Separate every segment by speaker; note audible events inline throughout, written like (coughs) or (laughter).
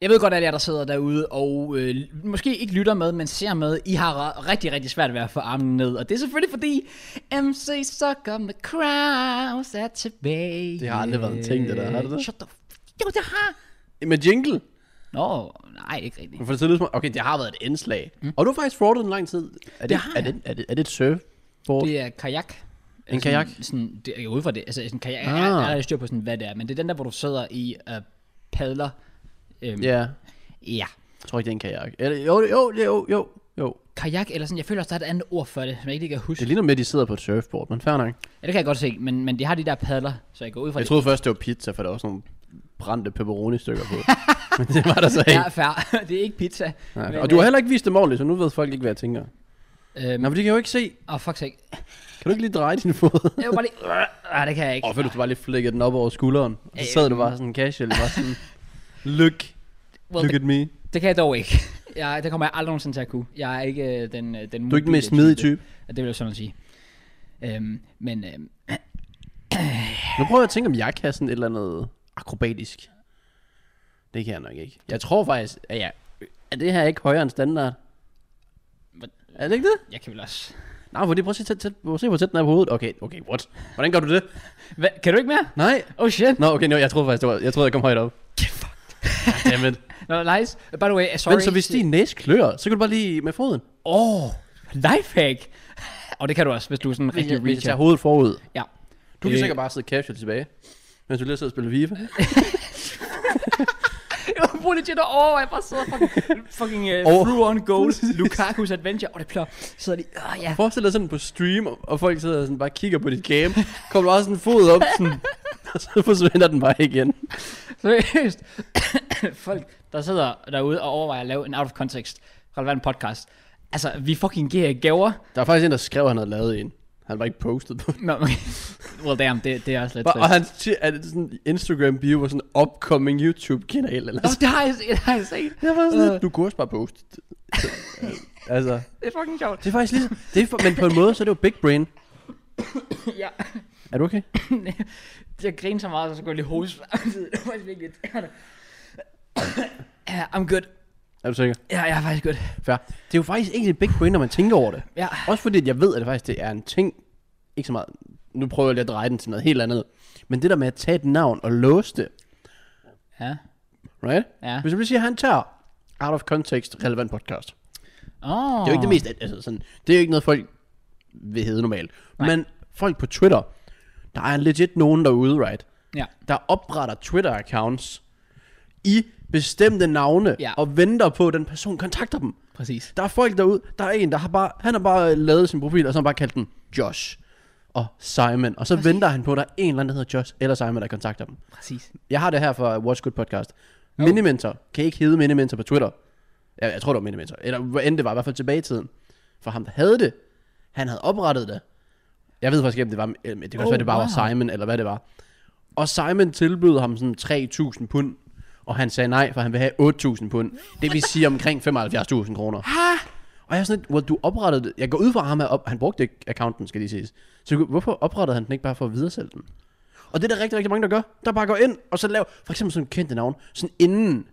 Speaker 1: Jeg ved godt, at jer, der sidder derude og øh, måske ikke lytter med, men ser med, I har rigtig, rigtig svært ved at få armen ned. Og det er selvfølgelig fordi, MC Sucker McCrows er tilbage.
Speaker 2: Det har aldrig været en ting, det der. Har det det?
Speaker 1: Shut the f- Jo, det har.
Speaker 2: Med jingle.
Speaker 1: Nå, nej, ikke rigtigt.
Speaker 2: For det ser ud som, om- okay, det har været et indslag. Mm. Og du har faktisk fraudet en lang tid. Er det,
Speaker 1: har
Speaker 2: er det, er det, er det et surfboard? Det,
Speaker 1: Det er kajak.
Speaker 2: En
Speaker 1: sådan,
Speaker 2: kajak?
Speaker 1: Sådan, det, jeg er ude fra det. Altså, sådan kajak ah.
Speaker 2: Ah.
Speaker 1: er, er der lidt styr på, sådan, hvad det er. Men det er den der, hvor du sidder i og padler. Øhm,
Speaker 2: ja.
Speaker 1: Ja.
Speaker 2: Jeg tror ikke, det er en kajak. Eller, jo, det- jo, det- jo, jo, jo.
Speaker 1: Kajak, eller sådan. Jeg føler også, der er et andet ord for det, som jeg ikke lige kan huske.
Speaker 2: Det ligner med, at de sidder på et surfboard, men fair nok.
Speaker 1: Ja, det kan jeg godt se, men, men de har de der padler, så jeg går ud fra
Speaker 2: Jeg
Speaker 1: det.
Speaker 2: troede først, det var pizza, for der var sådan nogle brændte pepperoni-stykker (laughs) på. men det var der så
Speaker 1: Ja,
Speaker 2: ikke.
Speaker 1: fair. (laughs) det er ikke pizza.
Speaker 2: Nej,
Speaker 1: men,
Speaker 2: og du har heller ikke vist dem ordentligt, så nu ved folk ikke, hvad jeg tænker.
Speaker 1: Øhm,
Speaker 2: Nej, men de kan jo ikke se.
Speaker 1: Åh, oh, fuck sake.
Speaker 2: Kan du ikke lige dreje din fod?
Speaker 1: Jeg vil bare lige... Ah, det kan jeg ikke.
Speaker 2: Og hvis du bare lige flækkede den op over skulderen, og så sad du bare sådan casual, bare (laughs) sådan, look,
Speaker 1: Well, det,
Speaker 2: look at me.
Speaker 1: det, kan jeg dog ikke. (laughs) Jeg, det kommer jeg aldrig nogensinde til at kunne. Jeg er ikke øh, den, øh, den
Speaker 2: Du er ikke den
Speaker 1: mobile
Speaker 2: mest smidige type.
Speaker 1: Ja, Det vil jeg sådan sige. Øhm, men øhm,
Speaker 2: Nu prøver jeg at tænke, om jeg kan sådan et eller andet akrobatisk. Det kan jeg nok ikke. Jeg tror faktisk, at jeg... Er det her ikke højere end standard?
Speaker 1: Hvad?
Speaker 2: Er det ikke det?
Speaker 1: jeg kan vel også...
Speaker 2: Nej, fordi prøv at se, tæt, tæt, prøv at se hvor tæt den er på hovedet. Okay, okay, what? Hvordan gør du det?
Speaker 1: Hva, kan du ikke mere?
Speaker 2: Nej.
Speaker 1: Oh shit.
Speaker 2: Nå, okay, no, jeg troede faktisk, det var, jeg troede, jeg kom højt op. Fuck.
Speaker 1: (laughs)
Speaker 2: Dammit.
Speaker 1: No, nice. By the way, sorry.
Speaker 2: Men så hvis din næse klør, så kan du bare lige med foden.
Speaker 1: Åh, oh, lifehack. Og det kan du også, hvis du er sådan en
Speaker 2: Hvis
Speaker 1: rigtig
Speaker 2: jeg, hvis jeg
Speaker 1: reacher.
Speaker 2: tager hovedet forud.
Speaker 1: Ja.
Speaker 2: Du kan
Speaker 1: Øh.
Speaker 2: sikkert bare sidde casual tilbage, mens du lige sidder og spiller FIFA.
Speaker 1: Jeg (laughs) var legit at overveje, jeg bare sidder fucking, fucking uh,
Speaker 2: Over-
Speaker 1: through on goal, Lukaku's adventure, og det plør, sidder de, åh ja,
Speaker 2: Forestil dig sådan på stream, og- og folk sidder og sådan bare kigger på dit game. Kommer der også sådan en fod op, sådan, og så forsvinder den bare igen.
Speaker 1: seriøst. (coughs) Folk, der sidder derude og overvejer at lave en out of context relevant podcast, altså, vi fucking giver jer gaver.
Speaker 2: Der er faktisk en, der skrev, at han havde lavet en. Han var ikke postet på
Speaker 1: Nå, okay. (laughs) well damn, det, det er også lidt
Speaker 2: og, og
Speaker 1: trist.
Speaker 2: han siger, at det er sådan en instagram bio var sådan en upcoming YouTube-kanal. Eller
Speaker 1: Nå,
Speaker 2: sådan.
Speaker 1: det har jeg, det har jeg set.
Speaker 2: (laughs) Jeg var sådan,
Speaker 1: Øh.
Speaker 2: lidt, du kunne også bare poste. Så, øh, altså,
Speaker 1: Det er fucking sjovt.
Speaker 2: det er faktisk ligesom, det er for, men på en måde, så er det jo big brain.
Speaker 1: (laughs) Ja.
Speaker 2: Er du okay?
Speaker 1: Jeg griner så meget, så skulle jeg lige hoste. samtidig. (laughs) Det var faktisk virkelig (coughs) irriterende. Ja, I'm good.
Speaker 2: Er du sikker?
Speaker 1: Ja, jeg er faktisk good.
Speaker 2: Fair. Det er jo faktisk ikke et big brain, når man tænker over det.
Speaker 1: Ja.
Speaker 2: Også fordi, at jeg ved, at det faktisk det er en ting. Ikke så meget. Nu prøver jeg lige at dreje den til noget helt andet. Men det der med at tage et navn og låse det.
Speaker 1: Ja.
Speaker 2: Right?
Speaker 1: Ja.
Speaker 2: Hvis du vil sige, at han tager out of context relevant podcast.
Speaker 1: Oh.
Speaker 2: Det er jo ikke det mest, altså sådan, det er jo ikke noget, folk vil hedde normalt. Nej. Men folk på Twitter, der er legit nogen derude, right?
Speaker 1: Ja.
Speaker 2: Der opretter Twitter-accounts i bestemte navne,
Speaker 1: Ja.
Speaker 2: og venter på, at den person kontakter dem.
Speaker 1: Præcis.
Speaker 2: Der er folk derude, der er en, der har bare, han har bare øh, lavet sin profil, og så har han bare kaldt den Josh og Simon. Og så Præcis. venter han på, at der er en eller anden, der hedder Josh eller Simon, der kontakter dem.
Speaker 1: Præcis.
Speaker 2: Jeg har det her fra Watch Good Podcast. No. Minimentor kan ikke hedde Minimentor på Twitter. Jeg, jeg tror, det var Minimentor. Eller hvad end det var, i hvert fald tilbage i tiden. For ham, der havde det, han havde oprettet det. Jeg ved faktisk ikke, om det var, eller det kan også
Speaker 1: Oh,
Speaker 2: være, det bare
Speaker 1: wow.
Speaker 2: var Simon, eller hvad det var. Og Simon tilbød ham sådan 3.000 pund, og han sagde nej, for han vil have 8.000 pund. Det vil sige omkring 75.000 kroner. Og jeg er sådan lidt, well, du oprettede det. Jeg går ud fra at ham, er op, han brugte ikke accounten, skal lige siges. Så hvorfor oprettede han den ikke bare for at videresælge den? Og det er der rigtig, rigtig mange, der gør. Der bare går ind, og så laver, for eksempel sådan kendte navn, sådan inden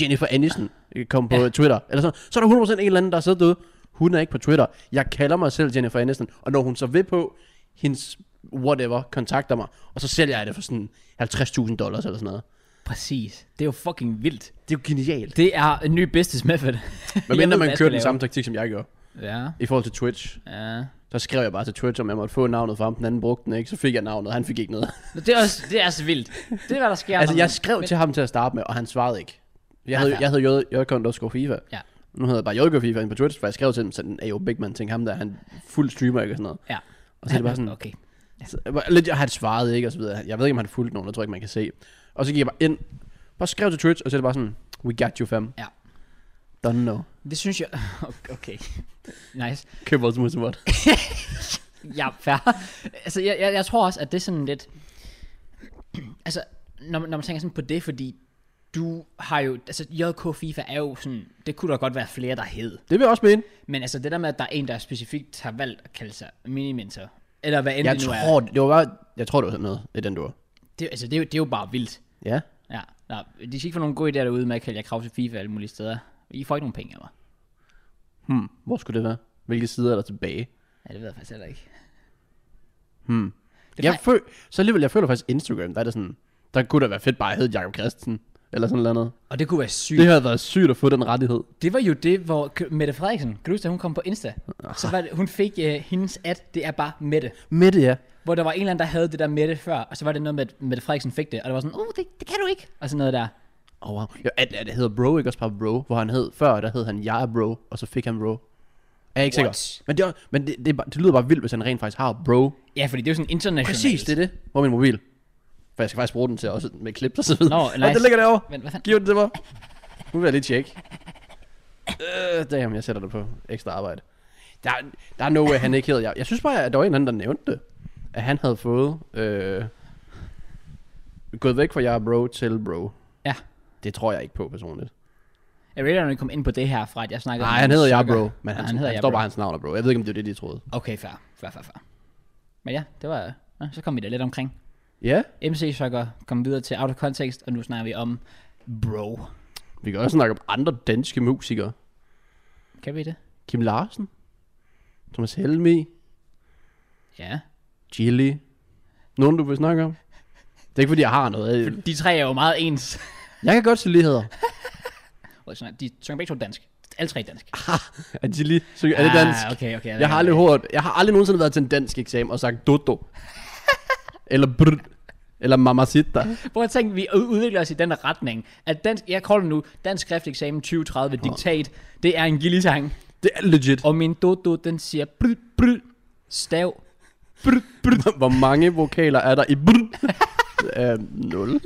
Speaker 2: Jennifer Aniston kom på ja. Twitter, eller sådan, så er der 100% en eller anden, der sidder derude. Hun er ikke på Twitter. Jeg kalder mig selv Jennifer Aniston, og når hun så vil på, hendes whatever kontakter mig, og så sælger jeg det for sådan 50.000 dollars eller sådan noget.
Speaker 1: Præcis. Det er jo fucking vildt.
Speaker 2: Det er jo genialt.
Speaker 1: Det er en ny business method.
Speaker 2: Men
Speaker 1: Jeg ved,
Speaker 2: mindre
Speaker 1: hvad jeg
Speaker 2: man kører
Speaker 1: skal
Speaker 2: den
Speaker 1: lave.
Speaker 2: samme taktik, som jeg gjorde,
Speaker 1: Ja.
Speaker 2: i forhold til Twitch.
Speaker 1: Ja.
Speaker 2: Så skrev jeg bare til Twitch, om jeg måtte få navnet fra ham. Den anden brugte den ikke, så fik jeg navnet, og han fik ikke noget.
Speaker 1: Men Det er, også, det er altså vildt. Det er, hvad der sker.
Speaker 2: altså,
Speaker 1: når
Speaker 2: jeg
Speaker 1: man-
Speaker 2: skrev til ham til at starte med, og han svarede ikke. Jeg
Speaker 1: Ja,
Speaker 2: havde,
Speaker 1: fair.
Speaker 2: jeg havde Jørgen underscore FIFA.
Speaker 1: Ja.
Speaker 2: Nu hedder jeg bare Jørgen FIFA inde på Twitch, for jeg skrev til ham, sådan, hey, jo, big man, tænk ham der, han fuld streamer ikke, og sådan noget.
Speaker 1: Ja.
Speaker 2: Og så er det bare sådan,
Speaker 1: Okay.
Speaker 2: Så, jeg var lidt, han svarede ikke, og så videre. Jeg ved ikke, om han fulgte nogen, jeg tror ikke, man kan se. Og så gik jeg bare ind, bare skrev til Twitch, og så er det bare sådan, we got you, fam.
Speaker 1: Ja.
Speaker 2: Don't know.
Speaker 1: Det synes jeg... (laughs) Okay. Nice.
Speaker 2: Køb vores musimot.
Speaker 1: Ja, fair. Altså, jeg, jeg, jeg tror også, at det er sådan lidt... Altså, når, man- når man tænker sådan på det, fordi du har jo... Altså, JK FIFA er jo sådan... Det kunne der godt være flere, der hed.
Speaker 2: (laughs) Det vil jeg også mene.
Speaker 1: Men altså, det der med, at der er en, der specifikt har valgt at kalde sig minimentor, eller hvad end
Speaker 2: Jeg
Speaker 1: det nu er,
Speaker 2: tror, det var bare, jeg tror, det var sådan noget, i den du var.
Speaker 1: det, altså, det, er jo- det er jo bare vildt.
Speaker 2: Ja.
Speaker 1: Ja. Nå, de skal ikke få nogen gode idéer derude med at kalde jer krav til FIFA alle mulige steder. I får ikke nogen penge af mig.
Speaker 2: Hmm, hvor skulle det være? Hvilke sider er der tilbage?
Speaker 1: Ja, det ved jeg faktisk heller ikke.
Speaker 2: Det jeg føl, så alligevel, jeg føler faktisk Instagram, der er det sådan, der kunne da være fedt bare at hedde Jacob Christensen, eller sådan noget.
Speaker 1: Og det kunne være sygt.
Speaker 2: Det havde været sygt at få den rettighed.
Speaker 1: Det var jo det, hvor K- Mette Frederiksen, kan du huske, da hun kom på Insta? Så var det, hun fik uh, hendes ad, det er bare Mette.
Speaker 2: Med det, ja.
Speaker 1: Hvor der var en eller anden, der havde det der Mette før, og så var det noget med, at Mette Frederiksen fik det, og det var sådan, uh, det, det kan du ikke, og sådan noget der.
Speaker 2: Oh, wow. Jo, at, at det hedder bro, ikke også bare bro, hvor han hed før, der hed han jeg er bro, og så fik han bro. Er jeg ikke
Speaker 1: What?
Speaker 2: sikker? Men, det, er- men det, det, er bare- det, lyder bare vildt, hvis han rent faktisk har bro.
Speaker 1: Ja, fordi det er jo sådan internationalt.
Speaker 2: Præcis, det er det. Hvor er min mobil? For jeg skal faktisk bruge den til også med klip og så videre.
Speaker 1: Nå,
Speaker 2: Åh,
Speaker 1: nice.
Speaker 2: den ligger derovre.
Speaker 1: Men hvad fanden?
Speaker 2: Giv den til mig. Nu vil jeg lige tjekke. Øh, damn, jeg sætter det på ekstra arbejde. Der, er- der er no way, han ikke hedder. Jeg, jeg synes bare, at der var en eller anden, der nævnte det. At han havde fået... Øh, gået væk fra jeg er bro til bro.
Speaker 1: Ja.
Speaker 2: Det tror jeg ikke på personligt.
Speaker 1: Jeg ved ikke, om vi kom ind på det her fra, at jeg snakkede
Speaker 2: Nej,
Speaker 1: om
Speaker 2: han hedder jeg er
Speaker 1: sukker.
Speaker 2: bro. Men han,
Speaker 1: Nej,
Speaker 2: han,
Speaker 1: hedder
Speaker 2: han
Speaker 1: jeg
Speaker 2: står
Speaker 1: bro.
Speaker 2: bare hans navn er bro. Jeg ved ikke, om det er det, de troede.
Speaker 1: Okay, fair. Fair, fair, fair. Men ja, det var... Ja, så kom vi da lidt omkring.
Speaker 2: Ja,
Speaker 1: MC Sucker kom videre til Out of Context, og nu snakker vi om Bro.
Speaker 2: vi kan også snakke om andre danske musikere.
Speaker 1: Kan vi det?
Speaker 2: Kim Larsen, Thomas Helmi,
Speaker 1: Ja.
Speaker 2: Chili. Nogen, du vil snakke om? Det er ikke, fordi jeg har noget. Jeg-
Speaker 1: De tre er jo meget ens.
Speaker 2: Jeg kan godt se ligheder.
Speaker 1: Og sådan, De synger begge to dansk. Alle tre er dansk.
Speaker 2: (laughs) Er Chili? Så er det dansk?
Speaker 1: Ah, okay, okay.
Speaker 2: Jeg har aldrig hørt, jeg har aldrig nogensinde været til en dansk eksamen og sagt dodo.
Speaker 1: (laughs)
Speaker 2: eller brr. Eller mamacita.
Speaker 1: Prøv at tænke, vi ud- udvikler os i den retning. At dansk, jeg kalder det nu Dansk Skrifteksamen 2030 Diktat. Det er en gillesang.
Speaker 2: Det er legit.
Speaker 1: Og min dodo, den siger bryd, bryd, stav.
Speaker 2: Brr, brr. (laughs) Hvor mange vokaler er der i brr? uh, nul.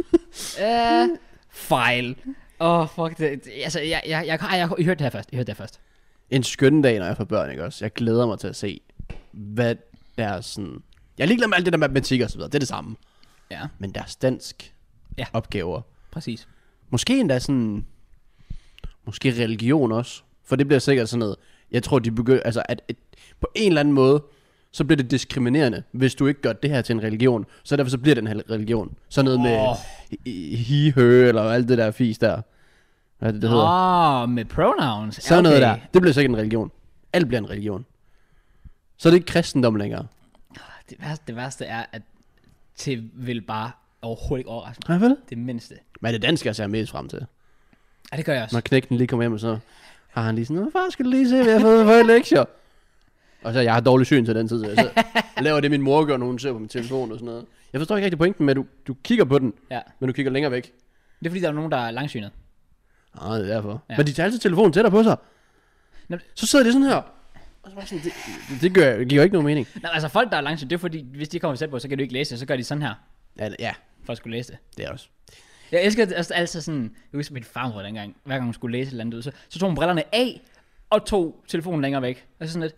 Speaker 1: Uh, fejl. Åh, oh, fuck det. det- Altså, jeg, jeg, jeg, jeg, jeg, I hørte det her først. I hørte det her først.
Speaker 2: En skøn dag, når jeg får børn, ikke også? Jeg glæder mig til at se, hvad deres sådan... Jeg er ligeglad med alt det der matematik og så videre. Det er det samme.
Speaker 1: Ja,
Speaker 2: Men deres dansk
Speaker 1: Ja.
Speaker 2: opgaver,
Speaker 1: præcis.
Speaker 2: Måske endda sådan... Måske religion også. For det bliver sikkert sådan noget... Jeg tror, de begynder... Altså, at, at på en eller anden måde, så bliver det diskriminerende, hvis du ikke gør det her til en religion. Så derfor så bliver den her religion. Sådan noget
Speaker 1: Åh.
Speaker 2: oh. med he, hø, eller alt det der fis der. Hvad er det, det hedder? Oh,
Speaker 1: Åh, oh, med pronouns. Ja,
Speaker 2: sådan okay. noget
Speaker 1: okay.
Speaker 2: der. Det bliver sikkert en religion. Alt bliver en religion. Så er det ikke kristendom længere.
Speaker 1: Ah, Det værste, det værste er, at til vil bare overhovedet ikke overraske mig.
Speaker 2: Ja, vel?
Speaker 1: Det mindste.
Speaker 2: Men det danske, jeg ser mest frem til.
Speaker 1: Ja, det gør jeg også.
Speaker 2: Når knægten lige kommer hjem, og så har han lige sådan, "Nå, far, skal du lige se, hvad jeg har fået for lektier? Og så, jeg har dårlig syn til den tid, så jeg så laver det, min mor gør, når hun ser på min telefon og sådan noget. Jeg forstår ikke rigtig pointen med, at du, du kigger på den,
Speaker 1: Ja.
Speaker 2: men du kigger længere væk.
Speaker 1: Det er fordi, der er nogen, der er langsynet.
Speaker 2: Nej, det er derfor.
Speaker 1: Ja.
Speaker 2: Ja. Men de tager altid telefonen tættere på sig.
Speaker 1: Nå,
Speaker 2: Så sidder de sådan her. Og så bare sådan, det, det, gør, det giver jo ikke nogen mening.
Speaker 1: Nå, altså folk, der er langsynede, det er fordi, hvis de kommer tæt på, så kan du ikke læse det, så gør de sådan her,
Speaker 2: Ja, det- ja
Speaker 1: for at skulle læse det.
Speaker 2: det er også.
Speaker 1: Jeg elsker det også altid sådan, jeg husker min farmor dengang, hver gang hun skulle læse et eller andet ud, så, så tog hun brillerne af, og tog telefonen længere væk. Og så sådan lidt,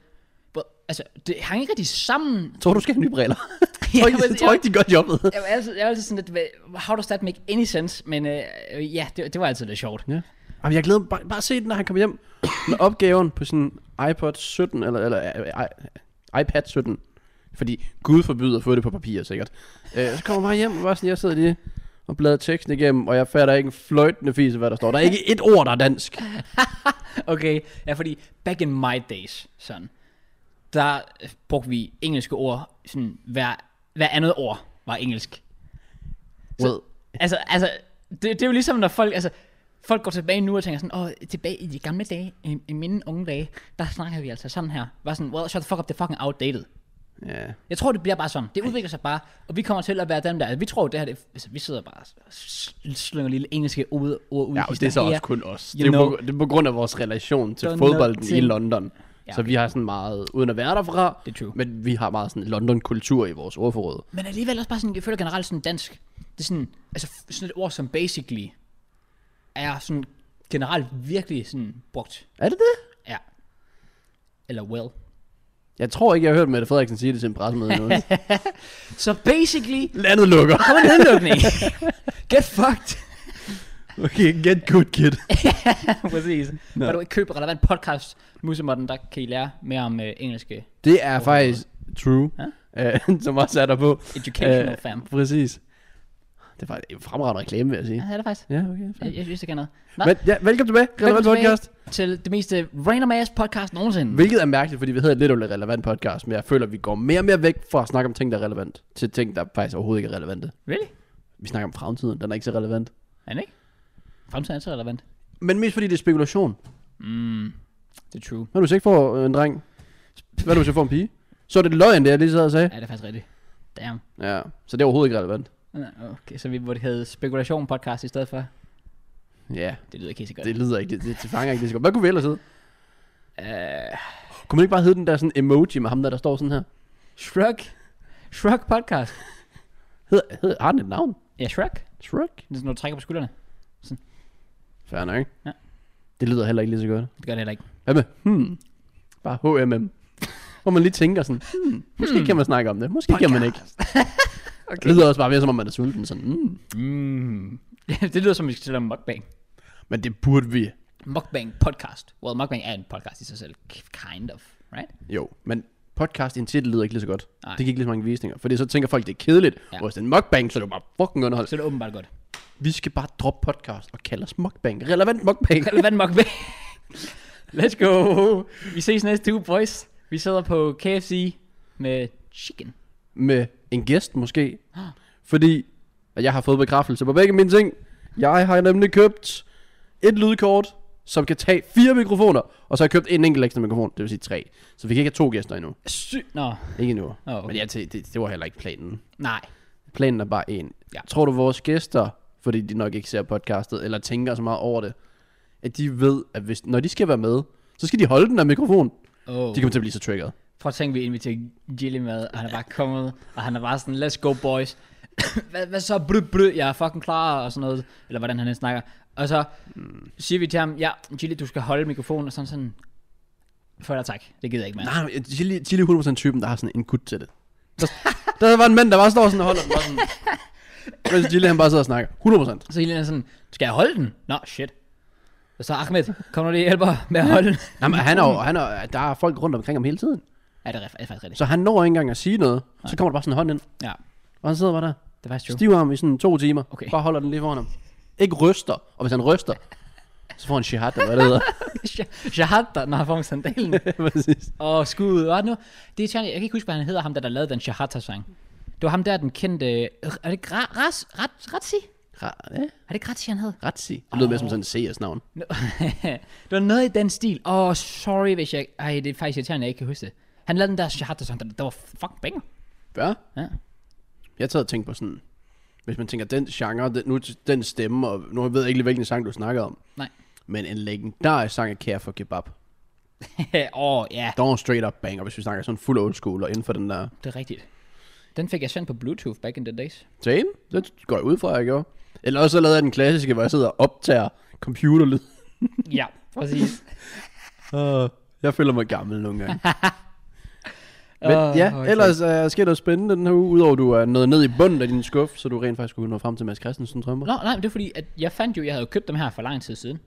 Speaker 1: "Hvor- altså, det hang ikke rigtig sammen.
Speaker 2: Jeg tror, du skal have nye briller. jeg tror ikke,
Speaker 1: men-
Speaker 2: jeg tror ikke de gør jobbet.
Speaker 1: Jeg var altid, jeg var altid sådan lidt, "Hvad- how does that make any sense? Men øh, øh, ja, det, det var altid lidt sjovt.
Speaker 2: Ja. Jamen, jeg glæder mig bare, bare se den, når han kommer hjem med opgaven på sin iPod 17, eller, eller øh, i- iPad 17. Fordi Gud forbyder at få det på papir, sikkert. Øh, så kommer jeg bare hjem, og bare sådan, jeg sidder lige og bladrer teksten igennem, og jeg fatter ikke en fløjtende fise, hvad der står. Der er ikke et ord, der er
Speaker 1: (laughs)
Speaker 2: dansk.
Speaker 1: Okay, ja, fordi back in my days, sådan, der øh, brugte vi engelske ord, sådan, hver, hver andet ord var engelsk.
Speaker 2: Well,
Speaker 1: Altså, altså det, det er jo ligesom, når folk, altså, folk går tilbage nu og tænker sådan, åh, tilbage i de gamle dage, i, i mine unge dage, der snakkede vi altså sådan her. Var sådan, well, shut the fuck up, det er fucking outdated.
Speaker 2: ja.
Speaker 1: Jeg tror, det bliver bare sådan. Det udvikler sig bare, og vi kommer til at være dem der. Vi tror, det her, det, altså, vi sidder bare og s- s- slynger lille engelske ord, ord ud.
Speaker 2: ja og det er så også kun os. Det er,
Speaker 1: You
Speaker 2: jo
Speaker 1: know.
Speaker 2: på, det er på grund af vores relation til
Speaker 1: Don't know
Speaker 2: fodbolden i
Speaker 1: ting.
Speaker 2: London.
Speaker 1: Ja,
Speaker 2: Så
Speaker 1: okay.
Speaker 2: vi har sådan meget, uden at være derfra,
Speaker 1: Det er true.
Speaker 2: men vi har meget sådan London-kultur i vores ordforråd.
Speaker 1: Men alligevel også bare sådan, jeg føler generelt sådan dansk. Det er sådan, altså f- sådan et ord som basically, er sådan generelt virkelig sådan brugt.
Speaker 2: Er det det?
Speaker 1: Ja. Eller well.
Speaker 2: Jeg tror ikke, jeg har hørt Mette Frederiksen sige det til en
Speaker 1: (laughs)
Speaker 2: pressemøde endnu.
Speaker 1: Så basically,
Speaker 2: Landet lukker.
Speaker 1: Kom en
Speaker 2: (laughs)
Speaker 1: nedlukning. Get fucked.
Speaker 2: Okay, get good, kid.
Speaker 1: (laughs) Præcis. Når du ikke køber relevant podcast, Musemodden, der kan I lære mere om øh, engelske
Speaker 2: Det er faktisk true,
Speaker 1: Ja.
Speaker 2: ja? (laughs) som også er der på.
Speaker 1: educational
Speaker 2: Øh,
Speaker 1: fam.
Speaker 2: Præcis. Det er faktisk en fremragende reklame, vil jeg sige.
Speaker 1: Ja, det er det faktisk.
Speaker 2: Ja, okay. fair.
Speaker 1: Jeg, jeg synes, det kan noget. Nå,
Speaker 2: Men, ja, velkommen tilbage. Relevant
Speaker 1: tilbage
Speaker 2: podcast.
Speaker 1: til det mest øh, random ass podcast nogensinde.
Speaker 2: Hvilket er mærkeligt, fordi vi hedder lidt eller relevant podcast, men jeg føler, at vi går mere og mere væk fra at snakke om ting, der er relevant, til ting, der faktisk overhovedet ikke er relevante.
Speaker 1: Really?
Speaker 2: Vi snakker om fremtiden, den er ikke så relevant.
Speaker 1: Er den ikke? Fremtiden er så relevant.
Speaker 2: Men mest fordi det er spekulation.
Speaker 1: Mm, det er true.
Speaker 2: Hvad hvis du ikke får øh, en dreng? Hvad hvis du får en pige? Så er det løgn, det jeg lige sad og sagde.
Speaker 1: Ja, det er faktisk rigtigt. Damn.
Speaker 2: Ja, så det er overhovedet ikke relevant.
Speaker 1: Nå, Okay, så vi burde hedde Spekulation Podcast i stedet for.
Speaker 2: Ja,
Speaker 1: Det lyder ikke helt så godt.
Speaker 2: det lyder ikke, det, det, det fanger ikke lige så godt. Hvad kunne vi ellers hedde?
Speaker 1: Uh,
Speaker 2: Kunne man ikke bare hedde den der sådan emoji med ham der, der står sådan her?
Speaker 1: Shrug. Shrug Podcast.
Speaker 2: Hed, hed, har den et navn?
Speaker 1: Ja, Shrug.
Speaker 2: Shrek?
Speaker 1: Det er sådan, når du trækker på skuldrene.
Speaker 2: Fair nok.
Speaker 1: Ja.
Speaker 2: Det lyder heller ikke lige så godt.
Speaker 1: Det gør det heller ikke.
Speaker 2: Hvad med? Hmm. Bare HMM. Hvor man lige tænker sådan, hmm, måske kan man snakke om det, måske kan man ikke. (laughs) okay. Det lyder også bare mere, som om man er sulten. Sådan, hmm.
Speaker 1: Mm. (laughs) det lyder som, vi skal til at lave en mukbang.
Speaker 2: Men det burde vi.
Speaker 1: Mukbang Podcast. Well, mukbang er en podcast i sig selv. Kind of, right?
Speaker 2: Jo, men podcast i en titel lyder ikke lige så godt.
Speaker 1: Nej.
Speaker 2: Nej. Det gik lige så mange visninger. Fordi så tænker folk, det er kedeligt.
Speaker 1: Ja.
Speaker 2: Ja. Og hvis det er en mukbang, så er det jo bare fucking underhold.
Speaker 1: Så er det åbenbart godt.
Speaker 2: Vi skal bare droppe podcast og kalde os mukbang. Relevant mukbang.
Speaker 1: Relevant mukbang. Let's go. Vi ses næste uge, boys. Vi sidder på KFC med chicken.
Speaker 2: med en gæst måske. Fordi at jeg har fået bekræftelse på begge mine ting. Jeg har nemlig købt et lydkort, som kan tage fire mikrofoner, og så har jeg købt en enkelt ekstra mikrofon, det vil sige tre. Så vi kan ikke have to gæster endnu.
Speaker 1: Sy Nå,
Speaker 2: Ikke endnu.
Speaker 1: Nå, okay.
Speaker 2: Men ja, det, det, det var heller ikke planen.
Speaker 1: nej.
Speaker 2: Planen er bare en.
Speaker 1: Ja.
Speaker 2: Tror du vores gæster, fordi de nok ikke ser podcastet, eller tænker så meget over det, at de ved, at hvis, når de skal være med, så skal de holde den af mikrofon.
Speaker 1: Oh.
Speaker 2: De kommer til at blive så triggeret.
Speaker 1: Prøv at tænke, vi inviterer Gilly med, og han er bare kommet, og han er bare sådan, let's go boys. (coughs) hvad, hvad så, bry, bry, jeg er fucking klar, og sådan noget, eller hvordan han end snakker. Og så siger vi til ham, ja, Gilly, du skal holde mikrofonen, og sådan sådan, for dig tak, det gider jeg ikke, mand.
Speaker 2: Nej, nej, Chili, Chili Ah, er 100% typen, der har sådan en gut til det. Der, der var en mand, der bare står sådan og holder den bare sådan. Mens Chili, han bare sidder og snakker. 100%.
Speaker 1: Så Helena er sådan, skal jeg holde den? Nå, shit. Og så Ahmed, kom nu lige og hjælper med at holde den.
Speaker 2: Nej, men han er, jo- han er, der er folk rundt omkring ham hele tiden.
Speaker 1: ja, det er, ref- det er faktisk rigtigt.
Speaker 2: Så han når ikke engang at sige noget. Så kommer der bare sådan en hånd ind.
Speaker 1: Ja,
Speaker 2: Og han sidder bare der.
Speaker 1: det er faktisk true. (laughs)
Speaker 2: Stiv ham i sådan to timer.
Speaker 1: Okay.
Speaker 2: Bare holder den lige foran ham. Ikke ryster. Og hvis han ryster, så får han shihad, eller hvad det hedder.
Speaker 1: Shahat, når han får sandalen.
Speaker 2: Præcis.
Speaker 1: Og skuddet, hvad er det nu? Det er tjern, jeg kan ikke huske, hvad han hedder, ham der, der lavede den Shahata-sang. Det var ham der, den kendte... øh, Er det ikke Ra- Ras, Rat, Ratsi?
Speaker 2: Ra- ja,
Speaker 1: Er det ikke Ratsi, han hed? (laughs)
Speaker 2: Ratsi. Det lyder mere som sådan en CS-navn.
Speaker 1: No. det var noget i den stil. Åh, oh, sorry, hvis jeg... Ej, det er faktisk irriterende, jeg ikke kan huske det. Han lavede den der Shahata-sang, der, der var fucking banger.
Speaker 2: Ja.
Speaker 1: Ja.
Speaker 2: Jeg sad og tænkte på sådan, hvis man tænker, den genre, den, nu, den stemme, og nu ved jeg ikke lige, hvilken sang du snakker om,
Speaker 1: Nej. (laughs)
Speaker 2: men en legendarisk sang af Care for Kebab.
Speaker 1: Åh, oh, ja.
Speaker 2: Der var en straight up banger, hvis vi snakker sådan fuld old school, og inden for den der
Speaker 1: Det er rigtigt. Den fik jeg sendt på Bluetooth back in the days.
Speaker 2: same, det går jeg ud fra, jeg gjorde. Eller også så lavede jeg den klassiske, hvor jeg sidder og optager
Speaker 1: (laughs)
Speaker 2: computerlyd.
Speaker 1: ja, præcis.
Speaker 2: Uh, jeg føler mig gammel nogle
Speaker 1: (laughs)
Speaker 2: gange. Men
Speaker 1: Åh,
Speaker 2: ja,
Speaker 1: okay.
Speaker 2: ellers uh, sker der noget spændende den her uge, udover du er nået ned i bunden af din skuff, så du rent faktisk kunne nå frem til Mads Christensen drømmer.
Speaker 1: Nå, nej, men det er fordi, at jeg fandt jo, jeg havde jo købt dem her for lang tid siden,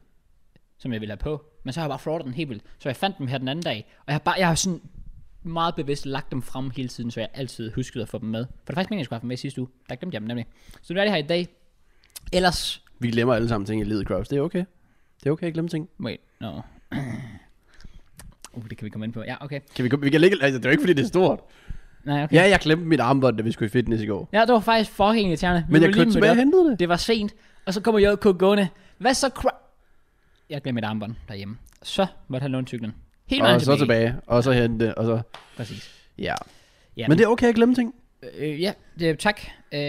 Speaker 1: som jeg ville have på. Men så har jeg bare fraudet den helt vildt. Så jeg fandt dem her den anden dag, og jeg har bare, jeg har sådan meget bevidst lagt dem frem hele tiden, så jeg altid huskede at få dem med. For det er faktisk meningen, jeg skulle have dem med sidste uge. Der glemte jeg dem nemlig. Så nu er det her i dag. Ellers...
Speaker 2: Vi glemmer alle sammen ting i livet, Kraus. Det er okay. Det er okay at glemme ting.
Speaker 1: Wait, no. (clears throat) Uh, det kan vi komme ind på. Ja, okay.
Speaker 2: Kan vi, vi kan ligge, altså, det er jo ikke, fordi det er stort.
Speaker 1: Nej, okay.
Speaker 2: Ja, jeg glemte mit armbånd, da vi skulle i fitness i går.
Speaker 1: Ja, det var faktisk fucking irriterende. Vi
Speaker 2: Men jeg
Speaker 1: var lige
Speaker 2: kørte
Speaker 1: mødt
Speaker 2: tilbage og
Speaker 1: op.
Speaker 2: hentede det.
Speaker 1: Det var sent, og så kommer JK gående. Hvad så kra... Jeg glemte mit armbånd derhjemme. Så måtte han låne cyklen. Helt vejen
Speaker 2: Og så tilbage, og så hente det, og så...
Speaker 1: Præcis.
Speaker 2: Ja.
Speaker 1: Ja,
Speaker 2: Men det er okay at glemme ting.
Speaker 1: Øh, ja, det, tak. Øh,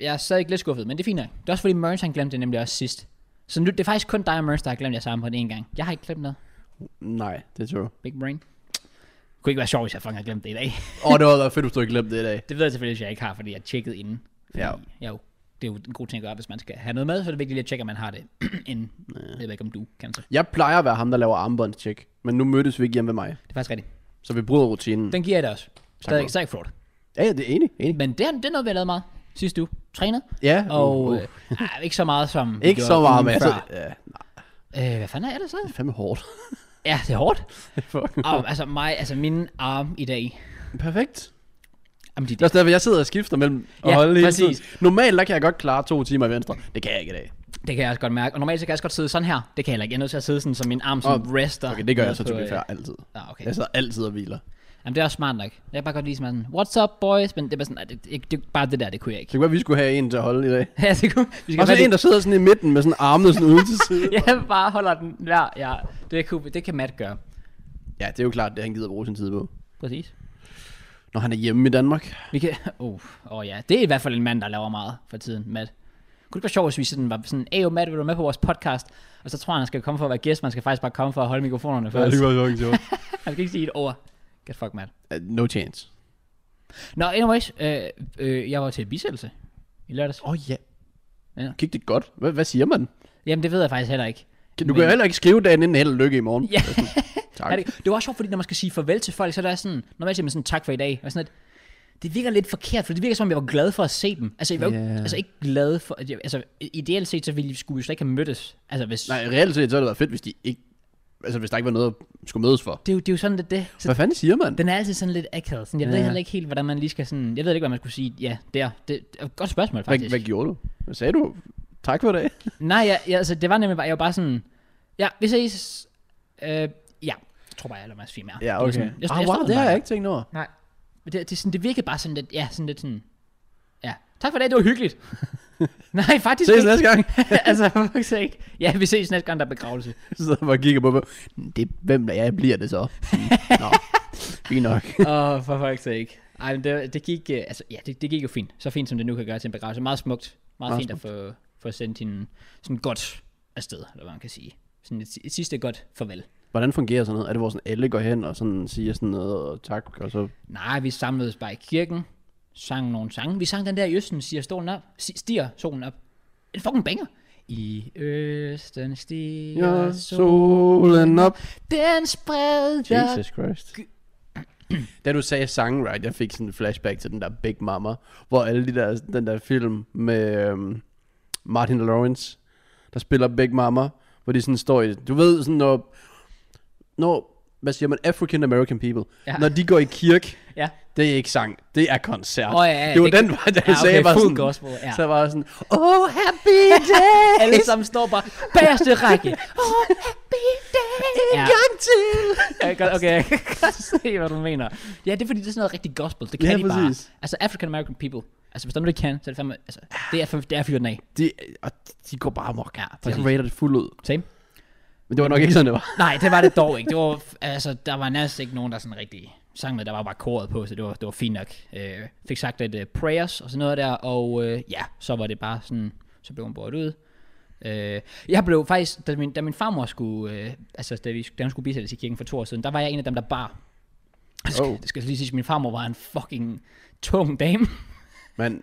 Speaker 1: jeg er stadig lidt skuffet, men det er fint nok. Det er også fordi Merns han glemte det nemlig også sidst. Så nu, det er faktisk kun dig og Merns, der har glemt jer sammen på den en gang. Jeg har ikke glemt noget.
Speaker 2: Nej, det tror jeg.
Speaker 1: Big brain. Det kunne ikke være sjovt, hvis jeg fucking har glemt det i dag. (laughs)
Speaker 2: Åh, det var da fedt, hvis du ikke glemte det i dag.
Speaker 1: det ved jeg selvfølgelig, at jeg ikke har, fordi jeg tjekkede inden. Fordi,
Speaker 2: Ja.
Speaker 1: Jo, det er jo en god ting at gøre, hvis man skal have noget med, så er det vigtigt lige at tjekke, at man har det (clears throat) inden. Jeg ved ikke, om du kan så.
Speaker 2: Jeg plejer at være ham, der laver armbåndstjek, men nu mødtes vi ikke hjemme ved mig,
Speaker 1: Det er faktisk rigtigt.
Speaker 2: så vi bryder rutinen.
Speaker 1: Den giver jeg dig også. Stadig,
Speaker 2: Mark.
Speaker 1: stadig fraud.
Speaker 2: Ja, ja, det er enig, enig.
Speaker 1: Men det, er- det er noget, vi har lavet meget sidste uge. Trænet.
Speaker 2: Ja,
Speaker 1: Og
Speaker 2: uh,
Speaker 1: uh,
Speaker 2: uh.
Speaker 1: uh, ikke så meget som vi
Speaker 2: ikke
Speaker 1: gjorde
Speaker 2: så meget,
Speaker 1: ugen
Speaker 2: men altså,
Speaker 1: før.
Speaker 2: ja, nej,
Speaker 1: Øh, hvad fanden er jeg ellers
Speaker 2: det
Speaker 1: lavet?
Speaker 2: er fandme hårdt.
Speaker 1: Ja, det er hårdt.
Speaker 2: (laughs) Fuck.
Speaker 1: Og, altså mig, altså min arm i dag.
Speaker 2: Perfekt.
Speaker 1: Jamen, de,
Speaker 2: Det er også derfor, jeg sidder og skifter mellem at
Speaker 1: Ja,
Speaker 2: holde hele tiden.
Speaker 1: præcis.
Speaker 2: Normalt, der kan jeg godt klare to timer i venstre. Det kan jeg ikke i dag.
Speaker 1: Det kan jeg også godt mærke. Og normalt så kan jeg også godt sidde sådan her. Det kan jeg heller ikke. Jeg er nødt til at sidde sådan, så min arm sådan
Speaker 2: Åh,
Speaker 1: oh, rester.
Speaker 2: Okay, det gør
Speaker 1: ned
Speaker 2: jeg så
Speaker 1: på,
Speaker 2: til
Speaker 1: øh,
Speaker 2: be fair altid.
Speaker 1: Ah, okay.
Speaker 2: Jeg sidder altid og hviler.
Speaker 1: Jamen, det er også smart nok. Jeg kan bare godt lide sådan, what's up boys? Men det er bare sådan, nej, det, det, det, bare det der, det kunne jeg
Speaker 2: Så
Speaker 1: ikke. (laughs)
Speaker 2: det kunne være, vi skulle have en til at holde i dag.
Speaker 1: ja, det kunne, vi
Speaker 2: Og så
Speaker 1: have
Speaker 2: en, der sidder sådan i midten med sådan armene sådan ude til siden. (laughs)
Speaker 1: det. (laughs) Ja, bare holder den der. Ja, det, kunne, det kan Matt gøre.
Speaker 2: Ja, det er jo klart, det han gider bruge sin tid på.
Speaker 1: Præcis.
Speaker 2: Når han er hjemme i Danmark.
Speaker 1: Vi kan, (laughs) oh, oh ja, det er i hvert fald en mand, der laver meget for tiden, Matt. Kunne det ikke være sjovt, hvis vi sådan var sådan, hey, Matt, vil du være med på vores podcast? Og så tror han, han skal komme for at være gæst, man skal faktisk bare komme for at holde mikrofonerne for os. (laughs)
Speaker 2: var jo (laughs) ikke sjovt.
Speaker 1: Han skal ikke sige et ord. Get fuck, Matt.
Speaker 2: Uh, No chance.
Speaker 1: Nå, anyways, øh, øh, jeg var til bisættelse i lørdags.
Speaker 2: Åh oh, ja.
Speaker 1: Ja.
Speaker 2: Gik det godt? Hvad, hvad siger man?
Speaker 1: Jamen, det ved jeg faktisk heller ikke.
Speaker 2: Du kan jo heller ikke skrive dagen inden held og lykke i morgen.
Speaker 1: Ja. (laughs)
Speaker 2: Tak.
Speaker 1: Er det, det var også sjovt, fordi når man skal sige farvel til folk, så er der sådan, normalt siger man sådan, tak for i dag, og sådan lidt, det virker lidt forkert, for det virker som om, jeg var glad for at se dem. Altså, jeg var yeah.
Speaker 2: Ja.
Speaker 1: ikke, altså ikke glad for, at jeg, altså ideelt set, så ville vi skulle vi jo slet ikke have mødtes. Altså, hvis,
Speaker 2: Nej, reelt set så havde det været fedt, hvis de ikke... Altså, hvis der ikke var noget, at skulle mødes for.
Speaker 1: Det, er jo, det er jo sådan lidt det. Så
Speaker 2: Hvad fanden siger man?
Speaker 1: den er altid sådan lidt akavet. Sådan, jeg ved
Speaker 2: Ja.
Speaker 1: heller ikke helt, hvordan man lige skal sådan, jeg ved ikke, hvad man skulle sige, ja, der. Det, det er et godt spørgsmål,
Speaker 2: Hvad,
Speaker 1: faktisk.
Speaker 2: hvad gjorde du? Hvad sagde du? Tak for i dag.
Speaker 1: Nej, jeg, jeg, altså, det var nemlig bare, jeg var bare sådan, ja, vi ses, øh, ja, jeg tror bare, jeg lader mig sige mere. Det var sådan- jeg-
Speaker 2: ah,
Speaker 1: jeg
Speaker 2: wow,
Speaker 1: stod
Speaker 2: det har
Speaker 1: bare-
Speaker 2: jeg ikke tænkt over. (laughs)
Speaker 1: Nej. Men det, det, er sådan, det virkede bare sådan lidt, ja, sådan lidt sådan, ja. Tak for det, det var hyggeligt.
Speaker 2: (laughs)
Speaker 1: Nej, faktisk
Speaker 2: Ses
Speaker 1: ikke.
Speaker 2: næste gang.
Speaker 1: (laughs) altså, for fuck's sake. Ja, vi ses næste gang, der er begravelse.
Speaker 2: Så sidder jeg bare og kigger på mig. Det, hvem der jeg bliver det så? Mm.
Speaker 1: (laughs)
Speaker 2: Nå, fint nok.
Speaker 1: Åh, oh, for fuck's sake. Ej, men det, det gik, øh, altså, ja, det, det gik jo fint. Så fint, som det nu kan gøre til en begravelse. Meget smukt. Meget,
Speaker 2: Meget
Speaker 1: fint at få, få sendt hende sådan godt afsted, eller hvad man kan sige. Sådan et, si- et sidste godt farvel.
Speaker 2: Hvordan fungerer sådan noget? Er det, hvor sådan alle går hen og sådan siger sådan noget og tak, og så...
Speaker 1: Nej, vi samledes bare i kirken, sang nogle sange. Vi sang den der i Østen, siger stolen op, si- stiger solen op. En fucking banger. I Østen stiger
Speaker 2: Ja,
Speaker 1: ja, solen.
Speaker 2: solen op.
Speaker 1: Den spreder.
Speaker 2: Jesus Christ. Da du sagde sangen, right, jeg fik sådan en flashback til den der Big Mama, hvor alle de der, den der film med øhm, Martin Lawrence, der spiller Big Mama, hvor de sådan står i, du ved sådan, når, når hvad siger man, African American people,
Speaker 1: Ja.
Speaker 2: ja. når de går i kirke,
Speaker 1: Ja.
Speaker 2: det er ikke sang, det er koncert.
Speaker 1: Åh, ja, ja,
Speaker 2: det var
Speaker 1: det-
Speaker 2: den vej, der
Speaker 1: Ja,
Speaker 2: ja, sagde,
Speaker 1: okay,
Speaker 2: var
Speaker 1: fuld
Speaker 2: sådan,
Speaker 1: gospel, ja.
Speaker 2: så var jeg sådan, oh
Speaker 1: (laughs)
Speaker 2: happy day,
Speaker 1: Alle sammen står bare bagerste
Speaker 2: (laughs)
Speaker 1: række.
Speaker 2: en
Speaker 1: Ja.
Speaker 2: gang til.
Speaker 1: Jeg kan, godt- okay, jeg kan (laughs) godt se, hvad du mener. Ja, det er fordi, det er sådan noget rigtig gospel. Det kan
Speaker 2: Ja,
Speaker 1: de
Speaker 2: præcis.
Speaker 1: bare. Altså, African American people. Altså, hvis der er noget, de kan, så er det fandme... Altså, det er, fandme- det er fyret den af.
Speaker 2: De, og de går bare amok.
Speaker 1: Ja, præcis.
Speaker 2: de rater det fuldt ud.
Speaker 1: Same.
Speaker 2: Men det var nok ikke sådan, det var.
Speaker 1: Nej, det var det dog ikke. Det var, altså, der var næsten ikke nogen, der sådan rigtig sang med. Der var bare koret på, så det var, det var fint nok. Øh, fik sagt lidt øh, prayers og sådan noget der, og øh, ja, så var det bare sådan, så blev hun båret ud. Øh, jeg blev faktisk, da min, da min farmor skulle, øh, altså da, vi, da hun skulle bisættes i kirken for to år siden, der var jeg en af dem, der bar. Det skal,
Speaker 2: Oh.
Speaker 1: det skal lige sige, at min farmor var en fucking tung dame. (laughs)
Speaker 2: Men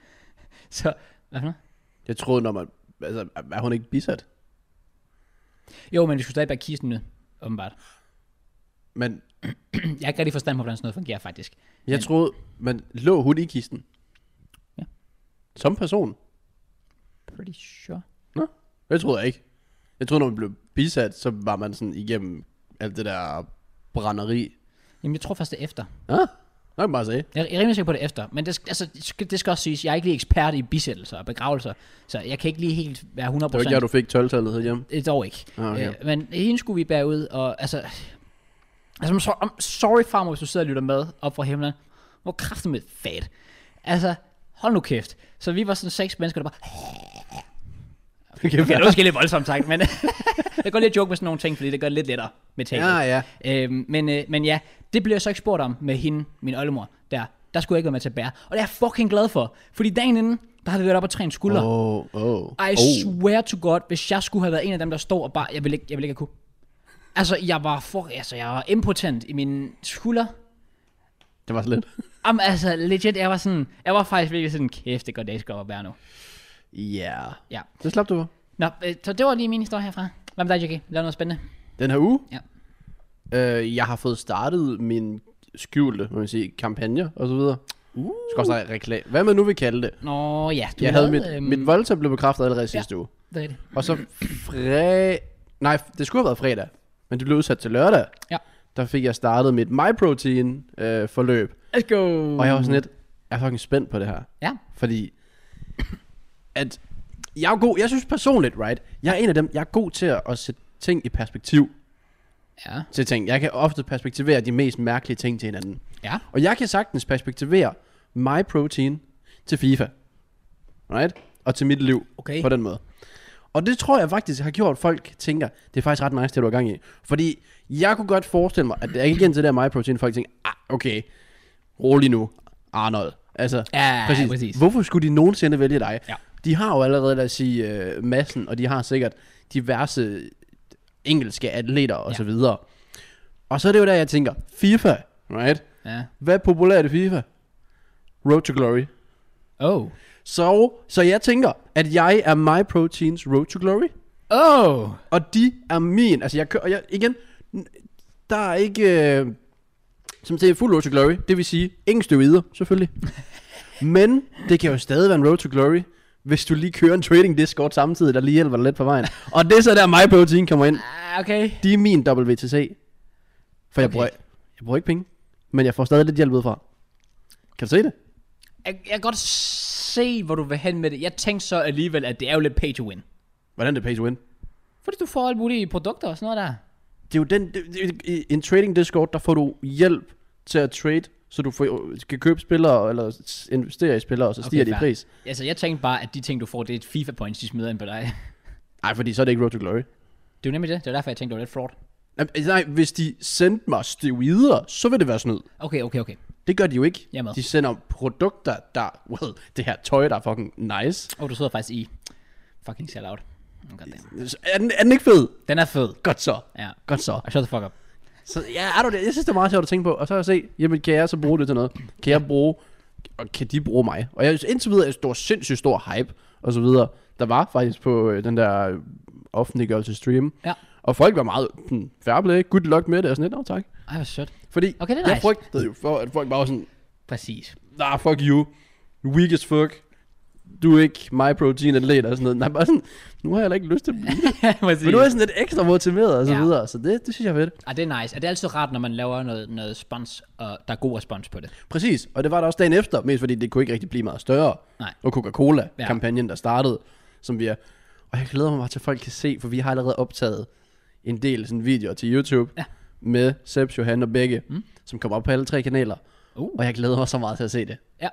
Speaker 1: Så, hvad for noget?
Speaker 2: jeg troede, når man... Altså, er hun ikke bisat?
Speaker 1: Jo, men vi skulle stadig bære kisten ud, åbenbart. (clears throat)
Speaker 2: Men
Speaker 1: Jeg har ikke rigtig forstand på, hvordan sådan noget fungerer faktisk.
Speaker 2: jeg troede, man lå hun i kisten.
Speaker 1: Ja.
Speaker 2: Som person.
Speaker 1: Pretty sure.
Speaker 2: Nå, det troede jeg ikke. Jeg troede, når man blev bisat, så var man sådan igennem alt det der brænderi.
Speaker 1: Jamen, jeg tror først, det er efter.
Speaker 2: Ja, ah, nok bare sige.
Speaker 1: Jeg er rimelig sikker på det efter, men det, skal- altså, det skal- det skal også siges, jeg er ikke lige ekspert i bisættelser og begravelser, så jeg kan ikke lige helt være 100%.
Speaker 2: Det var ikke der, du fik 12-tallet hjemme.
Speaker 1: Øh, Dog ikke.
Speaker 2: Ah, okay.
Speaker 1: Øh, men hende skulle vi bære ud, og altså... Altså, I'm sorry, I'm sorry farmor, hvis du sidder og lytter med op fra himlen. Hvor kraften med fat. Altså, hold nu kæft. Så vi var sådan seks mennesker, der bare...
Speaker 2: Okay,
Speaker 1: Okay, det var måske lidt voldsomt sagt, men... (laughs) jeg går lige at joke med sådan nogle ting, fordi det gør det lidt lettere med taget.
Speaker 2: ja, ja.
Speaker 1: Øhm, men, øh, men ja, det blev jeg så ikke spurgt om med hende, min oldemor, der. Der skulle jeg ikke være med til at bære. Og det er jeg fucking glad for. Fordi dagen inden, der havde vi været op og træne skulder. Oh.
Speaker 2: Oh, oh.
Speaker 1: I swear to God, hvis jeg skulle have været en af dem, der stod og bare... Jeg ville ikke, jeg ville ikke have kunne. Altså, jeg var, for, altså, jeg var impotent i mine skulder.
Speaker 2: Det var så lidt.
Speaker 1: Jamen, altså, legit, jeg var sådan... Jeg var faktisk virkelig sådan, kæft, det går dag, skal op og bære nu.
Speaker 2: Ja. Yeah.
Speaker 1: Ja.
Speaker 2: Det slap du for.
Speaker 1: Nå, øh, så det var lige min historie herfra. Hvad med dig, Jackie? Lav noget spændende.
Speaker 2: Den her uge?
Speaker 1: Ja.
Speaker 2: Øh, jeg har fået startet min skjulte, må man sige, kampagne og så videre. Uh. Skal også reklame. Hvad man nu vil kalde det.
Speaker 1: Nå, ja.
Speaker 2: Jeg havde mit,
Speaker 1: øhm,
Speaker 2: mit voldtag blev bekræftet allerede sidste uge.
Speaker 1: Hvad er det?
Speaker 2: Og så fre... Nej, det skulle have været fredag, men det blev udsat til lørdag.
Speaker 1: Ja.
Speaker 2: Der fik jeg startet mit MyProtein øh, forløb.
Speaker 1: Let's go. Mm.
Speaker 2: Og jeg var sådan lidt, Jeg er fucking spændt på det her.
Speaker 1: Ja.
Speaker 2: Fordi at jeg er god, jeg synes personligt, right? Jeg er en af dem, jeg er god til at, at sætte ting i perspektiv
Speaker 1: Ja.
Speaker 2: til ting. Jeg kan ofte perspektivere de mest mærkelige ting til hinanden.
Speaker 1: Ja.
Speaker 2: Og jeg kan sagtens perspektivere my protein til FIFA. Right? Og til mit liv
Speaker 1: Okay.
Speaker 2: på den måde. Og det tror jeg faktisk har gjort, at folk tænker, det er faktisk ret nice, det du har gang i. Fordi jeg kunne godt forestille mig, at jeg gik ind til det der my protein, folk tænker, ah, okay, rolig nu, Arnold. Altså,
Speaker 1: Ja, præcis.
Speaker 2: Hvorfor skulle de nogensinde vælge dig?
Speaker 1: Ja.
Speaker 2: De har jo allerede, lad os sige, uh, massen, og de har sikkert diverse engelske atleter og
Speaker 1: Ja.
Speaker 2: så videre. Og så er det jo der, jeg tænker, FIFA, right?
Speaker 1: Ja.
Speaker 2: Hvad er populært i FIFA? Road to Glory.
Speaker 1: Oh.
Speaker 2: Så, så jeg tænker, at jeg er my proteins Road to Glory,
Speaker 1: Oh.
Speaker 2: og de er min. Altså, jeg, kø- og jeg igen, n- der er ikke, øh, som til fuld Road to Glory, det vil sige, ingen steroider, selvfølgelig. Men det kan jo stadig være en Road to Glory, hvis du lige kører en trading discord samtidig, der lige hjælper dig lidt på vejen. Og det er så der, my protein kommer ind.
Speaker 1: Ah, Okay.
Speaker 2: De er min WTC. For jeg,
Speaker 1: Okay.
Speaker 2: bruger, jeg bruger ikke penge, men jeg får stadig lidt hjælp udefra. Kan du se det?
Speaker 1: Jeg, jeg kan godt se, hvor du vil hen med det. Jeg tænkte så alligevel, at det er jo lidt pay to win.
Speaker 2: Hvordan er det pay to win?
Speaker 1: Fordi du får alle mulige produkter og sådan noget der.
Speaker 2: Det er jo den, det, det, i en trading discord, der får du hjælp til at trade, så du får, skal købe spillere, eller s- investere i spillere, og så
Speaker 1: Okay,
Speaker 2: stiger okay, de i
Speaker 1: fair.
Speaker 2: pris.
Speaker 1: Altså, jeg tænkte bare, at de ting, du får, det er et FIFA points, de smider ind på dig.
Speaker 2: Nej, fordi så er det ikke Road to Glory.
Speaker 1: Det er jo nemlig det. Det var derfor, jeg tænkte, det var lidt fraud.
Speaker 2: Nej, Nej, hvis de sendte mig steroider, så vil det være snyd.
Speaker 1: Okay, okay, okay.
Speaker 2: Det gør de jo ikke.
Speaker 1: Jeg er med.
Speaker 2: De sender produkter, der, well, det her tøj, der er fucking nice.
Speaker 1: Og oh, du sidder faktisk i fucking sellout. Oh, goddamn.
Speaker 2: Så Er den, er den ikke fed?
Speaker 1: den er fed.
Speaker 2: Godt så.
Speaker 1: Ja.
Speaker 2: Godt så.
Speaker 1: Og shut the fuck up.
Speaker 2: Så ja, er du det? Jeg synes, det er meget sjovt at tænke på. Og så har jeg set, jamen kan jeg så bruge det til noget? Kan jeg bruge, og kan de bruge mig? Og jeg synes indtil videre, at der var sindssygt stor hype og så videre. Der var faktisk på øh, den der øh, offentliggørelse stream.
Speaker 1: Ja.
Speaker 2: Og folk var meget sådan, fair play, good luck med det og sådan lidt. Nå, tak.
Speaker 1: Ej, hvor sødt.
Speaker 2: Fordi
Speaker 1: Okay, det er
Speaker 2: jeg
Speaker 1: nice.
Speaker 2: frygtede jo for, at folk bare var sådan,
Speaker 1: Præcis. (laughs)
Speaker 2: nah, fuck you, weak as fuck, du er ikke my protein atlet og sådan noget. Nej, bare sådan, nu har jeg heller ikke lyst til at blive. det."
Speaker 1: Præcis.
Speaker 2: Men nu er jeg sådan lidt ekstra motiveret og så
Speaker 1: Ja.
Speaker 2: videre. Så det, det synes jeg er fedt.
Speaker 1: Ej, Ah, det er nice. Og det er altid rart, når man laver noget, noget spons, og der er god respons på det.
Speaker 2: Præcis, og det var der også dagen efter, mest fordi det kunne ikke rigtig blive meget større.
Speaker 1: Nej.
Speaker 2: Og Coca-Cola-kampagnen, der startede, som vi er... Og jeg glæder mig bare til, at folk kan se, for vi har allerede optaget en del sådan videoer til YouTube
Speaker 1: Ja.
Speaker 2: med Seps, Johan og Begge, mm. som kommer op på alle tre kanaler.
Speaker 1: Uh.
Speaker 2: Og jeg glæder mig så meget til at se det.
Speaker 1: Ja.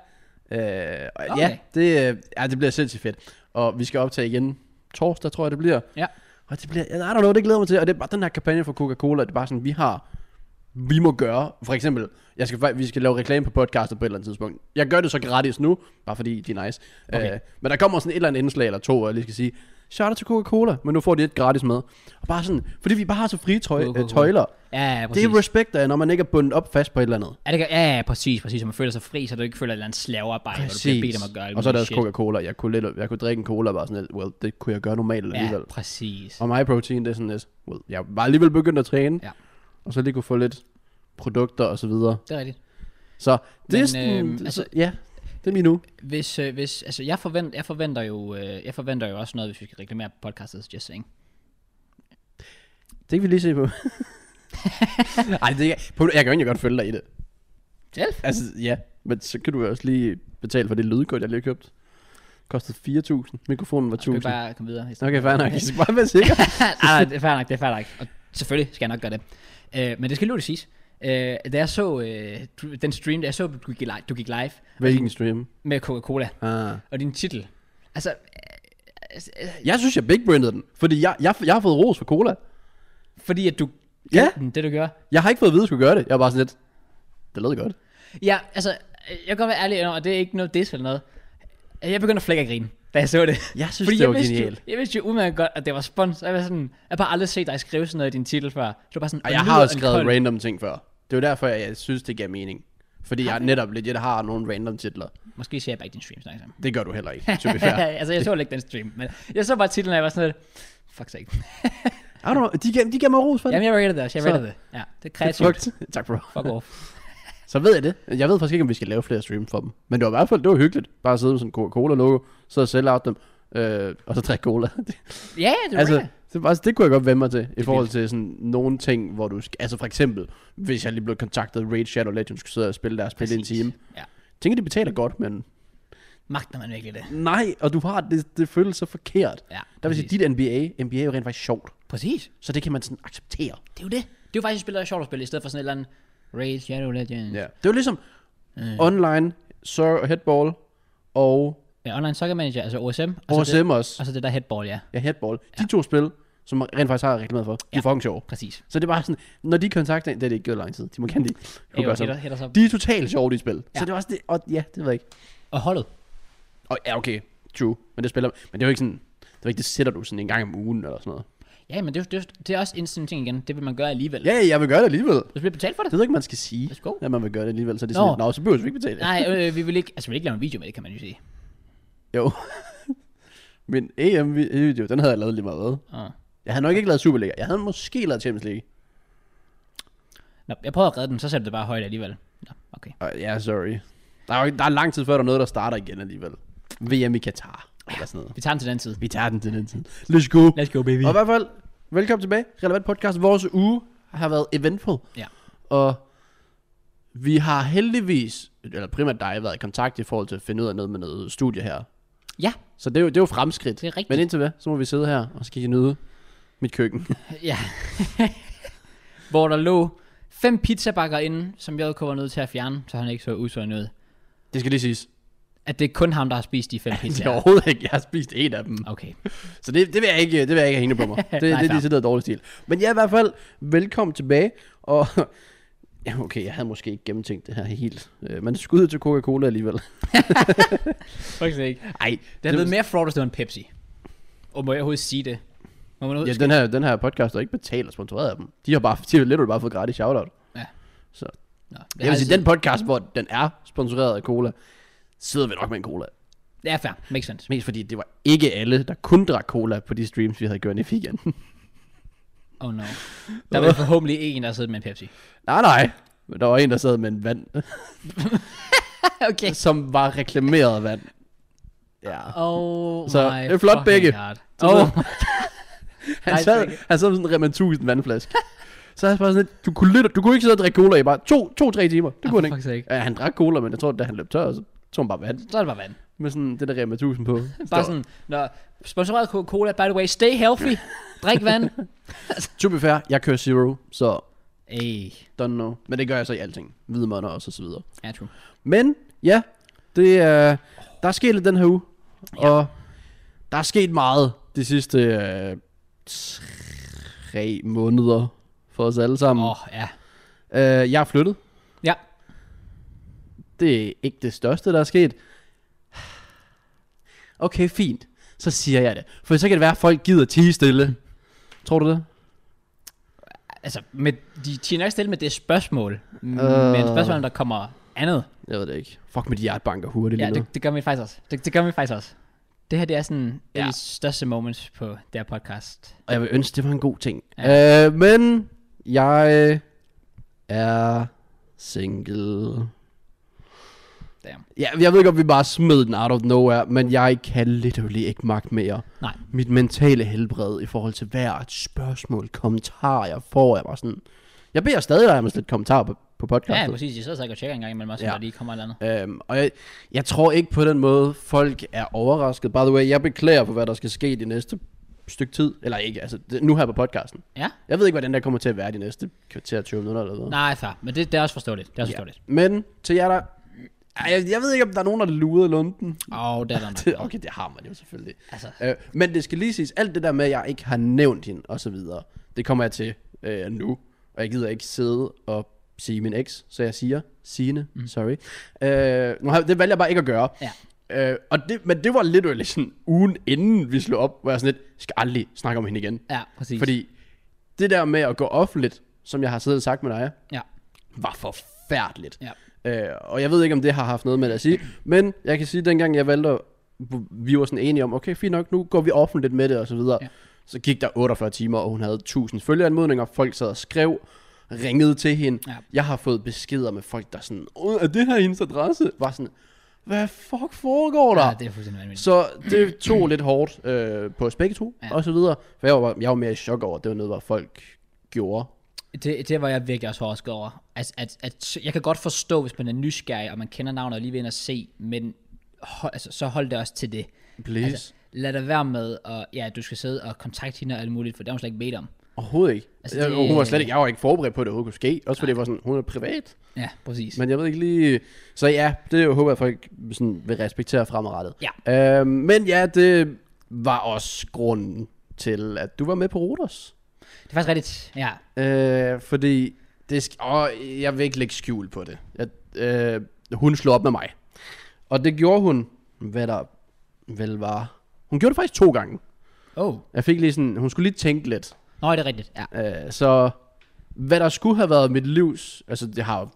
Speaker 2: Øh, og
Speaker 1: Okay.
Speaker 2: ja, det, øh, ja, det bliver sindssygt fedt. Og vi skal optage igen torsdag, tror jeg det bliver.
Speaker 1: Ja.
Speaker 2: Og det bliver, I don't know, det glæder jeg mig til. Og det er bare den her kampagne for Coca-Cola, det er bare sådan, vi har, vi må gøre. For eksempel, jeg skal, fa- vi skal lave reklame på podcastet på et eller andet tidspunkt. Jeg gør det så gratis nu, bare fordi de er nice.
Speaker 1: Okay.
Speaker 2: Øh, men der kommer sådan et eller andet indslag eller to, og jeg lige skal sige, shout out til Coca-Cola, men nu får de et gratis med. Og bare sådan, fordi vi bare har så frie tøj,
Speaker 1: Coca-Cola.
Speaker 2: øh, tøjler.
Speaker 1: Ja, ja, præcis.
Speaker 2: Det er respekt af, når man ikke er bundet op fast på et eller andet.
Speaker 1: Ja, det gør, ja, ja, præcis, præcis. Så man føler sig fri, så du ikke føler et eller andet slavearbejde, hvor du bliver bedt om at gøre alt
Speaker 2: og så er der
Speaker 1: muligt
Speaker 2: også Coca-Cola. Jeg kunne, lidt, jeg kunne drikke en cola og bare sådan lidt, well, det kunne jeg gøre normalt
Speaker 1: shit.
Speaker 2: alligevel.
Speaker 1: Ja, præcis.
Speaker 2: Og my protein, det er sådan lidt, well, jeg var alligevel begyndt at træne.
Speaker 1: Ja.
Speaker 2: Og så lige kunne få lidt produkter og så videre.
Speaker 1: Det er rigtigt.
Speaker 2: Så det
Speaker 1: Men,
Speaker 2: er sådan,
Speaker 1: øhm,
Speaker 2: øh,
Speaker 1: altså-
Speaker 2: altså, ja, det er min uge.
Speaker 1: Hvis, øh, hvis, altså, jeg, forvent, jeg, forventer jo, øh, jeg forventer jo også noget, hvis vi skal reklamere på podcastet, just saying.
Speaker 2: Det kan vi lige
Speaker 1: (laughs)
Speaker 2: se på. Ej, det er, prøv, jeg kan jo egentlig godt følge dig i det.
Speaker 1: Selv?
Speaker 2: Altså, ja, men så kan du jo også lige betale for det lydkort, jeg lige har købt. Kostede 4.000. Mikrofonen var
Speaker 1: Skal vi
Speaker 2: 1.000.
Speaker 1: bare komme videre? i stedet
Speaker 2: Okay, fair nok. Jeg skal bare være
Speaker 1: (laughs)
Speaker 2: sikker.
Speaker 1: nej, nej, det er fair nok, det er fair nok. Og selvfølgelig skal jeg nok gøre det. Øh, men det skal lige siges. Øh, da jeg så øh, du- den stream, da jeg så, du gik live, du gik live
Speaker 2: Hvilken stream?
Speaker 1: med Coca-Cola
Speaker 2: Ah.
Speaker 1: og din titel. Altså, øh, øh,
Speaker 2: Jeg synes, jeg big branded den. Fordi jeg, jeg, jeg har fået ros for cola.
Speaker 1: fordi at du
Speaker 2: Ja.
Speaker 1: den, det du gør.
Speaker 2: Jeg har ikke fået at vide, at jeg skulle gøre det. Jeg var bare sådan lidt, det lød godt.
Speaker 1: Ja, altså, øh, jeg kan godt være ærlig, og det er ikke noget diss eller noget. Øh, Jeg begyndte at flække at grine, da jeg så det.
Speaker 2: Jeg synes,
Speaker 1: Fordi
Speaker 2: det var
Speaker 1: jeg vidste
Speaker 2: genialt.
Speaker 1: Jo, jeg vidste jo udmærket godt, at det var spons. og Jeg var sådan, jeg har bare aldrig set dig skrive sådan noget i din titel før. Så det var bare sådan,
Speaker 2: Og
Speaker 1: "Og
Speaker 2: jeg
Speaker 1: nu
Speaker 2: har
Speaker 1: er
Speaker 2: også
Speaker 1: den
Speaker 2: skrevet
Speaker 1: kold."
Speaker 2: random ting før. Det er jo derfor, jeg, jeg synes, det giver mening. Fordi jeg netop legit har nogle random titler.
Speaker 1: Måske ser jeg bare ikke din stream, snakker jeg sammen.
Speaker 2: Det gør du heller ikke,
Speaker 1: (laughs)
Speaker 2: to be fair.
Speaker 1: altså, jeg så ikke den stream, men jeg så bare titlen, og jeg var sådan lidt, fuck sake.
Speaker 2: I don't know, de, giver, de giver mig ros for det.
Speaker 1: Jamen, jeg rated det også, jeg
Speaker 2: Så-
Speaker 1: rated det. Ja, det er
Speaker 2: Det er
Speaker 1: kreativt.
Speaker 2: smukt. (laughs) tak, bro.
Speaker 1: Fuck off.
Speaker 2: Så ved jeg det. Jeg ved faktisk ikke, om vi skal lave flere stream for dem. Men det var i hvert fald, det var hyggeligt. Bare at sidde med sådan en Coca-Cola-logo, så og sælge out dem, øh, og så drikke cola.
Speaker 1: Ja, ja, det er
Speaker 2: (laughs) altså,
Speaker 1: rigtigt.
Speaker 2: det, altså, det kunne jeg godt vende mig til, i forhold
Speaker 1: vildt.
Speaker 2: til sådan nogle ting, hvor du skal, altså for eksempel, hvis jeg lige blev kontaktet af Raid Shadow Legends, skulle sidde og spille deres spil i en
Speaker 1: Præcis.
Speaker 2: time.
Speaker 1: Ja.
Speaker 2: tænker, de betaler godt, men
Speaker 1: Magter man virkelig det?
Speaker 2: nej, og du har, det, det føles så forkert.
Speaker 1: Ja,
Speaker 2: Der vil sige, dit NBA, NBA er jo rent faktisk sjovt,
Speaker 1: Præcis.
Speaker 2: så det kan man sådan acceptere.
Speaker 1: Det er jo det. Det er jo faktisk et spil, der er sjovt at spille, i stedet for sådan et eller andet Raid Shadow Legends.
Speaker 2: Ja. Det er jo ligesom
Speaker 1: Øh.
Speaker 2: mm. online, Sir Headball og
Speaker 1: Ja, Online Soccer Manager, altså OSM. Og så det,
Speaker 2: OSM også.
Speaker 1: og så det der headball, ja.
Speaker 2: Ja, Headball. De to spil, som man rent faktisk har reklameret for, de er fucking sjove.
Speaker 1: Præcis.
Speaker 2: Så det er bare sådan, når de kontakter en, det er det ikke gået lang tid, de må kende de.
Speaker 1: Jo,
Speaker 2: Jo,
Speaker 1: hætter- hætter sig op.
Speaker 2: de er totalt sjove, de spil.
Speaker 1: Ja.
Speaker 2: Så det er også det, og ja, det ved jeg ikke.
Speaker 1: Og holdet.
Speaker 2: Og ja, okay, true, men det spiller, men det er jo ikke sådan, det er ikke, det sætter du sådan en gang om ugen eller sådan noget.
Speaker 1: Ja, men det, er jo- det, er jo- det er også en sådan ting igen. Det vil man gøre alligevel.
Speaker 2: Ja, jeg vil gøre det alligevel.
Speaker 1: Du bliver betalt for det.
Speaker 2: Det ved jeg ikke, man skal sige,
Speaker 1: Let's go.
Speaker 2: at man vil gøre det alligevel, så det er
Speaker 1: Nå.
Speaker 2: sådan, Nå. så behøver vi ikke betale.
Speaker 1: Nej, øh, vi vil ikke, altså vi vil ikke lave en video med det, kan man jo sige.
Speaker 2: Jo. (laughs) Min EM-video, den havde jeg lavet lige meget hvad.
Speaker 1: Uh.
Speaker 2: Jeg havde nok ikke lavet Superliga. Jeg havde måske lavet Champions League.
Speaker 1: Nå, jeg prøver at redde den, så sætter det bare højt alligevel. Nå, okay.
Speaker 2: Og ja, sorry. Der er, jo ikke, der er lang tid før, der er noget, der starter igen alligevel. VM i Katar. Eller sådan noget.
Speaker 1: Vi tager den til den tid.
Speaker 2: Vi tager den til den tid. Let's go.
Speaker 1: Let's go, baby.
Speaker 2: Og i hvert fald, velkommen tilbage. Relevant podcast. Vores uge har været eventful.
Speaker 1: Ja.
Speaker 2: Og vi har heldigvis, eller primært dig, været i kontakt i forhold til at finde ud af noget med noget studie her.
Speaker 1: Ja,
Speaker 2: Så det er jo, det er jo fremskridt.
Speaker 1: det er rigtigt.
Speaker 2: Men indtil hvad, så må vi sidde her, og så kan I nyde mit køkken.
Speaker 1: Ja. (laughs) Hvor der lå fem pizzabakker inde, som JK var nødt til at fjerne, så han ikke så usund ud.
Speaker 2: (laughs) det skal lige (laughs) siges.
Speaker 1: At det er kun ham, der har spist de
Speaker 2: (laughs)
Speaker 1: fem
Speaker 2: Det er
Speaker 1: pizzaer.
Speaker 2: overhovedet ikke. Jeg har spist en af dem.
Speaker 1: Okay.
Speaker 2: Så det, det, vil jeg ikke, det vil jeg ikke have hende på (laughs) mig. Det, det er
Speaker 1: fair.
Speaker 2: lige sådan dårlig stil. Men jeg er i hvert fald velkommen tilbage. Og (laughs) ja, okay, jeg havde måske ikke gennemtænkt det her helt. Øh, Men skud til Coca-Cola (laughs) alligevel.
Speaker 1: Faktisk ikke.
Speaker 2: Ej,
Speaker 1: Det havde været mere fraud, hvis det var en Pepsi. Og må jeg overhovedet sige det? Må man
Speaker 2: Ja,
Speaker 1: overhovedet...
Speaker 2: den her, den her podcast er ikke betalt og sponsoreret af dem. De har bare, de har lidt bare fået gratis shoutout.
Speaker 1: Nå, det
Speaker 2: Jeg
Speaker 1: har
Speaker 2: vil sige,
Speaker 1: altid-
Speaker 2: den podcast, hvor den er sponsoreret af cola, sidder vi nok med en cola.
Speaker 1: Det er fair. Makes sense.
Speaker 2: Mest fordi det var ikke alle, der kun drak cola på de streams, vi havde gjort i weekenden. (laughs)
Speaker 1: Oh no. Der var forhåbentlig ikke en, der sidder med en
Speaker 2: (laughs)
Speaker 1: Pepsi.
Speaker 2: nej, nej. Men der var en, der sad med en vand,
Speaker 1: okay.
Speaker 2: (laughs) som var reklameret vand. Ja.
Speaker 1: Oh
Speaker 2: Så,
Speaker 1: my
Speaker 2: det er flot
Speaker 1: fucking
Speaker 2: begge.
Speaker 1: God. (laughs)
Speaker 2: Så
Speaker 1: Oh,
Speaker 2: Han
Speaker 1: Nej,
Speaker 2: sad,
Speaker 1: Frederik.
Speaker 2: han sad med sådan en Rema 1000 vandflaske. så han bare sådan lidt, du kunne, lidt, du kunne ikke sidde og drikke cola i bare to, to tre timer. Det
Speaker 1: Ah,
Speaker 2: kunne han
Speaker 1: for
Speaker 2: ikke.
Speaker 1: fuck's sake.
Speaker 2: Ja, han drak cola, men jeg tror, da han løb tør, så tog han bare vand
Speaker 1: så er det bare vand.
Speaker 2: med sådan det der Rema 1000 på.
Speaker 1: Bare sådan, når sponsoreret Coca-Cola, by the way, stay
Speaker 2: (laughs)
Speaker 1: healthy. Drik vand.
Speaker 2: To be fair, jeg kører zero, så
Speaker 1: Ey.
Speaker 2: don't know. Men det gør jeg så i alting. Hvidemønner også og så videre.
Speaker 1: Ja, true.
Speaker 2: Men ja, det er, der er sket lidt den her uge. Og der er sket meget de sidste øh, tre måneder for os alle sammen.
Speaker 1: Åh,
Speaker 2: Oh.
Speaker 1: oh, ja.
Speaker 2: Øh, jeg er flyttet.
Speaker 1: Ja.
Speaker 2: Det er ikke det største, der er sket. Okay, fint. Så siger jeg det. For så kan det være, at folk gider tige stille. Tror du det?
Speaker 1: Altså, med, de tiger nok stille med det spørgsmål. Uh. Men
Speaker 2: Øh.
Speaker 1: spørgsmålet, om der kommer andet.
Speaker 2: Jeg ved det ikke. Fuck med de hjertbanker hurtigt
Speaker 1: Ja,
Speaker 2: lige nu.
Speaker 1: det, det gør vi faktisk også. Det, det gør vi faktisk også. Det her, det er sådan ja.
Speaker 2: Ja.
Speaker 1: en af de største moments på det her podcast.
Speaker 2: Og jeg vil ønske, det var en god ting. Ja. Øh, men jeg er single.
Speaker 1: Damn.
Speaker 2: Ja, jeg ved godt, vi bare smed den out of nowhere, men jeg kan literally ikke magte mere.
Speaker 1: Nej.
Speaker 2: Mit mentale helbred i forhold til hver et spørgsmål, kommentar, jeg får, jeg var sådan... Jeg beder stadig dig om lidt kommentar på, på
Speaker 1: Ja, ja
Speaker 2: podcastet.
Speaker 1: præcis. Jeg sidder sikkert og tjekker en gang imellem også,
Speaker 2: Ja.
Speaker 1: ja. når der lige kommer et eller andet.
Speaker 2: Øhm, og jeg, jeg tror ikke på den måde, folk er overrasket. By the way, jeg beklager for, hvad der skal ske de næste stykke tid. Eller ikke, altså det, nu her på podcasten.
Speaker 1: Ja?
Speaker 2: Jeg ved ikke, hvordan der kommer til at være de næste kvarter 20 minutter eller noget.
Speaker 1: Nej, fair. Men det, det er også forståeligt. Det er også forståeligt.
Speaker 2: Men til jer der... Ej, Jeg, jeg ved ikke, om der er nogen, der luder lunden.
Speaker 1: Åh, oh, (laughs) det er der
Speaker 2: Det,
Speaker 1: nok.
Speaker 2: (laughs) okay, det har man jo selvfølgelig.
Speaker 1: Altså,
Speaker 2: Øh, men det skal lige siges, alt det der med, at jeg ikke har nævnt hende og så videre, det kommer jeg til øh, nu. Og jeg gider ikke sidde og sige min eks, så jeg siger Signe, mm. sorry. Øh, nu har, det valgte jeg bare ikke at gøre.
Speaker 1: Ja.
Speaker 2: Øh, og det, men det var lidt sådan ugen inden vi slog op, hvor jeg sådan lidt, "Jeg skal aldrig snakke om hende igen.
Speaker 1: ja, præcis.
Speaker 2: Fordi det der med at gå offentligt, som jeg har siddet og sagt med dig,
Speaker 1: Ja.
Speaker 2: var forfærdeligt.
Speaker 1: Ja.
Speaker 2: Øh, og jeg ved ikke, om det har haft noget med det at sige, men jeg kan sige, at dengang jeg valgte, at- vi var sådan enige om, okay, fint nok, nu går vi offentligt med det og så videre.
Speaker 1: Ja.
Speaker 2: Ja. Så gik der 48 timer, og hun havde 1000 følgeanmodninger, folk sad og skrev, ringede til hende.
Speaker 1: Ja.
Speaker 2: Jeg har fået beskeder med folk, der sådan, "Åh, er det her hendes adresse? Var sådan, hvad fuck foregår der?
Speaker 1: Ja, det er fuldstændig vanvittigt.
Speaker 2: Så det tog lidt hårdt øh, på os begge to,
Speaker 1: Ja.
Speaker 2: ja. og så videre. For jeg var, jeg var mere i chok over, at det var noget, hvad folk gjorde.
Speaker 1: Det, det var jeg virkelig også overrasket over. At, at, at, jeg kan godt forstå, hvis man er nysgerrig, og man kender navnet og lige vil ind og se, men hold, altså, så hold det også til det.
Speaker 2: Please.
Speaker 1: Altså,
Speaker 2: Altså,
Speaker 1: lad det være med, og ja, du skal sidde og kontakte hende og alt muligt, for det har hun slet ikke bedt om.
Speaker 2: overhovedet ikke.
Speaker 1: altså,
Speaker 2: Altså, jeg,
Speaker 1: det-
Speaker 2: hun var slet ikke, jeg var ikke forberedt på, at det overhovedet kunne ske. Også fordi det var sådan, hun er privat.
Speaker 1: Ja, præcis. Men,
Speaker 2: Men jeg ved ikke lige... Så ja, det håber jeg, folk sådan vil respektere fremadrettet. Ja. Øhm, men ja, det var også grunden til, at du var med på Rodos.
Speaker 1: det er faktisk rigtigt, ja.
Speaker 2: Øh, fordi... Det sk- og jeg vil ikke lægge skjul på det. Jeg, øh, hun slog op med mig. Og det gjorde hun, hvad der vel var... Hun gjorde det faktisk to gange.
Speaker 1: Oh,
Speaker 2: Jeg fik lige sådan... Hun skulle lige tænke lidt.
Speaker 1: nå, det er rigtigt, ja.
Speaker 2: Øh, så hvad der skulle have været mit livs, altså det har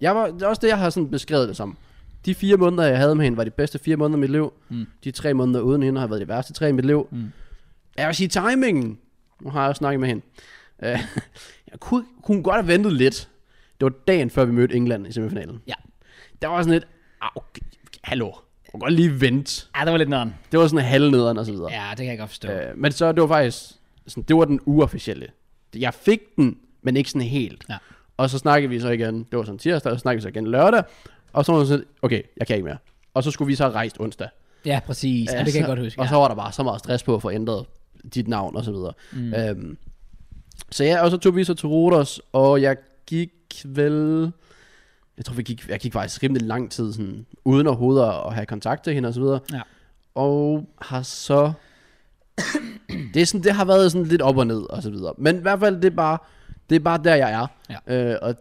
Speaker 2: jeg var, det er også det, jeg har sådan beskrevet det som. De fire måneder, jeg havde med hende, var de bedste fire måneder i mit liv.
Speaker 1: Mm.
Speaker 2: De tre måneder uden hende har været de værste tre i mit liv.
Speaker 1: Mm.
Speaker 2: Jeg vil sige timingen. Nu har jeg også snakket med hende. Øh, (laughs) jeg kunne, kunne godt have ventet lidt. Det var dagen før, vi mødte England i semifinalen.
Speaker 1: Ja.
Speaker 2: Der var sådan lidt, "Ah, okay, hallo, jeg kan godt lige vente.
Speaker 1: Ja, det var lidt nødderen.
Speaker 2: Det var sådan halvnederen og så videre.
Speaker 1: Ja, det kan jeg godt forstå.
Speaker 2: Øh, men så det var faktisk, sådan, det var den uofficielle. Jeg fik den, men ikke sådan helt.
Speaker 1: Ja.
Speaker 2: Og så snakkede vi så igen, det var sådan tirsdag, og så snakkede vi så igen lørdag. Og så var det sådan, okay, jeg kan ikke mere. Og så skulle vi så have rejst onsdag.
Speaker 1: Ja, præcis. Ja, det kan jeg
Speaker 2: så-
Speaker 1: godt huske.
Speaker 2: Og
Speaker 1: Ja.
Speaker 2: så var der bare så meget stress på at få ændret dit navn og så videre. Mm. Øhm, så ja, og så tog vi så til Rodos, og jeg gik vel... Jeg tror, vi gik, jeg gik faktisk rimelig lang tid, sådan, uden overhovedet at have kontakt til hende og så videre.
Speaker 1: Ja.
Speaker 2: Og har så... (coughs) det, er sådan, det har været sådan lidt op og ned og så videre. Men i hvert fald, det er bare, det er bare der, jeg er. Ja. Øh, og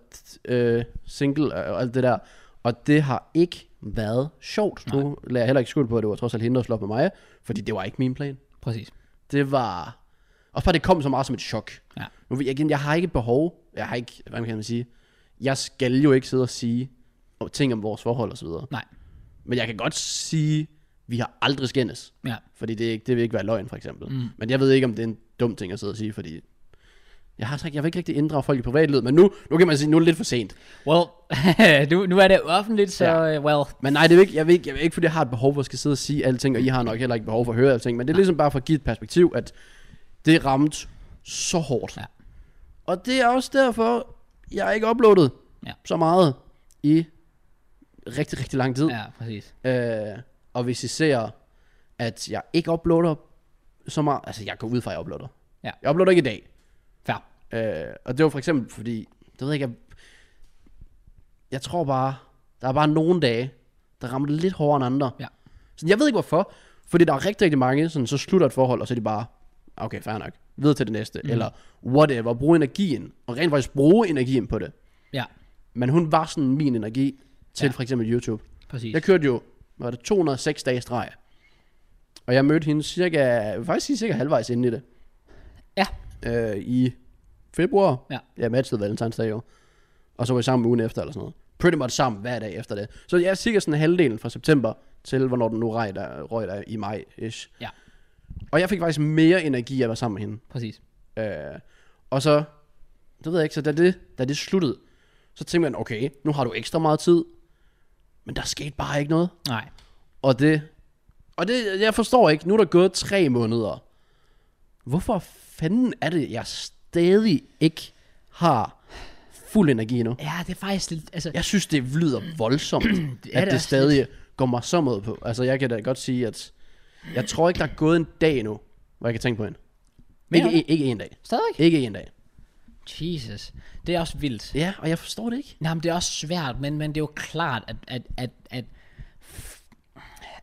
Speaker 2: øh, single og alt det der. Og det har ikke været sjovt. Nej. Nu lader jeg heller ikke skuld på, at det var trods alt hende, der slog op med mig. Fordi det var ikke min plan.
Speaker 1: Præcis.
Speaker 2: Det var... Også bare, det kom så meget som et chok.
Speaker 1: Ja.
Speaker 2: Nu, ved jeg- igen, jeg har ikke et behov. Jeg har ikke... Hvad kan man sige? Jeg skal jo ikke sidde og sige om- ting om vores forhold og så videre.
Speaker 1: Nej.
Speaker 2: Men jeg kan godt sige, vi har aldrig skændes.
Speaker 1: Ja.
Speaker 2: Fordi det, er ikke- det vil ikke være løgn, for eksempel. Mm. Men jeg ved ikke, om det er en dum ting at sidde og sige, fordi... Jeg, har, så ikke- jeg vil ikke rigtig inddrage folk i privatlivet, men nu, nu kan man sige, nu er det lidt for sent.
Speaker 1: Well, (laughs) nu, nu er det offentligt, så
Speaker 2: Ja.
Speaker 1: ja. well,
Speaker 2: Men nej, det er jo ikke, jeg, vil ikke, jeg vil ikke, fordi jeg har et behov for at skal sidde og sige alting, og I har nok heller ikke behov for at høre alting, men det er ligesom bare for at give et perspektiv, at det ramte så hårdt.
Speaker 1: Ja.
Speaker 2: Og det er også derfor, jeg har ikke uploadet
Speaker 1: Ja.
Speaker 2: så meget i rigtig, rigtig lang tid.
Speaker 1: ja, præcis.
Speaker 2: Øh, og hvis I ser, at jeg ikke uploader så meget, altså jeg går ud fra, at jeg uploader.
Speaker 1: Ja.
Speaker 2: Jeg uploader ikke i dag.
Speaker 1: Fair.
Speaker 2: Øh, og det var for eksempel fordi, det ved jeg ikke, jeg, jeg tror bare, der er bare nogle dage, der rammer det lidt hårdere end andre.
Speaker 1: Ja.
Speaker 2: Så jeg ved ikke hvorfor, fordi der er rigtig, rigtig mange, sådan, så slutter et forhold, og så er de bare, okay, fair nok, videre til det næste, mm. eller whatever, brug energien, og rent faktisk bruge energien på det.
Speaker 1: Ja,
Speaker 2: Men hun var sådan min energi til
Speaker 1: Ja.
Speaker 2: ja. for eksempel YouTube.
Speaker 1: præcis.
Speaker 2: Jeg kørte jo, hvad var det 206 dage i streg. Og jeg mødte hende cirka, jeg vil faktisk sige cirka halvvejs inden i det.
Speaker 1: Ja.
Speaker 2: Øh, I februar.
Speaker 1: Ja.
Speaker 2: Jeg matchede valentinsdag jo. Og så var vi sammen ugen efter eller sådan noget. Pretty much sammen hver dag efter det. Så jeg er cirka sådan halvdelen fra september til, hvornår den nu røg der, røg der i maj ish.
Speaker 1: Ja.
Speaker 2: Og jeg fik faktisk mere energi af at være sammen med hende.
Speaker 1: Præcis.
Speaker 2: Øh, og så, det ved jeg ikke, så da det, da det sluttede, så tænkte man, okay, nu har du ekstra meget tid, men der skete bare ikke noget.
Speaker 1: Nej.
Speaker 2: Og det... Og det, jeg forstår ikke. Nu er der gået tre måneder. Hvorfor fanden er det, jeg stadig ikke har fuld energi endnu?
Speaker 1: Ja, det er faktisk lidt, altså, ja.
Speaker 2: Jeg synes, det lyder voldsomt,
Speaker 1: det
Speaker 2: at
Speaker 1: også
Speaker 2: (clears throat) det stadig går mig så meget på. Altså, jeg kan da godt sige, at jeg tror ikke, der er gået en dag endnu, hvor jeg kan tænke på hende.
Speaker 1: Mere
Speaker 2: Ikke, ikke, ikke en dag.
Speaker 1: stadig.
Speaker 2: Ikke en dag.
Speaker 1: Jesus, det er også vildt.
Speaker 2: Ja, og jeg forstår det ikke.
Speaker 1: Nej, men det er også svært, men, men det er jo klart, at, at, at, at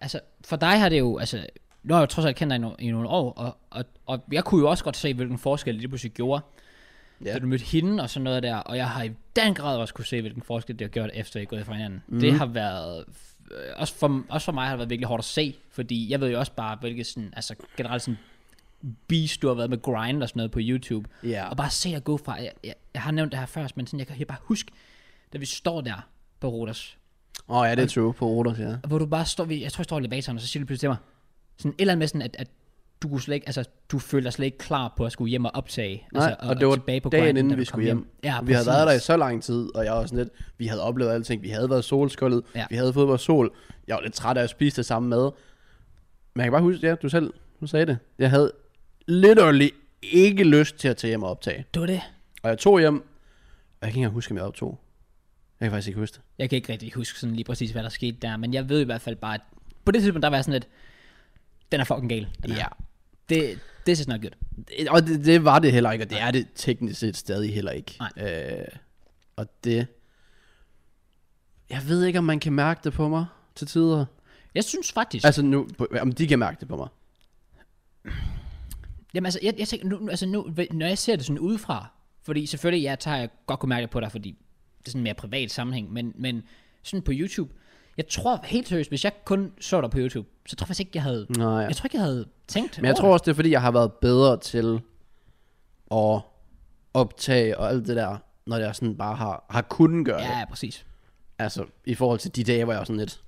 Speaker 1: altså, for dig har det jo, altså, nu har jeg jo trods alt kendt dig i, no, i nogle år, og, og, og jeg kunne jo også godt se, hvilken forskel det lige pludselig gjorde, ja.
Speaker 2: Ja.
Speaker 1: da du mødte hende og sådan noget der, og jeg har i den grad også kunne se, hvilken forskel det har gjort, efter I er gået fra hinanden.
Speaker 2: Mhm.
Speaker 1: Mm. Det har været, øh, også for, også for mig har det været virkelig hårdt at se, fordi jeg ved jo også bare, hvilket sådan, altså generelt sådan, beast du har været med grind og sådan noget på YouTube,
Speaker 2: Ja.
Speaker 1: og bare se at gå fra, jeg, jeg, jeg har nævnt det her før, men sådan, jeg kan helt bare huske, da vi står der på Rodas,
Speaker 2: Åh, oh, ja, det er true på Rodos, ja.
Speaker 1: hvor du bare står, ved- jeg tror, jeg står i elevatoren, og så siger du pludselig til mig, sådan et eller andet med sådan, at, at du kunne slet ikke, altså, du følte dig slet ikke klar på at skulle hjem og optage.
Speaker 2: Nej,
Speaker 1: altså,
Speaker 2: altså, og, og det var
Speaker 1: tilbage på
Speaker 2: dagen
Speaker 1: grinden, da
Speaker 2: inden
Speaker 1: du
Speaker 2: vi
Speaker 1: kom
Speaker 2: skulle hjem.
Speaker 1: Ja,
Speaker 2: vi havde
Speaker 1: præcis.
Speaker 2: været der i så lang tid, og jeg var sådan lidt, vi havde oplevet alting. Vi havde været solskoldet,
Speaker 1: Ja.
Speaker 2: ja. vi havde fået vores sol. Jeg var lidt træt af at spise det samme mad. Men jeg kan bare huske, ja, du selv du sagde det. Jeg havde literally ikke lyst til at tage hjem og optage.
Speaker 1: Det var det.
Speaker 2: Og jeg tog hjem, og jeg kan ikke engang huske, om jeg optog. Jeg kan faktisk ikke huske det.
Speaker 1: Jeg kan ikke rigtig huske sådan lige præcis, hvad der skete der, men jeg ved i hvert fald bare, at på det tidspunkt, der var jeg sådan lidt, den er fucking gal. Den her. Det, this is not good.
Speaker 2: Og det, det var det heller ikke, og det er det teknisk set stadig heller ikke.
Speaker 1: Nej.
Speaker 2: Øh, og det... Jeg ved ikke, om man kan mærke det på mig til tider.
Speaker 1: Jeg synes faktisk, altså,
Speaker 2: Altså nu, på- om de kan mærke det på mig.
Speaker 1: jamen, altså, jeg, jeg tænker, nu, nu- altså nu, når jeg ser det sådan udefra, fordi selvfølgelig, jeg tager jeg godt kunne mærke det på dig, fordi det er sådan en mere privat sammenhæng, men, men sådan på YouTube, jeg tror helt seriøst, hvis jeg kun så dig på YouTube, så tror jeg faktisk ikke, jeg havde,
Speaker 2: Nej.
Speaker 1: jeg tror ikke, jeg havde tænkt
Speaker 2: Men jeg
Speaker 1: over
Speaker 2: tror også, det er fordi, jeg har været bedre til at optage og alt det der, når jeg sådan bare har, har kunnet gøre
Speaker 1: det.
Speaker 2: det.
Speaker 1: Ja, præcis.
Speaker 2: Altså, i forhold til de dage, hvor jeg var sådan lidt...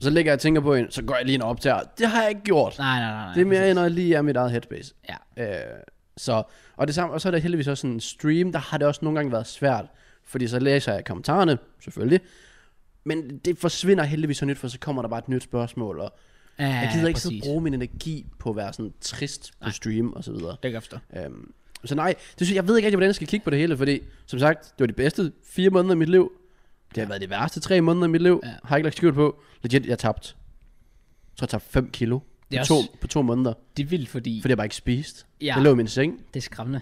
Speaker 2: Så ligger jeg og tænker på en, så går jeg lige ind og optager. Det har jeg ikke gjort.
Speaker 1: Nej, nej, nej. nej
Speaker 2: det er mere, når jeg lige er i mit eget headspace.
Speaker 1: Ja.
Speaker 2: Øh, så, og det samme, og så er der heldigvis også sådan en stream, der har det også nogle gange været svært, fordi så læser jeg kommentarerne, selvfølgelig, men det forsvinder heldigvis så nyt, for så kommer der bare et nyt spørgsmål, og
Speaker 1: Ja,
Speaker 2: jeg gider ikke
Speaker 1: præcis.
Speaker 2: så bruge min energi på at være sådan trist på stream og så videre.
Speaker 1: Det kan jeg forstå.
Speaker 2: Øhm, så nej, det synes, jeg ved ikke rigtig, hvordan jeg skal kigge på det hele, fordi som sagt, det var de bedste fire måneder af mit liv. Det har været de værste tre måneder af mit liv.
Speaker 1: Ja.
Speaker 2: Ja. Har ikke lagt skjul på. Legit, jeg tabte. Jeg tror, jeg tabte 5 kilo
Speaker 1: Det er
Speaker 2: på,
Speaker 1: også-
Speaker 2: to, på to måneder,
Speaker 1: Det er vildt, fordi,
Speaker 2: fordi jeg bare ikke spiste.
Speaker 1: Ja.
Speaker 2: Jeg lå i min seng.
Speaker 1: det er skræmmende.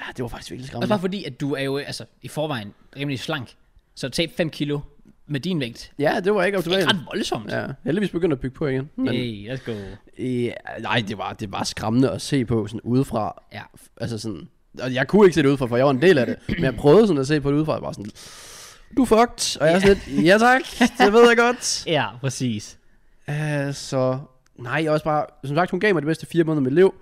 Speaker 2: Ja, det var faktisk virkelig
Speaker 1: Også
Speaker 2: skræmmende.
Speaker 1: bare fordi, at du er jo altså, i forvejen rimelig slank. Så at tabe 5 kilo med din vægt,
Speaker 2: Ja, det var ikke
Speaker 1: det er
Speaker 2: optimalt.
Speaker 1: ikke ret voldsomt.
Speaker 2: Ja, heldigvis begyndte at bygge på igen. Men,
Speaker 1: Hey, let's go.
Speaker 2: øh, nej, det var, det var skræmmende at se på sådan udefra.
Speaker 1: Ja.
Speaker 2: Altså sådan, og jeg kunne ikke se det udefra, for jeg var en del af det. Men jeg prøvede sådan at se på det udefra, og jeg var sådan, du er fucked. Og jeg er sådan lidt, ja tak, det ved jeg
Speaker 1: (laughs)
Speaker 2: godt.
Speaker 1: Ja, præcis.
Speaker 2: Øh, så nej, jeg også bare, som sagt, hun gav mig de bedste fire måneder af mit liv.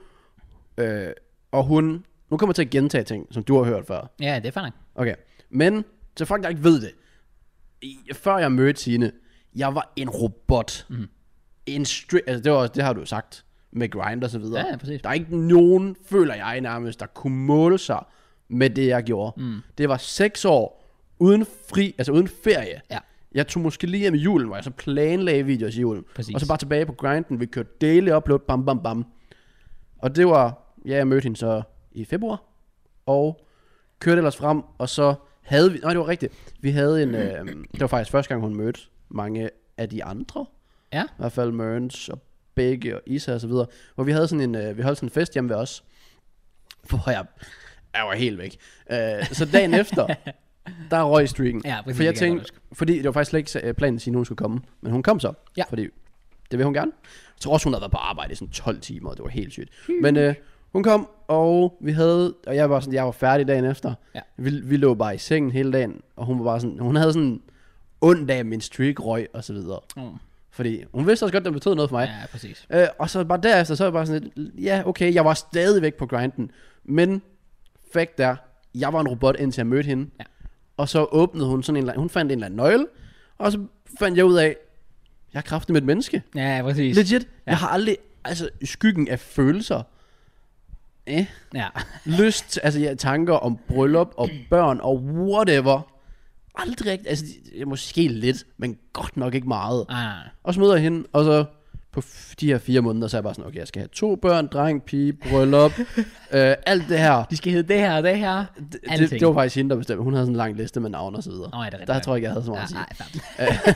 Speaker 2: Øh, og hun, nu kommer jeg til at gentage ting, som du har hørt før.
Speaker 1: Ja, det er fair nok.
Speaker 2: Okay, men til folk, der ikke ved det. i- Før jeg mødte Tine, jeg var en robot.
Speaker 1: Mhm.
Speaker 2: Mm. En stri- altså det, var, også- det har du jo sagt med grind og så videre.
Speaker 1: Ja, ja, præcis.
Speaker 2: Der er ikke nogen, føler jeg nærmest, der kunne måle sig med det, jeg gjorde.
Speaker 1: Mhm.
Speaker 2: Mm. Det var seks år uden fri, altså uden ferie.
Speaker 1: Ja.
Speaker 2: Jeg tog måske lige hjem i julen, hvor jeg så planlagde videoer til julen.
Speaker 1: Præcis.
Speaker 2: Og så bare tilbage på grinden. Vi kørte daily upload, bam, bam, bam. Og det var, ja, jeg mødte hende så i februar. Og kørte ellers frem, og så havde vi, nej det var rigtigt, vi havde en, øh, det var faktisk første gang, hun mødte mange af de andre,
Speaker 1: Ja.
Speaker 2: i hvert fald Mørns og Begge og Isa og så videre, hvor vi havde sådan en, øh, vi holdt sådan en fest hjemme ved os, hvor jeg, jeg var helt væk. Øh, så
Speaker 1: (laughs)
Speaker 2: dagen efter, der røg streaken.
Speaker 1: Ja, præcis,
Speaker 2: for jeg
Speaker 1: det kan jeg godt
Speaker 2: tænkte, fordi det var faktisk slet ikke øh, planen at sige, at nogen skulle komme, men hun kom så,
Speaker 1: Ja.
Speaker 2: fordi det vil hun gerne. Jeg tror også, hun havde været på arbejde i sådan 12 timer, og det var helt sygt.
Speaker 1: Hmm.
Speaker 2: Men øh, hun kom, og vi havde, og jeg var sådan, jeg var færdig dagen efter.
Speaker 1: Ja.
Speaker 2: Vi, vi lå bare i sengen hele dagen, og hun var bare sådan, hun havde sådan en ond dag, min streak røg og så videre.
Speaker 1: Mm.
Speaker 2: Fordi hun vidste også godt, det betød noget for mig.
Speaker 1: Ja, præcis.
Speaker 2: Øh, og så bare derefter, så var jeg bare sådan lidt, ja, okay, jeg var stadigvæk på grinden. Men, fact der, jeg var en robot, indtil jeg mødte hende.
Speaker 1: Ja.
Speaker 2: Og så åbnede hun sådan en, eller anden- hun fandt en eller anden nøgle, og så fandt jeg ud af, jeg er kraftig med et menneske.
Speaker 1: Ja, præcis.
Speaker 2: Legit, ja. jeg har aldrig, altså i skyggen af følelser, eh,
Speaker 1: Ja.
Speaker 2: lyst, altså jeg tanker om bryllup og børn og whatever, aldrig, rigtig- altså måske lidt, men godt nok ikke meget.
Speaker 1: Nej, nej, nej.
Speaker 2: Og så møder jeg hende, og så på f- de her fire måneder, så er jeg bare sådan, okay, jeg skal have to børn, dreng, pige,
Speaker 1: (laughs)
Speaker 2: bryllup, øh, alt det her.
Speaker 1: De skal hedde det her og det her.
Speaker 2: Det, det,
Speaker 1: Alting.
Speaker 2: det, var faktisk hende, der bestemte. Hun havde sådan en lang liste med navne og så videre.
Speaker 1: Nå, ja, det er rigtigt.
Speaker 2: der tror jeg ikke, jeg havde så meget at sige.
Speaker 1: Ah, Nej,
Speaker 2: (laughs)
Speaker 1: nej,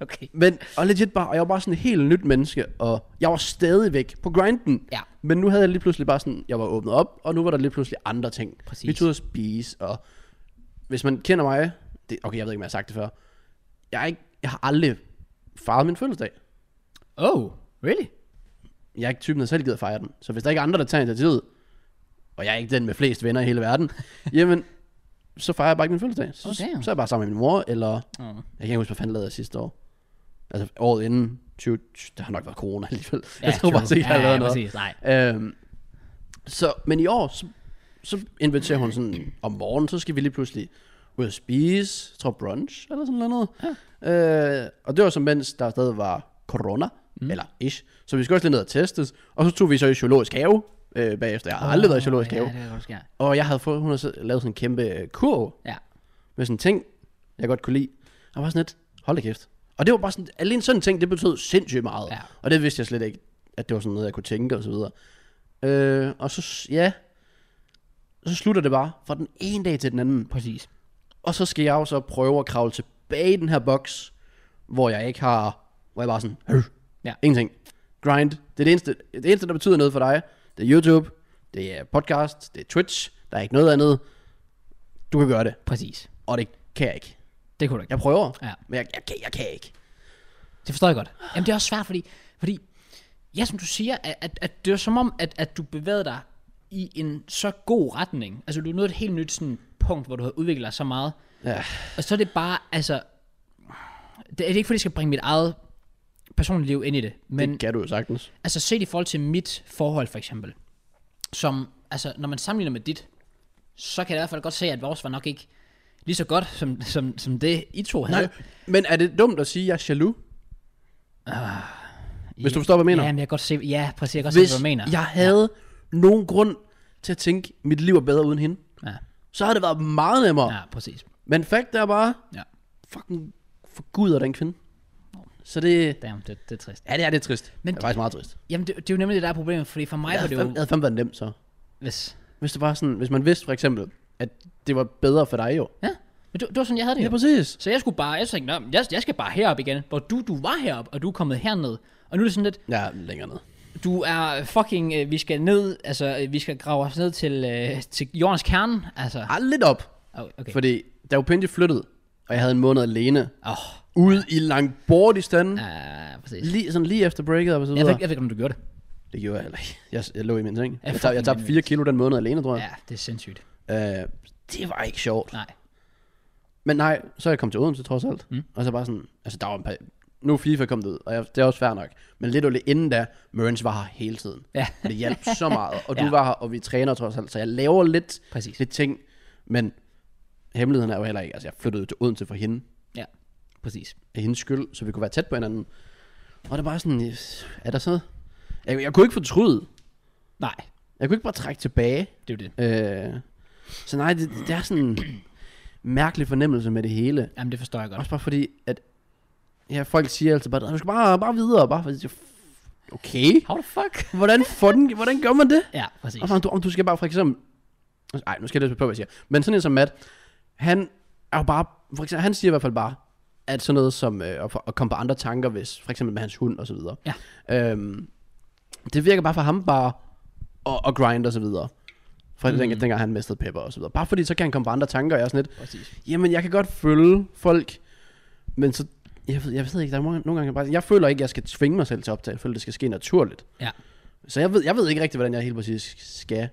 Speaker 1: Okay.
Speaker 2: Men, og legit bare, og jeg var bare sådan et helt nyt menneske, og jeg var stadigvæk på grinden.
Speaker 1: Ja.
Speaker 2: Men nu havde jeg lige pludselig bare sådan, jeg var åbnet op, og nu var der lige pludselig andre ting.
Speaker 1: Præcis.
Speaker 2: Vi tog ud at spise, og hvis man kender mig, det, okay, jeg ved ikke, om jeg har sagt det før, jeg, er ikke, jeg har aldrig fejret min fødselsdag.
Speaker 1: Oh, really?
Speaker 2: jeg er ikke typen, der selv gider fejre den. Så hvis der ikke er andre, der tager initiativet, og jeg er ikke den med flest venner i hele
Speaker 1: (laughs)
Speaker 2: verden, jamen, så fejrer jeg bare ikke min fødselsdag. Så,
Speaker 1: Oh, damn.
Speaker 2: så er jeg bare sammen med min mor, eller...
Speaker 1: Mm.
Speaker 2: Jeg kan ikke huske, hvad fanden lavede jeg sidste år. Altså året inden 20... Der har nok været corona alligevel. Ja, jeg tror
Speaker 1: true.
Speaker 2: bare sikkert, jeg
Speaker 1: ja,
Speaker 2: har lavet
Speaker 1: ja,
Speaker 2: noget.
Speaker 1: præcis. Nej.
Speaker 2: Øhm, så, men i år, så, så inviterer hun sådan, om morgenen, så skal vi lige pludselig ud at spise, jeg tror brunch eller sådan noget. Ja. Øh, og det var så mens der stadig var corona, mm. eller ish. Så vi skulle også lige ned og testes, og så tog vi så i zoologisk have øh, bagefter. Jeg har aldrig været i zoologisk
Speaker 1: ja,
Speaker 2: have.
Speaker 1: det kan godt ske.
Speaker 2: Og jeg havde fået, hun havde så lavet sådan en kæmpe øh, kurv
Speaker 1: Ja.
Speaker 2: med sådan en ting, jeg godt kunne lide. Og jeg var sådan lidt, hold da kæft. Og det var bare sådan, alene sådan en ting, det betød sindssygt meget.
Speaker 1: Ja.
Speaker 2: Og det vidste jeg slet ikke, at det var sådan noget, jeg kunne tænke og så videre. Øh, og så, s- ja, Så slutter det bare fra den ene dag til den anden.
Speaker 1: Præcis.
Speaker 2: Og så skal jeg jo så prøve at kravle tilbage i den her boks, hvor jeg ikke har, hvor jeg bare er sådan, Hør.
Speaker 1: Ja.
Speaker 2: ingenting. Grind, det er det eneste, det eneste, der betyder noget for dig. Det er YouTube, det er podcast, det er Twitch, der er ikke noget andet. Du kan gøre det,
Speaker 1: Præcis.
Speaker 2: og det kan jeg ikke.
Speaker 1: Det kunne du ikke.
Speaker 2: Jeg prøver,
Speaker 1: Ja.
Speaker 2: men jeg, jeg, kan, jeg kan ikke.
Speaker 1: Det forstår jeg godt. Jamen det er også svært, fordi, fordi ja, som du siger, at, at, at det er som om, at, at du bevægede dig i en så god retning. Altså du er nået et helt nyt sådan, punkt, hvor du har udviklet dig så meget.
Speaker 2: Ja.
Speaker 1: Og så er det bare, altså, det det er ikke fordi, jeg skal bringe mit eget personlige liv ind i det, men
Speaker 2: Det kan du jo sagtens.
Speaker 1: altså set i forhold til mit forhold for eksempel, som, altså når man sammenligner med dit, så kan jeg i hvert fald godt se, at vores var nok ikke lige så godt, som, som, som det I to havde.
Speaker 2: Nej, men er det dumt at sige, at jeg er jaloux? Hvis du forstår, hvad jeg mener.
Speaker 1: Ja, men jeg kan godt se, ja, præcis, jeg kan godt
Speaker 2: Hvis
Speaker 1: se, hvad du mener.
Speaker 2: jeg havde ja. nogen grund til at tænke, at mit liv er bedre uden hende,
Speaker 1: Ja,
Speaker 2: så havde det været meget nemmere. Ja.
Speaker 1: ja præcis.
Speaker 2: Men fact er bare,
Speaker 1: Ja.
Speaker 2: fucking forguder den kvinde. Så det,
Speaker 1: Damn, det, det er trist.
Speaker 2: ja, det er lidt trist. Men
Speaker 1: Men
Speaker 2: det er faktisk meget trist.
Speaker 1: Jamen, det, det er jo nemlig det, der er problemet, fordi for mig
Speaker 2: Jeg
Speaker 1: var
Speaker 2: havde,
Speaker 1: det
Speaker 2: fandme, jeg
Speaker 1: jo...
Speaker 2: havde fandme været nemt så.
Speaker 1: Hvis,
Speaker 2: Hvis det var sådan, hvis man vidste for eksempel, at det var bedre for dig jo.
Speaker 1: ja, men det, det var sådan, jeg havde det
Speaker 2: Ja,
Speaker 1: jo.
Speaker 2: præcis.
Speaker 1: Så jeg skulle bare, jeg tænkte, "Nå, men jeg, jeg skal bare herop igen, hvor du, du var herop, og du er kommet herned. Og nu er det sådan lidt,
Speaker 2: Ja, længere ned.
Speaker 1: du er fucking, øh, vi skal ned, altså øh, vi skal grave os ned til, øh, til jordens kerne, altså.
Speaker 2: Ah, lidt op.
Speaker 1: Oh, okay.
Speaker 2: Okay. Fordi da Upendi flyttede, og jeg havde en måned alene,
Speaker 1: Åh,
Speaker 2: ude i Langbordistan, ja.
Speaker 1: ja, præcis.
Speaker 2: lige, sådan lige efter breaket og så
Speaker 1: Jeg ved,
Speaker 2: videre.
Speaker 1: ikke- jeg ved ikke, om du gjorde det.
Speaker 2: Det gjorde jeg heller ikke. Jeg, jeg lå i min seng. Jeg,
Speaker 1: fucking
Speaker 2: tab, jeg tabte 4 kilo den måned alene, tror jeg.
Speaker 1: Ja, det er sindssygt.
Speaker 2: Ja. Øh, det var ikke sjovt.
Speaker 1: Nej.
Speaker 2: Men nej, så er jeg kommet til Odense trods alt. Mm. Og så bare sådan, altså der var en par, nu er FIFA kommet ud, og jeg, det er også fair nok. Men lidt og lidt inden da, Mørens var her hele tiden.
Speaker 1: Ja.
Speaker 2: Og det hjalp så meget.
Speaker 1: (laughs)
Speaker 2: Og du
Speaker 1: Ja.
Speaker 2: ja. var her, og vi træner trods alt. Så jeg laver lidt,
Speaker 1: Præcis.
Speaker 2: lidt ting. Men hemmeligheden er jo heller ikke, altså jeg flyttede til Odense for hende.
Speaker 1: Ja, præcis.
Speaker 2: Af hendes skyld, så vi kunne være tæt på hinanden. Og det er bare sådan, yes, er der så? Jeg, jeg kunne ikke fortryde.
Speaker 1: Nej,
Speaker 2: Jeg kunne ikke bare trække tilbage.
Speaker 1: det er jo det.
Speaker 2: Øh, så nej, det, det er sådan en mærkelig fornemmelse med det hele.
Speaker 1: Jamen, det forstår jeg godt.
Speaker 2: Også bare fordi, at ja, folk siger altid bare, du skal bare, bare videre, bare fordi, okay,
Speaker 1: How the fuck?
Speaker 2: hvordan, fucking, hvordan gør man det?
Speaker 1: Ja, præcis.
Speaker 2: Og så, du, om du skal bare for eksempel, nej, nu skal jeg lidt på, hvad jeg siger, men sådan en som Matt, han er jo bare, for eksempel, han siger i hvert fald bare, at sådan noget som øh, at, få- at komme på andre tanker, hvis for eksempel med hans hund og så videre.
Speaker 1: Ja.
Speaker 2: Øhm, det virker bare for ham bare at, at grind og så videre. For mm. dengang, dengang han mistede Pepper og så videre. Bare fordi så kan han komme på andre tanker, og jeg er sådan lidt,
Speaker 1: Præcis.
Speaker 2: Jamen, jeg kan godt følge folk, men så... Jeg ved, jeg ved ikke, der er mange, nogle gange jeg bare... Jeg føler ikke, jeg skal tvinge mig selv til at optage. Jeg føler, det skal ske naturligt.
Speaker 1: Ja,
Speaker 2: Så jeg ved, jeg ved ikke rigtig, hvordan jeg helt præcis skal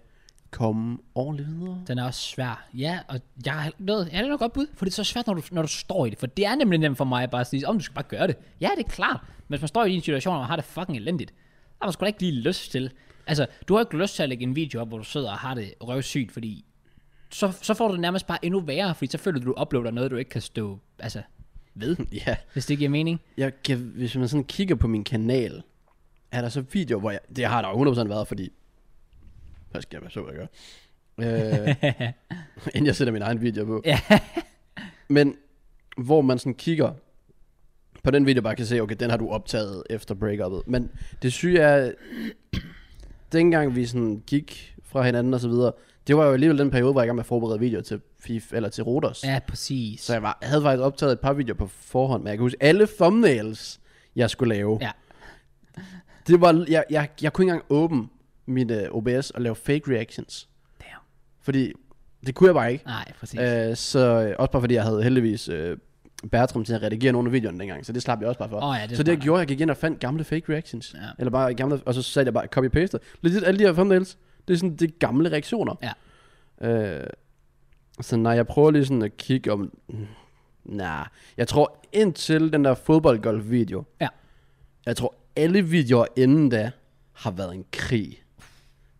Speaker 2: komme ordentligt videre.
Speaker 1: den er også svær. Ja, og jeg har heller- noget, ja, det er noget godt bud, for det er så svært, når du, når du står i det. For det er nemlig nemt for mig bare at sige, om du skal bare gøre det. Ja, det er klart. Men hvis man står i din situation, og har det fucking elendigt, så har man sgu da ikke lige lyst til. Altså, du har ikke lyst til at lægge en video op, hvor du sidder og har det røvsygt, fordi så, så får du det nærmest bare endnu værre, fordi så føler du, du uploader noget, du ikke kan stå altså, ved,
Speaker 2: (laughs) Ja,
Speaker 1: hvis det giver mening.
Speaker 2: jeg kan, hvis man sådan kigger på min kanal, er der så videoer, hvor jeg... Det har der jo 100% været, fordi... Hvad skal jeg være så, hvad jeg gør? Øh, inden jeg sætter min egen video på.
Speaker 1: Ja.
Speaker 2: Men hvor man sådan kigger på den video, bare kan se, okay, den har du optaget efter breakuppet. Men det syge er, dengang vi sådan gik fra hinanden og så videre, det var jo alligevel den periode, hvor jeg var i gang med at forberede videoer til FIFA eller til Rodos.
Speaker 1: Ja, præcis.
Speaker 2: Så jeg var, havde faktisk optaget et par videoer på forhånd, men jeg kan huske alle thumbnails, jeg skulle lave.
Speaker 1: Ja.
Speaker 2: Det var, jeg, jeg, jeg kunne ikke engang åbne mit uh, OBS og lave fake reactions.
Speaker 1: Damn.
Speaker 2: Fordi det kunne jeg bare ikke.
Speaker 1: Nej, præcis.
Speaker 2: Øh, så også bare fordi jeg havde heldigvis øh, Bertram til at redigere nogle af videoerne dengang, så det slap jeg også bare for.
Speaker 1: Åh ja, det er
Speaker 2: så det jeg
Speaker 1: smart.
Speaker 2: gjorde, jeg gik ind og fandt gamle fake reactions.
Speaker 1: Ja.
Speaker 2: Eller bare gamle, og så satte jeg bare copy paste. Lidt ligesom alle de her thumbnails, det er sådan det er gamle reaktioner.
Speaker 1: Ja.
Speaker 2: Øh, så nej, jeg prøver lige sådan at kigge om... mm, Nej, jeg tror indtil den der fodboldgolf video.
Speaker 1: Ja.
Speaker 2: Jeg tror alle videoer inden da har været en krig.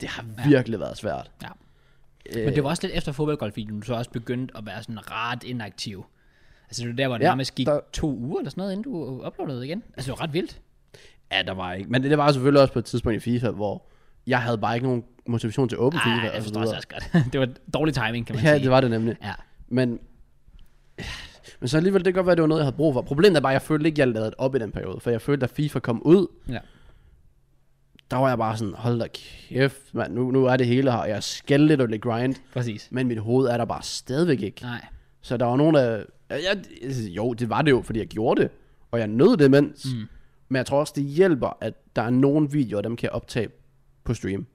Speaker 2: Det har virkelig været svært.
Speaker 1: Ja.
Speaker 2: Øh,
Speaker 1: Men det var også lidt efter fodboldgolfvideoen, du så også begyndte at være sådan ret inaktiv. Altså det var der, hvor det ja,
Speaker 2: Ja,
Speaker 1: nærmest gik der...
Speaker 2: der-
Speaker 1: to uger eller sådan noget, inden du uploadede igen. Altså det var ret vildt.
Speaker 2: Ja, der var ikke. Men det, det var selvfølgelig også på et tidspunkt i FIFA, hvor jeg havde bare ikke nogen motivation til åben FIFA.
Speaker 1: Ej,
Speaker 2: og
Speaker 1: jeg
Speaker 2: så
Speaker 1: forstår også,
Speaker 2: videre.
Speaker 1: også godt. (laughs) det var dårlig timing, kan man
Speaker 2: altså, Ja,
Speaker 1: sige.
Speaker 2: det var det nemlig.
Speaker 1: Ja,
Speaker 2: Men, men så alligevel, det kan godt være, det var noget, jeg havde brug for. Problemet er bare, at jeg følte ikke, jeg lavede det op i den periode. For jeg følte, at FIFA kom ud,
Speaker 1: ja.
Speaker 2: der var jeg bare sådan, hold da kæft, mand, nu, nu er det hele her. Jeg skal lidt og lidt grind,
Speaker 1: Præcis.
Speaker 2: men mit hoved er der bare stadigvæk ikke.
Speaker 1: Nej.
Speaker 2: Så der var nogen, der... Jeg, jo, det var det jo, fordi jeg gjorde det. Og jeg nød det mens. Mm. Men jeg tror også, det hjælper, at der er nogle videoer, dem kan jeg optage på stream.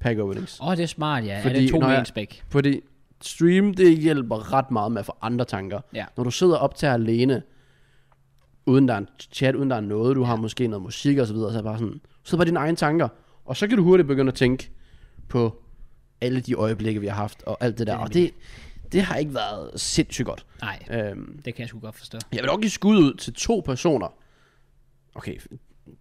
Speaker 2: Pack openings.
Speaker 1: Åh, oh, det er smart, ja. Fordi, er
Speaker 2: Fordi
Speaker 1: det to
Speaker 2: når
Speaker 1: med
Speaker 2: jeg-
Speaker 1: en spæk?
Speaker 2: Fordi stream, det hjælper ret meget med at få andre tanker.
Speaker 1: Ja.
Speaker 2: Når du sidder og optager alene, uden der er en chat, uden der er noget, du har måske noget musik og så videre, så er det bare sådan, så er det bare dine egne tanker. Og så kan du hurtigt begynde at tænke på alle de øjeblikke, vi har haft, og alt det der. Og det, det har ikke været sindssygt godt.
Speaker 1: Nej,
Speaker 2: Øhm,
Speaker 1: det kan jeg sgu godt forstå.
Speaker 2: jeg vil dog give skud ud til to personer. Okay,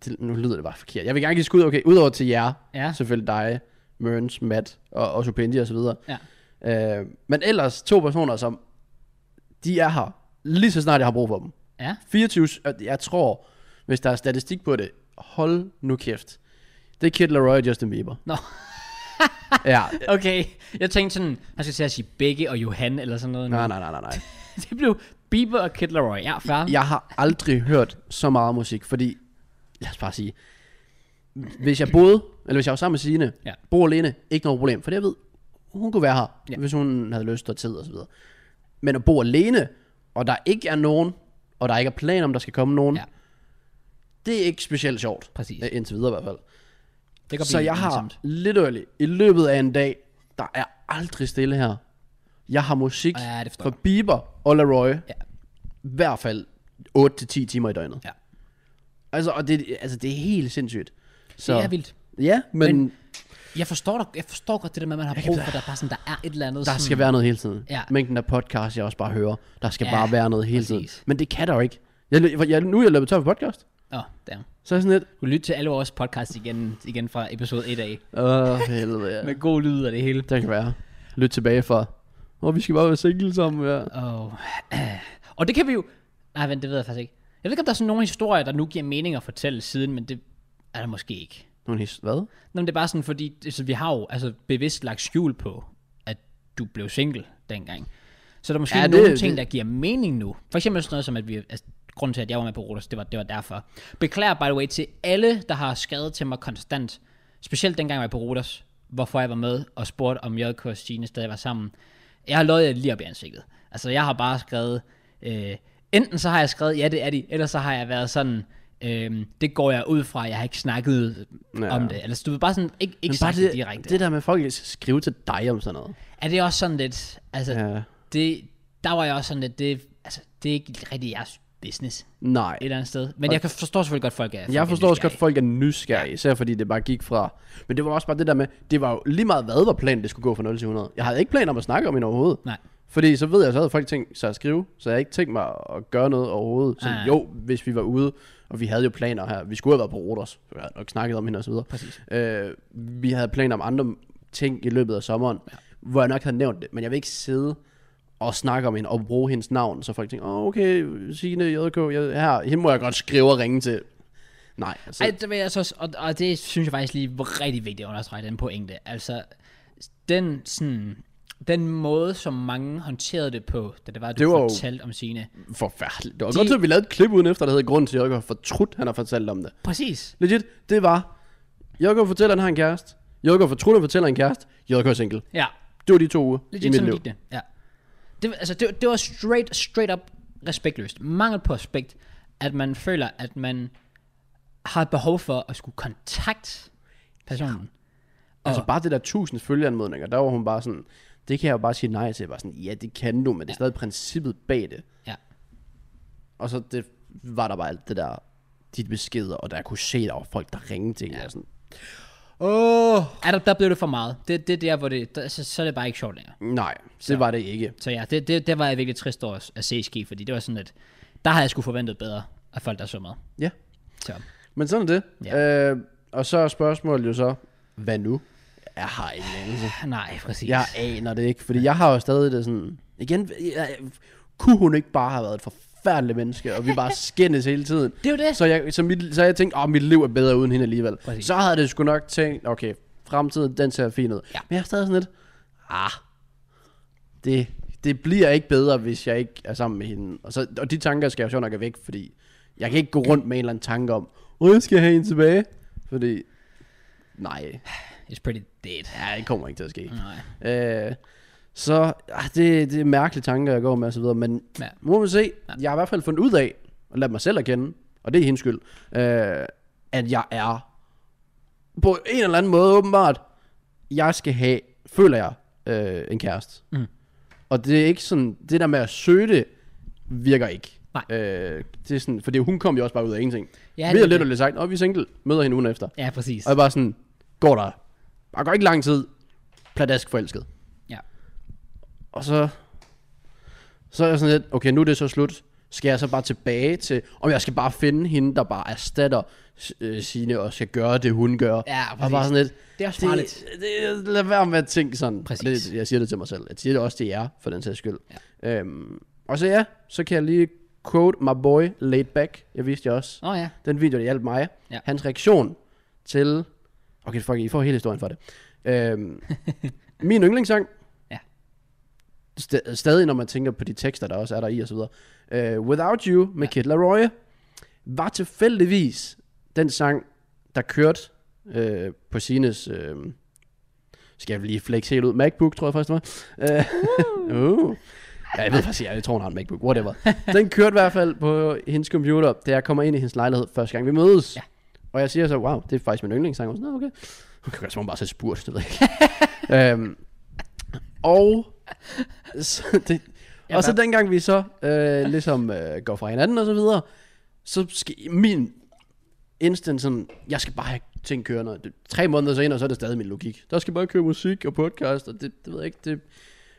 Speaker 2: det, nu lyder det bare forkert. Jeg vil gerne give skud, okay, udover til jer,
Speaker 1: Ja.
Speaker 2: selvfølgelig dig, Mørns, Matt og, og Supendi og så videre.
Speaker 1: Ja.
Speaker 2: Øh, men ellers to personer, som de er her lige så snart jeg har brug for dem.
Speaker 1: Ja,
Speaker 2: 24, og jeg tror, hvis der er statistik på det, hold nu kæft. Det er Kid Laroi og Justin Bieber.
Speaker 1: Nå.
Speaker 2: ja,
Speaker 1: okay. Jeg tænkte sådan, han skal til at sige Begge og Johan eller sådan noget.
Speaker 2: nej,
Speaker 1: nu.
Speaker 2: nej, nej, nej, nej.
Speaker 1: (laughs) det blev Bieber og Kid Laroi. Ja, fair.
Speaker 2: Jeg har aldrig hørt så meget musik, fordi, lad os bare sige, hvis jeg boede, eller hvis jeg var sammen med Signe,
Speaker 1: Ja.
Speaker 2: bor alene, ikke noget problem, for det jeg ved, hun kunne være her,
Speaker 1: Ja.
Speaker 2: ja. hvis hun havde lyst og tid og så videre. Men at bo alene, og der ikke er nogen, og der ikke er plan om, der skal komme nogen,
Speaker 1: Ja.
Speaker 2: ja. det er ikke specielt sjovt.
Speaker 1: Præcis.
Speaker 2: Øh, Indtil videre i hvert fald.
Speaker 1: Det kan
Speaker 2: Så
Speaker 1: blive
Speaker 2: jeg har
Speaker 1: ensomt.
Speaker 2: literally, i løbet af en dag, der er aldrig stille her. Jeg har musik
Speaker 1: Ja, det forstår
Speaker 2: fra
Speaker 1: jeg.
Speaker 2: Bieber og Leroy, ja.
Speaker 1: Ja.
Speaker 2: i hvert fald 8-10 timer i døgnet.
Speaker 1: Ja.
Speaker 2: Altså, og det, altså, det er helt sindssygt. Så,
Speaker 1: Det er vildt.
Speaker 2: Ja, men,
Speaker 1: Men- Jeg forstår, dig, jeg forstår godt det der med, at man har brug for, at der, bare sådan, der er et eller andet.
Speaker 2: der skal være noget hele tiden.
Speaker 1: Ja.
Speaker 2: Mængden af podcast, jeg også bare hører, der skal
Speaker 1: Ja,
Speaker 2: bare være noget hele tiden.
Speaker 1: præcis.
Speaker 2: Men det kan der jo ikke. Jeg, lø- jeg, nu er jeg løbet tør for podcast.
Speaker 1: Åh, oh, damn.
Speaker 2: Så er jeg sådan lidt,
Speaker 1: Du lytter til alle vores podcasts igen, igen fra episode 1 af.
Speaker 2: åh, helvede. Ja.
Speaker 1: Med god lyd og det hele.
Speaker 2: Det kan være. Lyt tilbage for, hvor vi skal bare være single sammen. Ja.
Speaker 1: Oh. (clears throat) Og det kan vi jo... Nej, vent, det ved jeg faktisk ikke. Jeg ved ikke, om der er sådan nogle historier, der nu giver mening at fortælle siden, men det er der måske ikke.
Speaker 2: Nogle his- hvad?
Speaker 1: Nå, men det er bare sådan, fordi altså, vi har jo altså, bevidst lagt skjul på, at du blev single dengang. Så der er måske
Speaker 2: Ja,
Speaker 1: ja,
Speaker 2: det-
Speaker 1: nogle
Speaker 2: det-
Speaker 1: ting, der giver mening nu. For eksempel sådan noget som, at vi... Altså, grunden til, at jeg var med på Rodos, det var, det var derfor. Beklager, by the way, til alle, der har skrevet til mig konstant. Specielt dengang jeg var på Rodos, hvorfor jeg var med og spurgte, om JK og Stine stadig var sammen. Jeg har løjet jer lige op i ansigtet. Altså, jeg har bare skrevet... Øh, enten så har jeg skrevet, ja, det er de, eller så har jeg været sådan... Øhm, det går jeg ud fra, jeg har ikke snakket ja.
Speaker 2: Ja.
Speaker 1: om det. Eller så du ved bare sådan, ikke, ikke sagt det,
Speaker 2: det,
Speaker 1: direkte. Det,
Speaker 2: det der med, at folk skal skrive til dig om sådan noget.
Speaker 1: er det også sådan lidt, altså, ja.
Speaker 2: Ja.
Speaker 1: det, der var jeg også sådan lidt, det, altså, det er ikke rigtig jeres business et
Speaker 2: Nej.
Speaker 1: eller andet sted. Men jeg kan forstå selvfølgelig godt, folk er folk er
Speaker 2: Jeg forstår også godt, at
Speaker 1: nysgerrige.
Speaker 2: folk er nysgerrige, ja. især fordi det bare gik fra... Men det var også bare det der med, det var jo lige meget hvad var planen, det skulle gå fra 0 til 100. Jeg havde ikke planer om at snakke om hende overhovedet.
Speaker 1: Nej,
Speaker 2: Fordi så ved jeg, så havde folk tænkt sig at skrive, så jeg havde ikke tænkt mig at gøre noget overhovedet. Så
Speaker 1: Nej, nej.
Speaker 2: jo, hvis vi var ude, og vi havde jo planer her. Vi skulle have været på Rodos, så jeg havde nok snakket om hende og så videre.
Speaker 1: Præcis.
Speaker 2: Øh, vi havde planer om andre ting i løbet af sommeren, ja. hvor jeg nok havde nævnt det. Men jeg vil ikke sidde og snakke om hende og bruge hendes navn, så folk tænker, åh oh, okay, Signe, JK, jeg, her, hende må jeg godt skrive og ringe til. Nej, altså,
Speaker 1: Ej, det vil jeg så, også- og, og det synes jeg faktisk lige var rigtig vigtigt at understrege, den pointe. Altså, den, sådan, den måde, som mange håndterede det på, da det var, du
Speaker 2: Det
Speaker 1: det
Speaker 2: var
Speaker 1: var
Speaker 2: jo-
Speaker 1: fortalte om sine.
Speaker 2: forfærdeligt. Det var
Speaker 1: De-
Speaker 2: de... godt til, at vi lavede et klip uden efter, der hedder grund til, at JK har fortrudt, han har fortalt om det.
Speaker 1: Præcis.
Speaker 2: Legit, det var, Jokko fortæller, han har en kæreste. Jokko fortrutter, fortæller han en kæreste. Jokko er single.
Speaker 1: Ja,
Speaker 2: Det var de to uger i
Speaker 1: Legit
Speaker 2: mit
Speaker 1: sådan
Speaker 2: liv.
Speaker 1: gik det. Ja. Det, altså, det, det var straight, straight up respektløst. Mangel på respekt, at man føler, at man har et behov for at skulle kontakte personen.
Speaker 2: Altså bare det der tusind følgeanmodninger, der var hun bare sådan, det kan jeg jo bare sige nej til. Jeg var sådan, ja, det kan du, men det er stadig princippet bag det.
Speaker 1: Ja.
Speaker 2: Og så det var der bare alt det der, dit beskeder, og der jeg kunne se, der var folk, der ringede til ja. og sådan. Åh!
Speaker 1: Er der, der blev det for meget. Det, det er der, hvor det, der, så, så er det bare ikke sjovt længere.
Speaker 2: Nej, det så. var det ikke.
Speaker 1: Så ja, det, det, det var jeg virkelig trist over at se ske, fordi det var sådan, at der havde jeg sgu forventet bedre af folk, der så med.
Speaker 2: Ja,
Speaker 1: Så
Speaker 2: men sådan er det. Ja. Øh, og så er spørgsmålet jo så, hvad nu? Jeg har ikke anelse.
Speaker 1: nej, præcis.
Speaker 2: Jeg aner det ikke, fordi jeg har jo stadig det sådan... Igen, jeg, kunne hun ikke bare have været et forfærdeligt menneske, og vi
Speaker 1: (laughs)
Speaker 2: bare skændes hele tiden?
Speaker 1: Det er jo det.
Speaker 2: Så jeg, så mit, så jeg tænkte, åh, mit liv er bedre uden hende alligevel.
Speaker 1: Præcis.
Speaker 2: Præcis. Så havde det sgu nok tænkt, okay, fremtiden, den ser fin ud.
Speaker 1: Ja.
Speaker 2: Ja. Men jeg er stadig sådan lidt, ah, det, det bliver ikke bedre, hvis jeg ikke er sammen med hende. Og, så, og de tanker skal jeg jo sjovt nok have væk, fordi jeg kan ikke gå rundt med en eller anden tanke om, åh, jeg skal have hende tilbage, fordi nej,
Speaker 1: It's pretty dead.
Speaker 2: ja, det kommer ikke til at ske.
Speaker 1: Nej.
Speaker 2: Øh, så ah, det, det er mærkelige tanker, jeg går med og så videre, men
Speaker 1: Ja.
Speaker 2: ja. må man se,
Speaker 1: Ja.
Speaker 2: jeg har i hvert fald fundet ud af, og ladt mig selv erkende, og det er hendes skyld, øh, at jeg er på en eller anden måde åbenbart, jeg skal have, føler jeg, øh, en kæreste.
Speaker 1: Mm.
Speaker 2: Og det er ikke sådan, det der med at søge det, virker ikke.
Speaker 1: Nej.
Speaker 2: Øh, det er sådan, fordi hun kom jo også bare ud af ingenting.
Speaker 1: Ja,
Speaker 2: vi
Speaker 1: det
Speaker 2: har
Speaker 1: er
Speaker 2: lidt
Speaker 1: det.
Speaker 2: og lidt sagt, og vi er single, møder hende ugen efter.
Speaker 1: Ja, præcis.
Speaker 2: Og jeg var sådan, går der, bare går ikke lang tid, pladask forelsket.
Speaker 1: Ja.
Speaker 2: Og så, så er jeg sådan lidt, okay, nu er det så slut. Skal jeg så bare tilbage til, om jeg skal bare finde hende, der bare erstatter øh, sine og skal gøre det, hun gør.
Speaker 1: Ja, præcis.
Speaker 2: og bare sådan lidt,
Speaker 1: Det er også farligt.
Speaker 2: det, det, lad være med at tænke sådan.
Speaker 1: Præcis.
Speaker 2: Og Det, jeg siger det til mig selv. Jeg siger det også til jer, for den sags skyld. Ja. Øhm, og så ja, så kan jeg lige quote my boy laid back. Jeg viste jer også
Speaker 1: Åh oh, ja. (laughs)
Speaker 2: den video, der hjalp mig,
Speaker 1: Ja.
Speaker 2: ja. hans reaktion til... Okay, fuck, I får hele historien for det.
Speaker 1: (laughs)
Speaker 2: Øhm, min yndlingssang,
Speaker 1: Ja.
Speaker 2: st- stadig når man tænker på de tekster, der også er der i og så videre. Uh, Without You med Kid Laroi var tilfældigvis den sang, der kørte øh, på Sines... Øh, skal jeg lige flex helt ud? MacBook, tror jeg faktisk, det var. Uh, (laughs) uh. Ja, jeg ved faktisk, jeg, jeg tror, hun har en MacBook, whatever. Den kørte i hvert fald på hendes computer, da jeg kommer ind i hendes lejlighed første gang, vi mødes.
Speaker 1: Ja.
Speaker 2: Ja. Og jeg siger så, wow, det er faktisk min yndlingssang. Og sådan, "Nå, okay. Hun kan gøre, som om hun bare så spurt, det ved
Speaker 1: (laughs)
Speaker 2: jeg ikke. øhm, og så, (laughs) det,
Speaker 1: Ja,
Speaker 2: og så
Speaker 1: hvad?
Speaker 2: dengang vi så øh, ligesom øh, går fra hinanden og så videre, så skal min instant sådan, jeg skal bare have ting kørende. Det- Tre måneder senere, så er det stadig min logik. Der skal bare køre musik og podcast, og det, det ved jeg ikke, det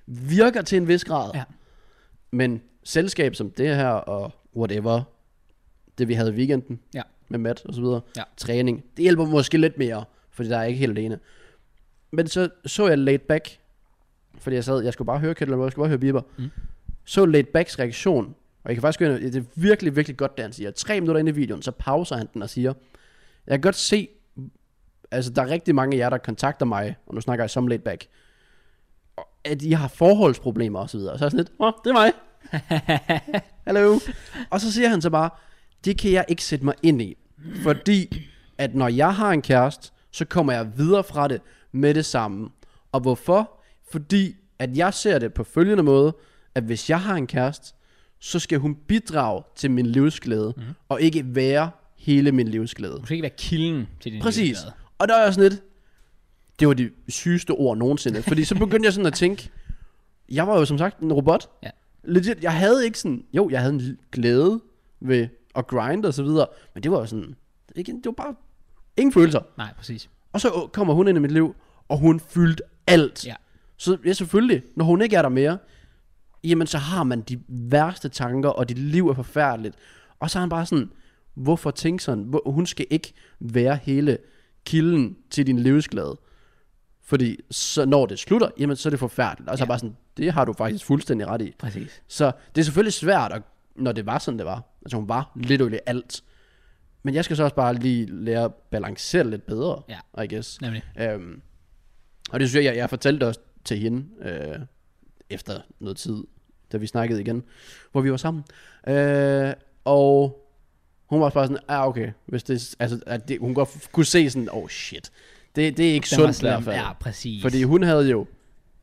Speaker 2: virker til en vis grad.
Speaker 1: Ja.
Speaker 2: Men selskab som det her, og whatever, det vi havde i weekenden,
Speaker 1: Ja.
Speaker 2: med Matt og så videre,
Speaker 1: Ja.
Speaker 2: træning, det hjælper måske lidt mere, fordi der er jeg ikke helt alene. Men så så jeg laid back, fordi jeg sad, jeg skulle bare høre Kettle, jeg skulle bare høre Bieber.
Speaker 1: Mm.
Speaker 2: Mm. Så laid backs reaktion, og jeg kan faktisk gøre, det er virkelig, virkelig godt, det han siger. Tre minutter inde i videoen, så pauser han den og siger, jeg kan godt se, altså der er rigtig mange af jer, der kontakter mig, og nu snakker jeg som laid back, og at I har forholdsproblemer og så videre. Og så er jeg sådan lidt, åh, det er mig. Hallo. Og så siger han så bare, det kan jeg ikke sætte mig ind i. Fordi, at når jeg har en kæreste, så kommer jeg videre fra det med det samme. Og hvorfor? Fordi, at jeg ser det på følgende måde, at hvis jeg har en kæreste, så skal hun bidrage til min livsglæde, mm. og ikke være hele min livsglæde.
Speaker 1: Du skal ikke være kilden til din
Speaker 2: Præcis.
Speaker 1: livsglæde.
Speaker 2: Og der er jeg sådan lidt, det var de sygeste ord nogensinde. Fordi så begyndte jeg sådan at tænke, jeg var jo som sagt en robot.
Speaker 1: Ja.
Speaker 2: Legit, jeg havde ikke sådan, jo, jeg havde en l- glæde ved at grind og så videre, men det var jo sådan, ikke, det var bare ingen følelser.
Speaker 1: Nej, præcis.
Speaker 2: Og så øh, kommer hun ind i mit liv, og hun fyldte alt.
Speaker 1: Ja.
Speaker 2: Så ja, selvfølgelig, når hun ikke er der mere, jamen så har man de værste tanker, og dit liv er forfærdeligt. Og så er han bare sådan, hvorfor tænke sådan? Hvor- Hun skal ikke være hele kilden til din livsglæde. Fordi så når det slutter, jamen så er det forfærdeligt. Og så
Speaker 1: Ja.
Speaker 2: er jeg bare sådan, det har du faktisk fuldstændig ret i.
Speaker 1: Præcis.
Speaker 2: Så det er selvfølgelig svært, at, når det var sådan, det var. Altså hun var lidt øjelig alt. Men jeg skal så også bare lige lære at balancere lidt bedre,
Speaker 1: Ja.
Speaker 2: I guess.
Speaker 1: Nemlig.
Speaker 2: Øhm, og det synes jeg, jeg, jeg fortalte også til hende, øh, efter noget tid, da vi snakkede igen, hvor vi var sammen. Øh, og hun var også bare sådan, ah okay, hvis det, altså, at det, hun godt f- kunne se sådan, oh shit, det, det er ikke
Speaker 1: Den var
Speaker 2: sundt i
Speaker 1: slem.
Speaker 2: hvert fald.
Speaker 1: Ja, præcis.
Speaker 2: Fordi hun havde jo,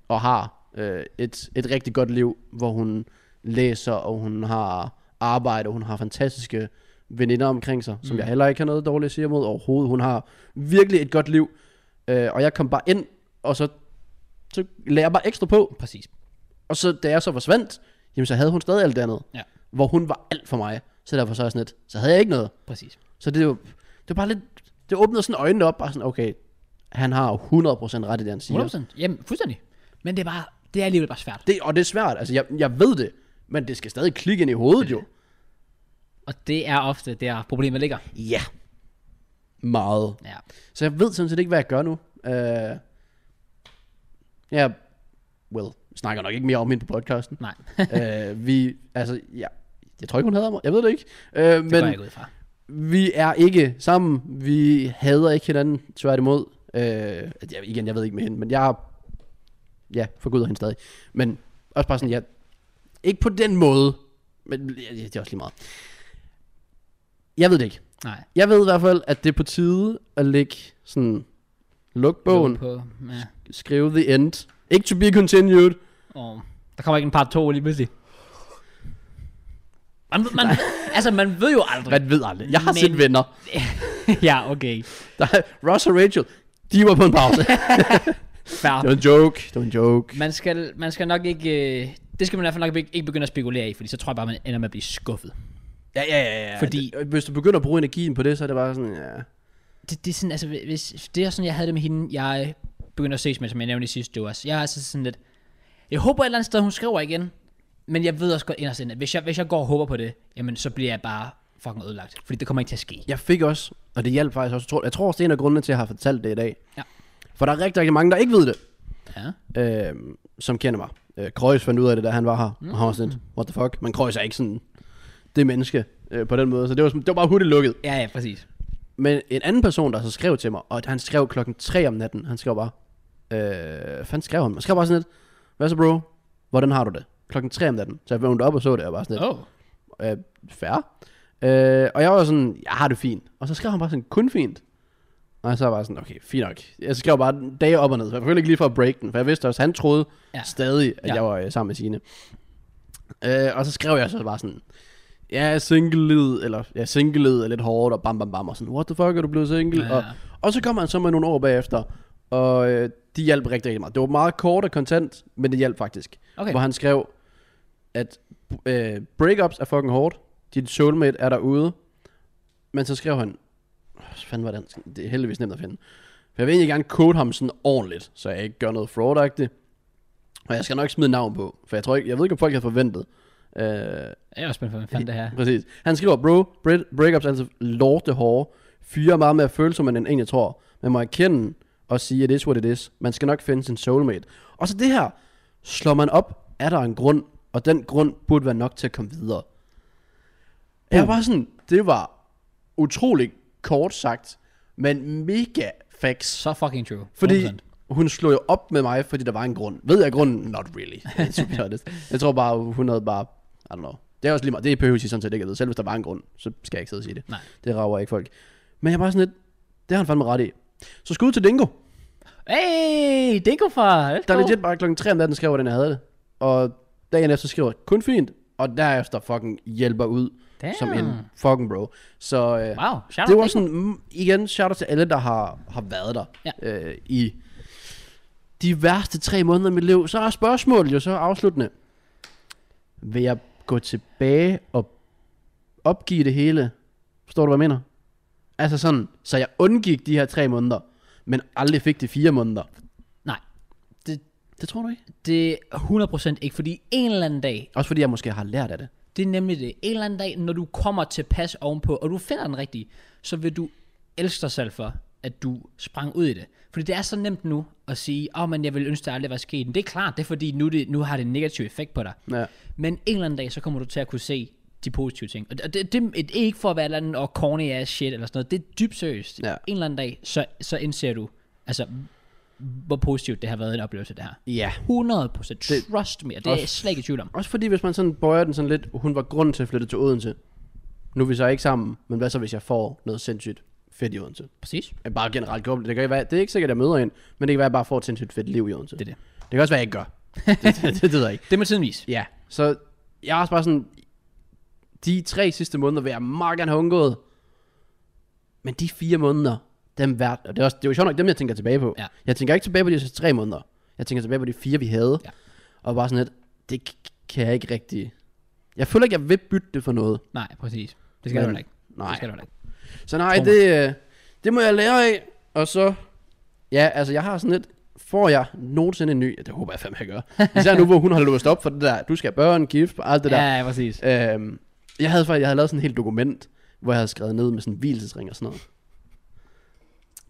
Speaker 2: og har, øh, et, et rigtig godt liv, hvor hun læser, og hun har arbejde, og hun har fantastiske veninder omkring sig, som jeg heller ikke har noget dårligt at sige imod overhovedet. Hun har virkelig et godt liv, øh, og jeg kom bare ind, og så, så lagde jeg bare ekstra på,
Speaker 1: Præcis.
Speaker 2: og så da jeg så forsvandt, jamen så havde hun stadig alt det andet,
Speaker 1: Ja.
Speaker 2: hvor hun var alt for mig, så derfor så er jeg sådan lidt, så havde jeg ikke noget.
Speaker 1: Præcis.
Speaker 2: Så det er jo, det er bare lidt, det åbnede sådan øjnene op, bare sådan, okay, han har 100% ret i det, han siger.
Speaker 1: 100%. Jamen, fuldstændig. Men det er bare, det er alligevel bare svært.
Speaker 2: Det, og det er svært, altså jeg, jeg ved det, men det skal stadig klikke ind i
Speaker 1: (laughs)
Speaker 2: hovedet jo.
Speaker 1: Og det er ofte der problemet ligger.
Speaker 2: Ja. Meget.
Speaker 1: Ja.
Speaker 2: Så jeg ved sådan set ikke, hvad jeg gør nu. Uh, jeg, well, snakker nok ikke mere om hende
Speaker 1: (laughs)
Speaker 2: på podcasten.
Speaker 1: Nej,
Speaker 2: uh, vi, altså, ja, jeg tror ikke, hun hader mig. Jeg ved det ikke. Uh,
Speaker 1: det går jeg
Speaker 2: men
Speaker 1: ikke ud fra.
Speaker 2: vi er ikke sammen. Vi hader ikke hinanden, tværtimod. Uh, jeg, igen, jeg ved ikke med hende, men jeg ja, forguder hende stadig. Men også bare sådan, ja, ikke på den måde, men ja, det er også lige meget. Jeg ved det ikke.
Speaker 1: Nej.
Speaker 2: Jeg ved i hvert fald, at det er på tide at lægge sådan Luk bogen.
Speaker 1: På, ja.
Speaker 2: Skriv the end. Ikke to be continued.
Speaker 1: Og der kommer ikke en part 2 lige pludselig. Man, man,
Speaker 2: (laughs)
Speaker 1: altså, man ved jo aldrig.
Speaker 2: Man ved aldrig. Jeg har
Speaker 1: Men-
Speaker 2: set venner.
Speaker 1: (laughs) ja, okay.
Speaker 2: Der, Ross og Rachel, de var på en pause.
Speaker 1: Fair.
Speaker 2: det var en joke. Det var en joke.
Speaker 1: Man skal, man skal nok ikke... Øh, det skal man i hvert fald nok ikke ikke begynde at spekulere i, fordi så tror jeg bare, man ender med at blive skuffet.
Speaker 2: Ja, ja, ja. ja.
Speaker 1: Fordi-
Speaker 2: Det, hvis du begynder at bruge energien på det, så er det bare sådan, ja.
Speaker 1: Det, det er sådan, altså, hvis, det er sådan, jeg havde det med hende, jeg begyndte at ses med, som jeg nævnte i sidste uge også. Jeg er altså sådan lidt... Jeg håber et eller andet sted, hun skriver igen, men jeg ved også godt inderst inde, at hvis jeg, hvis jeg går og håber på det, jamen så bliver jeg bare fucking ødelagt, fordi det kommer ikke til at ske.
Speaker 2: Jeg fik også, og det hjalp faktisk også, jeg tror, jeg tror også, det er en af grundene til, at jeg har fortalt det i dag.
Speaker 1: Ja.
Speaker 2: For der er rigtig, rigtig mange, der ikke ved det,
Speaker 1: Ja.
Speaker 2: øh, som kender mig. Øh, Kreuz fandt ud af det, da han var her. Mm. Og han var sådan lidt, what the fuck? Men Kreuz er ikke sådan det menneske øh, på den måde. Så det var, sådan- det var bare hurtigt lukket.
Speaker 1: Ja, ja, præcis.
Speaker 2: Men en anden person, der så skrev til mig, og han skrev klokken 3 om natten, han skrev bare, øh, hvad fanden skrev han? Han skrev bare sådan lidt, hvad så bro, hvordan har du det? Klokken 3 om natten. Så jeg vågnede op og så det, og jeg var sådan lidt,
Speaker 1: Oh.
Speaker 2: øh, færre. Øh, og jeg var sådan, jeg har det fint. Og så skrev han bare sådan, kun fint. Og så var jeg sådan, okay, fint nok. Jeg skrev bare dage op og ned, for jeg følte ikke lige for at break den, for jeg vidste også, han troede
Speaker 1: Ja.
Speaker 2: ja. stadig, at
Speaker 1: Ja.
Speaker 2: ja. jeg var øh, sammen med Signe. Øh, og så skrev jeg så bare sådan, ja, single eller ja, single er lidt hårdt, og bam, bam, bam, og sådan, what the fuck, er du blevet single?
Speaker 1: Ja.
Speaker 2: Ja. Og, og så kom han så med nogle år bagefter, og øh, de hjalp rigtig, rigtig meget. Det var meget kort og kontant, men det hjalp faktisk.
Speaker 1: Okay.
Speaker 2: Okay. Hvor han skrev, at øh, breakups er fucking hårdt. Din soulmate er derude. Men så skrev han, Åh, hvad fanden var det, han- det er heldigvis nemt at finde. For jeg vil egentlig gerne kode ham sådan ordentligt, så jeg ikke gør noget fraudagtigt. Og jeg skal nok smide navn på, for jeg tror ikke, jeg ved ikke, om folk har forventet. Øh,
Speaker 1: Jeg er også spændt på, hvad fanden det her.
Speaker 2: Præcis. Han skriver, bro, break- breakups er altså lorte hårde. Fyre er meget mere følsomme, end en jeg tror. Man må erkende og sige, at det er what it is. Man skal nok finde sin soulmate. Og så det her, slår man op, er der en grund, og den grund burde være nok til at komme videre. Jeg var sådan, det var utrolig kort sagt, men mega facts.
Speaker 1: Så fucking true.
Speaker 2: Fordi
Speaker 1: 100%.
Speaker 2: hun slog jo op med mig, fordi der var en grund. Ved jeg grunden? Not really. to be honest. jeg tror bare, hun havde bare... I don't know. Det er også lige meget. Det behøver jeg sådan set ikke at vide. Selv hvis der var en grund, så skal jeg ikke sidde og sige det.
Speaker 1: Nej.
Speaker 2: Det rager ikke folk. Men jeg var sådan lidt... Det har han fandme ret i. Så skud til Dingo.
Speaker 1: Hey, det går fra.
Speaker 2: Der er legit bare klokken 3 om natten, skrev, hvordan jeg havde det. Og dagen efter skriver jeg, kun fint. Og derefter fucking hjælper ud.
Speaker 1: Damn.
Speaker 2: Som en fucking bro. Så øh,
Speaker 1: Wow, shout
Speaker 2: det var
Speaker 1: out.
Speaker 2: sådan, mm, igen, shout out til alle, der har, har været der
Speaker 1: Ja.
Speaker 2: øh, i de værste tre måneder af mit liv. Så er spørgsmålet jo så afsluttende. Vil jeg gå tilbage og opgive det hele? Forstår du, hvad jeg mener? Altså sådan, så jeg undgik de her tre måneder, men aldrig fik de fire måneder.
Speaker 1: Nej, det,
Speaker 2: Det tror du ikke?
Speaker 1: det er 100% ikke, fordi en eller anden dag,
Speaker 2: Også fordi jeg måske har lært af det.
Speaker 1: det er nemlig det, en eller anden dag, når du kommer til pas ovenpå, og du finder den rigtige, så vil du elske dig selv for, at du sprang ud i det. Fordi det er så nemt nu at sige, åh, oh, men jeg ville ønske, det aldrig var sket. Men det er klart, det er fordi, nu, det, nu har det en negativ effekt på dig.
Speaker 2: Ja.
Speaker 1: Men en eller anden dag, så kommer du til at kunne se de positive ting. Og det, det, det det er ikke for at være et eller andet og corny ass shit eller sådan noget. Det er dybt seriøst.
Speaker 2: Ja.
Speaker 1: En eller anden dag, så, så indser du, altså, hvor positivt det har været en oplevelse, det her.
Speaker 2: Ja.
Speaker 1: 100% trust me, og det er jeg
Speaker 2: Også-
Speaker 1: slet ikke i tvivl om.
Speaker 2: Også fordi, hvis man sådan bøjer den sådan lidt, hun var grunden til at flytte til Odense. Nu er vi så ikke sammen, men hvad så, hvis jeg får noget sindssygt fedt i Odense?
Speaker 1: Præcis.
Speaker 2: Jeg bare generelt går op. Det, kan være, det er ikke sikkert, at jeg møder en, men det kan være, at jeg bare får et sindssygt fedt liv i Odense.
Speaker 1: Det er det.
Speaker 2: Det kan også være, at jeg ikke gør.
Speaker 1: (laughs)
Speaker 2: det, det, det, det ved jeg ikke.
Speaker 1: Det må tiden vise.
Speaker 2: Ja, så jeg er også bare sådan, de tre sidste måneder vil jeg meget gerne have undgået. Men de fire måneder, dem værd, og det er, også, det er jo sjovt nok dem, jeg tænker tilbage på.
Speaker 1: Ja.
Speaker 2: Jeg tænker ikke tilbage på de sidste tre måneder. Jeg tænker tilbage på de fire, vi havde.
Speaker 1: Ja.
Speaker 2: Og bare sådan lidt, det k- kan jeg ikke rigtig... Jeg føler ikke, jeg vil bytte det for noget.
Speaker 1: Nej, præcis. Det skal du
Speaker 2: Men-
Speaker 1: heller ikke.
Speaker 2: Nej.
Speaker 1: Det skal du heller ikke.
Speaker 2: Så nej,
Speaker 1: Tror
Speaker 2: det, øh, det må jeg lære af. Og så, ja, altså jeg har sådan lidt, får jeg nogensinde en ny, ja, det håber jeg fandme, jeg gør.
Speaker 1: (laughs)
Speaker 2: Især nu, hvor hun har låst op for det der, du skal have børn, gift og alt det der.
Speaker 1: Ja, ja, præcis.
Speaker 2: Øhm, jeg havde faktisk, jeg havde lavet sådan et helt dokument, hvor jeg havde skrevet ned med sådan en hvilesesring og sådan noget.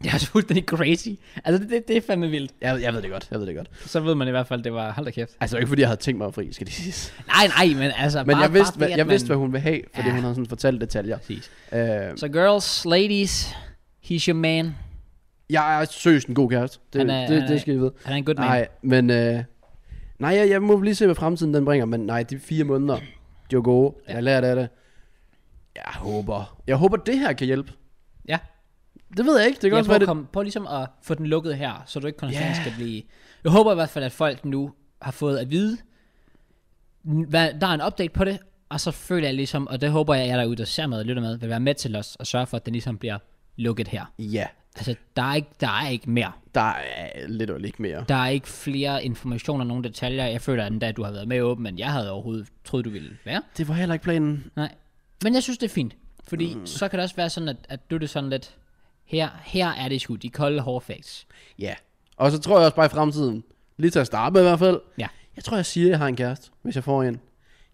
Speaker 1: Det er også fuldstændig crazy. Altså, det, det, det er fandme vildt.
Speaker 2: Jeg, jeg ved det godt, jeg ved det godt.
Speaker 1: Så ved man i hvert fald, det var... Hold da kæft.
Speaker 2: Altså det var ikke fordi, jeg havde tænkt mig at fri, skal det siges.
Speaker 1: Nej, nej, men altså...
Speaker 2: Men
Speaker 1: bare,
Speaker 2: jeg vidste,
Speaker 1: bare
Speaker 2: hvad,
Speaker 1: det,
Speaker 2: jeg
Speaker 1: at
Speaker 2: vidste, hvad
Speaker 1: man-
Speaker 2: hun ville have, fordi
Speaker 1: Ja.
Speaker 2: hun havde sådan fortalt detaljer.
Speaker 1: Præcis.
Speaker 2: Øhm,
Speaker 1: Så girls, ladies, he's your man.
Speaker 2: jeg er søst en god kæreste. Det,
Speaker 1: Han er-
Speaker 2: det,
Speaker 1: han er-
Speaker 2: det skal I vide.
Speaker 1: Han er en good man.
Speaker 2: Nej, men... Øh, nej, jeg, jeg må lige se, hvad fremtiden den bringer, men nej, de fire måneder, de var gode. Jeg lærte af det. Jeg håber. Jeg håber, det her kan hjælpe.
Speaker 1: Ja.
Speaker 2: Det ved jeg ikke. Det kan
Speaker 1: Jeg
Speaker 2: også
Speaker 1: prøver,
Speaker 2: være
Speaker 1: at
Speaker 2: det.
Speaker 1: komme, prøver ligesom at få den lukket her, så du ikke konstant
Speaker 2: Ja.
Speaker 1: yeah. skal blive... Jeg håber i hvert fald, at folk nu har fået at vide, n- hvad, der er en update på det, og så føler jeg ligesom, og det håber jeg, at jeg derude, der ser med og lytter med, vil være med til os og sørge for, at den ligesom bliver lukket her.
Speaker 2: Ja,
Speaker 1: Altså, der er ikke, der er ikke mere.
Speaker 2: der er lidt og lidt mere.
Speaker 1: Der er ikke flere informationer, nogen detaljer. Jeg føler, at den dag, du har været med åben, men jeg havde overhovedet troet, du ville være.
Speaker 2: Det var heller ikke planen.
Speaker 1: Nej. Men jeg synes, det er fint. Fordi mm. så kan det også være sådan, at, at du er det sådan lidt... Her, her er det sgu, de kolde hårde facts.
Speaker 2: Ja. Og så tror jeg også bare i fremtiden, lige til at starte med i hvert fald,
Speaker 1: Ja.
Speaker 2: jeg tror, jeg siger, at jeg har en kæreste, hvis jeg får en. Jeg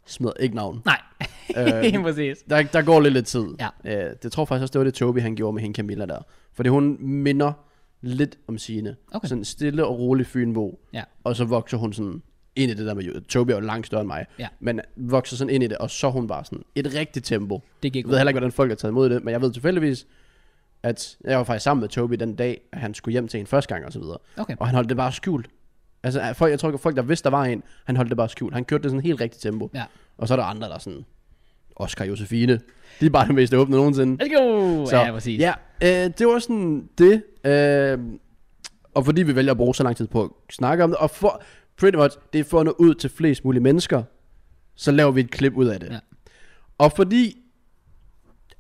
Speaker 2: smider ikke navn.
Speaker 1: Nej. (laughs)
Speaker 2: Øhm.
Speaker 1: Præcis.
Speaker 2: Der, der går lidt lidt tid.
Speaker 1: Ja.
Speaker 2: Øh, det tror jeg faktisk også, det var det Toby, han gjorde med hende Camilla der. Fordi hun minder lidt om sine.
Speaker 1: Okay.
Speaker 2: Sådan stille og rolig fynbo.
Speaker 1: Ja.
Speaker 2: Og så vokser hun sådan ind i det der med, Toby er jo langt større end mig.
Speaker 1: Ja.
Speaker 2: Men vokser sådan ind i det, og så er hun bare sådan et rigtigt tempo.
Speaker 1: Det gik
Speaker 2: Jeg ved heller ikke, hvordan folk har taget imod det, men jeg ved tilfældigvis, at jeg var faktisk sammen med Toby den dag, at han skulle hjem til en første gang og så videre.
Speaker 1: Okay.
Speaker 2: Og han holdt det bare skjult. Altså, at folk, jeg tror ikke, at folk, der vidste, der var en, han holdt det bare skjult. Han kørte det sådan helt rigtigt tempo.
Speaker 1: Ja.
Speaker 2: Og så er der andre, der er sådan, Oscar Josefine, de er bare det mest åbne nogensinde.
Speaker 1: Let's go!
Speaker 2: Så,
Speaker 1: Så, ja, præcis.
Speaker 2: Ja, øh, det var sådan det. Øh, og fordi vi vælger at bruge så lang tid på at snakke om det, og for, pretty much, det er for at nå ud til flest mulige mennesker, så laver vi et klip ud af det.
Speaker 1: Ja.
Speaker 2: Og fordi,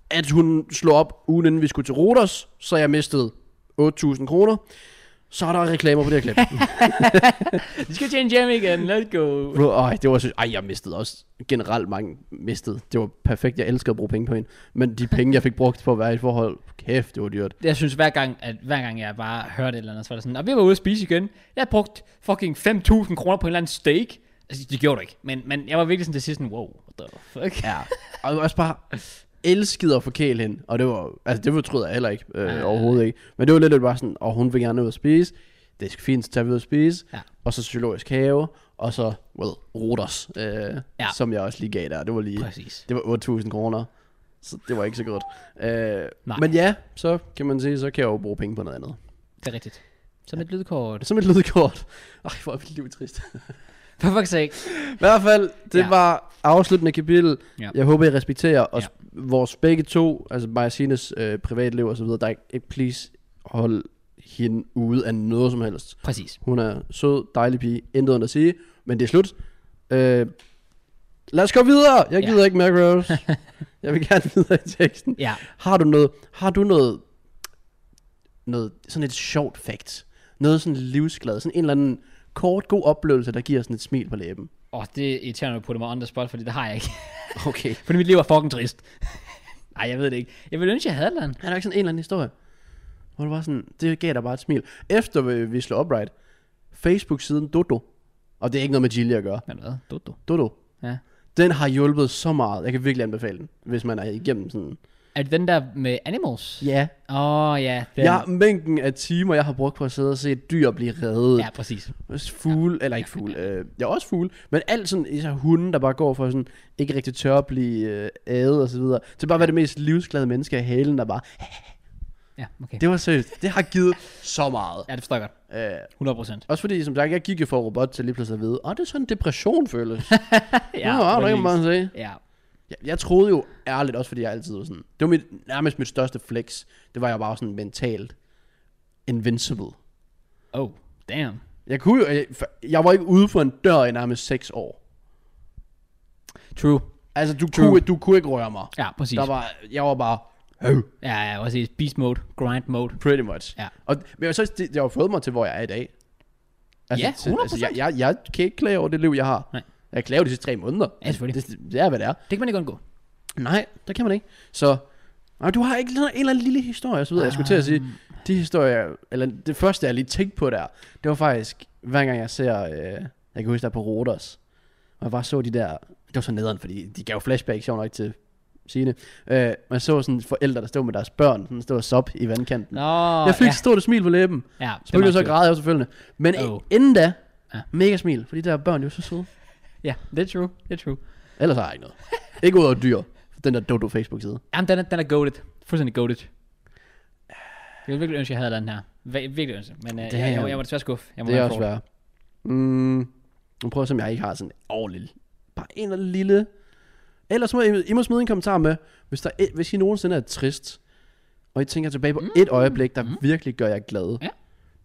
Speaker 2: at hun slog op ugen inden vi skulle til Rodos, så jeg mistede 8.000 kroner, så er der reklamer på det her klip.
Speaker 1: (laughs) Vi skal tjene jam igen, let's go!
Speaker 2: Bro, øj, det var så, ej, jeg mistede også generelt mange mistede. Det var perfekt, jeg elskede at bruge penge på hende. Men de penge, jeg fik brugt på at være i et forhold, kæft, det var dyrt.
Speaker 1: Jeg synes hver gang, at hver gang jeg bare hørte et eller andet, så var det sådan, og vi var ude at spise igen. Jeg har brugt fucking 5.000 kroner på en eller anden steak. Altså, det gjorde du ikke, men, men jeg var virkelig sådan til sidst sådan, wow, what the fuck?
Speaker 2: Ja, og jeg var også bare elskede at forkæle hende, og det var, altså det fortryder jeg heller ikke, øh,
Speaker 1: nej,
Speaker 2: overhovedet ikke. Men det var lidt, lidt bare sådan, og hun vil gerne ud og spise, det er sgu fint, så tager vi ud og spise,
Speaker 1: Ja.
Speaker 2: og så psykologisk have, og så, well, Rodos, øh, ja.
Speaker 1: Ja.
Speaker 2: som jeg også lige gav der, det var lige,
Speaker 1: Præcis.
Speaker 2: det var 8.000 kroner, så det var ikke så godt. Øh,
Speaker 1: Nej.
Speaker 2: men ja, så kan man sige, så kan jeg jo bruge penge på noget andet.
Speaker 1: Det er rigtigt. Som et lydkort.
Speaker 2: Som et lydkort. Ej, hvor er mit liv trist.
Speaker 1: (laughs) For fuck's sake.
Speaker 2: I hvert fald, det ja.
Speaker 1: Ja.
Speaker 2: var afsluttende kapitel. Ja.
Speaker 1: Ja.
Speaker 2: Jeg håber, I respekterer os,
Speaker 1: Ja.
Speaker 2: vores begge to, altså mig og Sines øh, privatliv og så videre. Der er ikke, ikke please hold hende ude af noget som helst.
Speaker 1: Præcis.
Speaker 2: Hun er sød, dejlig pige, intet andet at sige, men det er slut. Øh, lad os gå videre! Jeg
Speaker 1: Ja.
Speaker 2: gider ja. ikke macros.
Speaker 1: (laughs)
Speaker 2: jeg vil gerne videre i teksten.
Speaker 1: Ja.
Speaker 2: Har du noget, har du noget, noget sådan et sjovt fact? Noget sådan livsglad, sådan en eller anden kort, god oplevelse, der giver sådan et smil på læben.
Speaker 1: Og det irriterer mig, at du putter mig on the spot, fordi det har jeg ikke. (laughs)
Speaker 2: Okay.
Speaker 1: fordi mit liv er fucking trist. (laughs) Nej, jeg ved det ikke. Jeg ville ønske, jeg havde et eller andet.
Speaker 2: Er der ikke sådan en eller anden historie? Hvor det var sådan, det gav dig bare et smil. Efter vi, vi slog upright, Facebook-siden Dodo, og det er ikke noget med Gilly at gøre,
Speaker 1: Men hvad? Dodo.
Speaker 2: Dodo,
Speaker 1: Ja.
Speaker 2: den har hjulpet så meget. Jeg kan virkelig anbefale den, hvis man er igennem sådan.
Speaker 1: Er det den der med animals? Åh,
Speaker 2: Ja.
Speaker 1: yeah. oh, ja. Den.
Speaker 2: ja mængden af timer, jeg har brugt på at sidde og se et dyr blive reddet.
Speaker 1: Ja, præcis.
Speaker 2: Fugle, eller ikke fugle, øh, ja også fugle, men alt sådan, især hunde, der bare går for sådan, ikke rigtig tør at blive øh, ædet og så videre, til bare at være det mest livsglade menneske i halen, der bare,
Speaker 1: Ja, okay. Det...
Speaker 2: det var seriøst, det har givet så meget.
Speaker 1: Ja, det forstår jeg godt.
Speaker 2: Øh,
Speaker 1: 100 procent.
Speaker 2: Også fordi, som sagt, jeg gik jo for robot til lige pludselig at vide, åh, det er sådan en depression føles. ja,
Speaker 1: Ja,
Speaker 2: ja, (laughs) det kan
Speaker 1: præcis.
Speaker 2: man bare sige.
Speaker 1: Ja,
Speaker 2: Jeg, jeg troede jo ærligt, også fordi jeg altid var sådan, det var mit, nærmest mit største flex, det var jeg bare sådan mentalt invincible.
Speaker 1: oh, damn.
Speaker 2: Jeg kunne jo, jeg, for- jeg var ikke ude for en dør i nærmest 6 år.
Speaker 1: True.
Speaker 2: Altså, du,
Speaker 1: True.
Speaker 2: kunne, du kunne ikke røre mig.
Speaker 1: Ja, præcis.
Speaker 2: Der var, jeg var bare, øh,
Speaker 1: Ja, ja, præcis. Beast mode, grind mode.
Speaker 2: pretty much.
Speaker 1: Ja.
Speaker 2: Og, men jeg, så, det, det har jo fået mig til, hvor jeg er i dag.
Speaker 1: Ja,
Speaker 2: til- altså,
Speaker 1: 100%.
Speaker 2: jeg, jeg, jeg kan ikke klage over det liv, jeg har.
Speaker 1: Nej.
Speaker 2: Jeg klager over de sidste tre måneder.
Speaker 1: Ja, selvfølgelig.
Speaker 2: Det, det, det er, hvad det er.
Speaker 1: Det kan man ikke undgå.
Speaker 2: Nej, det kan man ikke. Så nej, du har ikke sådan en eller anden lille historie, og så videre. Jeg skulle til at sige,
Speaker 1: Ah.
Speaker 2: de historier, eller det første, jeg lige tænkte på der, det var faktisk, hver gang jeg ser, øh, jeg kan huske der på Rodos, og jeg bare så de der, det var så nederen, fordi de gav flashback, sjovt nok til Signe. Øh, man så sådan forældre, der stod med deres børn, sådan stod og sop i vandkanten.
Speaker 1: Nå,
Speaker 2: jeg fik
Speaker 1: ja.
Speaker 2: et stort smil på læben.
Speaker 1: Ja, det er
Speaker 2: Selvfølgelig
Speaker 1: meget
Speaker 2: så
Speaker 1: cute.
Speaker 2: græd jeg jo selvfølgelig. Men oh.
Speaker 1: Oh.
Speaker 2: inden da,
Speaker 1: Ja.
Speaker 2: mega smil, fordi de der børn, de var så søde.
Speaker 1: Ja, det er true. Det er true.
Speaker 2: Ellers har jeg ikke noget. ikke ud over dyr, den der Dodo Facebook-side.
Speaker 1: Jamen, den er, den er goated. Fuldstændig (sighs) goated. Jeg ville virkelig ønske, jeg havde den her. Vir- virkelig ønske. Men øh, jeg, jeg, jeg, var desværre skuffet. Jeg må
Speaker 2: Det er
Speaker 1: være
Speaker 2: også
Speaker 1: forward.
Speaker 2: svært. Mm, nu prøver jeg, som jeg ikke har sådan en ordentlig, bare en eller anden lille. Ellers må I, I må smide en kommentar med, hvis, der, hvis I nogensinde er trist, og I tænker tilbage på mm. et øjeblik, der mm. virkelig gør jer glade.
Speaker 1: Ja.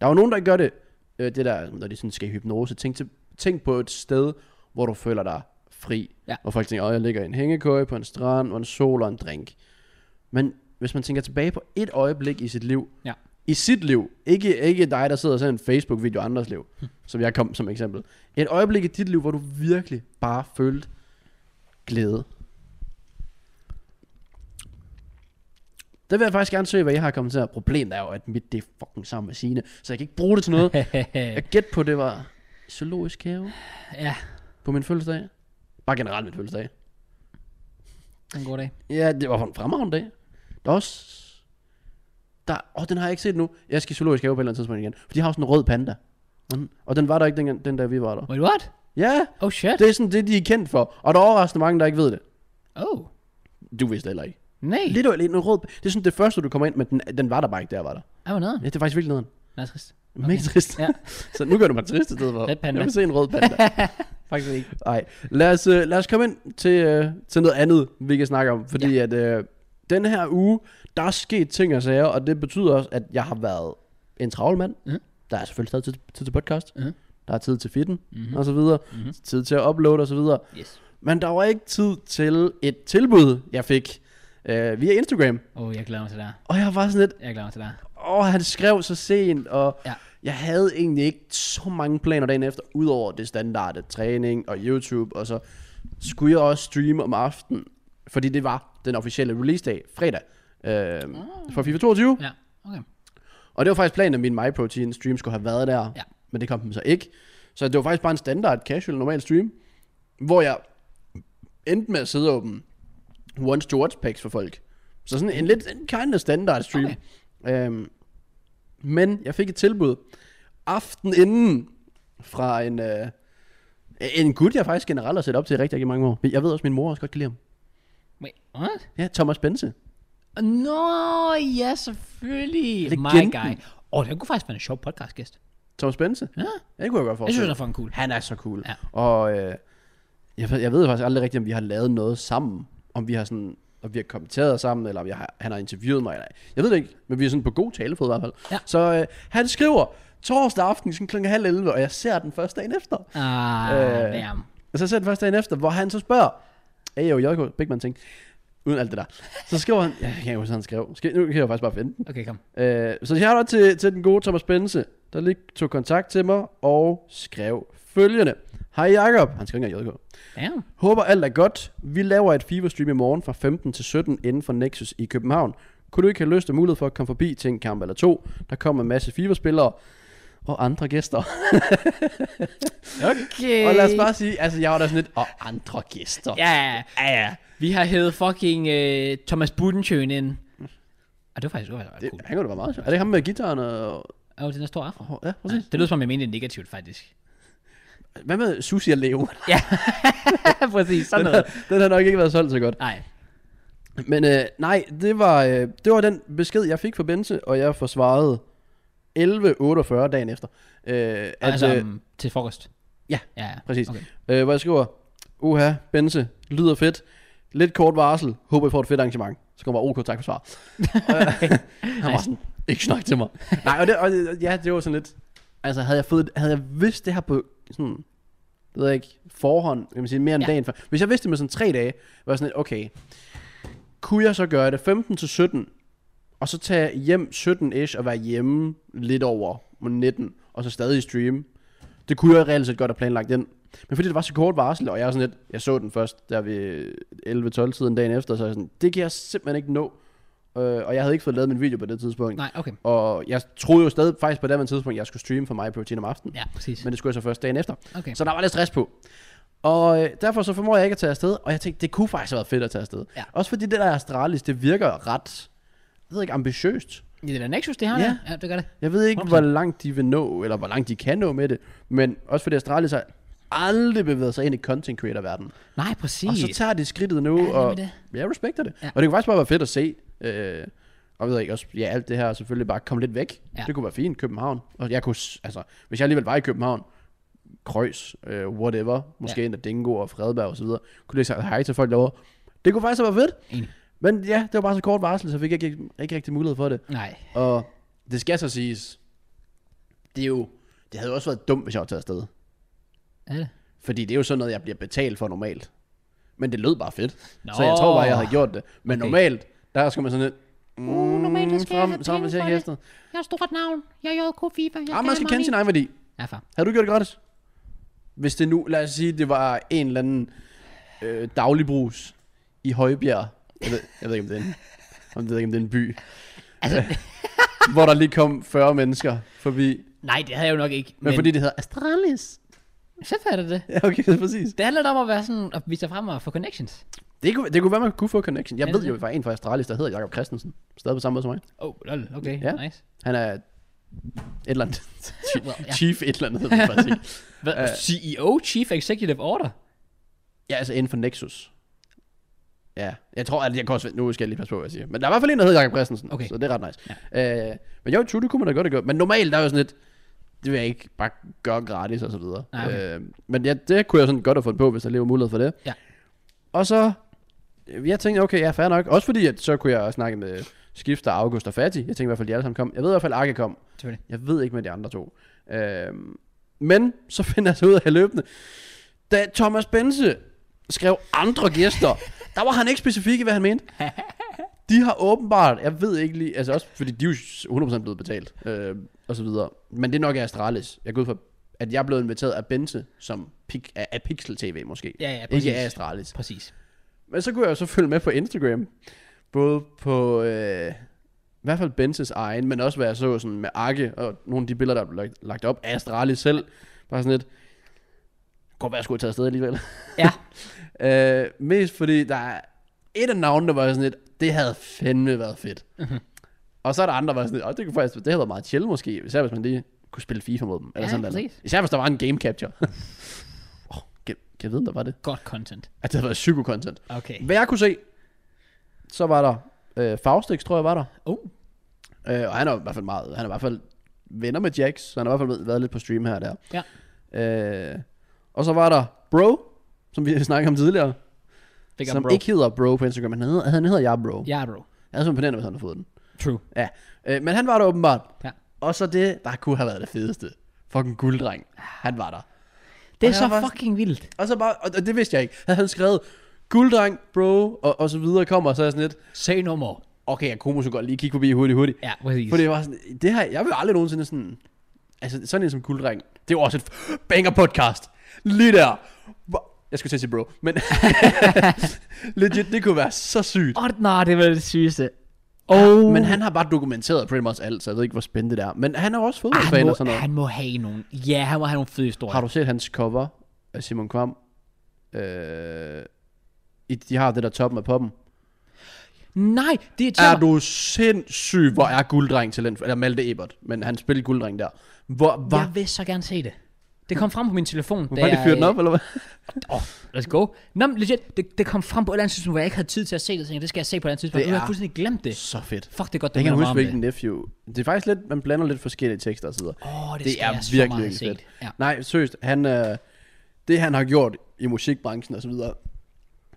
Speaker 2: Der er jo nogen, der gør det, øh, det der, når de sådan skal i hypnose. Tænk, til, tænk på et sted, hvor du føler dig fri.
Speaker 1: Ja.
Speaker 2: Hvor folk tænker, at jeg ligger i en hængekøje på en strand, og en sol og en drink. Men hvis man tænker tilbage på et øjeblik i sit liv,
Speaker 1: Ja.
Speaker 2: i sit liv, ikke, ikke dig, der sidder og ser en Facebook-video af andres liv,
Speaker 1: Hm.
Speaker 2: som jeg kom som eksempel. Et øjeblik i dit liv, hvor du virkelig bare følte glæde. Det vil jeg faktisk gerne se, hvad jeg har kommenteret. Problemet er jo, at mit det er fucking sammen med sine, så jeg kan ikke bruge det til noget. (laughs) Jeg gæt på, det var zoologisk have
Speaker 1: ja,
Speaker 2: på min fødselsdag. Bare generelt min fødselsdag.
Speaker 1: en god dag.
Speaker 2: Ja, det var en fremragende dag. Der er også... Der, åh, den har jeg ikke set nu. Jeg skal i zoologisk have på et eller andet tidspunkt igen. For de har jo sådan en rød panda. Og den- Og den var der ikke den, den dag, vi var der.
Speaker 1: Wait, what?
Speaker 2: Ja,
Speaker 1: Oh shit.
Speaker 2: det er sådan det, de er kendt for. Og der er overraskende mange, der ikke ved det.
Speaker 1: Oh,
Speaker 2: Du vidste det heller ikke.
Speaker 1: nej.
Speaker 2: Lidt og lidt en rød Det er sådan det første, du kommer ind, men den, den var der bare ikke, der var der.
Speaker 1: Ej, hvor nederen.
Speaker 2: Ja, det er faktisk virkelig noget.
Speaker 1: Nej, trist.
Speaker 2: Okay. Mega trist.
Speaker 1: Ja.
Speaker 2: (laughs) Så nu gør du mig trist i stedet for.
Speaker 1: Red panda.
Speaker 2: Jeg vil se en rød panda.
Speaker 1: (laughs) Faktisk ikke.
Speaker 2: Nej, lad os, øh, lad os komme ind til, øh, til noget andet, vi kan snakke om. Fordi ja. at øh, den her uge, der er sket ting og sager, og det betyder også, at jeg har været en travl mand.
Speaker 1: Mhm.
Speaker 2: Der er selvfølgelig stadig tid, tid til podcast.
Speaker 1: Mhm.
Speaker 2: Der er tid til fitten
Speaker 1: Mhm.
Speaker 2: og så videre.
Speaker 1: Mhm.
Speaker 2: Tid til at uploade og så videre.
Speaker 1: Yes.
Speaker 2: Men der var ikke tid til et tilbud, jeg fik øh, via Instagram.
Speaker 1: Åh, oh, jeg glæder mig til det her.
Speaker 2: Og jeg var sådan lidt,
Speaker 1: Jeg glæder mig til det her.
Speaker 2: åh, han skrev så sent, og
Speaker 1: Ja.
Speaker 2: ja. jeg havde egentlig ikke så mange planer dagen efter, udover det standarde træning og YouTube, og så skulle jeg også streame om aftenen, fordi det var den officielle release-dag, fredag, øh, for FIFA 22.
Speaker 1: Ja, okay.
Speaker 2: Og det var faktisk planen, at min MyProtein stream skulle have været der,
Speaker 1: Ja.
Speaker 2: men det kom den så ikke. Så det var faktisk bare en standard casual normal stream, hvor jeg endte med at sidde og åbne once to watch packs for folk. Så sådan en lidt en kind of standard stream. Okay. Øhm, men jeg fik et tilbud aften inden fra en, øh, en gut, jeg faktisk generelt har set op til i rigtig, rigtig mange år. Jeg ved også, at min mor også godt kan lide ham.
Speaker 1: Wait, what?
Speaker 2: Ja, Thomas Bense.
Speaker 1: Nå, ja, selvfølgelig. My
Speaker 2: Legenden.
Speaker 1: guy. Åh, oh, det kunne faktisk være en sjov podcastgæst.
Speaker 2: Thomas Bense?
Speaker 1: Ja,
Speaker 2: Ja, det kunne jeg godt forestille
Speaker 1: jeg synes, han er fucking cool.
Speaker 2: Han er så cool.
Speaker 1: Ja.
Speaker 2: Og øh, jeg, ved- jeg ved faktisk aldrig rigtigt, om vi har lavet noget sammen. Om vi har sådan om vi har kommenteret sammen, eller om jeg har, han har interviewet mig. Eller, jeg ved det ikke, men vi er sådan på god talefod i hvert fald.
Speaker 1: Ja.
Speaker 2: Så øh, han skriver torsdag aften sådan kl. halv 11, og jeg ser den første dagen efter.
Speaker 1: Ah,
Speaker 2: Øh,
Speaker 1: damn.
Speaker 2: Og så ser jeg den første dagen efter, hvor han så spørger, Ayo, JK, Big Man ting, uden alt det der. Så skriver han, ja, jeg kan ikke huske, hvad han skrev. Skal, nu kan jeg faktisk bare finde den.
Speaker 1: Okay, kom.
Speaker 2: Øh, så jeg har til, til den gode Thomas Bense, der lige tog kontakt til mig og skrev følgende. Hej Jakob, han skrev ikke engang JK.
Speaker 1: Damn.
Speaker 2: Håber alt er godt. Vi laver et FIFA-stream i morgen fra 15 til 17 inden for Nexus i København. Kunne du ikke have lyst og mulighed for at komme forbi til en kamp eller to? Der kommer en masse FIFA-spillere og andre gæster.
Speaker 1: Okay.
Speaker 2: Og lad os bare sige, altså jeg var da sådan lidt, og andre gæster.
Speaker 1: Ja, ja, ja.
Speaker 2: ja. ja.
Speaker 1: Vi har hævet fucking øh, Thomas Budensjøen ind. Og det var faktisk, det var faktisk
Speaker 2: Det,
Speaker 1: cool.
Speaker 2: han kunne da være meget sjovt. Er det ham med gitaren og...
Speaker 1: Åh, oh, den er stor afro.
Speaker 2: og- Ja,
Speaker 1: Ja,
Speaker 2: præcis.
Speaker 1: det lyder som om, jeg mente det negativt,
Speaker 2: (laughs)
Speaker 1: faktisk.
Speaker 2: Hvad med Susie og Leo?
Speaker 1: Præcis, sådan
Speaker 2: Den,
Speaker 1: noget.
Speaker 2: har- den har nok ikke været solgt så godt.
Speaker 1: Nej.
Speaker 2: Men øh, nej, det var, øh, det var den besked, jeg fik fra Bense, og jeg forsvarede 11.48 dagen efter. Øh, at,
Speaker 1: Altså,
Speaker 2: øh,
Speaker 1: um, til frokost.
Speaker 2: ja,
Speaker 1: Ja, ja.
Speaker 2: præcis.
Speaker 1: Okay.
Speaker 2: øh, hvor jeg skriver, uha, Bense, lyder fedt, lidt kort varsel, håber I får et fedt arrangement. Så kommer bare, ok, tak for svar. Øh, (laughs) Han var sådan, ikke snak til mig. (laughs) Nej, og, det, og det, ja, det var sådan lidt, altså havde jeg, fået, havde jeg vidst det her på sådan, det ved jeg ikke, forhånd, kan man sige, mere end
Speaker 1: Ja.
Speaker 2: ja. dagen før. Hvis jeg vidste det med sådan tre dage, var jeg sådan lidt, okay, kunne jeg så gøre det 15 til 17, og så tage hjem 17-ish og være hjemme lidt over 19, og så stadig streame. Det kunne jeg reelt set godt have planlagt den. Men fordi det var så kort varsel, og jeg er sådan lidt, jeg så den først der ved 11-12 tiden dagen efter, så er jeg sådan, det kan jeg simpelthen ikke nå. Øh, og jeg havde ikke fået lavet min video på det tidspunkt.
Speaker 1: Nej, okay.
Speaker 2: Og jeg troede jo stadig faktisk på det her tidspunkt, jeg skulle streame for mig protein om aftenen.
Speaker 1: Ja, præcis.
Speaker 2: Men det skulle jeg så først dagen efter.
Speaker 1: Okay.
Speaker 2: Så der var lidt stress på. Og øh, derfor så formår jeg ikke at tage afsted, og jeg tænkte, det kunne faktisk have været fedt at tage afsted.
Speaker 1: Ja.
Speaker 2: Også fordi det der Astralis, det virker ret, jeg ved ikke, ambitiøst.
Speaker 1: Det er da Nexus, det har
Speaker 2: Ja.
Speaker 1: ja. ja, det gør det.
Speaker 2: Jeg ved ikke,
Speaker 1: 100%.
Speaker 2: hvor langt de vil nå, eller hvor langt de kan nå med det, men også fordi Astralis har aldrig bevæget sig ind i content creator-verdenen.
Speaker 1: Nej, præcis.
Speaker 2: Og så tager de skridtet
Speaker 1: Ja,
Speaker 2: nu,
Speaker 1: det er
Speaker 2: og
Speaker 1: det.
Speaker 2: jeg respekter det.
Speaker 1: Ja.
Speaker 2: Ja. Og det kunne faktisk bare være fedt at se, øh, og ved jeg ikke, også, ja, alt det her selvfølgelig bare komme lidt væk.
Speaker 1: Ja.
Speaker 2: Ja. Det kunne være fint, København. Og jeg kunne, s- altså, hvis jeg alligevel var i København, Kreuz, øh, whatever, måske ja. endda Dingo og Fredberg og så videre, kunne lige sagt hej til folk derovre. Det kunne faktisk have været fedt.
Speaker 1: Enig.
Speaker 2: Men ja, det var bare så kort varsel, så fik jeg ikke, ikke rigtig mulighed for det.
Speaker 1: Nej.
Speaker 2: Og det skal så siges, det er jo, det havde jo også været dumt, hvis jeg var taget afsted.
Speaker 1: Er det?
Speaker 2: Fordi det er jo sådan noget, jeg bliver betalt for normalt. Men det lød bare fedt.
Speaker 1: Nå.
Speaker 2: Nå. Så jeg tror bare, jeg havde gjort det. Men
Speaker 1: Okay.
Speaker 2: okay. normalt, der skal man sådan lidt, mm, uh,
Speaker 3: normalt, der skal jeg have
Speaker 2: så man
Speaker 3: penge
Speaker 2: ser
Speaker 3: for
Speaker 2: hesten.
Speaker 3: Jeg har stort navn. Jeg er JK FIFA. Jeg
Speaker 2: Ah, man skal kende sin egen værdi.
Speaker 1: Ja, far.
Speaker 2: Har du gjort det gratis? Hvis det nu, lad os sige, det var en eller anden øh, dagligbrus i Højbjerg. Jeg ved, jeg ved ikke, om det er en, om det, er, om det er en by. (laughs) Altså. hvor der lige kom 40 mennesker forbi.
Speaker 1: (laughs) Nej, det havde jeg jo nok ikke.
Speaker 2: Men, men fordi det hedder Astralis.
Speaker 1: Selvfølgelig er det det.
Speaker 2: Ja, okay, det er præcis.
Speaker 1: Det handler da om at være sådan, at vise sig frem og få connections.
Speaker 2: Det kunne, det kunne være, man kunne få connection. Jeg
Speaker 1: Ja,
Speaker 2: ved
Speaker 1: det-
Speaker 2: jo, at der er en fra Astralis, der hedder Jakob Christensen. Stadig på samme måde som mig.
Speaker 1: Oh, lol, okay,
Speaker 2: Ja.
Speaker 1: nice.
Speaker 2: Han er et eller andet. Chief,
Speaker 1: Well, ja.
Speaker 2: chief et eller andet, hedder det
Speaker 1: (laughs)
Speaker 2: faktisk.
Speaker 1: Hvad?
Speaker 2: Øh.
Speaker 1: CEO, Chief Executive Order?
Speaker 2: Ja, altså inden for Nexus. Ja, jeg tror, at jeg kan også... Nu skal jeg lige passe på, hvad jeg siger. Men der er i hvert fald en, der hedder Jakob Christensen.
Speaker 1: Okay.
Speaker 2: Så det er ret nice. Ja. Øh, men jo, true, det kunne man da godt have gjort. Men normalt, der er jo sådan lidt... Det vil jeg ikke bare gøre gratis og så videre.
Speaker 1: Nej, okay.
Speaker 2: øh, men ja, det kunne jeg sådan godt have fundet på, hvis der lige var mulighed for det.
Speaker 1: Ja.
Speaker 2: Og så... øh, Jeg tænkte, okay, ja, fair nok. Også fordi, at så kunne jeg snakke med Skifter, August og Fati. Jeg tænkte i hvert fald, de alle sammen kom. Jeg ved i hvert fald, at Arke kom.
Speaker 1: Selvfølgelig.
Speaker 2: Jeg ved ikke med de andre to. Øhm, men så (laughs) finder jeg så ud af løbende, da Thomas Bense skrev andre
Speaker 1: (laughs)
Speaker 2: gæster, der var han ikke specifik i, hvad han mente. De har åbenbart, jeg ved ikke lige, altså også fordi de er jo 100% blevet betalt, øh, og så videre. Men det er nok af Astralis. Jeg går ud fra, at jeg er blevet inviteret af Bense, som pik, af, af Pixel TV måske.
Speaker 1: Ja, ja, præcis.
Speaker 2: ikke af Astralis.
Speaker 1: Præcis.
Speaker 2: Men så kunne jeg jo så følge med på Instagram. Både på, øh, i hvert fald Benses egen, men også hvad jeg så sådan med Arke, og nogle af de billeder, der blev lagt, lagt op af Astralis selv. Bare sådan lidt, godt være, jeg skulle have taget afsted alligevel.
Speaker 1: Ja.
Speaker 2: (laughs) øh, mest fordi, der er et af navnene, der var sådan lidt, det havde fandme været fedt.
Speaker 1: Mhm.
Speaker 2: og så er der andre, der var sådan lidt, "Åh, det kunne faktisk, det havde været meget chill måske, især hvis man lige kunne spille FIFA mod dem. Eller
Speaker 1: Ja,
Speaker 2: sådan noget.
Speaker 1: præcis.
Speaker 2: Især hvis der var en game capture. (laughs) oh, kan, kan jeg vide, om der var det?
Speaker 1: Godt content.
Speaker 2: At det havde været psykokontent.
Speaker 1: Okay.
Speaker 2: Hvad jeg kunne se, så var der øh, Faustix, tror jeg var der.
Speaker 1: Oh,
Speaker 2: Øh, og han er i hvert fald meget, han er i hvert fald venner med Jax, så han har i hvert fald været lidt på stream her og der.
Speaker 1: Ja.
Speaker 2: Øh, og så var der Bro, som vi (laughs) snakkede om tidligere,
Speaker 1: big up,
Speaker 2: som
Speaker 1: bro.
Speaker 2: ikke hedder Bro på Instagram, han hedder, han hedder jeg Bro.
Speaker 1: Ja, bro.
Speaker 2: Jeg er så imponerende, hvis han har fået den.
Speaker 1: True.
Speaker 2: Ja. Øh, men han var der åbenbart.
Speaker 1: Ja.
Speaker 2: Og så det, der kunne have været det fedeste. Fucking gulddreng. Han var der.
Speaker 1: Det er
Speaker 2: Og
Speaker 1: så
Speaker 2: jeg var-
Speaker 1: fucking vildt.
Speaker 2: Og så bare, og og det vidste jeg ikke. Havde han skrevet, gulddreng, bro, og, og så videre kommer, og så er jeg sådan lidt,
Speaker 1: Say no more.
Speaker 2: okay, jeg kunne måske godt lige kigge forbi hurtigt, hurtigt.
Speaker 1: Ja, præcis.
Speaker 2: Fordi det var sådan, det her, jeg vil aldrig nogensinde sådan, altså sådan en som Gulddreng, det var også et f- banger podcast. Lige der. Hvor- Jeg skulle til at sige bro, men (laughs) legit, det kunne være så sygt.
Speaker 1: Åh, nej, det var det sygeste. Oh.
Speaker 2: Men han har bare dokumenteret pretty much alt, så jeg ved ikke, hvor spændende det er. Men han er jo også
Speaker 1: Ah, han,
Speaker 2: fodboldfan
Speaker 1: må,
Speaker 2: og sådan noget.
Speaker 1: han må have nogen. Ja, han må have nogle fede historier.
Speaker 2: Har du set hans cover af Simon Kvam? Øh, i- de har det der toppen af poppen.
Speaker 1: Nej, det er
Speaker 2: Er
Speaker 1: Tjammer.
Speaker 2: du sindssyg, hvor er gulddreng talent? Eller Malte Ebert, men han spillede gulddreng der. Hvor,
Speaker 1: Jeg
Speaker 2: var,
Speaker 1: vil så gerne se det. Det kom frem på min telefon. da
Speaker 2: var det
Speaker 1: jeg-
Speaker 2: fyret den op, eller hvad?
Speaker 1: Åh, oh, let's go. Nå, men legit, det, det kom frem på et eller andet tidspunkt, hvor jeg ikke havde tid til at se det. Så jeg tænkte, det skal jeg se på et eller andet tidspunkt.
Speaker 2: Det
Speaker 1: Nu har
Speaker 2: er-
Speaker 1: jeg fuldstændig glemt det.
Speaker 2: Så fedt.
Speaker 1: Fuck, det er godt, du
Speaker 2: Jeg
Speaker 1: minder
Speaker 2: kan
Speaker 1: mig
Speaker 2: huske,
Speaker 1: om
Speaker 2: hvilken nephew. Det er faktisk lidt, man blander lidt forskellige tekster og så videre.
Speaker 1: Åh, oh, det,
Speaker 2: det
Speaker 1: skal
Speaker 2: er
Speaker 1: jeg så
Speaker 2: virkelig,
Speaker 1: meget
Speaker 2: virkelig
Speaker 1: have
Speaker 2: fedt.
Speaker 1: set. Ja.
Speaker 2: Nej, seriøst, han, øh, det han har gjort i musikbranchen og så videre,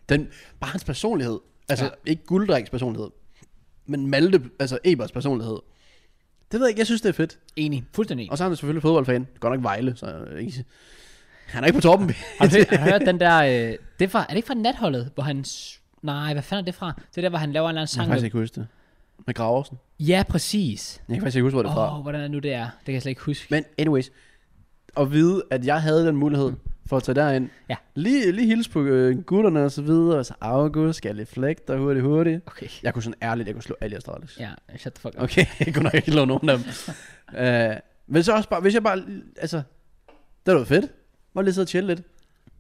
Speaker 2: den, bare hans personlighed, altså
Speaker 1: Ja.
Speaker 2: ja. ikke Gulddriks personlighed, men Malte, altså Ebers personlighed, det ved jeg ikke, jeg synes det er fedt.
Speaker 1: Enig. Fuldstændig enig.
Speaker 2: Og så er han selvfølgelig fodboldfan, godt nok Vejle, så øh, ikke, han er ikke på toppen.
Speaker 1: Har du
Speaker 2: (laughs)
Speaker 1: set- har du hørt den der... Øh, det er, fra, er det ikke fra natholdet, hvor han... s- Nej, hvad fanden er det fra? Det er der, hvor han laver en eller anden
Speaker 2: jeg
Speaker 1: sang.
Speaker 2: kan faktisk ikke huske det. Med Graversen.
Speaker 1: med- Ja, præcis.
Speaker 2: Jeg kan faktisk ikke huske, hvor det er fra.
Speaker 1: Åh, oh, hvordan er det nu det er? Det kan jeg slet ikke huske.
Speaker 2: Men anyways, at vide, at jeg havde den mulighed for at tage derind.
Speaker 1: Mm. Ja.
Speaker 2: Lige, lige hilse på øh, gutterne og så videre, og så August, skal jeg lidt flægte dig hurtigt, hurtigt.
Speaker 1: Okay.
Speaker 2: Jeg kunne sådan ærligt, jeg kunne slå alle Astralis.
Speaker 1: Ja, shut the fuck up.
Speaker 2: Okay, (laughs) jeg kunne nok ikke slå nogen
Speaker 1: (laughs)
Speaker 2: af dem. øh, men så også bare, hvis jeg bare, altså, det var fedt. Bare lige sidde og chille lidt.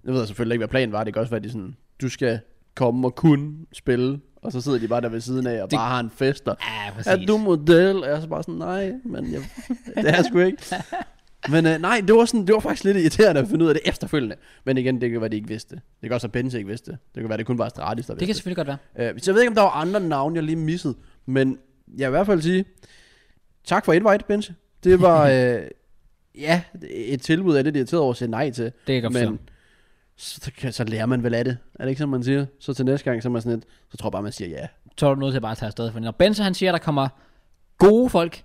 Speaker 2: Jeg ved selvfølgelig ikke, hvad planen var. Det kan også være, at de sådan, du skal komme og kun spille, og så sidder de bare der ved siden af og
Speaker 1: Det-
Speaker 2: bare har en fest. Og,
Speaker 1: Ja,
Speaker 2: er
Speaker 1: præcis.
Speaker 2: du model? Og jeg er så bare sådan, nej, men jeg, det er jeg sgu ikke. Men øh, nej, det var, sådan, det var faktisk lidt irriterende at finde ud af det efterfølgende. Men igen, det kan være, de ikke vidste. det. Det kan også være, Benz ikke vidste. det. Det kan være, det kun var Astralis, der
Speaker 1: Det
Speaker 2: vidste.
Speaker 1: kan
Speaker 2: det.
Speaker 1: selvfølgelig godt være.
Speaker 2: Øh, så jeg ved ikke, om der var andre navne, jeg lige missede. Men jeg vil i hvert fald sige, tak for invite, Benz.
Speaker 1: (laughs)
Speaker 2: Det var, øh, ja, et tilbud, jeg er lidt irriteret over at sige nej til.
Speaker 1: Det kan jeg godt
Speaker 2: Men så, så, kan- så lærer man vel af det. Er det ikke sådan, man siger? Så til næste gang, så er man sådan lidt, så tror jeg bare, man siger ja.
Speaker 1: Så er du nødt til at bare tage afsted for det. Når Benzo han siger, at der kommer gode folk,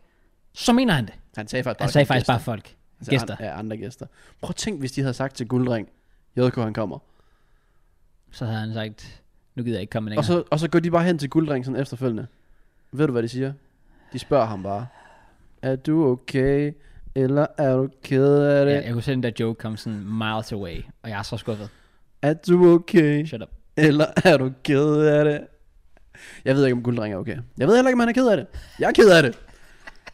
Speaker 1: så mener han det.
Speaker 2: Han sagde faktisk bare,
Speaker 1: Han sagde
Speaker 2: gæster.
Speaker 1: faktisk bare folk.
Speaker 2: Altså,
Speaker 1: Gæster.
Speaker 2: An, ja, andre gæster. Prøv at tænk, hvis de havde sagt til Guldring, JK han kommer.
Speaker 1: Så havde han sagt, nu gider jeg ikke komme
Speaker 2: Og
Speaker 1: længere.
Speaker 2: så, og så går de bare hen til Guldring sådan efterfølgende. Ved du, hvad de siger? De spørger ham bare, er du okay, eller er du ked af det?
Speaker 1: jeg, jeg kunne se den der joke komme sådan miles away, og jeg er så skuffet.
Speaker 2: Er du okay,
Speaker 1: Shut up.
Speaker 2: eller er du ked af det? Jeg ved ikke, om Guldring er okay. Jeg ved heller ikke, om han er ked af det. Jeg er ked af det.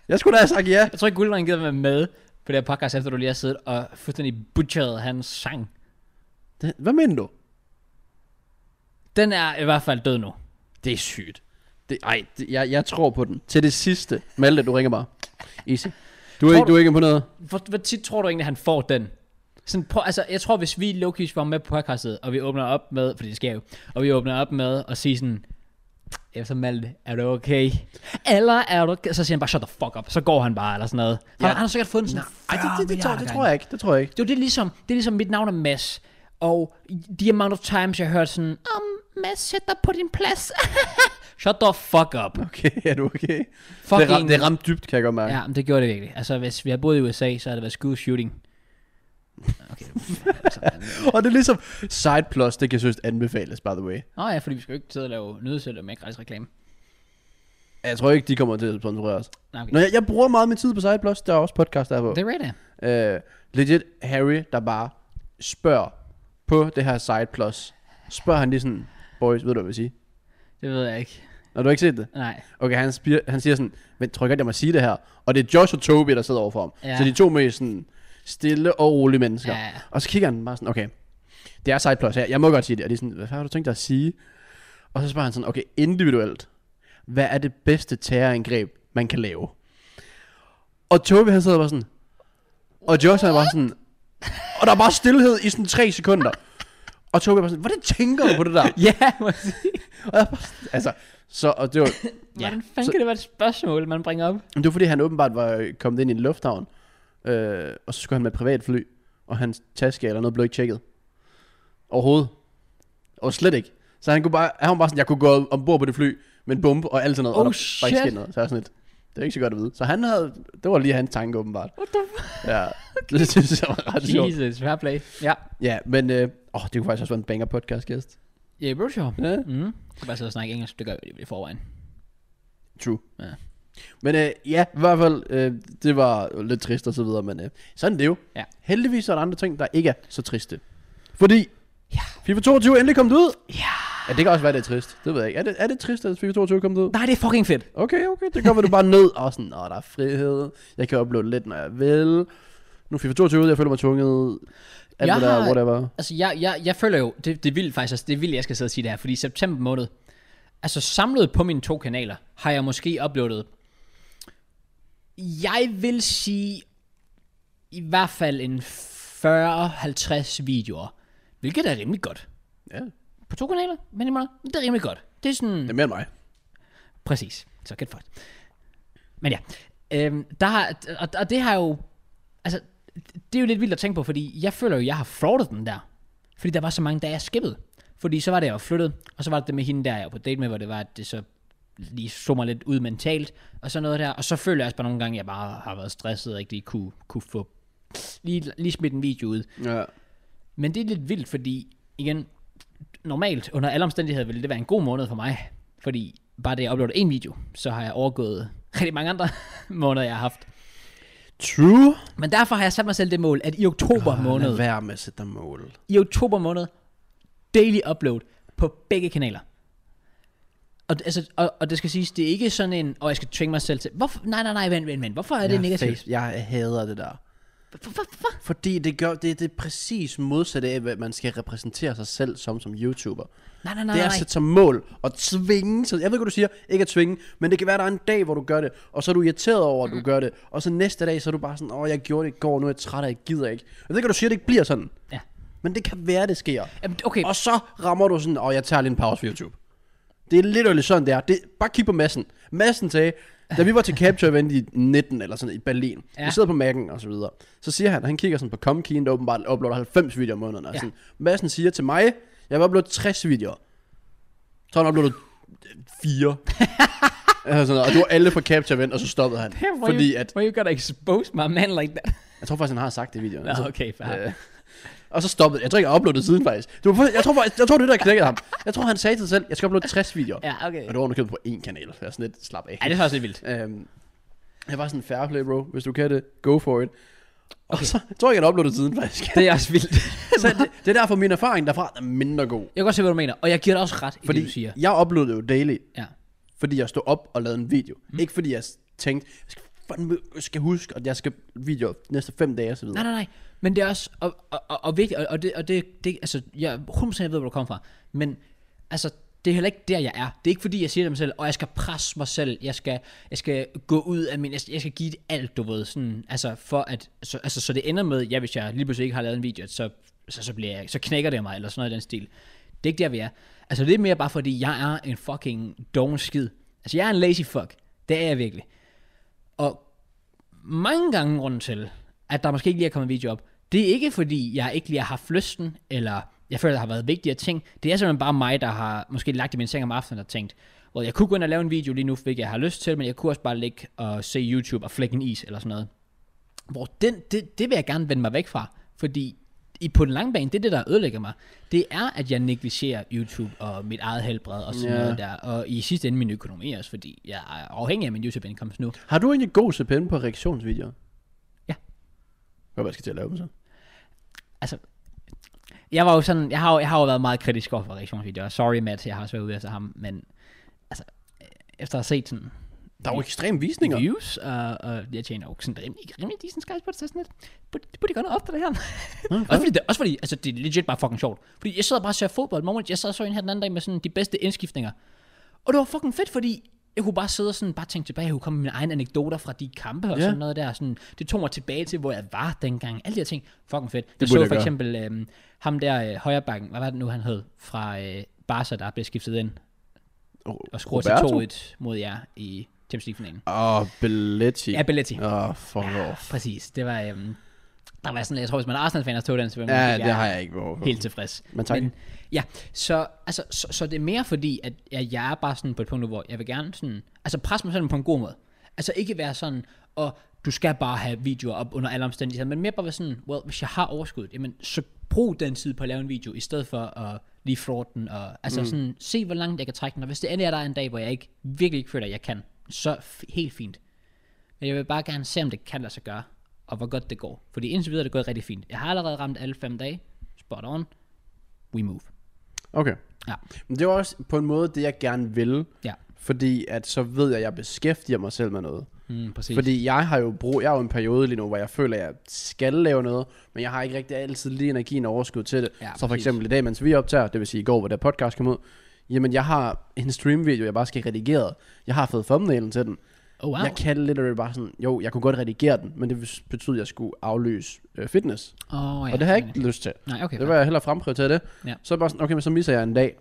Speaker 2: Jeg skulle da have sagt ja.
Speaker 1: Jeg tror ikke, Guldring gider være med på det her podcast, efter du lige har siddet og fuldstændig butcheret hans sang.
Speaker 2: Det- Hvad mener du?
Speaker 1: Den er i hvert fald død nu.
Speaker 2: Det er sygt. Det, ej, det, jeg, jeg tror på den. Til det sidste. Malte, du ringer bare. Easy. Du er,
Speaker 1: Tror
Speaker 2: ikke,
Speaker 1: du-
Speaker 2: du er ikke imponeret?
Speaker 1: Hvor, hvor tit tror du egentlig, han får den? Sådan på, altså, jeg tror, hvis vi Lokis var med på podcastet, og vi åbner op med, fordi det sker jo, og vi åbner op med at sige sådan, efter Malte, er du okay? Eller er du okay? Så siger han bare, shut the fuck up. Så går han bare, eller sådan noget. Ja.
Speaker 2: Ja.
Speaker 1: Han, han har sikkert fået den sådan
Speaker 2: Ej, det,
Speaker 1: 40
Speaker 2: det, det, tror, det
Speaker 1: milliarder
Speaker 2: tror jeg ikke. Det tror jeg ikke.
Speaker 1: Jo, det er ligesom, det er ligesom mit navn er Mads. Og the amount of times, jeg har hørt sådan, om Mads, sæt dig på din plads. (laughs) Shut the fuck up.
Speaker 2: Okay, (laughs) er du okay?
Speaker 1: Fucking,
Speaker 2: Det, ram, det ramte dybt, kan jeg godt mærke. Ja.
Speaker 1: Ja, men det gjorde det virkelig. Altså, hvis vi har boet i USA, så har det været school shooting. Okay. altså,
Speaker 2: Og det er ligesom Side Plus, det kan synes anbefales, by the way.
Speaker 1: Nå ja, fordi vi skal jo ikke sidde og lave nyhedsælder med gratis reklame.
Speaker 2: Jeg tror ikke, de kommer til at sponsorere os.
Speaker 1: Nej, okay.
Speaker 2: Nå, jeg, jeg bruger meget min tid på Side Plus. Der er også podcast der er på.
Speaker 1: Det er rigtigt.
Speaker 2: Øh, legit Harry, der bare spørger på det her Side Plus. Spørger han lige sådan, boys, ved du, hvad jeg vil sige?
Speaker 1: Det ved jeg ikke.
Speaker 2: Når du har ikke set det?
Speaker 1: Nej.
Speaker 2: Okay, han, spir, han siger sådan, men tror jeg godt, jeg må sige det her. Og det er Josh og Toby, der sidder overfor ham.
Speaker 1: Ja.
Speaker 2: Ja. Så de to mest sådan stille og rolige mennesker.
Speaker 1: Ja, ja.
Speaker 2: Og så kigger han bare sådan, okay, det er side plus her. Jeg må godt sige det. Og de er sådan, hvad fanden har du tænkt dig at sige? Og så spørger han sådan, okay, individuelt. Hvad er det bedste terrorangreb, man kan lave? Og Toby han sidder bare sådan, og Josh han er bare sådan, og der er bare stillhed i sådan tre sekunder. Og Toby er bare sådan, hvordan tænker du på det der?
Speaker 1: (laughs) (laughs) Ja, må jeg sige.
Speaker 2: Og jeg er bare sådan, altså, så, og det var,
Speaker 1: Hvordan fanden kan det være et spørgsmål, man bringer op?
Speaker 2: Men Det var fordi, han åbenbart var øh, kommet ind i en lufthavn, øh, og så skulle han med et privatfly, og hans taske eller noget blev ikke tjekket. Overhovedet. Og slet ikke. Så han kunne bare, han var bare sådan, jeg kunne gå ombord på det fly med en bombe og alt sådan noget.
Speaker 1: Oh,
Speaker 2: og der var ikke
Speaker 1: shit.
Speaker 2: sket noget. Så jeg var sådan lidt, det er ikke så godt at vide. Så han havde, det var lige hans tanke åbenbart.
Speaker 1: What the fuck? (laughs)
Speaker 2: Ja, det synes jeg var ret sjovt.
Speaker 1: Jesus, fair play. Ja.
Speaker 2: Ja, men øh, åh, det kunne faktisk også være en banger podcast gæst.
Speaker 1: Ja, yeah, bro, sure.
Speaker 2: Ja.
Speaker 1: Mm. Jeg kan bare sidde og snakke engelsk, det gør vi i forvejen.
Speaker 2: True.
Speaker 1: Ja.
Speaker 2: Ja. Men øh, ja, i hvert fald, øh, det var lidt trist og så videre, men øh, sådan er det jo.
Speaker 1: Ja.
Speaker 2: Heldigvis er der andre ting, der ikke er så triste. Fordi ja. FIFA 22 er endelig kommet ud. Ja. ja. det kan også være, det er trist. Det ved jeg ikke. Er det, er det trist, at FIFA 22 er kommet ud?
Speaker 1: Nej, det er fucking fedt.
Speaker 2: Okay, okay. Det kommer du bare ned og sådan, åh, der er frihed. Jeg kan uploade lidt, når jeg vil. Nu er FIFA 22 ud, jeg føler mig tvunget. Alt
Speaker 1: Jeg
Speaker 2: det der,
Speaker 1: har-
Speaker 2: whatever.
Speaker 1: Altså, jeg, jeg, jeg føler jo, det, det er vildt faktisk, altså, det er vildt, jeg skal sidde og sige det her, fordi i september måned, altså samlet på mine to kanaler, har jeg måske uploadet, jeg vil sige, i hvert fald en 40-50 videoer, hvilket er rimelig godt.
Speaker 2: Ja,
Speaker 1: På to kanaler, men i måned, det er rimelig godt. Det er sådan,
Speaker 2: det er mere end mig.
Speaker 1: Præcis. Så get fucked. Men ja, øhm, der har, og, og det har jo, altså, det er jo lidt vildt at tænke på, fordi jeg føler jo, jeg har fraudet den der. Fordi der var så mange dage, jeg skippede. Fordi så var det, jeg var flyttet, og så var det det med hende der, jeg var på date med, hvor det var, at det så lige så mig lidt ud mentalt, og sådan noget der. Og så føler jeg også bare nogle gange, at jeg bare har været stresset, og ikke lige kunne, kunne få, lige, lige smidt en video ud.
Speaker 2: Ja.
Speaker 1: Men det er lidt vildt, fordi igen, normalt under alle omstændigheder ville det være en god måned for mig. Fordi bare det, jeg uploader en video, så har jeg overgået (laughs) rigtig mange andre måneder, jeg har haft.
Speaker 2: True.
Speaker 1: Men derfor har jeg sat mig selv det mål, at i oktober
Speaker 2: Lad
Speaker 1: måned,
Speaker 2: være med at sætte dig mål.
Speaker 1: i oktober måned, daily upload på begge kanaler. Og, det- altså, og, og det skal siges, det er ikke sådan en, og jeg skal tvinge mig selv til, hvorfor, nej, nej, nej, vent, vent, vent, hvorfor er det
Speaker 2: Jeg
Speaker 1: negativt?
Speaker 2: face- Jeg hader det der.
Speaker 1: Hvorfor, hvorfor?
Speaker 2: Fordi det, gør, det, det er præcis modsatte af, hvad man skal repræsentere sig selv som som YouTuber.
Speaker 1: Nej, nej, nej,
Speaker 2: Det er
Speaker 1: nej.
Speaker 2: at sætte sig mål og tvinge sig. Jeg ved godt, du siger ikke at tvinge, men det kan være, der er en dag, hvor du gør det, og så er du irriteret over, at du gør det, og så næste dag, så er du bare sådan, åh, jeg gjorde det i går, nu er jeg træt, og jeg gider ikke. Jeg ved godt, du siger, at det ikke bliver sådan,
Speaker 1: Ja.
Speaker 2: men det kan være, det sker.
Speaker 1: Jamen, okay,
Speaker 2: Og så rammer du sådan, åh, jeg tager lige en pause for YouTube. Det er lidt sådan, det er. Det, bare kig på massen. Massen sagde, Da vi var til Capture Event i 19 eller sådan noget, i Berlin, ja.
Speaker 1: Ja.
Speaker 2: vi sidder på Mac'en og så videre, så siger han, og han kigger sådan på Comkeen, der åbenbart uploader 90 videoer om måneden. Ja.
Speaker 1: Ja.
Speaker 2: Sådan, Madsen siger til mig, jeg vil uploade 60 videoer. Så har han uploadet
Speaker 1: (laughs)
Speaker 2: 4. sådan, noget, og det var alle fra Capture Event, og så stoppede han. fordi
Speaker 1: you,
Speaker 2: at,
Speaker 1: Why you gotta expose my man like that?
Speaker 2: jeg tror faktisk, han har sagt det i videoen.
Speaker 1: Nå, okay, fair.
Speaker 2: Øh, og så stoppede Jeg tror ikke, jeg har uploadet siden faktisk. Det var, for- jeg, tror, faktisk- jeg tror, det er det, der knækkede ham. Jeg tror, han sagde til sig selv, jeg skal uploade 60 videoer.
Speaker 1: Ja, okay.
Speaker 2: Og det var underkøbet på én kanal, så jeg er sådan lidt slap af.
Speaker 1: Ja, det er faktisk lidt vildt.
Speaker 2: Øhm, jeg var sådan, fair play, bro. Hvis du kan det, go for it. Og så jeg tror jeg, jeg har uploadet siden, faktisk. (laughs)
Speaker 1: Det er også vildt.
Speaker 2: så det, det, er derfor, min erfaring derfra er mindre god.
Speaker 1: jeg kan godt se, hvad du mener. Og jeg giver dig også ret i
Speaker 2: Fordi
Speaker 1: det, du siger.
Speaker 2: jeg uploadede jo daily,
Speaker 1: Ja.
Speaker 2: fordi jeg stod op og lavede en video. Mm. Ikke fordi jeg s- tænkte, jeg skal, fandme, jeg skal huske, at jeg skal video næste fem dage og så videre.
Speaker 1: Nej, nej, nej. Men det er også, og, og, og, og vigtigt, og, og, det, og det, det, altså, jeg 100% ved, hvor du kommer fra, men altså, det er heller ikke der, jeg er. Det er ikke fordi, jeg siger til mig selv, og jeg skal presse mig selv, jeg skal, jeg skal gå ud af min, jeg skal, jeg skal give det alt, du ved, sådan, altså, for at, så, altså, så det ender med, ja, hvis jeg lige pludselig ikke har lavet en video, så, så, så, bliver jeg, så knækker det mig, eller sådan noget i den stil. Det er ikke der, vi er. Altså, det er mere bare fordi, jeg er en fucking doven skid. Altså, jeg er en lazy fuck. Det er jeg virkelig. Og mange gange grunden til, at der måske ikke lige er kommet en video op, det er ikke fordi, jeg ikke lige har haft lysten, eller jeg føler, der har været vigtigere ting. Det er simpelthen bare mig, der har måske lagt i min seng om aftenen og tænkt, well, jeg kunne gå ind og lave en video lige nu, hvilket jeg har lyst til, men jeg kunne også bare ligge og se YouTube og flække en is eller sådan noget. Hvor den, det, det vil jeg gerne vende mig væk fra, fordi i, på den lange bane, det er det, der ødelægger mig. Det er, at jeg negligerer YouTube og mit eget helbred og sådan
Speaker 2: Ja.
Speaker 1: yeah. noget der. Og i sidste ende min økonomi også, fordi jeg er afhængig af min YouTube-indkomst nu.
Speaker 2: Har du egentlig god CPM på reaktionsvideoer?
Speaker 1: Ja.
Speaker 2: Hvad var jeg skal til at lave dem så?
Speaker 1: altså, jeg var jo sådan, jeg har, jo- jeg har jo været meget kritisk over for reaktionsvideoer. Sorry, Matt, jeg har også været ude efter ham, men altså, øh, efter at have set sådan
Speaker 2: Der er jo ekstreme visninger.
Speaker 1: views, og, og jeg tjener jo sådan rimelig, rimelig decent skies på det, så sådan lidt, burde- det burde de godt nok op det her. (laughs) også, fordi det, også fordi, altså det er legit bare fucking sjovt. Fordi jeg sidder bare og ser fodbold, moment, jeg sad og så en her den anden dag med sådan de bedste indskiftninger. Og det var fucking fedt, fordi jeg kunne bare sidde og sådan bare tænke tilbage, jeg kunne komme med mine egne anekdoter fra de kampe og
Speaker 2: Ja.
Speaker 1: sådan noget der. Sådan, det tog mig tilbage til, hvor jeg var dengang. Alle de her ting, fucking fedt. Det jeg
Speaker 2: burde
Speaker 1: så
Speaker 2: jeg
Speaker 1: for
Speaker 2: gøre.
Speaker 1: eksempel øhm, ham der øh, højrebakken, hvad var det nu han hed, fra øh, Barca, der blev skiftet ind og scorer
Speaker 2: Roberto?
Speaker 1: til 2-1 mod jer i Champions League-finalen.
Speaker 2: Åh, oh, Belletti.
Speaker 1: Ja, Belletti.
Speaker 2: Åh, oh, fuck
Speaker 1: Ja,
Speaker 2: off.
Speaker 1: præcis. Det var, øhm, der var sådan, jeg tror, hvis man er Arsenal-fan, der tog den, så vil man
Speaker 2: Ja,
Speaker 1: virkelig
Speaker 2: det
Speaker 1: være
Speaker 2: har jeg ikke behov for.
Speaker 1: helt tilfreds.
Speaker 2: Men tak.
Speaker 1: ja, så, altså, så, så, det er mere fordi, at jeg, jeg er bare sådan på et punkt, nu, hvor jeg vil gerne sådan, altså presse mig selv på en god måde. Altså ikke være sådan, og du skal bare have videoer op under alle omstændigheder, men mere bare være sådan, well, hvis jeg har overskud, jamen, så brug den tid på at lave en video, i stedet for at lige flåte den, og altså mm. sådan, se hvor langt jeg kan trække den, og hvis det endelig er der er en dag, hvor jeg ikke virkelig ikke føler, at jeg kan, så f- helt fint. Men jeg vil bare gerne se, om det kan lade sig gøre, og hvor godt det går. Fordi indtil videre er det gået rigtig fint. Jeg har allerede ramt alle fem dage. Spot on. We move.
Speaker 2: Okay.
Speaker 1: Ja.
Speaker 2: Men det var også på en måde det, jeg gerne vil.
Speaker 1: Ja.
Speaker 2: Fordi at så ved jeg, at jeg beskæftiger mig selv med noget.
Speaker 1: Mm, præcis. Fordi...
Speaker 2: Fordi jeg har jo brug, jeg har jo en periode lige nu, hvor jeg føler, at jeg skal lave noget, men jeg har ikke rigtig altid lige energien og overskud til det.
Speaker 1: Ja,
Speaker 2: så for
Speaker 1: præcis.
Speaker 2: eksempel i dag, mens vi optager, det vil sige i går, hvor der podcast kom ud, jamen jeg har en streamvideo, jeg bare skal redigere. Jeg har fået thumbnailen til den.
Speaker 1: Oh, wow.
Speaker 2: Jeg kan lidt bare sådan, jo, jeg kunne godt redigere den, men det betyder, at jeg skulle afløse øh, fitness.
Speaker 1: Oh, ja,
Speaker 2: Og det har jeg
Speaker 1: sådan
Speaker 2: ikke lyst til.
Speaker 1: det. Nej, okay.
Speaker 2: Det var jeg hellere fremprioritere det.
Speaker 1: Ja.
Speaker 2: Så er jeg bare sådan, okay, men så misser jeg en dag.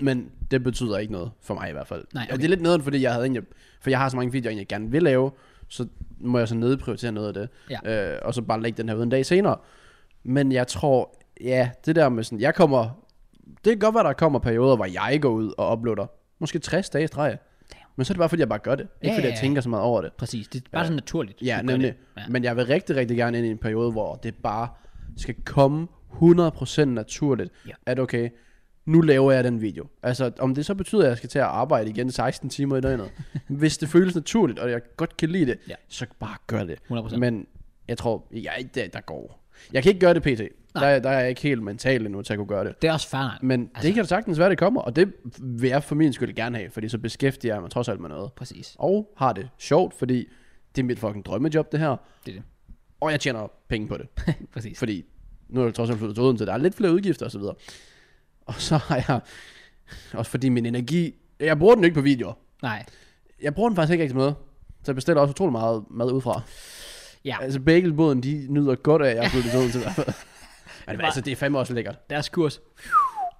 Speaker 2: Men det betyder ikke noget for mig i hvert fald.
Speaker 1: Nej,
Speaker 2: Og det
Speaker 1: okay.
Speaker 2: er lidt nederen, fordi jeg havde egentlig, for jeg har så mange videoer, jeg egentlig gerne vil lave, så må jeg så nedprioritere noget af det. Ja. Øh, og så bare lægge den her ud en dag senere. Men jeg tror, ja, det der med sådan, jeg kommer, det kan godt være, der kommer perioder, hvor jeg går ud og uploader. Måske 60 dage i streg. Men så er det bare, fordi jeg bare gør det. Ikke
Speaker 1: Ja,
Speaker 2: fordi
Speaker 1: ja,
Speaker 2: jeg
Speaker 1: ja.
Speaker 2: tænker så meget over det.
Speaker 1: Præcis. Det er bare ja. sådan naturligt.
Speaker 2: Ja,
Speaker 1: du gør
Speaker 2: nemlig. Mm.
Speaker 1: det. Ja.
Speaker 2: Men jeg vil rigtig, rigtig gerne ind i en periode, hvor det bare skal komme 100% naturligt,
Speaker 1: Ja.
Speaker 2: at okay, nu laver jeg den video. Altså, om det så betyder, at jeg skal til at arbejde igen 16 timer i døgnet.
Speaker 1: (laughs)
Speaker 2: hvis det føles naturligt, og jeg godt kan lide det,
Speaker 1: Ja.
Speaker 2: så bare gør det.
Speaker 1: 100%.
Speaker 2: Men jeg tror, jeg, der, der går. Jeg kan ikke gøre det pt. Der, der er jeg ikke helt mentalt endnu til at kunne gøre det.
Speaker 1: Det er også fair nok.
Speaker 2: Men altså. det kan da sagtens være, det kommer, og det vil jeg for min skyld gerne have, fordi så beskæftiger jeg mig trods alt med noget.
Speaker 1: Præcis.
Speaker 2: Og har det sjovt, fordi det er mit fucking drømmejob, det her.
Speaker 1: Det er det. (laughs)
Speaker 2: Og jeg tjener penge på det.
Speaker 1: Præcis.
Speaker 2: Fordi nu er jeg trods alt flyttet til Odense, der er lidt flere udgifter osv. Og så har jeg... Også fordi min energi... Jeg bruger den ikke på videoer.
Speaker 1: Nej.
Speaker 2: Jeg bruger den faktisk ikke rigtig noget. Så jeg bestiller også utrolig meget mad udefra.
Speaker 1: Ja.
Speaker 2: Altså bagelboden, de nyder godt af, at jeg er flyttet til Odense i hvert
Speaker 1: (laughs)
Speaker 2: fald. Men altså, det er fandme også lækkert.
Speaker 1: Deres kurs.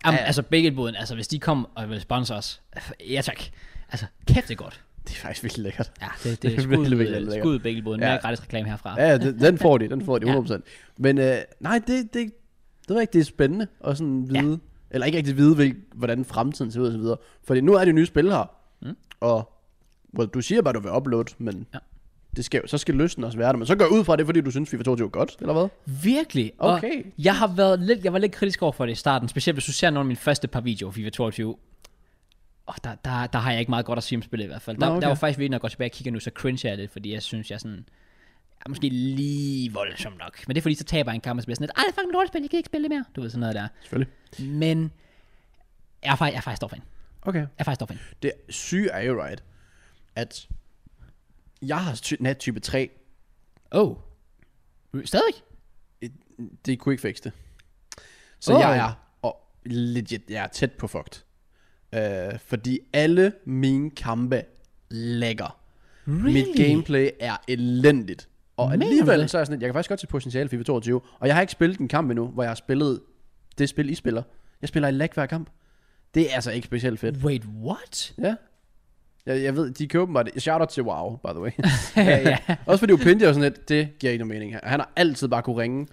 Speaker 1: Jamen,
Speaker 2: Ja.
Speaker 1: altså begge båden, altså hvis de kom og ville sponsor os. Ja tak. Altså, kæft det er godt.
Speaker 2: Det er faktisk virkelig lækkert.
Speaker 1: Ja, det,
Speaker 2: (laughs) Det
Speaker 1: det
Speaker 2: er
Speaker 1: er
Speaker 2: virkelig,
Speaker 1: skud,
Speaker 2: virkelig
Speaker 1: øh,
Speaker 2: lækkert.
Speaker 1: skud begge både. Ja.
Speaker 2: Ja.
Speaker 1: Mere gratis reklame herfra.
Speaker 2: Ja, ja, den, den får de, den får de
Speaker 1: Ja.
Speaker 2: 100%. Men øh, nej, det, det, det ved jeg ikke, det er spændende at sådan vide, ja. eller ikke rigtig vide, hvil, hvordan fremtiden ser ud og så videre. Fordi nu er det nye spil her, mm. og well, du siger bare, du vil uploade, men ja.
Speaker 1: Ja.
Speaker 2: det skal, jo- så skal lysten også være der. Men så går jeg ud fra det, er, fordi du synes, FIFA 22 er godt, eller hvad?
Speaker 1: Virkelig.
Speaker 2: Okay.
Speaker 1: Og jeg har været lidt, jeg var lidt kritisk over for det i starten, specielt hvis du ser nogle af mine første par videoer, FIFA 22. Og der, der, der har jeg ikke meget godt at sige om spillet i hvert fald. Der,
Speaker 2: Nå, okay.
Speaker 1: der var faktisk virkelig, når jeg går tilbage og kigger nu, så cringe jeg lidt, fordi jeg synes, jeg sådan... Jeg er måske lige voldsom nok. Men det er fordi, så taber jeg en kamp og så bliver jeg sådan lidt, ej, det er fucking lortespil, jeg kan ikke spille det mere. Du ved sådan noget der.
Speaker 2: Selvfølgelig.
Speaker 1: Men jeg er, fak- jeg er faktisk stor fan.
Speaker 2: Okay.
Speaker 1: Jeg er faktisk stor fan.
Speaker 2: Det syge er jo, right, at jeg har ty- nat type 3.
Speaker 1: Oh. Stadig?
Speaker 2: Det kunne ikke fikse det. Så oh.
Speaker 1: Åh.
Speaker 2: jeg er og legit, jeg er tæt på fucked. Øh, fordi alle mine kampe lægger.
Speaker 1: Really?
Speaker 2: Mit gameplay er elendigt. Og
Speaker 1: Mener du
Speaker 2: alligevel,
Speaker 1: det?
Speaker 2: så er jeg sådan, lidt, jeg kan faktisk godt se potentiale i FIFA 22. Og jeg har ikke spillet en kamp endnu, hvor jeg har spillet det spil, I spiller. Jeg spiller i lag hver kamp. Det er altså ikke specielt fedt.
Speaker 1: Wait, what?
Speaker 2: Ja. Jeg, jeg ved, de køber mig det. Shout out til Wow, by the way. ja, ja. Også fordi Opindia er sådan lidt, det giver ikke nogen mening. Han har altid bare kunne ringe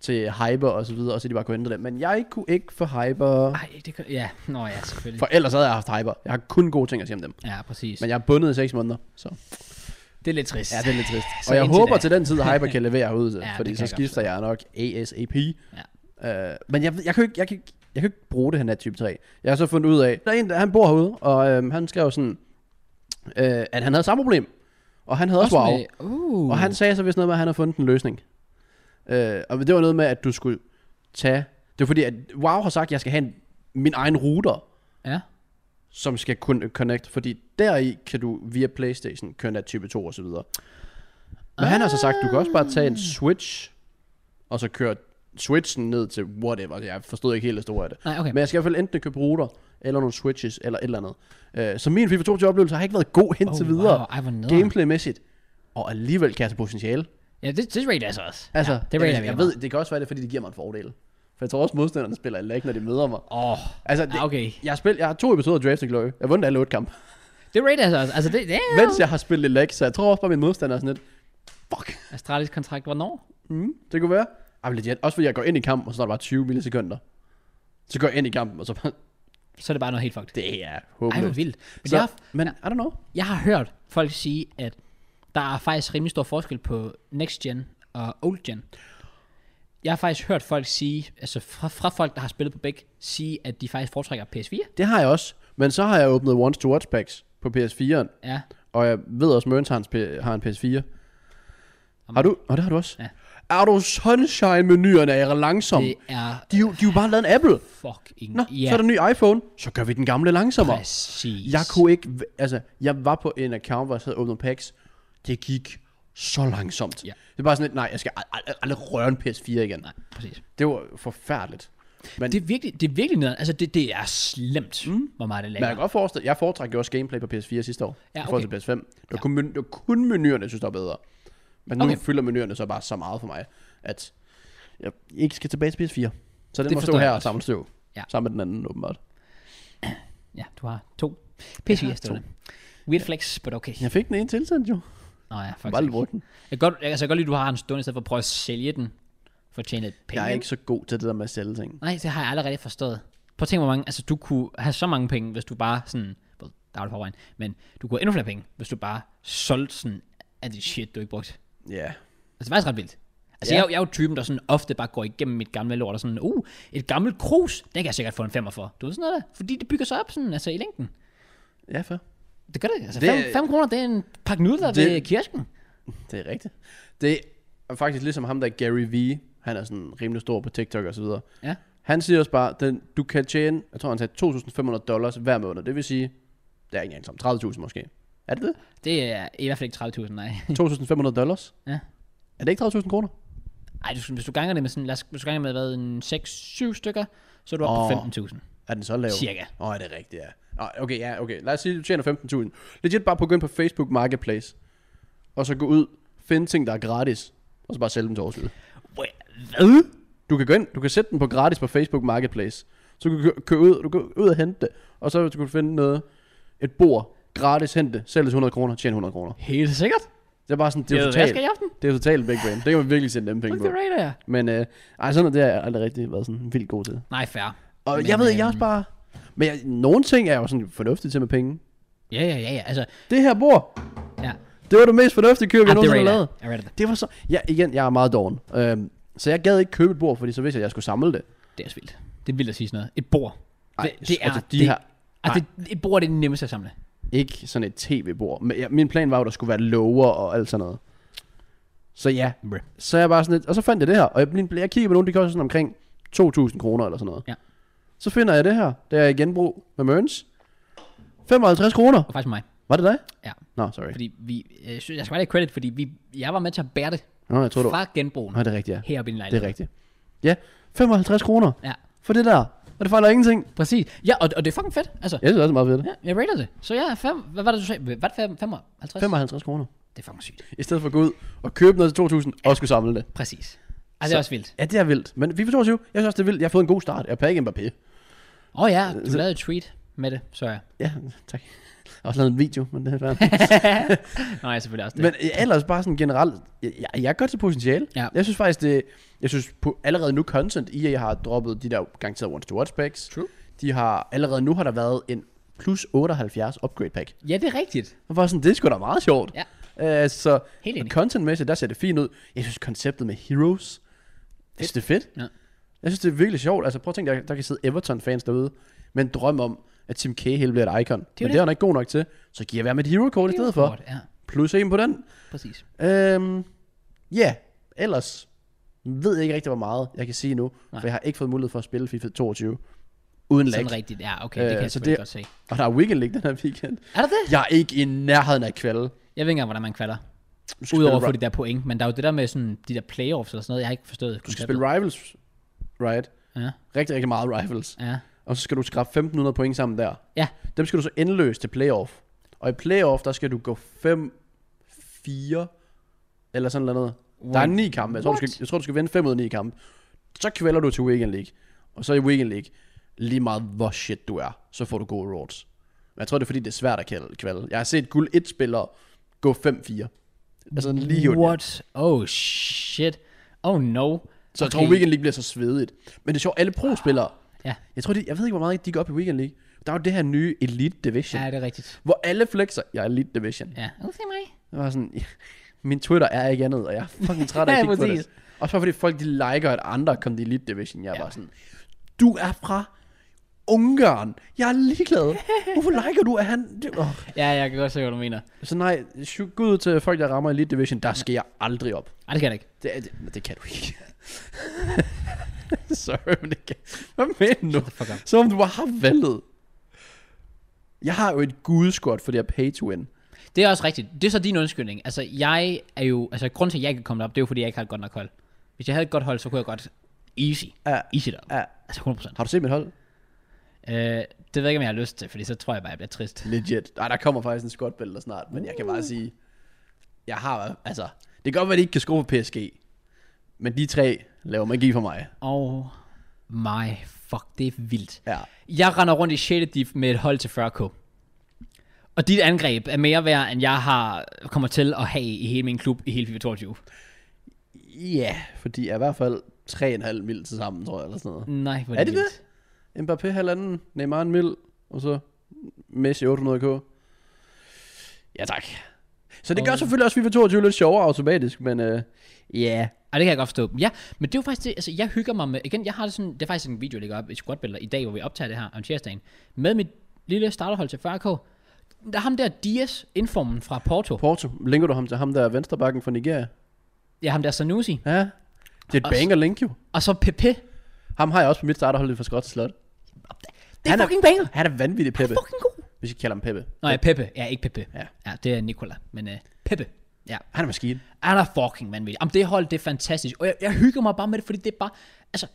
Speaker 2: til Hyper og så videre, og så de bare kunne ændre det. Men jeg kunne ikke få Hyper.
Speaker 1: Ej, det kan... Ja, nå ja, selvfølgelig.
Speaker 2: For ellers havde jeg haft Hyper. Jeg har kun gode ting at sige om dem.
Speaker 1: Ja, præcis.
Speaker 2: Men jeg er bundet i 6 måneder, så
Speaker 1: Det er lidt trist.
Speaker 2: ja, det er lidt trist.
Speaker 1: Så
Speaker 2: og jeg
Speaker 1: indtil
Speaker 2: håber
Speaker 1: da.
Speaker 2: til den tid, at Hyper kan levere ud, ja,
Speaker 1: det
Speaker 2: fordi
Speaker 1: kan
Speaker 2: så
Speaker 1: jeg godt
Speaker 2: skifter jeg nok ASAP.
Speaker 1: Ja.
Speaker 2: Øh, men jeg, ved- jeg, kan jo ikke, jeg, kan, ikke- jeg kan ikke bruge det her nattype 3. Jeg har så fundet ud af, der er en, der, han bor herude, og øhm, han skrev sådan, øh, at han havde samme problem. Og han havde også, også wow.
Speaker 1: med- Uh.
Speaker 2: Og han sagde så vist noget med, at han havde fundet en løsning. Øh, og det var noget med, at du skulle tage... Det var fordi, at WoW har sagt, at jeg skal have en, min egen router,
Speaker 1: Ja.
Speaker 2: som skal kunne connect, fordi deri kan du via Playstation køre af type 2 og så videre. Men ah. han har så sagt, du kan også bare tage
Speaker 1: Ah.
Speaker 2: en Switch, og så køre Switchen ned til whatever. Jeg forstod ikke helt det store af det.
Speaker 1: Nej, okay.
Speaker 2: Men jeg skal i hvert fald enten købe router, eller nogle Switches, eller et eller andet. Øh, så min FIFA 22 oplevelse har ikke været god indtil
Speaker 1: Oh,
Speaker 2: videre,
Speaker 1: wow. Ej, hvor nederen.
Speaker 2: gameplaymæssigt. Og alligevel kan jeg tage potentiale.
Speaker 1: Ja, det, det rater jeg så også.
Speaker 2: Altså,
Speaker 1: ja, det
Speaker 2: jeg,
Speaker 1: rater
Speaker 2: jeg, jeg ved, det kan også være det, er, fordi det giver mig en fordel. For jeg tror også, modstanderne spiller i lag, når de møder mig.
Speaker 1: Åh, oh,
Speaker 2: Altså, det,
Speaker 1: ah, okay.
Speaker 2: jeg, har spillet, jeg har to episoder af Draft and Glory. Jeg har vundet alle otte kampe.
Speaker 1: Det rater jeg så også. Altså, det, det er
Speaker 2: Mens jeg har spillet i lag, så jeg tror også bare, min modstander er sådan lidt, fuck,
Speaker 1: Astralis kontrakt, hvornår?
Speaker 2: mm, det kunne være. Ej, men legit. Også fordi jeg går ind i kampen, og så er der bare 20 millisekunder. Så går jeg ind i kampen, og så bare, (laughs)
Speaker 1: Så er det bare noget helt fucked.
Speaker 2: det er
Speaker 1: Ej, hvor
Speaker 2: håbløst.
Speaker 1: vildt. Men
Speaker 2: Så,
Speaker 1: jeg,
Speaker 2: men I don't know.
Speaker 1: jeg har hørt folk sige, at der er faktisk rimelig stor forskel på next gen og old gen. Jeg har faktisk hørt folk sige, altså fra, fra folk, der har spillet på begge, sige, at de faktisk foretrækker PS4.
Speaker 2: Det har jeg også. Men så har jeg åbnet Once to Watch Packs på PS4'eren.
Speaker 1: Ja,
Speaker 2: Og jeg ved også, Mørens har en, P- har en PS4. Har du? Og det har du også?
Speaker 1: Ja.
Speaker 2: Er du Sunshine-menuerne er langsom?
Speaker 1: det er
Speaker 2: De, er jo- de er jo bare lavet en Apple.
Speaker 1: fucking...
Speaker 2: Nå,
Speaker 1: ja,
Speaker 2: så er der en ny iPhone. Så gør vi den gamle langsommere.
Speaker 1: præcis.
Speaker 2: Jeg kunne ikke... v- Altså, jeg var på en account, hvor jeg havde åbnet packs. Det gik så langsomt.
Speaker 1: Ja.
Speaker 2: Det er bare sådan lidt, nej, jeg skal ald- ald- aldrig røre en PS4 igen. Nej.
Speaker 1: Præcis.
Speaker 2: Det var forfærdeligt. Men,
Speaker 1: Det
Speaker 2: det,
Speaker 1: er virkelig, det er virkelig noget, altså det, det er slemt, mm. hvor meget det
Speaker 2: men jeg
Speaker 1: lægger.
Speaker 2: kan godt forestille, jeg foretrækker jo også gameplay på PS4 sidste år.
Speaker 1: Ja,
Speaker 2: I forhold
Speaker 1: okay.
Speaker 2: til PS5. Det var, kun, men- det var kun menuerne, jeg synes, der var bedre. Men nu
Speaker 1: Okay.
Speaker 2: fylder menuerne så bare så meget for mig, at jeg ikke skal tilbage til PS4. Så den
Speaker 1: Det
Speaker 2: det må stå
Speaker 1: forstår
Speaker 2: her
Speaker 1: jeg
Speaker 2: og
Speaker 1: godt.
Speaker 2: samle støv.
Speaker 1: Ja.
Speaker 2: Sammen med den anden, åbenbart.
Speaker 1: Ja, du har to. PS4
Speaker 2: to.
Speaker 1: stående. Weird flex, but okay.
Speaker 2: Jeg fik den ene tilsendt jo.
Speaker 1: Nå ja, faktisk.
Speaker 2: Bare lige brugt den.
Speaker 1: Jeg kan godt, jeg, altså, jeg kan godt lide, at du har en stående, i stedet for at prøve at sælge den, for at tjene lidt penge.
Speaker 2: Jeg er ikke så god til det der med at sælge ting.
Speaker 1: Nej, det har jeg allerede forstået. Prøv at tænke, hvor mange, altså du kunne have så mange penge, hvis du bare sådan, well, der er du forvejen, men du kunne have endnu flere penge, hvis du bare solgte sådan af det shit, du ikke brugte.
Speaker 2: Ja. Yeah.
Speaker 1: Altså, det er faktisk ret vildt. Altså, ja.
Speaker 2: Ja.
Speaker 1: jeg, er jo- jeg er jo typen, der sådan ofte bare går igennem mit gamle lort og sådan, uh, et gammelt krus, det kan jeg sikkert få en femmer for. Du ved sådan noget der, fordi det bygger sig op sådan, altså i længden.
Speaker 2: Ja, fair.
Speaker 1: Det gør det, altså
Speaker 2: Det-
Speaker 1: 5 kroner, det er en pakke nudler
Speaker 2: Det-
Speaker 1: det... ved kirken.
Speaker 2: Det er rigtigt. Det er faktisk ligesom ham der Gary V. Han er sådan rimelig stor på TikTok og så videre.
Speaker 1: Ja.
Speaker 2: Han siger også bare, den, du kan tjene, jeg tror han sagde 2.500 dollars hver måned. Det vil sige, det er ikke engang som 30.000 måske. Er det
Speaker 1: (laughs)
Speaker 2: det?
Speaker 1: Det er i hvert fald ikke 30.000, nej.
Speaker 2: 2.500 dollars?
Speaker 1: Ja.
Speaker 2: Er det ikke 30.000 kroner?
Speaker 1: Ej, du, skal- hvis du ganger det med sådan, lad os, hvis du ganger med, hvad, en 6-7 stykker, så er du
Speaker 2: Åh.
Speaker 1: oppe på 15.000.
Speaker 2: Er den så lav?
Speaker 1: Cirka.
Speaker 2: Åh, oh, det er rigtigt, ja. Oh, okay, ja, okay. Lad os sige, du tjener 15.000. Legit bare på at gå ind på Facebook Marketplace. Og så gå ud, finde ting, der er gratis. Og så bare sælge dem til overskud.
Speaker 1: Hvad?
Speaker 2: Du kan gå ind, du kan sætte den på gratis på Facebook Marketplace. Så du kan kø- køre ud, du kan ud og hente det, og så kan du finde noget, et bord, gratis hente det, sælg det til 100 kroner, tjen 100 kroner.
Speaker 1: Helt sikkert.
Speaker 2: Det er bare sådan, det
Speaker 1: Jeg
Speaker 2: er jo
Speaker 1: ved, hvad jeg
Speaker 2: totalt,
Speaker 1: skal i aften.
Speaker 2: det er jo totalt big brain. Det kan man virkelig sende dem penge
Speaker 1: Look
Speaker 2: på.
Speaker 1: the radar.
Speaker 2: Men øh, ej, sådan noget, det har jeg aldrig rigtig været sådan vildt god til.
Speaker 1: Nej, fair.
Speaker 2: Og
Speaker 1: Men,
Speaker 2: jeg ved, jeg er
Speaker 1: øhm,
Speaker 2: også bare... Men jeg, nogle ting er jo sådan fornuftige til med penge.
Speaker 1: Ja, ja, ja, ja. Altså,
Speaker 2: Det her bord,
Speaker 1: ja.
Speaker 2: det var det mest fornuftige køb, jeg
Speaker 1: Ah, det
Speaker 2: nogensinde har
Speaker 1: radar.
Speaker 2: lavet.
Speaker 1: Jeg radar det.
Speaker 2: Det var så... Ja, igen, jeg er meget doven. Øhm, så jeg gad ikke købe et bord, fordi så vidste jeg, at jeg skulle samle det.
Speaker 1: Det er også vildt. Det er vildt at sige sådan noget. Et bord.
Speaker 2: Ej,
Speaker 1: det, det er
Speaker 2: altså, de
Speaker 1: det,
Speaker 2: her-
Speaker 1: altså, det, et bord er det nemmeste at samle.
Speaker 2: Ikke sådan et tv-bord. Men jeg, min plan var jo, at der skulle være lover og alt sådan noget. Så ja,
Speaker 1: Bruh.
Speaker 2: så jeg bare sådan lidt, og så fandt jeg det her, og jeg, blev- jeg kiggede på nogle, de koster sådan omkring 2.000 kroner eller sådan noget.
Speaker 1: Ja.
Speaker 2: Så finder jeg det her, det er i genbrug med Mørns. 55 kroner.
Speaker 1: Og faktisk mig.
Speaker 2: Var det dig?
Speaker 1: Ja.
Speaker 2: Nå, sorry.
Speaker 1: Fordi vi, øh, synes- jeg skal bare have credit, fordi vi, jeg var med til at bære det
Speaker 2: Nå, jeg tror du...
Speaker 1: fra genbrugen
Speaker 2: Nå, det er rigtigt, ja.
Speaker 1: heroppe i en
Speaker 2: Det er
Speaker 1: lejlighed.
Speaker 2: rigtigt. Ja, 55 kroner
Speaker 1: Ja,
Speaker 2: for det der. Og det fejler ingenting.
Speaker 1: præcis. Ja, og, og det er fucking fedt. Altså,
Speaker 2: Jeg synes også, det er meget fedt.
Speaker 1: ja, jeg rater det. Så ja, fem, hvad var det, du sagde? Hvad er det, 55?
Speaker 2: 55 kroner.
Speaker 1: Det er fucking sygt.
Speaker 2: I stedet for at gå ud og købe noget til 2.000 og skulle samle det.
Speaker 1: Præcis. Altså, det er
Speaker 2: Så-
Speaker 1: også vildt.
Speaker 2: Ja, det er vildt. Men FIFA 22, jeg synes også, det er vildt. Jeg har fået en god start. Jeg pakker Mbappé.
Speaker 1: Åh oh, ja, du lavede et tweet med det, så jeg.
Speaker 2: Ja, tak. Jeg har også lavet en video, men det
Speaker 1: (laughs)
Speaker 2: er svært.
Speaker 1: Nej, selvfølgelig også det.
Speaker 2: men ellers bare sådan generelt, jeg, jeg, jeg er godt til potentiale.
Speaker 1: Ja.
Speaker 2: Jeg synes faktisk, det, jeg synes på, allerede nu content, EA har droppet de der garanterede One to Watch packs.
Speaker 1: True.
Speaker 2: De har, allerede nu har der været en plus 78 upgrade pack.
Speaker 1: Ja, det er rigtigt.
Speaker 2: Og var sådan, det er sgu da meget sjovt.
Speaker 1: Ja.
Speaker 2: Øh, så
Speaker 1: Helt enig.
Speaker 2: contentmæssigt, der ser det fint ud. Jeg synes, konceptet med Heroes, jeg synes, det er fedt.
Speaker 1: Ja.
Speaker 2: Jeg synes, det er virkelig sjovt. Altså prøv at tænke, der, der kan sidde Everton-fans derude med en drøm om, at Tim Cahill bliver et icon. Det Men
Speaker 1: det.
Speaker 2: det er han ikke god nok til. Så giver jeg være med et hero call i stedet for.
Speaker 1: Godt, Ja,
Speaker 2: Plus en på den.
Speaker 1: præcis.
Speaker 2: Øhm, ja, ellers ved jeg ikke rigtig, hvor meget jeg kan sige nu.
Speaker 1: Nej.
Speaker 2: Nej. For jeg har ikke fået mulighed for at spille FIFA 22 uden lag.
Speaker 1: Sådan rigtigt, ja, okay, det
Speaker 2: Øh,
Speaker 1: kan jeg
Speaker 2: så
Speaker 1: selvfølgelig
Speaker 2: det-
Speaker 1: godt se.
Speaker 2: Og der er weekend league den her weekend.
Speaker 1: Er der det?
Speaker 2: Jeg er ikke i nærheden af kvalde.
Speaker 1: Jeg ved ikke engang, hvordan man kvalder.
Speaker 2: Du skal
Speaker 1: Udover
Speaker 2: spille
Speaker 1: at få de der point, men der er jo det der med sådan, de der playoffs eller sådan noget, jeg har ikke forstået.
Speaker 2: Du skal spille Rivals, right?
Speaker 1: Ja,
Speaker 2: Rigtig, rigtig meget Rivals.
Speaker 1: ja.
Speaker 2: Og så skal du skrabe 1.500 point sammen der.
Speaker 1: Ja,
Speaker 2: Dem skal du så endløst til playoff. Og i playoff, der skal du gå 5, 4, eller sådan noget. Der er
Speaker 1: What?
Speaker 2: 9 kampe. Jeg tror, du
Speaker 1: What?
Speaker 2: skal, jeg tror, du skal vinde 5 ud af 9 kampe. Så kvælder du til Weekend League. Og så i Weekend League, lige meget hvor shit du er, så får du gode rewards. Men jeg tror, det er fordi, det er svært at kvalde- kvalde. Jeg har set guld 1-spillere gå 5-4. Altså lige under.
Speaker 1: What? Oh shit. Oh no.
Speaker 2: Så jeg tror, Weekend League bliver så svedigt. Men det er sjovt, alle pro-spillere,
Speaker 1: Ja.
Speaker 2: jeg tror, de, jeg ved ikke, hvor meget de går op i Weekend League. Der er jo det her nye Elite Division,
Speaker 1: ja,
Speaker 2: ja.
Speaker 1: det er rigtigt.
Speaker 2: hvor alle flexer. Jeg er Elite Division.
Speaker 1: Ja. Oh, se mig.
Speaker 2: Det var sådan, (laughs) min Twitter er ikke andet, og jeg er fucking træt af at
Speaker 1: (laughs) Ja,
Speaker 2: kigge på
Speaker 1: præcis.
Speaker 2: det. Også bare fordi folk, de liker, at andre kom til Elite Division. Jeg er
Speaker 1: Ja.
Speaker 2: ja. bare sådan, du er fra Ungarn. Jeg er
Speaker 1: (laughs)
Speaker 2: ligeglad. Hvorfor liker du, at han... Det, oh.
Speaker 1: Ja, jeg kan godt se, hvad du mener.
Speaker 2: Så nej, shoot, gå ud til folk, der rammer Elite Division. Der skal jeg aldrig op.
Speaker 1: Ej, det kan jeg da ikke.
Speaker 2: Det, er- det, det kan du ikke. (laughs) Sorry, men det kan... Hvad mener du?
Speaker 1: Shut the fuck up.
Speaker 2: Som om du bare har valget. Jeg har jo et gudeskort for det her pay to win.
Speaker 1: Det er også rigtigt. Det er så din undskyldning. Altså, jeg er jo... Altså, grunden til, at jeg ikke kan komme op, det er jo, fordi jeg ikke har et godt nok hold. Hvis jeg havde et godt hold, så kunne jeg godt easy.
Speaker 2: Ja.
Speaker 1: Easy derop.
Speaker 2: Ja.
Speaker 1: Altså, 100%.
Speaker 2: Har du set mit hold?
Speaker 1: Øh, det ved jeg ikke, om jeg har lyst til, fordi så tror jeg bare, jeg bliver trist.
Speaker 2: Legit. Nej, der kommer faktisk en skotbælter snart, men jeg kan bare sige, jeg har, altså, det kan godt være, at de ikke kan skrue på PSG, men de tre laver magi for mig.
Speaker 1: Oh my fuck, det er vildt.
Speaker 2: Ja.
Speaker 1: Jeg render rundt i 6. div med et hold til 40k. Og dit angreb er mere værd, end jeg har kommer til at have i hele min klub i hele FIFA 22.
Speaker 2: Ja, for de er i hvert fald 3,5 mil til sammen, tror jeg, eller sådan noget.
Speaker 1: Nej, hvor
Speaker 2: Er det
Speaker 1: vildt.
Speaker 2: Mbappé halvanden, Neymar en mil, og så Messi 800k. Ja, tak. Så det gør
Speaker 1: Og-
Speaker 2: selvfølgelig også FIFA 22 lidt sjovere automatisk, men øh, ja,
Speaker 1: Og det kan jeg godt forstå. Ja, men det er jo faktisk det, altså jeg hygger mig med, igen, jeg har det sådan, det er faktisk en video, jeg lægger op i squatbælter i dag, hvor vi optager det her om tirsdagen, med mit lille starterhold til 40k. Der er ham der Dias, indformen fra Porto.
Speaker 2: Porto, linker du ham til ham der venstrebakken fra Nigeria?
Speaker 1: Ja, ham der Sanusi.
Speaker 2: Ja, det er
Speaker 1: Og-
Speaker 2: et banger link jo.
Speaker 1: Og så Pepe.
Speaker 2: Ham har jeg også på mit starterhold for Skot Slot.
Speaker 1: Det er
Speaker 2: Han er-
Speaker 1: fucking banger.
Speaker 2: Han er vanvittig
Speaker 1: Det
Speaker 2: Peppe,
Speaker 1: er fucking god.
Speaker 2: hvis jeg kalder ham Peppe.
Speaker 1: Nå ja, Pepe. Ja, ikke Pepe.
Speaker 2: Ja.
Speaker 1: ja det er Nicola, men uh, Pepe. Ja.
Speaker 2: Han er maskine.
Speaker 1: Han er fucking vanvittig. Jamen, det hold, det er fantastisk. Og jeg, jeg hygger mig bare med det, fordi det er bare... Altså,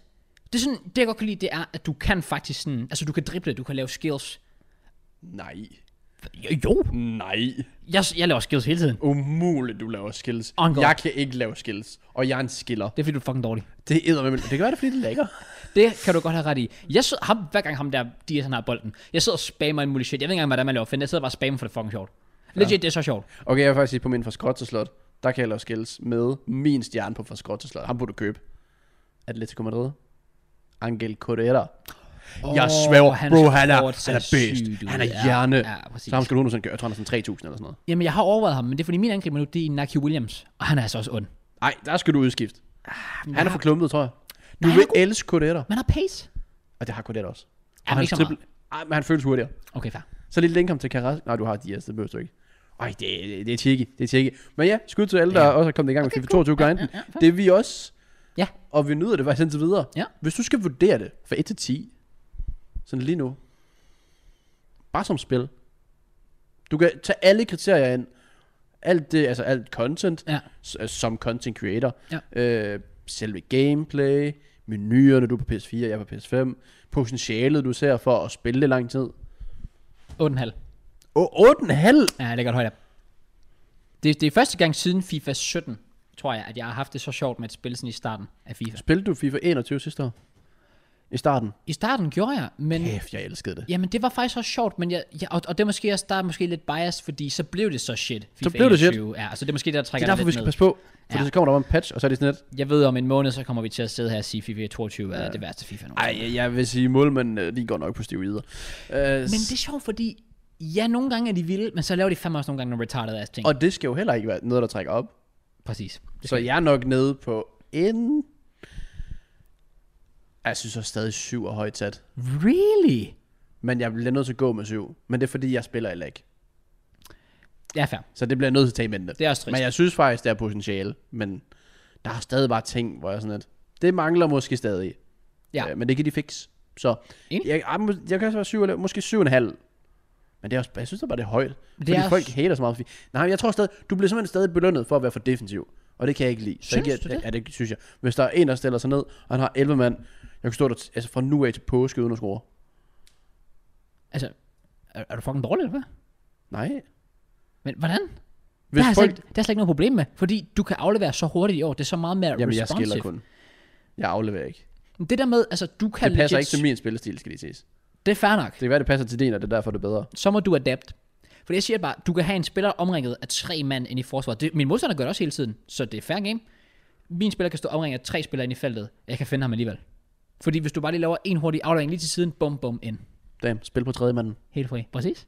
Speaker 1: det, er sådan, det jeg godt kan lide, det er, at du kan faktisk sådan... Altså, du kan drible, du kan lave skills.
Speaker 2: Nej.
Speaker 1: Jo, jo.
Speaker 2: Nej.
Speaker 1: Jeg, jeg laver skills hele tiden.
Speaker 2: Umuligt, du laver skills.
Speaker 1: Uncle.
Speaker 2: Jeg kan ikke lave skills. Og jeg er en skiller.
Speaker 1: Det er fordi, du er fucking dårlig.
Speaker 2: Det er eddermame- Det kan være, det er, fordi det er lækker.
Speaker 1: Det kan du godt have ret i. Jeg sidder, ham, hver gang ham der, de sådan har bolden, jeg sidder og spammer en mulig shit. Jeg ved ikke engang, hvordan man laver finde. Jeg sidder bare og spammer for det er fucking sjovt. Legit, det er så sjovt.
Speaker 2: Okay, jeg vil faktisk sige, på min fra Skot til Slot, der kan jeg lave skills med min stjerne på fra Skot til Slot. Ham burde du købe. Atletico Madrid. Angel Correa. Oh, jeg svæver,
Speaker 1: han
Speaker 2: han bro,
Speaker 1: ser
Speaker 2: han er, han
Speaker 1: kort, ser
Speaker 2: er
Speaker 1: syg
Speaker 2: bedst.
Speaker 1: ud.
Speaker 2: Han er
Speaker 1: Ja,
Speaker 2: hjerne.
Speaker 1: ja, præcis.
Speaker 2: så ham skal du nu sådan gøre, jeg tror, han er sådan 3.000 eller sådan noget.
Speaker 1: Jamen, jeg har overvejet ham, men det er fordi min angriber nu, det er Naki Williams. Og han er altså også ond.
Speaker 2: Nej, der skal du udskifte. Han er for klumpet, tror jeg. Du
Speaker 1: Nej, han
Speaker 2: vil
Speaker 1: Ah, er god.
Speaker 2: elske Correa.
Speaker 1: Man har pace.
Speaker 2: Og det har Correa også.
Speaker 1: Ja, men
Speaker 2: hans
Speaker 1: ikke så meget.
Speaker 2: dribbel- Ej, men han føles hurtigere.
Speaker 1: Okay, fair.
Speaker 2: Så lige link ham til Carrasco. Nej, du har Dias, det behøver du ikke. Ej, det, det, det er tjekke, det er tjekke. Men ja, skud til alle, der også er kommet i gang med FIFA 22 grinden. Det er vi også,
Speaker 1: Ja.
Speaker 2: og vi nyder det faktisk indtil videre.
Speaker 1: Ja.
Speaker 2: Hvis du skal vurdere det fra 1 til 10, sådan lige nu, bare som spil. Du kan tage alle kriterier ind. Alt det, altså alt content,
Speaker 1: Ja.
Speaker 2: s- altså som content creator.
Speaker 1: Ja.
Speaker 2: Øh, selve gameplay, menuerne, du er på PS4, jeg er på PS5. Potentialet, du ser for at spille det lang tid.
Speaker 1: 8,5.
Speaker 2: Åh, 8,5
Speaker 1: Ja, det er godt højt op. Det, det er første gang siden FIFA 17, tror jeg, at jeg har haft det så sjovt med et spil sådan i starten af FIFA.
Speaker 2: Spillede du FIFA 21 sidste år? I starten?
Speaker 1: I starten gjorde jeg, men...
Speaker 2: Kæft, jeg elskede det.
Speaker 1: Jamen, det var faktisk også sjovt, men jeg, jeg, og, og det er måske også, der er måske lidt bias, fordi så blev det så shit. FIFA
Speaker 2: blev det shit.
Speaker 1: 21. Ja, altså det er måske det, der
Speaker 2: Det
Speaker 1: trækker
Speaker 2: er
Speaker 1: det
Speaker 2: derfor, vi
Speaker 1: lidt
Speaker 2: skal
Speaker 1: ned.
Speaker 2: passe på. For
Speaker 1: Ja.
Speaker 2: så kommer der bare en patch, og så er det sådan lidt...
Speaker 1: Jeg ved, om en måned, så kommer vi til at sidde her og sige, FIFA 22 er det værste FIFA nu.
Speaker 2: Ej, jeg vil sige, målmanden, øh, de går nok på stivider. Uh,
Speaker 1: Men det er sjovt, fordi ja, nogle gange er de vilde, men så laver de fandme også nogle gange nogle retarded ass ting. Og...
Speaker 2: Og det skal jo heller ikke være noget, der trækker op.
Speaker 1: Præcis.
Speaker 2: Så jeg er nok nede på en... Jeg synes også stadig 7 er højt sat.
Speaker 1: Really?
Speaker 2: Men jeg bliver nødt til at gå med 7. Men det er fordi, jeg spiller i lag.
Speaker 1: Ja, fair.
Speaker 2: Så det bliver jeg nødt til at tage i mente.
Speaker 1: Det er også trist.
Speaker 2: Men jeg synes faktisk, det er potentiale. Men der er stadig bare ting, hvor jeg er sådan lidt... Det mangler måske stadig.
Speaker 1: Ja.
Speaker 2: Øh, men det kan de fikse. Så
Speaker 1: Enig.
Speaker 2: jeg, ah, må- jeg kan også være syv, eller måske syv og en halv. Men det er også, jeg synes da bare, det er højt.
Speaker 1: Det
Speaker 2: fordi
Speaker 1: er
Speaker 2: folk
Speaker 1: også-
Speaker 2: hater så meget. Nej, jeg tror stadig, du bliver simpelthen stadig belønnet for at være for defensiv. Og det kan jeg ikke lide. Så
Speaker 1: Synes
Speaker 2: jeg,
Speaker 1: du det?
Speaker 2: Ja, det synes jeg. Hvis der er en, der stiller sig ned, og han har 11 mand, jeg kan stå der t- altså fra nu af til påske uden at score.
Speaker 1: Altså, er, er du fucking dårlig, eller hvad?
Speaker 2: Nej.
Speaker 1: Men hvordan?
Speaker 2: Hvis
Speaker 1: der, er folk...
Speaker 2: folk,
Speaker 1: slet, ikke- der er slet ikke noget problem med, fordi du kan aflevere så hurtigt i år. Det er så meget mere
Speaker 2: jamen, jeg
Speaker 1: responsive.
Speaker 2: skiller kun. Jeg afleverer ikke.
Speaker 1: Men Det der med, altså, du kan
Speaker 2: Det passer
Speaker 1: legit...
Speaker 2: ikke til min spillestil, skal det ses.
Speaker 1: Det er fair nok.
Speaker 2: Det kan være, det passer til din, og det er derfor, det er bedre.
Speaker 1: så må du adapt. For jeg siger bare, du kan have en spiller omringet af tre mand ind i forsvaret. Det, min modstander gør det også hele tiden, så det er fair game. Min spiller kan stå omringet af tre spillere ind i feltet. Jeg kan finde ham alligevel. Fordi hvis du bare lige laver en hurtig aflevering lige til siden, bum bum ind.
Speaker 2: Damn, spil på tredje manden.
Speaker 1: Helt fri. Præcis.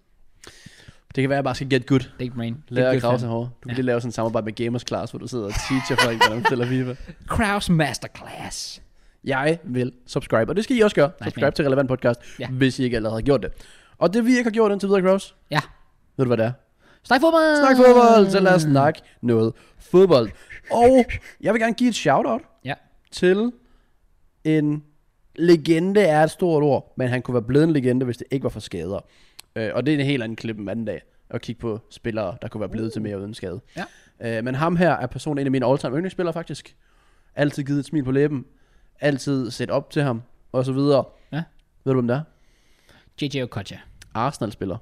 Speaker 2: Det kan være, at jeg bare skal get good.
Speaker 1: Det er ikke brain. Det er
Speaker 2: Lærer at
Speaker 1: good
Speaker 2: grave
Speaker 1: fun.
Speaker 2: sig hårdere. Du kan
Speaker 1: Ja.
Speaker 2: lige lave sådan et samarbejde med Gamers Class, hvor du sidder og teacher folk, hvordan man spiller FIFA.
Speaker 1: Kraus Masterclass.
Speaker 2: Jeg vil subscribe, og det skal I også gøre. Subscribe
Speaker 1: man.
Speaker 2: til Relevant Podcast,
Speaker 1: Ja.
Speaker 2: hvis I ikke allerede har gjort det. Og det vi ikke har gjort indtil videre, Kraus,
Speaker 1: Ja.
Speaker 2: ved du hvad det er?
Speaker 1: Snak fodbold!
Speaker 2: Snak fodbold, så lad os snakke noget fodbold. Og jeg vil gerne give et shout-out
Speaker 1: Ja.
Speaker 2: til en legende er et stort ord, men han kunne være blevet en legende, hvis det ikke var for skader. Øh, og det er en helt anden klip en anden dag, at kigge på spillere, der kunne være blevet til mere uden skade.
Speaker 1: Ja.
Speaker 2: Øh, men ham her er personen en af mine all-time yndlingsspillere faktisk. Altid givet et smil på læben, altid set op til ham, og så videre.
Speaker 1: Ja.
Speaker 2: Ved du, hvem det er?
Speaker 1: JJ Okocha.
Speaker 2: Arsenal-spiller.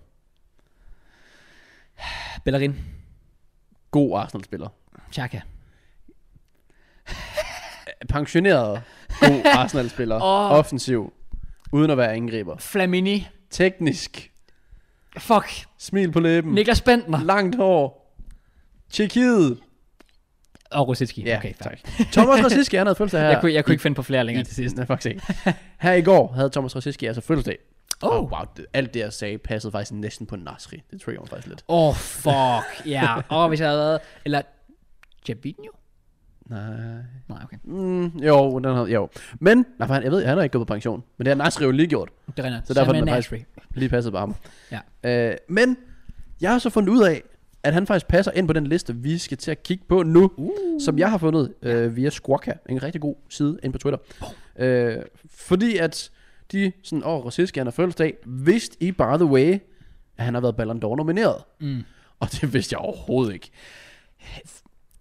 Speaker 1: Bellerin.
Speaker 2: God Arsenal-spiller.
Speaker 1: Chaka.
Speaker 2: Øh, Pensioneret
Speaker 1: (laughs)
Speaker 2: god Arsenal-spiller.
Speaker 1: Åh.
Speaker 2: Offensiv. Uden at være angriber.
Speaker 1: Flamini.
Speaker 2: Teknisk.
Speaker 1: Fuck.
Speaker 2: Smil på læben.
Speaker 1: Niklas Bentner.
Speaker 2: Langt hår. Tjekkiet.
Speaker 1: Og Rosicki.
Speaker 2: Ja,
Speaker 1: okay, fair.
Speaker 2: tak. (laughs) Thomas Rosiski, han havde fødselsdag her.
Speaker 1: Jeg kunne, jeg kunne ikke finde på flere længere til sidst.
Speaker 2: sidst. Nej, faktisk (laughs) ikke. Her i går havde Thomas Rosiski altså fødselsdag.
Speaker 1: Åh.
Speaker 2: Og wow, det, alt det, jeg sagde, passede faktisk næsten på Nasri. Det tror jeg faktisk lidt.
Speaker 1: Åh, oh, fuck, ja. Yeah. Åh, oh, hvis jeg havde været... Eller... Jabinho?
Speaker 2: Nej.
Speaker 1: Nej, okay.
Speaker 2: Mm, jo, den havde, jo. Men, nej, for han, jeg ved, han har ikke gået på pension. Men det har Nasri jo lige gjort.
Speaker 1: Det rinder.
Speaker 2: Så derfor er
Speaker 1: Salman
Speaker 2: den faktisk
Speaker 1: Nasri.
Speaker 2: lige passet på ham.
Speaker 1: Ja.
Speaker 2: Øh, men, jeg har så fundet ud af, at han faktisk passer ind på den liste, vi skal til at kigge på nu. Uh. Som jeg har fundet øh, via Squawka, en rigtig god side ind på Twitter. Oh. Øh, fordi at de sådan, åh, Rosiski, han har fødselsdag, vidste I, by the way, at han har været Ballon d'Or nomineret. Mm. Og det vidste jeg overhovedet ikke.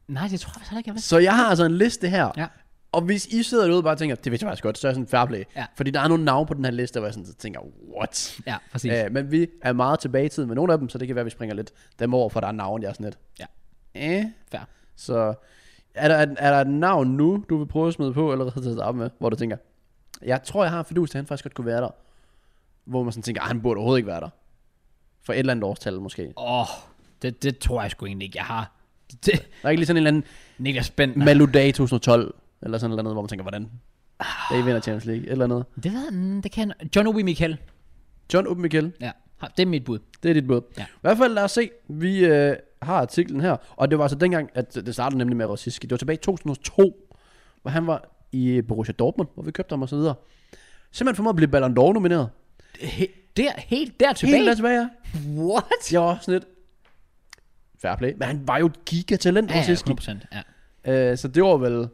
Speaker 1: Nej, det tror jeg faktisk heller ikke, jeg ved.
Speaker 2: Så jeg har altså en liste her.
Speaker 1: Ja.
Speaker 2: Og hvis I sidder derude og bare tænker, det vidste jeg faktisk godt, så er jeg sådan fair play.
Speaker 1: Ja.
Speaker 2: Fordi der er nogle navne på den her liste, hvor jeg sådan tænker, what?
Speaker 1: Ja, præcis.
Speaker 2: Øh, men vi er meget tilbage i tiden med nogle af dem, så det kan være, at vi springer lidt dem over, for der er navn, jeg er sådan lidt.
Speaker 1: Ja.
Speaker 2: Eh.
Speaker 1: Fair.
Speaker 2: Så er der, er der et navn nu, du vil prøve at smide på, eller hvad hedder det op med, hvor du tænker, Jeg tror, jeg har en fidus, til, at han faktisk godt kunne være der. Hvor man sådan tænker, "Ah, han burde overhovedet ikke være der. For et eller andet årstal måske. Der
Speaker 1: Åh, oh, det, det tror jeg sgu egentlig ikke, jeg har. Det,
Speaker 2: er ikke lige sådan en eller anden
Speaker 1: Niklas Bentner.
Speaker 2: Malu Day 2012, eller sådan et eller andet, hvor man tænker, hvordan? Da I vinder Champions League, et eller andet.
Speaker 1: Det ved jeg, mm, det kan John Obi Michael.
Speaker 2: John Open Michael,
Speaker 1: Ja, har- det er mit bud.
Speaker 2: det er dit bud.
Speaker 1: Ja.
Speaker 2: I hvert fald, lad os se. Vi øh, har artiklen her, og det var altså dengang, at det startede nemlig med Rossiski. Det var tilbage i 2002, hvor han var i øh, Borussia Dortmund, hvor vi købte ham og så videre. Simpelthen for mig at blive Ballon d'Or nomineret.
Speaker 1: He, der, helt der tilbage?
Speaker 2: Helt der tilbage, ja.
Speaker 1: What?
Speaker 2: Jeg var sådan lidt... Fair play. Men han var jo et gigatalent,
Speaker 1: Ja, ja,
Speaker 2: Rossiski.
Speaker 1: 100%. Ja.
Speaker 2: Øh, så det var vel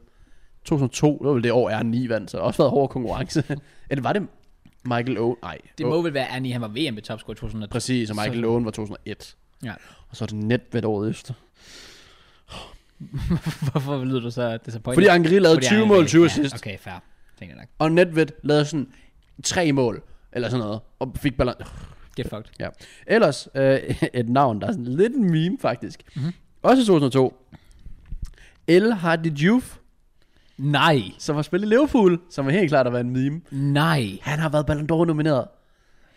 Speaker 2: 2002, det var vel det år, R9 vandt, så det har også været hård konkurrence.
Speaker 1: (laughs)
Speaker 2: Eller var det Michael Owen? Nej.
Speaker 1: Det må vel være, at han var VM i topscore i 2003.
Speaker 2: Præcis, og Michael
Speaker 1: Så-
Speaker 2: Owen var 2001.
Speaker 1: Ja.
Speaker 2: Og så er det net ved året efter.
Speaker 1: (laughs) Hvorfor lyder du så disappointed?
Speaker 2: Fordi Angri lavede
Speaker 1: Fordi
Speaker 2: 20
Speaker 1: han-
Speaker 2: mål, 20
Speaker 1: ja,
Speaker 2: assist.
Speaker 1: Okay, fair. Tænker jeg nok.
Speaker 2: Og Nedved lavede sådan tre mål, eller sådan noget, og fik balance.
Speaker 1: Get fucked.
Speaker 2: Ja. Ellers øh, (laughs) et navn, der er sådan lidt en meme faktisk.
Speaker 1: Mhm.
Speaker 2: Mm-hmm. Også i 2002. El Hardy Diouf,
Speaker 1: Nej.
Speaker 2: som har spillet i Liverpool, som er helt klart at være en meme.
Speaker 1: Nej.
Speaker 2: Han har været Ballon d'Or nomineret.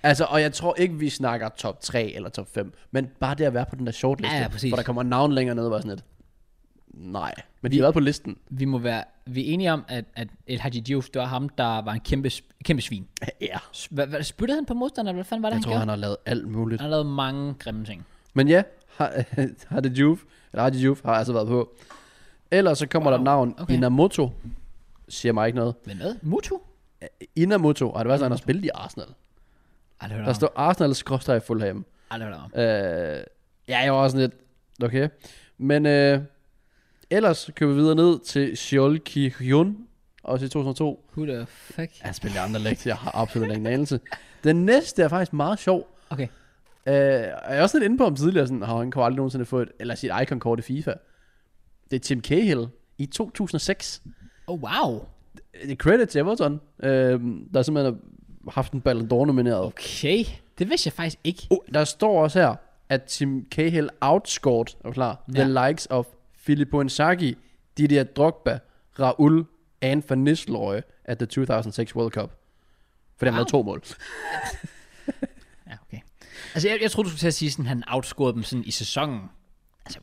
Speaker 2: Altså, og jeg tror ikke, vi snakker top 3 eller top 5, men bare det at være på den der shortliste,
Speaker 1: Ja, ja, præcis.
Speaker 2: hvor der kommer navn længere ned, var sådan lidt, nej, men de har været på listen.
Speaker 1: Vi må være vi er enige om, at, at El Hadji Diouf, det var ham, der var en kæmpe, sp- kæmpe svin.
Speaker 2: Ja.
Speaker 1: S- Hvad, hvad, spyttede han på modstanderen? Hvad fanden var det,
Speaker 2: Jeg
Speaker 1: han
Speaker 2: tror,
Speaker 1: gjorde?
Speaker 2: han har lavet alt muligt.
Speaker 1: Han har lavet mange grimme ting.
Speaker 2: Men ja, har, (laughs) har det Juve, eller har det Juve, har altså været på. Ellers så kommer wow. der et navn,
Speaker 1: Okay.
Speaker 2: okay. Inamoto, siger mig ikke noget.
Speaker 1: Hvem hvad? Mutu?
Speaker 2: Inamoto, og det var sådan, han har spillet i Arsenal.
Speaker 1: Ej, det hører
Speaker 2: Der står Arsenal skråstrej Fulham.
Speaker 1: Ej, det hører om.
Speaker 2: Øh, ja, jeg var også sådan lidt, okay. Men øh, ellers kører vi videre ned til Seoul Ki-hyun, også i 2002.
Speaker 1: Who the fuck?
Speaker 2: Han spiller i andre lægt, jeg har absolut ingen anelse. Den næste er faktisk meget sjov.
Speaker 1: Okay.
Speaker 2: Øh, og jeg er også lidt inde på ham tidligere, sådan, har han kunne aldrig nogensinde få et, eller sit icon-kort i FIFA. Det er Tim Cahill i 2006.
Speaker 1: Oh, wow.
Speaker 2: Det er credit til Everton, øh, der simpelthen har haft en Ballon d'Or nomineret.
Speaker 1: Okay. Det vidste jeg faktisk ikke.
Speaker 2: Oh, der står også her, at Tim Cahill outscored, er du klar? Ja. The likes of Filippo Inzaghi, Didier Drogba, Raul and Van Nistelrooy at the 2006 World Cup. For wow. han lavede to mål.
Speaker 1: Ja, okay. Altså, jeg, jeg troede, du skulle til at sige, sådan, han outscorede dem sådan i sæsonen.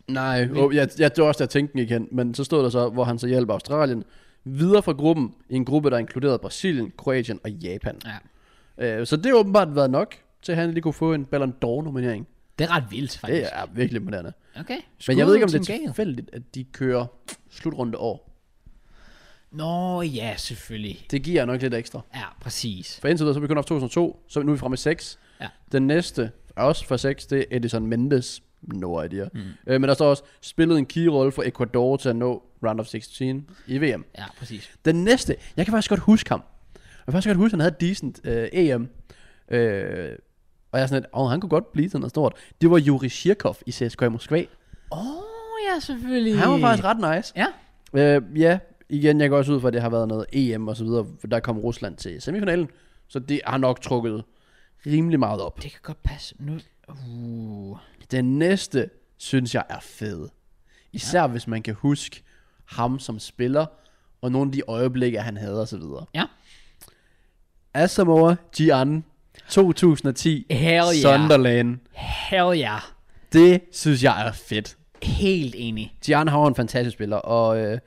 Speaker 2: Nej, oh, jeg, jeg, det var også der tænkte den igen, men så stod der så, hvor han så hjælper Australien videre fra gruppen, i en gruppe, der inkluderede Brasilien, Kroatien og Japan.
Speaker 1: Ja.
Speaker 2: Øh, så det har åbenbart været nok, til at han lige kunne få en Ballon d'Or-nominering.
Speaker 1: Det er ret vildt, faktisk.
Speaker 2: Det er virkelig imponerende.
Speaker 1: Okay.
Speaker 2: Men jeg ved ikke, om
Speaker 1: Skud
Speaker 2: det
Speaker 1: til
Speaker 2: er
Speaker 1: Gael.
Speaker 2: tilfældigt, at de kører slutrunde år.
Speaker 1: Nå, ja, selvfølgelig.
Speaker 2: Det giver nok lidt ekstra.
Speaker 1: Ja, præcis.
Speaker 2: For indtil videre, så er vi kun haft 2002, så nu er vi fremme i 6.
Speaker 1: Ja.
Speaker 2: Den næste, er også fra 6, det er Edison Mendes. No idea. Mm. Øh, men der står også, spillede en key-rolle for Ecuador til at nå round of 16 i VM.
Speaker 1: Ja, præcis.
Speaker 2: Den næste, jeg kan faktisk godt huske ham. Jeg kan faktisk godt huske, at han havde et decent øh, EM. Øh, og jeg er sådan lidt, åh, han kunne godt blive sådan noget stort. Det var Juri Shirkov i CSKA Moskva.
Speaker 1: Åh, oh, ja, selvfølgelig.
Speaker 2: Han var faktisk ret nice.
Speaker 1: Ja.
Speaker 2: Øh, ja, igen, jeg går også ud fra, at det har været noget EM og så videre, for der kom Rusland til semifinalen, så det har nok trukket rimelig meget op.
Speaker 1: Det kan godt passe. Nu... Uh.
Speaker 2: Den næste, synes jeg, er fed. Især ja. hvis man kan huske ham som spiller, og nogle af de øjeblikke, han havde og så videre.
Speaker 1: Ja.
Speaker 2: Asamoah Gyan, 2010,
Speaker 1: Hell yeah.
Speaker 2: Sunderland.
Speaker 1: Hell ja. Yeah.
Speaker 2: Det synes jeg er fedt.
Speaker 1: Helt enig.
Speaker 2: Gyan har jo en fantastisk spiller, og øh,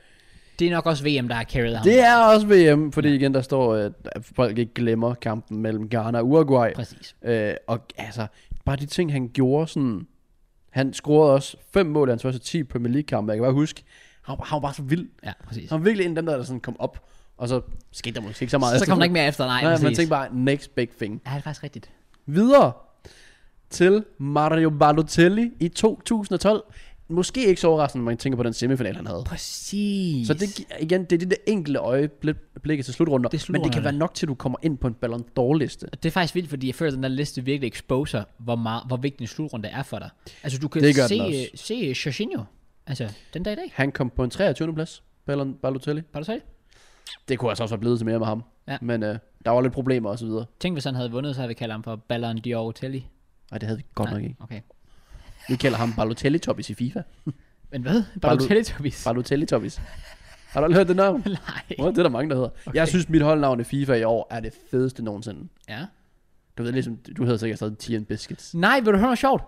Speaker 1: Det er nok også VM, der har carried ham.
Speaker 2: Det er også VM, fordi igen, der står, øh, at folk ikke glemmer kampen mellem Ghana og Uruguay.
Speaker 1: Præcis.
Speaker 2: Øh, og altså, bare de ting, han gjorde sådan... Han scorede også fem mål i hans første 10 Premier League-kampe. Jeg kan bare huske, han var, han var bare så vild.
Speaker 1: Ja, præcis.
Speaker 2: Han var virkelig en af dem, der sådan kom op, og så skete der måske ikke så meget.
Speaker 1: Så kom der ikke mere efter, nej,
Speaker 2: Nej, man
Speaker 1: præcis.
Speaker 2: tænkte bare, next big thing.
Speaker 1: Ja, det er faktisk rigtigt.
Speaker 2: Videre til Mario Balotelli i 2012. Måske ikke så overraskende, når man tænker på den semifinal, han havde.
Speaker 1: Præcis.
Speaker 2: Så det, gi- igen, det er det der enkelte øjeblik til slutrunder,
Speaker 1: Det er
Speaker 2: men det kan
Speaker 1: slutrunderne.
Speaker 2: være nok til, at du kommer ind på en Ballon d'Or-liste.
Speaker 1: Og Det er faktisk vildt, fordi jeg føler, at den der liste virkelig exposer, hvor, meget, hvor vigtig en slutrunde er for dig. Altså, du kan
Speaker 2: Det gør
Speaker 1: se,
Speaker 2: den også.
Speaker 1: øh, se øh, Jorginho, altså, den dag i dag.
Speaker 2: Han kom på en 23. plads, Ballon Balotelli.
Speaker 1: Var du selv?
Speaker 2: Det kunne altså også være blevet til mere med ham.
Speaker 1: Ja.
Speaker 2: Men øh, der var lidt problemer og så videre.
Speaker 1: Tænk, hvis han havde vundet, så havde vi kaldt ham for Ballon d'Or Telly.
Speaker 2: Nej, det havde vi godt nok ikke.
Speaker 1: Okay.
Speaker 2: Vi kalder ham Balotelli Toppis i FIFA.
Speaker 1: Men hvad? Ballon Telly, Tobias?
Speaker 2: Balotelli Toppis. Har du aldrig hørt det navn?
Speaker 1: (laughs) Nej.
Speaker 2: What? Det er der mange, der hedder. Okay. Jeg synes, mit holdnavn i FIFA i år er det fedeste nogensinde.
Speaker 1: Ja.
Speaker 2: Du ved ligesom, du hedder sikkert stadig Tea and Biscuits.
Speaker 1: Nej, vil du høre noget sjovt?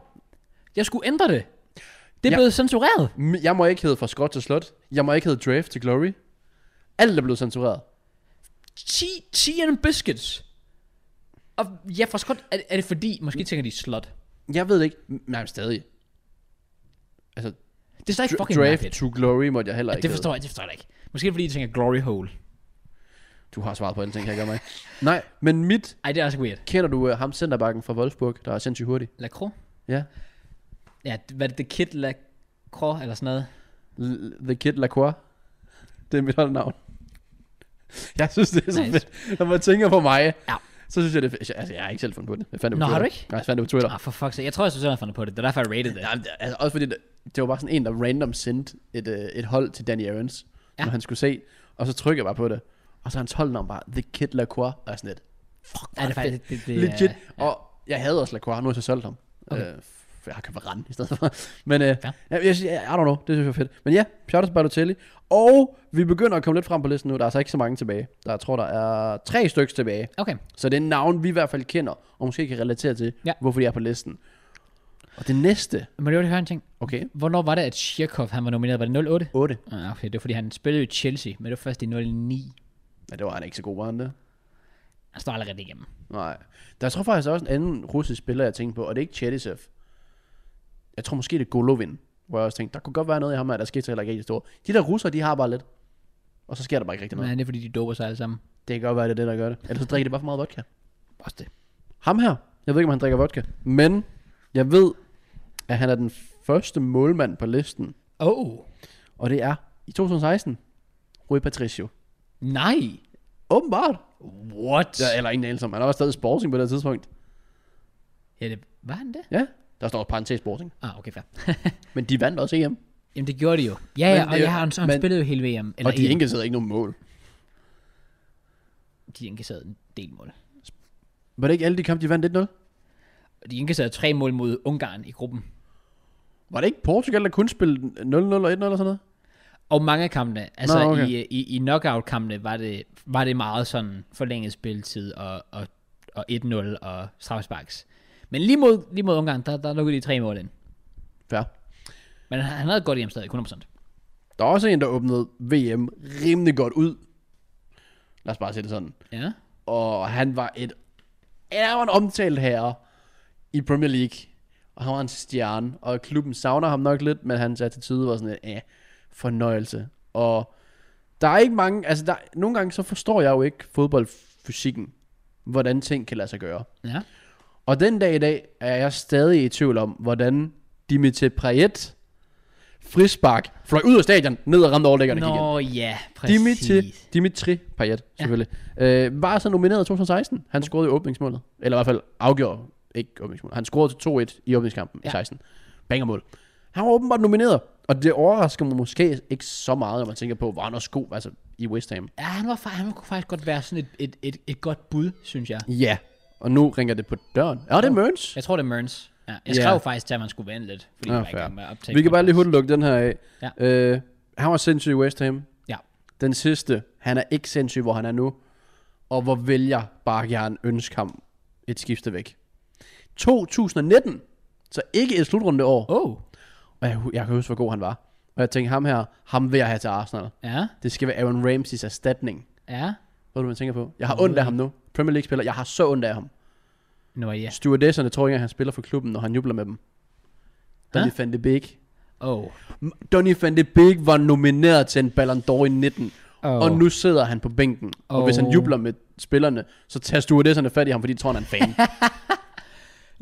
Speaker 1: Jeg skulle ændre det. Det er
Speaker 2: Ja.
Speaker 1: ja. blevet censureret.
Speaker 2: M- Jeg må ikke hedde fra skot til slot. Jeg må ikke hedde draft til glory. Alt er blevet censureret.
Speaker 1: 10, 10 and biscuits. Og ja, for skot, er, er det fordi, måske tænker de slot.
Speaker 2: Jeg ved det ikke. M- Nej, men stadig. Altså,
Speaker 1: Det er så ikke
Speaker 2: dra-
Speaker 1: fucking
Speaker 2: draft
Speaker 1: mærkeligt.
Speaker 2: to glory måtte jeg heller ikke
Speaker 1: Det forstår jeg, det forstår jeg da ikke. Måske er det fordi, de tænker glory hole.
Speaker 2: hedde. Du har svaret på alle ting, kan jeg gøre mig. Nej, men mit...
Speaker 1: Ej, det er altså weird.
Speaker 2: Kender du uh, ham centerbakken fra Wolfsburg, der er sindssygt hurtig?
Speaker 1: Lacroix?
Speaker 2: Ja.
Speaker 1: Ja, d- hvad er det, The Kid Lacroix eller sådan noget?
Speaker 2: L- The Kid Lacroix. Det er mit holdnavn. Jeg synes, det er så
Speaker 1: Nice.
Speaker 2: fedt. Når man tænker på mig,
Speaker 1: Ja.
Speaker 2: så synes jeg, det er fedt. Altså, jeg har ikke selv fundet på det. Jeg fandt det på
Speaker 1: Nå,
Speaker 2: Twitter.
Speaker 1: har du ikke?
Speaker 2: Nej, jeg fandt det på Twitter.
Speaker 1: Ah, for fuck's sake. Jeg tror, jeg synes, jeg har fundet på det. Det er derfor, jeg rated det.
Speaker 2: Nej, men det- altså, også fordi, det, det var bare sådan en, der random sendte et, øh, et hold til Danny Aarons, ja.
Speaker 1: Ja.
Speaker 2: som han skulle se, og så trykker jeg bare på det. Og så er hans holdnavn bare, The Kid Lacroix, og jeg er sådan lidt,
Speaker 1: Fuck, er det
Speaker 2: hvor er
Speaker 1: faktisk, det, det,
Speaker 2: legit.
Speaker 1: er-
Speaker 2: Og jeg havde også Lacroix, nu har jeg så solgt ham. Okay.
Speaker 1: Okay.
Speaker 2: Øh, for jeg har købt Varane i stedet for. (laughs) Men øh, ja.
Speaker 1: Ja.
Speaker 2: jeg, jeg, jeg, I don't know, det synes jeg var fedt. Men ja, shout out til Balotelli. Og vi begynder at komme lidt frem på listen nu. Der er altså ikke så mange tilbage. Der, jeg tror, der er tre stykker tilbage.
Speaker 1: Okay,
Speaker 2: Så det er navn, vi i hvert fald kender, og måske kan relatere til, ja.
Speaker 1: Ja.
Speaker 2: hvorfor de er på listen. Og det næste,
Speaker 1: må jeg lige høre en ting?
Speaker 2: okay,
Speaker 1: Hvornår var det, at Shirkov han var nomineret? Var det 08?
Speaker 2: 8.
Speaker 1: Ah, okay, det var fordi, han spillede i Chelsea, men det var først i 09.
Speaker 2: Ja, det var han ikke så god, var han det?
Speaker 1: Han står allerede igennem.
Speaker 2: Nej. Der tror faktisk også en anden russisk spiller, jeg tænkte på, og det er ikke Chedisev. Jeg tror måske, det er Golovin, hvor jeg også tænkte, der kunne godt være noget i ham, her, der skete så heller ikke rigtig store. De der russere, de har bare lidt. Og så sker der bare ikke rigtig noget.
Speaker 1: Men det er fordi, de doper sig alle sammen.
Speaker 2: Det kan godt være, det er det, der gør det. Ellers så drikker det bare for meget vodka.
Speaker 1: Også det.
Speaker 2: Ham her, jeg ved ikke, om han drikker vodka, men jeg ved, at han er den første målmand på listen,
Speaker 1: Oh,
Speaker 2: og det er i 2016, Rui Patricio.
Speaker 1: nej.
Speaker 2: Åbenbart.
Speaker 1: What?
Speaker 2: Ja, eller ingen anelse om. Han var stadig i sporting på det her tidspunkt.
Speaker 1: Ja, det, var han det?
Speaker 2: Ja, der står også parentes sporting.
Speaker 1: Ah, okay, fair. (laughs)
Speaker 2: Men de vandt også E EM.
Speaker 1: Jamen, det gjorde de jo. Ja, ja,
Speaker 2: Men
Speaker 1: og
Speaker 2: det-
Speaker 1: jeg har, han, han
Speaker 2: men-
Speaker 1: spillede jo hele VM. Eller
Speaker 2: og de
Speaker 1: EM.
Speaker 2: indkasserede ikke nogen mål.
Speaker 1: De indkasserede en del mål.
Speaker 2: Var det ikke alle de kampe, de vandt 1-0?
Speaker 1: De indkasserede tre mål mod Ungarn i gruppen.
Speaker 2: Var det ikke Portugal, der kun spillede 0-0 og 1-0 eller sådan noget?
Speaker 1: Og mange af kampene, altså
Speaker 2: Nå,
Speaker 1: Nå,
Speaker 2: okay.
Speaker 1: okay. i, i, i knockout-kampene, var det, var det meget sådan forlænget spilletid og, og, og 1-0 og straffesparks. Men lige mod, lige mod Ungarn, der, der lukkede de tre mål ind.
Speaker 2: Fair.
Speaker 1: Men han, han havde et godt hjem stadig, 100%.
Speaker 2: Der er også en, der åbnede VM rimelig godt ud. Lad os bare sige det sådan.
Speaker 1: Ja.
Speaker 2: Og han var et... Han var en omtalt herre i Premier League. Og han var en stjerne. Og klubben savner ham nok lidt, men hans attitude var sådan en eh, fornøjelse. Og der er ikke mange... Altså, der, nogle gange så forstår jeg jo ikke fodboldfysikken. Hvordan ting kan lade sig gøre.
Speaker 1: Ja.
Speaker 2: Og den dag i dag er jeg stadig i tvivl om, hvordan Dimitri Payet frispark fløj ud af stadion, ned og ramte overlæggerne igen.
Speaker 1: Nå ja, præcis.
Speaker 2: Dimitri, Dimitri Payet, selvfølgelig. Øh, var så nomineret i 2016. Han scorede i åbningsmålet. Eller i hvert fald afgjorde ikke åbningsmålet. Han scorede til 2-1 i åbningskampen ja. i
Speaker 1: Ja.
Speaker 2: 16. Bangermål. Han var åbenbart nomineret. Og det overrasker mig måske ikke så meget, når man tænker på, hvor han også god altså, i West Ham.
Speaker 1: Ja, han, var, fa- han kunne faktisk godt være sådan et, et, et, et godt bud, synes jeg.
Speaker 2: Ja. Og nu ringer det på døren. Ja, det er Mørns.
Speaker 1: Jeg tror, det er Mørns. Ja. Jeg
Speaker 2: Ja.
Speaker 1: skrev faktisk til, at man skulle vente lidt, fordi
Speaker 2: Ja,
Speaker 1: ja, jeg var i
Speaker 2: fair.
Speaker 1: gang med at optage.
Speaker 2: Vi kan bare lige hurtigt lukke den her af.
Speaker 1: Ja.
Speaker 2: Øh, han var sindssyg i West Ham.
Speaker 1: Ja.
Speaker 2: Den sidste, han er ikke sindssyg, hvor han er nu. Og hvor vil jeg bare gerne ønske ham et skifte væk. 2019, så ikke et slutrunde år.
Speaker 1: Oh.
Speaker 2: Og jeg, hu- jeg kan huske, hvor god han var. Og jeg tænkte, ham her, ham vil jeg have til Arsenal.
Speaker 1: Ja,
Speaker 2: Det skal være Aaron Ramsey's erstatning.
Speaker 1: ja.
Speaker 2: Hvad er det, man tænker på? Jeg har ondt af ham nu. Premier League-spiller, jeg har så ondt af ham.
Speaker 1: Nå ja.
Speaker 2: Stewardesserne tror ikke, at han spiller for klubben, når han jubler med dem. Donny van de Beek,
Speaker 1: Oh.
Speaker 2: Donny van de Beek var nomineret til en Ballon d'Or i 19. Oh.
Speaker 1: Oh.
Speaker 2: Og nu sidder han på bænken. Oh. Og
Speaker 1: Oh.
Speaker 2: hvis han jubler med spillerne, så tager stewardesserne fat i ham, fordi de tror, han er en (laughs) fan.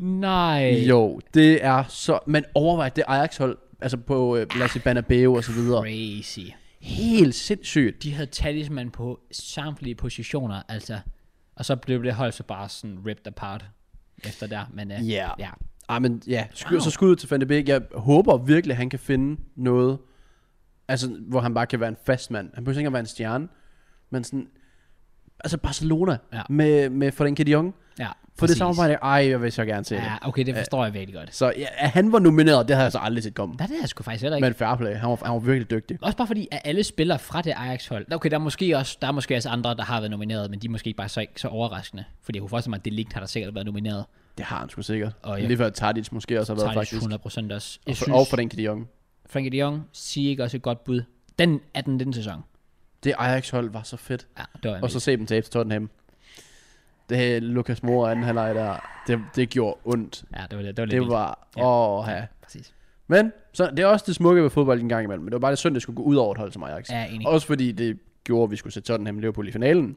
Speaker 1: Nej.
Speaker 2: jo, det er så... Men overvej det Ajax-hold, altså på øh, lad os sige Banabeo og så videre.
Speaker 1: Crazy.
Speaker 2: Helt sindssygt.
Speaker 1: De havde talisman på samtlige positioner, altså. Og så blev det hold så bare sådan ripped apart efter der. Men uh,
Speaker 2: Ja.
Speaker 1: ja.
Speaker 2: Ah, men ja, sk- wow.
Speaker 1: Wow.
Speaker 2: så skud ud til Van de Beek. Jeg håber virkelig, han kan finde noget, altså, hvor han bare kan være en fast mand. Han behøver ikke at være en stjerne, men sådan... Altså Barcelona
Speaker 1: Ja.
Speaker 2: med, med Frenkie de Jong.
Speaker 1: Ja,
Speaker 2: For det
Speaker 1: præcis.
Speaker 2: samarbejde, ej, jeg vil så gerne se ja. det.
Speaker 1: Ja, okay, det forstår jeg virkelig godt.
Speaker 2: Så ja, at han var nomineret, det havde jeg så aldrig set komme.
Speaker 1: Der er det, jeg sgu faktisk heller ikke.
Speaker 2: Men fair play, han var, han var virkelig dygtig.
Speaker 1: Også bare fordi, at alle spillere fra det Ajax-hold, okay, der er måske også, der er måske også andre, der har været nomineret, men de er måske bare så, ikke så overraskende. Fordi jeg kunne forestille mig, at Delict har der sikkert været nomineret.
Speaker 2: Det har han sgu sikkert.
Speaker 1: Og
Speaker 2: Og
Speaker 1: jeg-
Speaker 2: ja. Lige før Tadic måske også har været
Speaker 1: Tager de
Speaker 2: faktisk.
Speaker 1: 100 procent også. Jeg
Speaker 2: Og for,
Speaker 1: synes,
Speaker 2: og for den de Jong.
Speaker 1: Frankie de Jong siger ikke også et godt bud. Den 18 den sæson.
Speaker 2: Det Ajax-hold var så fedt.
Speaker 1: Ja, det var
Speaker 2: Og så se dem tabe til Tottenham. Det her Lukas Mora anden halvleg der, det, det gjorde ondt.
Speaker 1: Ja, det var det. Det var, lidt
Speaker 2: Det
Speaker 1: vildt.
Speaker 2: var,
Speaker 1: Ja.
Speaker 2: åh ja.
Speaker 1: Præcis.
Speaker 2: Men så, det er også det smukke ved fodbold en gang imellem. Men det var bare det synd, det skulle gå ud over et hold som Ajax.
Speaker 1: Ja, enig.
Speaker 2: Også fordi det gjorde, at vi skulle se Tottenham og Liverpool i finalen.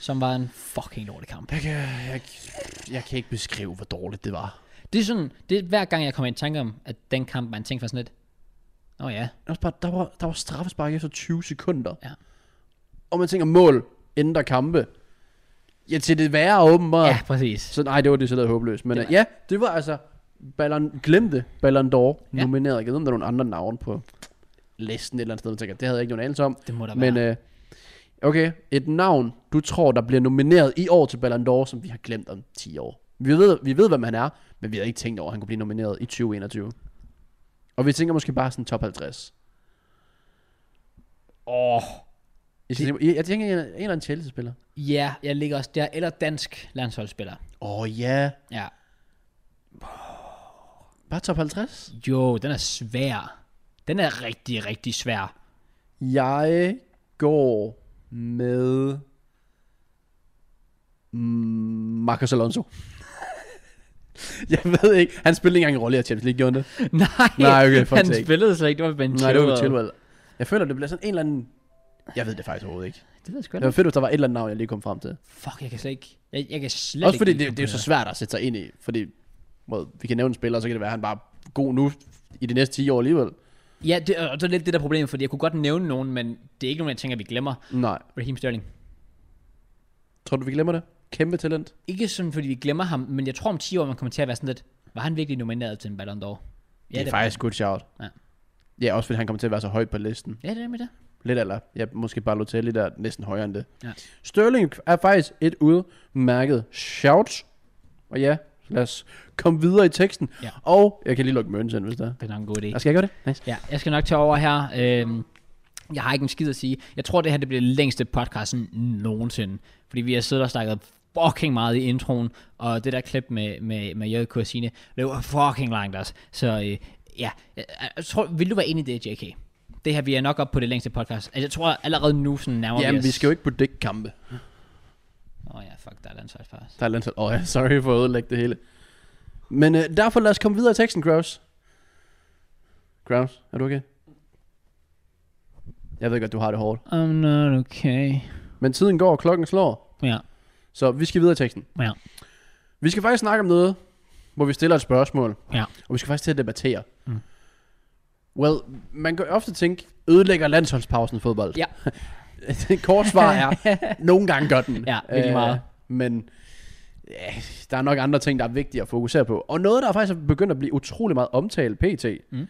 Speaker 1: Som var en fucking dårlig kamp.
Speaker 2: Jeg kan, jeg, jeg kan ikke beskrive, hvor dårligt det var.
Speaker 1: Det er sådan, det er hver gang, jeg kommer i tanke om, at den kamp var en ting for sådan lidt. Nå ja,
Speaker 2: Også bare, der, var, der var straffespark efter 20 sekunder.
Speaker 1: Ja.
Speaker 2: Og man tænker, mål ændrer kampe. Ja, til det værre åbenbart.
Speaker 1: ja, præcis.
Speaker 2: Så nej, det var det så håbløst. Men
Speaker 1: Det
Speaker 2: det
Speaker 1: var-
Speaker 2: ja, det var altså Ballon, glemte Ballon d'Or
Speaker 1: Ja.
Speaker 2: ja. nomineret. Jeg ved, om der er nogle andre navne på listen et eller andet sted. Man tænker, det havde jeg ikke nogen anelse om.
Speaker 1: Det må der
Speaker 2: Men
Speaker 1: være.
Speaker 2: øh, okay, et navn, du tror, der bliver nomineret i år til Ballon d'Or, som vi har glemt om 10 år. Vi ved, vi ved, hvem han er, men vi havde ikke tænkt over, at han kunne blive nomineret i 2021. Og vi tænker måske bare sådan top 50.
Speaker 1: Åh.
Speaker 2: Jeg, tænker, jeg, jeg tænker en, en eller anden Chelsea-spiller.
Speaker 1: Ja, jeg ligger også der. Eller dansk landsholdsspiller.
Speaker 2: Åh oh, ja,
Speaker 1: Ja.
Speaker 2: bare top 50.
Speaker 1: Jo, den er svær. Den er rigtig, rigtig svær. (laughs)
Speaker 2: Jeg går med mm, Marcos Alonso. (laughs) jeg ved ikke. Han spillede ikke engang en rolle i Champions League, gjorde han det?
Speaker 1: Nej,
Speaker 2: Nej, okay, fuck
Speaker 1: han
Speaker 2: sake.
Speaker 1: spillede slet ikke. Det var Ben
Speaker 2: Nej, det var
Speaker 1: Chilwell.
Speaker 2: Chilwell. Jeg føler, det bliver sådan en eller anden... Jeg ved det faktisk overhovedet ikke.
Speaker 1: Det ved jeg sgu
Speaker 2: Det var
Speaker 1: ikke.
Speaker 2: fedt, hvis der var et eller andet navn, jeg lige kom frem til.
Speaker 1: Fuck, jeg kan slet ikke. Jeg, jeg kan slet
Speaker 2: Også
Speaker 1: ikke
Speaker 2: fordi
Speaker 1: lide
Speaker 2: det, det er jo så
Speaker 1: computer.
Speaker 2: svært at sætte sig ind i. Fordi well, vi kan nævne en spiller, og så kan det være, at han bare er god nu i de næste 10 år alligevel.
Speaker 1: Ja, det, og det er lidt det der problem, fordi jeg kunne godt nævne nogen, men det er ikke nogen, jeg tænker, vi glemmer.
Speaker 2: Nej.
Speaker 1: Raheem Sterling.
Speaker 2: Tror du, vi glemmer det? Kæmpe talent.
Speaker 1: Ikke sådan, fordi vi glemmer ham, men jeg tror om 10 år, man kommer til at være sådan lidt, var han virkelig nomineret til en Ballon d'Or?
Speaker 2: Ja, det, er faktisk good shout.
Speaker 1: Ja.
Speaker 2: ja, også fordi han kommer til at være så højt på listen.
Speaker 1: Ja, det er med det.
Speaker 2: Lidt eller, ja, måske bare Lotelli der er næsten højere end det.
Speaker 1: Ja.
Speaker 2: Sterling er faktisk et udmærket shout. Og ja, lad os komme videre i teksten.
Speaker 1: Ja.
Speaker 2: Og jeg kan lige lukke Mørens ind, hvis der er.
Speaker 1: Det er nok en god idé.
Speaker 2: Ah, Skal jeg gøre det? Nice.
Speaker 1: Ja, jeg skal nok tage over her. Øhm, jeg har ikke en skid at sige. Jeg tror, det her det bliver den længste podcast sådan nogensinde. Fordi vi har siddet og snakket fucking meget i introen, og det der klip med, med, med JK og Signe, det var fucking langt også. Så øh, ja, jeg, jeg tror, vil du være enig i det, JK? Det her, vi er nok op på det længste podcast. Altså, jeg tror allerede nu sådan nærmer
Speaker 2: Oh, Jamen,
Speaker 1: os.
Speaker 2: vi skal jo ikke på dækkampe.
Speaker 1: Åh oh, ja, fuck, der er landsholdspass.
Speaker 2: Der er landshold. Åh oh, ja, sorry for at ødelægge det hele. Men øh, derfor lad os komme videre i teksten, Kraus. Kraus, er du okay? Jeg ved godt, du har det hårdt.
Speaker 1: I'm not okay.
Speaker 2: Men tiden går, og klokken slår.
Speaker 1: Ja,
Speaker 2: Så vi skal videre i teksten.
Speaker 1: ja,
Speaker 2: Vi skal faktisk snakke om noget, hvor vi stiller et spørgsmål.
Speaker 1: ja.
Speaker 2: Og vi skal faktisk til at debattere. Mm. Well, man kan ofte tænke, ødelægger landsholdspausen fodbold?
Speaker 1: Ja.
Speaker 2: det (laughs) kort svar er, nogle gange gør den. Øh,
Speaker 1: Ja, virkelig meget.
Speaker 2: men ja, der er nok andre ting, der er vigtige at fokusere på. Og noget, der faktisk er begyndt at blive utrolig meget omtalt pt.,
Speaker 1: Mm.
Speaker 2: mm.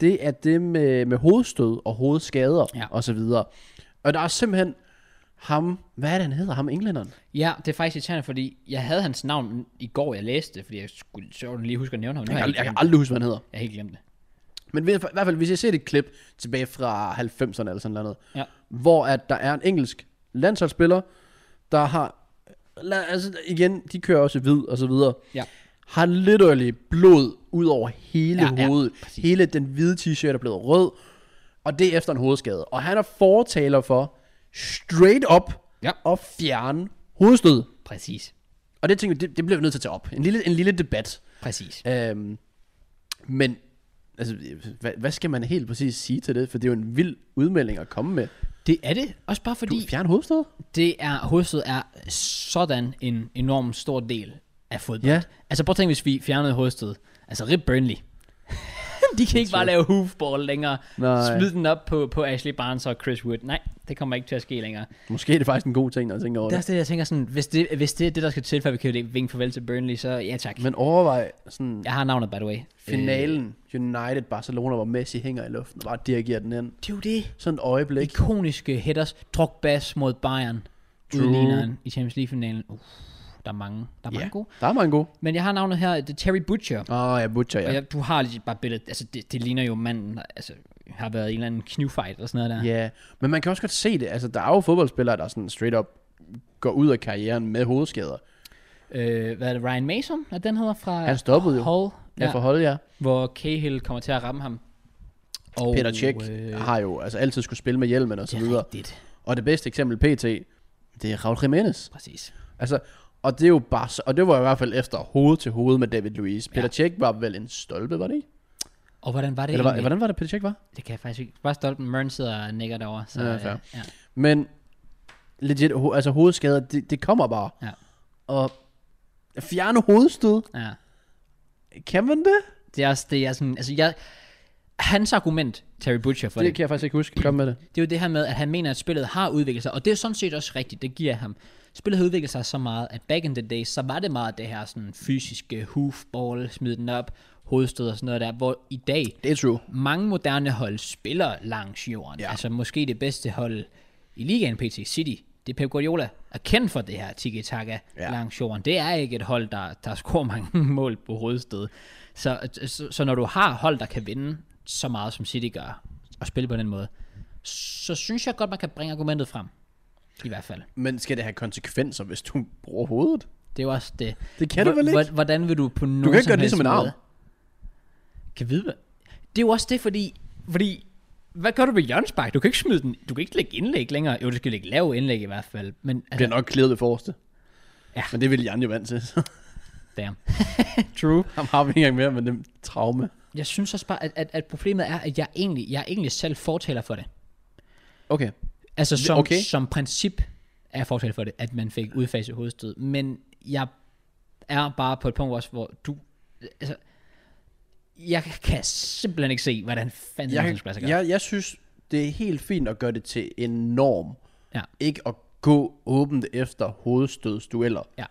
Speaker 2: det er det med, med hovedstød og hovedskader
Speaker 1: Ja.
Speaker 2: ja. og så videre. Og der er simpelthen ham, hvad er det han hedder, ham englænderen?
Speaker 1: (laughs) Ja, det er faktisk irriterende, fordi jeg havde hans navn i går, jeg læste det, fordi jeg skulle sjovt lige huske at nævne ham. Nu
Speaker 2: Jeg
Speaker 1: har
Speaker 2: kan,
Speaker 1: jeg,
Speaker 2: jeg kan
Speaker 1: helt glemt
Speaker 2: aldrig huske, hvad han hedder.
Speaker 1: det. jeg har helt glemt det.
Speaker 2: Men ved- i hvert fald, hvis jeg ser det klip tilbage fra 90'erne eller sådan noget,
Speaker 1: Ja.
Speaker 2: hvor at der er en engelsk landsholdsspiller, der har, la- altså igen, de kører også hvid og så videre,
Speaker 1: Ja.
Speaker 2: har literally blod ud over hele
Speaker 1: Ja, ja,
Speaker 2: ja, hovedet.
Speaker 1: præcis.
Speaker 2: Ja, hele den hvide t-shirt er blevet rød, og det er efter en hovedskade. Og han er fortaler for straight up
Speaker 1: Ja.
Speaker 2: at fjerne hovedstød.
Speaker 1: Præcis.
Speaker 2: Og det tænker jeg, det, det bliver vi nødt til at tage op. En lille, en lille debat.
Speaker 1: Præcis.
Speaker 2: Øhm, men altså, hvad, hvad skal man helt præcis sige til det? For det er jo en vild udmelding at komme med.
Speaker 1: Det er det. Også bare
Speaker 2: Du
Speaker 1: fordi
Speaker 2: fjern hovedstød?
Speaker 1: det er, hovedstød er sådan en enorm stor del af fodbold.
Speaker 2: (laughs) Ja.
Speaker 1: Altså prøv at tænke, hvis vi fjernede hovedstød. Altså rip Burnley. De kan ikke bare lave hoofball længere.
Speaker 2: Nej.
Speaker 1: Smid den op på, på Ashley Barnes og Chris Wood. Nej, det kommer ikke til at ske længere.
Speaker 2: Måske er det faktisk en god ting, når jeg tænker over
Speaker 1: Det er
Speaker 2: det.
Speaker 1: også det, jeg tænker sådan, hvis det, hvis det er det, der skal til, før vi kan vinke farvel til Burnley, så ja tak.
Speaker 2: Men overvej sådan
Speaker 1: Jeg har navnet, by the way. Øh,
Speaker 2: finalen United Barcelona, hvor Messi hænger i luften og bare dirigerer den ind.
Speaker 1: Det er jo det.
Speaker 2: Sådan et øjeblik.
Speaker 1: Ikoniske headers. Drogba's mod Bayern.
Speaker 2: True.
Speaker 1: Udligneren i Champions League-finalen. Uff, Der er mange, der er mange
Speaker 2: Ja.
Speaker 1: yeah. gode.
Speaker 2: Der er mange gode.
Speaker 1: Men jeg har navnet her, det er Terry Butcher.
Speaker 2: Åh, oh, ja, Butcher, ja.
Speaker 1: Og
Speaker 2: Ja,
Speaker 1: jeg, du har lige bare billedet, altså det, det ligner jo manden, der altså, har været i en eller anden knivfight eller sådan noget der.
Speaker 2: yeah. men man kan også godt se det. Altså, der er jo fodboldspillere, der sådan straight up går ud af karrieren med hovedskader.
Speaker 1: Øh, hvad er det, Ryan Mason, at den hedder fra
Speaker 2: Han stoppede jo.
Speaker 1: Hull,
Speaker 2: Ja.
Speaker 1: ja,
Speaker 2: Jeg forholder jer.
Speaker 1: hvor Cahill kommer til at ramme ham. Og,
Speaker 2: Peter Cech
Speaker 1: øh,
Speaker 2: har jo altså altid skulle spille med hjelmen og så
Speaker 1: det er
Speaker 2: videre.
Speaker 1: rigtigt,
Speaker 2: Og det bedste eksempel, PT, det er Raul Jimenez.
Speaker 1: præcis.
Speaker 2: Altså, og det er jo bare så, og det var i hvert fald efter hoved til hoved med David Luiz. Peter
Speaker 1: Ja.
Speaker 2: ja. Cech var vel en stolpe, var det ikke?
Speaker 1: Og hvordan var det
Speaker 2: Eller var,
Speaker 1: egentlig?
Speaker 2: hvordan var det, Peter Cech var?
Speaker 1: Det kan jeg faktisk ikke. Bare Stolpen Mørn sidder og nikker derovre. Så,
Speaker 2: Ja,
Speaker 1: øh,
Speaker 2: fair.
Speaker 1: ja.
Speaker 2: Men legit, ho- altså hovedskader, det, det kommer bare.
Speaker 1: Ja.
Speaker 2: Og at fjerne hovedstød,
Speaker 1: ja.
Speaker 2: kan man det?
Speaker 1: Det er også, det er sådan, altså jeg, hans argument, Terry Butcher for det,
Speaker 2: Det kan jeg faktisk ikke huske. Kom med det.
Speaker 1: det er jo det her med, at han mener, at spillet har udviklet sig, og det er sådan set også rigtigt, det giver jeg ham. Spillet har udviklet sig så meget, at back in the day, så var det meget det her sådan fysiske hoofball, smid den op, hovedstød og sådan noget der, hvor i dag,
Speaker 2: Det er true.
Speaker 1: mange moderne hold spiller langs jorden. Ja.
Speaker 2: Ja.
Speaker 1: Altså måske det bedste hold i ligaen, PT City. Det er Pep Guardiola er kendt for det her tiki-taka ja.
Speaker 2: Ja.
Speaker 1: langs jorden. Det er ikke et hold, der, der scorer (laughs) mange mål på hovedsted. Så, så, så når du har hold, der kan vinde så meget, som City gør, og spille på den måde, så synes jeg godt, man kan bringe argumentet frem. I hvert fald.
Speaker 2: Men skal det have konsekvenser, hvis du bruger hovedet?
Speaker 1: Det er jo også det.
Speaker 2: Det kan det
Speaker 1: Hvor-
Speaker 2: vel ikke?
Speaker 1: hvor- Hvordan vil du på nogen
Speaker 2: ikke gøre
Speaker 1: som
Speaker 2: det
Speaker 1: helst
Speaker 2: ligesom en arm.
Speaker 1: måde- Kan vide hvad? Det er jo også det, fordi... fordi hvad gør du ved hjørnspark? Du kan ikke smide den. Du kan ikke lægge indlæg længere. Jo, du skal lægge lav indlæg i hvert fald. Men
Speaker 2: Det
Speaker 1: altså,
Speaker 2: bliver nok klædet ved forreste.
Speaker 1: Ja.
Speaker 2: Men det vil Jan jo vant til.
Speaker 1: damn.
Speaker 2: True. (laughs) Ham har vi ikke engang mere med den traume.
Speaker 1: Jeg synes også bare, at, at, at problemet er, at jeg egentlig, jeg er egentlig selv fortaler for det.
Speaker 2: Okay.
Speaker 1: Altså som, okay.
Speaker 2: okay.
Speaker 1: som princip er jeg fortaler for det, at man fik udfaset hovedstød. Men jeg er bare på et punkt også, hvor du... Altså, jeg kan simpelthen ikke se, hvordan fanden det
Speaker 2: Jeg,
Speaker 1: skulle lade sig gøre.
Speaker 2: jeg, jeg synes, det er helt fint at gøre det til en norm.
Speaker 1: Ja.
Speaker 2: Ikke at gå åbent efter hovedstødsdueller.
Speaker 1: Ja.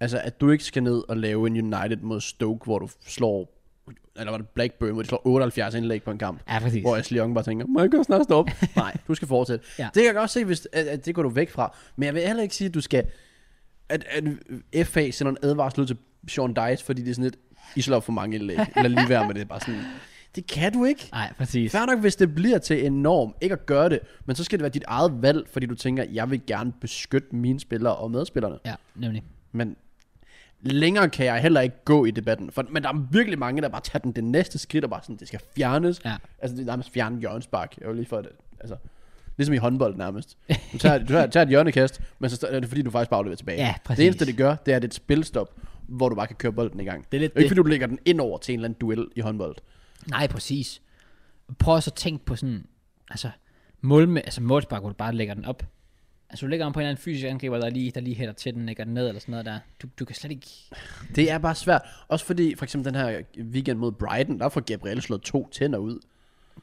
Speaker 2: Altså, at du ikke skal ned og lave en United mod Stoke, hvor du slår eller var det Blackburn, hvor de slår 78 indlæg på en kamp.
Speaker 1: Ja, præcis.
Speaker 2: Hvor Ashley Young bare tænker, må jeg ikke snart (laughs) stoppe? Nej, du skal fortsætte.
Speaker 1: Ja.
Speaker 2: ja. Det kan jeg godt se, hvis, at, at, det går du væk fra. Men jeg vil heller ikke sige, at du skal... At, at FA sender en advarsel ud til Sean Dice, fordi det er sådan lidt, I slår for mange indlæg. Eller lige være med det. Bare sådan, (laughs) det kan du ikke.
Speaker 1: Nej, præcis.
Speaker 2: Fair nok, hvis det bliver til en norm, ikke at gøre det, men så skal det være dit eget valg, fordi du tænker, jeg vil gerne beskytte mine spillere og medspillerne.
Speaker 1: Ja, nemlig.
Speaker 2: Men længere kan jeg heller ikke gå i debatten. For, men der er virkelig mange, der bare tager den det næste skridt, og bare sådan, det skal fjernes.
Speaker 1: Ja.
Speaker 2: Altså, det er nærmest fjerne hjørnspark. Jeg var lige for det. Altså, ligesom i håndbold
Speaker 1: (laughs)
Speaker 2: nærmest. Du tager, du tager, tager et hjørnekast, men så er det fordi, du faktisk bare afleverer tilbage.
Speaker 1: Ja, præcis.
Speaker 2: det eneste, det gør, det er, at det er et spilstop, hvor du bare kan køre bolden i gang.
Speaker 1: Det er lidt
Speaker 2: Og ikke
Speaker 1: det.
Speaker 2: fordi, du lægger den ind over til en eller anden duel i håndbold.
Speaker 1: Nej, præcis. Prøv også at tænke på sådan, altså, mål med, altså målspark, hvor du bare lægger den op. Altså, du lægger den på en eller anden fysisk angriber, der lige, der lige hætter til den, lægger den ned eller sådan noget der. Du, du kan slet ikke...
Speaker 2: Det er bare svært. Også fordi, for eksempel den her weekend mod Brighton, der får Gabriel slået to tænder ud.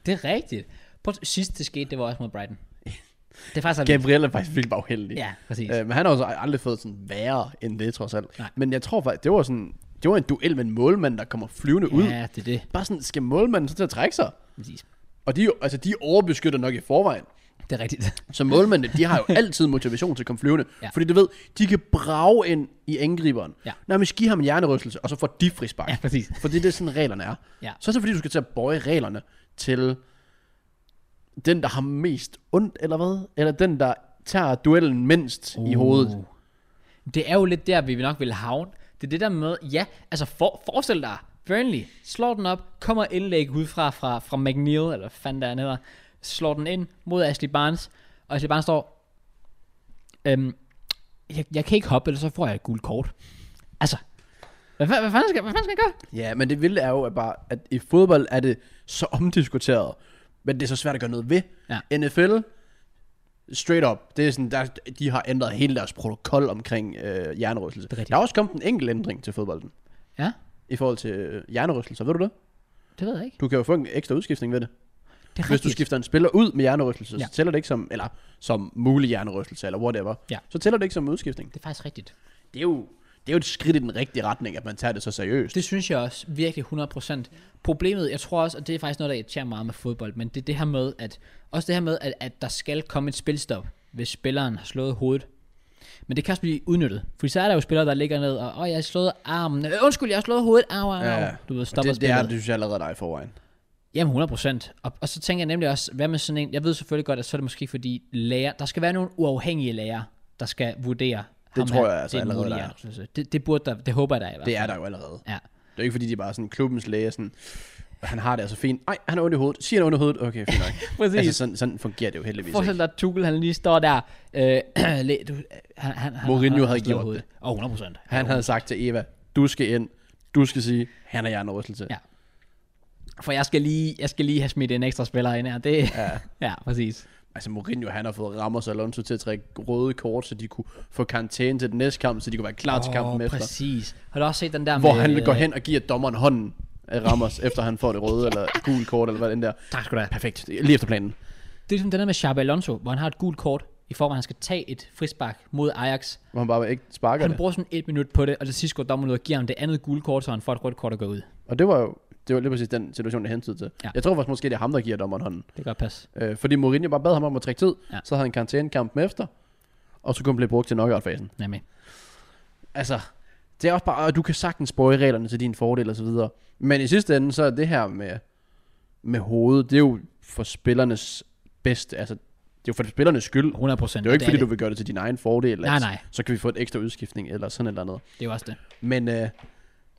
Speaker 1: Det er rigtigt. Prøv, at- sidst det skete, det var også mod Brighton. Det er faktisk aldrig...
Speaker 2: Gabriel er faktisk virkelig bare uheldig.
Speaker 1: Ja, præcis.
Speaker 2: Øh, men han har også aldrig fået sådan værre end det, trods alt.
Speaker 1: Nej.
Speaker 2: Men jeg tror faktisk, det var sådan, det var en duel med en målmand, der kommer flyvende ud.
Speaker 1: Ja, det er det.
Speaker 2: Bare sådan, skal målmanden så til at trække sig?
Speaker 1: Præcis.
Speaker 2: Og de, er jo- altså, de overbeskytter nok i forvejen.
Speaker 1: Det er rigtigt.
Speaker 2: Så målmændene, de har
Speaker 1: (laughs)
Speaker 2: jo altid motivation til at komme flyvende.
Speaker 1: Ja.
Speaker 2: Ja. Fordi du ved, de kan brage ind i angriberen.
Speaker 1: Ja.
Speaker 2: Nærmest give ham en hjernerystelse, og så får de frispark.
Speaker 1: Ja, præcis.
Speaker 2: Fordi det er sådan, reglerne er.
Speaker 1: Ja.
Speaker 2: Så er det fordi, du skal til at bøje reglerne til den, der har mest ondt, eller hvad? Eller den, der tager duellen mindst uh. i hovedet.
Speaker 1: Det er jo lidt der, vi nok vil havne. Det er det der med, ja, altså for, forestil dig, Burnley slår den op, kommer indlæg udefra fra, fra McNeil, eller hvad fanden der han hedder, slår den ind mod Ashley Barnes, og Ashley Barnes står, øhm, jeg, jeg kan ikke hoppe, ellers så får jeg et gult kort. Altså, hvad, fa- hvad, fanden, skal, hvad fanden skal jeg gøre?
Speaker 2: Ja, men det vilde er jo at bare, at i fodbold er det så omdiskuteret, men det er så svært at gøre noget ved.
Speaker 1: Ja.
Speaker 2: NFL, straight up, det er sådan, der, de har ændret hele deres protokol omkring øh, hjernerystelse.
Speaker 1: er rigtigt.
Speaker 2: Der er også kommet en enkelt ændring til fodbolden,
Speaker 1: Ja,
Speaker 2: i forhold til øh, hjernerystelser, ved du det?
Speaker 1: det ved jeg ikke.
Speaker 2: Du kan jo få en ekstra udskiftning ved det.
Speaker 1: Det er
Speaker 2: Hvis du
Speaker 1: rigtigt.
Speaker 2: skifter en spiller ud med hjernerystelse,
Speaker 1: Ja.
Speaker 2: ja. så tæller det ikke som, eller som mulig hjernerystelse, eller whatever.
Speaker 1: Ja.
Speaker 2: Så tæller det ikke som udskiftning.
Speaker 1: Det er faktisk rigtigt.
Speaker 2: Det er jo, det er jo et skridt i den rigtige retning, at man tager det så seriøst.
Speaker 1: Det synes jeg også, virkelig 100%. Problemet, jeg tror også, og det er faktisk noget, der irriterer meget med fodbold, men det er det her med, at, også det her med, at, at der skal komme et spilstop, hvis spilleren har slået hovedet. Men det kan også blive udnyttet. Fordi så er der jo spillere, der ligger ned, og åh, jeg har slået armen. Øh, undskyld, jeg har slået hovedet. Au, au, au. Ja, du ved,
Speaker 2: og
Speaker 1: stopper
Speaker 2: det, det, er,
Speaker 1: spillet.
Speaker 2: det synes jeg allerede dig i forvejen.
Speaker 1: Jamen 100 procent. Og, og, så tænker jeg nemlig også, hvad med sådan en, jeg ved selvfølgelig godt, at så er det måske fordi lærer, der skal være nogle uafhængige lærer, der skal vurdere ham
Speaker 2: tror
Speaker 1: her,
Speaker 2: jeg altså
Speaker 1: det er en
Speaker 2: allerede,
Speaker 1: mulig
Speaker 2: der er.
Speaker 1: hjernerystelse. Det, det, burde der, det håber jeg der er i hvert
Speaker 2: Det
Speaker 1: fald.
Speaker 2: er der jo allerede.
Speaker 1: Ja.
Speaker 2: Det er jo ikke fordi, de er bare sådan klubbens læge, er sådan, han har det altså fint. Nej, han er ondt i hovedet. Siger han er ondt i hovedet? Okay, fint nok.
Speaker 1: (laughs) Præcis.
Speaker 2: altså, sådan, sådan fungerer det jo heldigvis
Speaker 1: Forestil
Speaker 2: ikke.
Speaker 1: dig, at Tuchel, han lige står der. Øh, (clears throat) læ- du, han, han, han,
Speaker 2: Mourinho
Speaker 1: han-
Speaker 2: havde
Speaker 1: han slår
Speaker 2: gjort
Speaker 1: hovedet. Åh, 100 procent.
Speaker 2: Han havde sagt til Eva, du skal ind. Du skal sige, han er hjernerystelse.
Speaker 1: Ja. For jeg skal lige, jeg skal lige have smidt en ekstra spiller ind her. Det, ja. (laughs) ja, præcis.
Speaker 2: Altså Mourinho, han har fået Ramos og Alonso til at trække røde kort, så de kunne få karantæne til den næste kamp, så de kunne være klar oh, til kampen
Speaker 1: Åh,
Speaker 2: efter.
Speaker 1: præcis. Har du også set den der
Speaker 2: Hvor
Speaker 1: med... øh,
Speaker 2: han går hen og giver dommeren hånden af Ramos, efter han får det røde eller gule kort, eller hvad den der.
Speaker 1: Tak skal du have.
Speaker 2: Perfekt. Lige efter planen.
Speaker 1: Det er ligesom den der med Xabi Alonso, hvor han har et gult kort, i form af, at han skal tage et frispark mod Ajax.
Speaker 2: Hvor han bare ikke sparker
Speaker 1: Han
Speaker 2: det.
Speaker 1: bruger sådan et minut på det, og til sidst går dommeren ud og giver ham det andet gule kort, så han får et rødt kort og går ud.
Speaker 2: Og det var jo det var lige præcis den situation, jeg hentede til.
Speaker 1: Ja.
Speaker 2: Ja. Jeg tror faktisk måske, det er ham, der giver dommeren hånden.
Speaker 1: Det kan godt passe.
Speaker 2: Øh, fordi Mourinho bare bad ham om at trække tid,
Speaker 1: Ja.
Speaker 2: ja. så havde han karantænekampen efter, og så kunne han blive brugt til knockout-fasen.
Speaker 1: Nemlig.
Speaker 2: Altså, det er også bare, at du kan sagtens bøje reglerne til din fordel og så videre. Men i sidste ende, så er det her med, med hovedet, det er jo for spillernes bedste, altså, det er jo for spillernes skyld.
Speaker 1: 100 procent.
Speaker 2: Det er jo ikke, fordi du vil gøre det til din egen fordel.
Speaker 1: Nej,
Speaker 2: at
Speaker 1: nej.
Speaker 2: Så kan vi få et ekstra udskiftning, eller sådan et eller andet.
Speaker 1: Det er jo også det.
Speaker 2: Men, øh,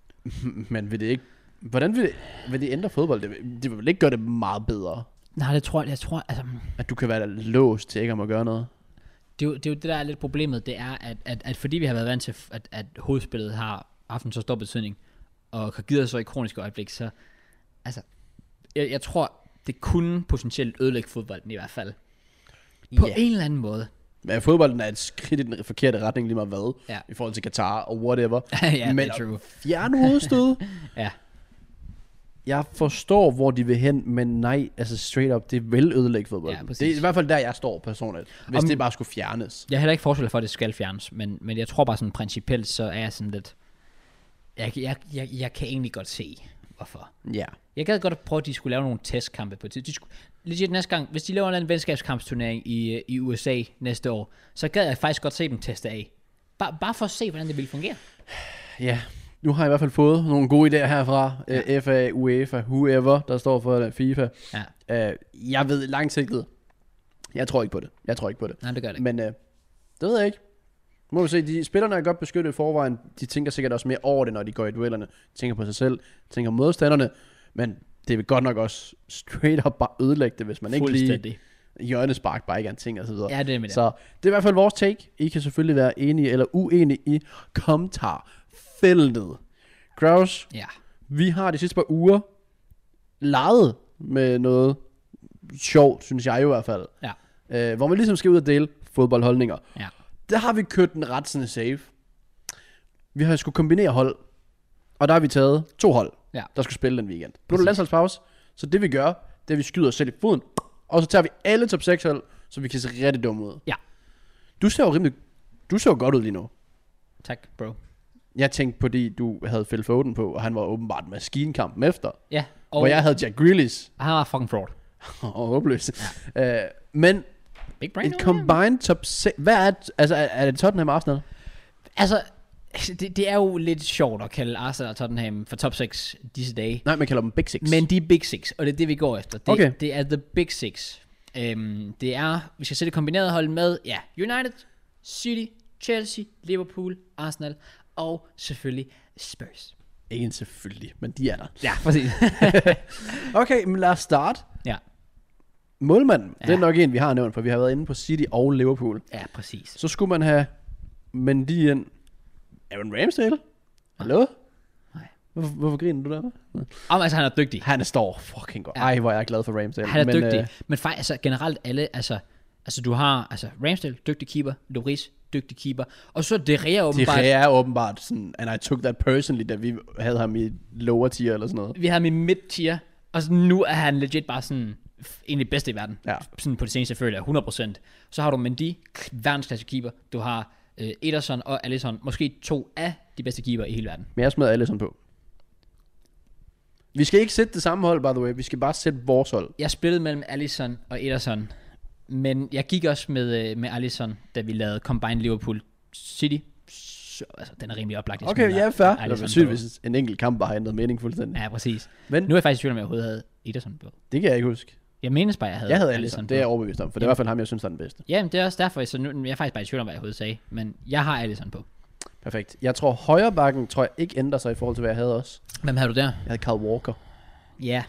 Speaker 2: (laughs) men vil det ikke... Hvordan vil det, vil det ændre fodbold? Det, vil- det vil vel ikke gøre det meget bedre,
Speaker 1: Nej, det tror jeg, jeg tror, altså,
Speaker 2: at du kan være låst til ikke om at gøre noget.
Speaker 1: det er, jo, det er jo det, der er lidt problemet, det er, at, at, at fordi vi har været vant til, f- at, at hovedspillet har haft en så stor betydning, og har givet os så ikoniske øjeblik, så altså, jeg, jeg tror, det kunne potentielt ødelægge fodbolden i hvert fald. På
Speaker 2: Ja.
Speaker 1: en eller anden måde. (laughs)
Speaker 2: Men fodbolden er et skridt i den forkerte retning lige meget hvad,
Speaker 1: Ja.
Speaker 2: i forhold til Katar og whatever.
Speaker 1: ja,
Speaker 2: men
Speaker 1: det er
Speaker 2: at
Speaker 1: true.
Speaker 2: fjerne hovedstød,
Speaker 1: (laughs) Ja.
Speaker 2: jeg forstår, hvor de vil hen, men nej, altså straight up, det vil ødelægge fodbold.
Speaker 1: Ja,
Speaker 2: det
Speaker 1: præcis.
Speaker 2: er i hvert fald der, jeg står personligt, hvis
Speaker 1: Om-
Speaker 2: Om... det bare skulle fjernes.
Speaker 1: Jeg har heller ikke forestiller for, at det skal fjernes, men, men jeg tror bare sådan principielt, så er jeg sådan lidt, jeg, jeg, jeg, jeg kan egentlig godt se, hvorfor.
Speaker 2: Ja.
Speaker 1: Jeg gad godt at prøve, at de skulle lave nogle testkampe på tid. De skulle, legit næste gang, hvis de laver en eller anden venskabskampsturnering i, øh, i USA næste år, så gad jeg faktisk godt se dem teste af. Bare, bare for at se, hvordan det ville fungere.
Speaker 2: Ja. Nu har jeg i hvert fald fået nogle gode idéer herfra. Ja. FA, UEFA, whoever, der står for det, FIFA.
Speaker 1: Ja,
Speaker 2: Øh, jeg ved langsigtet. Jeg tror ikke på det. Jeg tror ikke på det.
Speaker 1: nej, det gør det ikke.
Speaker 2: Men øh, det ved jeg ikke. Må vi se, de, spillerne er godt beskyttet i forvejen. De tænker sikkert også mere over det, når de går i duellerne. De tænker på sig selv, de tænker på modstanderne. Men det vil godt nok også straight up bare ødelægge det, hvis man ikke lige
Speaker 1: Fuldstændig.
Speaker 2: hjørnespark bare ikke er en ting og så videre.
Speaker 1: Ja, det er med det.
Speaker 2: Så det er i hvert fald vores take. I kan selvfølgelig være enige eller uenige i kommentarfeltet. Kraus,
Speaker 1: Ja,
Speaker 2: vi har de sidste par uger leget med noget sjovt, synes jeg jo i hvert fald.
Speaker 1: ja,
Speaker 2: Øh, hvor man ligesom skal ud og dele fodboldholdninger.
Speaker 1: ja.
Speaker 2: Der har vi kørt den ret sådan safe. Vi har skulle kombinere hold. Og der har vi taget to hold,
Speaker 1: Ja.
Speaker 2: der skulle spille den weekend. Nu er der landsholdspause, så det vi gør, det er, at vi skyder os selv i foden. Og så tager vi alle top 6 hold, så vi kan se rigtig dumme ud.
Speaker 1: Ja.
Speaker 2: Du ser jo rimelig... Du ser jo godt ud lige nu.
Speaker 1: Tak, bro.
Speaker 2: Jeg tænkte på, fordi du havde Phil Foden på, og han var åbenbart maskinkampen efter.
Speaker 1: Ja,
Speaker 2: Og
Speaker 1: og
Speaker 2: hvor jeg havde Jack Grealish (laughs)
Speaker 1: han var fucking fraud.
Speaker 2: og håbløs. Ja. Øh, men
Speaker 1: Big brain.
Speaker 2: et
Speaker 1: over here.
Speaker 2: combined top 6... Hvad er... Altså, er, er det Tottenham og Arsenal?
Speaker 1: Altså, det, det er jo lidt sjovt at kalde Arsenal og Tottenham for top 6 disse dage.
Speaker 2: Nej, man kalder dem Big Six.
Speaker 1: Men de er Big Six, og det er det, vi går efter. Det,
Speaker 2: Okay.
Speaker 1: det er The Big Six. Øhm, det er, vi skal sætte et kombineret hold med, ja, United, City, Chelsea, Liverpool, Arsenal og selvfølgelig Spurs.
Speaker 2: Ikke en selvfølgelig, men de er der.
Speaker 1: Ja, præcis.
Speaker 2: Okay, men lad os starte.
Speaker 1: (laughs) ja,
Speaker 2: Målmanden, ja. det
Speaker 1: Ja.
Speaker 2: er nok en, vi har nævnt, for vi har været inde på City og Liverpool.
Speaker 1: ja, præcis.
Speaker 2: Så skulle man have Mendy ind. Aaron Ramsdale? Hallo?
Speaker 1: Nej.
Speaker 2: Hvorfor, hvorfor griner du der?
Speaker 1: Om altså, han er dygtig.
Speaker 2: Han står fucking godt.
Speaker 1: Ja.
Speaker 2: Ej, hvor er jeg glad for Ramsdale.
Speaker 1: Han er men, dygtig.
Speaker 2: øh,
Speaker 1: Øh... Men faktisk, altså, generelt alle, altså, altså du har altså, Ramsdale, dygtig keeper, Lloris, dygtig keeper, og så De Gea
Speaker 2: De
Speaker 1: åbenbart.
Speaker 2: Gea er åbenbart sådan, and I took that personally, da vi havde ham i lower tier eller sådan noget.
Speaker 1: Vi havde ham i midt-tier, og så nu er han legit bare sådan f- en af de bedste i verden.
Speaker 2: Ja.
Speaker 1: Sådan på det seneste føler jeg, 100%. Så har du Mendy, k- verdensklasse keeper. Du har øh, Ederson og Alisson, måske to af de bedste keeper i hele verden.
Speaker 2: Men jeg smed alle sådan på. Vi skal ikke sætte det samme hold, by the way. Vi skal bare sætte vores hold.
Speaker 1: Jeg splittede mellem Alisson og Ederson, men jeg gik også med, øh, med Alisson, da vi lavede Combined Liverpool City, så, altså, den er rimelig oplagt. jeg
Speaker 2: Okay,
Speaker 1: smider
Speaker 2: ja, fair. Det var
Speaker 1: Alisson
Speaker 2: sygt,
Speaker 1: på.
Speaker 2: hvis en enkelt kamp bare har ændret mening fuldstændig.
Speaker 1: Ja, præcis.
Speaker 2: Men
Speaker 1: Nu er jeg faktisk i tvivl om, jeg overhovedet havde Ederson på.
Speaker 2: det kan jeg ikke huske.
Speaker 1: Jeg menes bare, jeg havde,
Speaker 2: Jeg havde Alisson, det er jeg overbevist om, for det
Speaker 1: Jamen.
Speaker 2: er i hvert fald ham, jeg synes, der er den bedste.
Speaker 1: Jamen, det er også derfor, så nu, jeg er faktisk bare i tvivl om, hvad jeg overhovedet sagde. Men jeg har Alisson på.
Speaker 2: Perfekt. Jeg tror, højre bakken tror jeg ikke ændrer sig i forhold til, hvad jeg havde også.
Speaker 1: Hvem havde du der?
Speaker 2: Jeg havde Kyle Walker.
Speaker 1: Ja,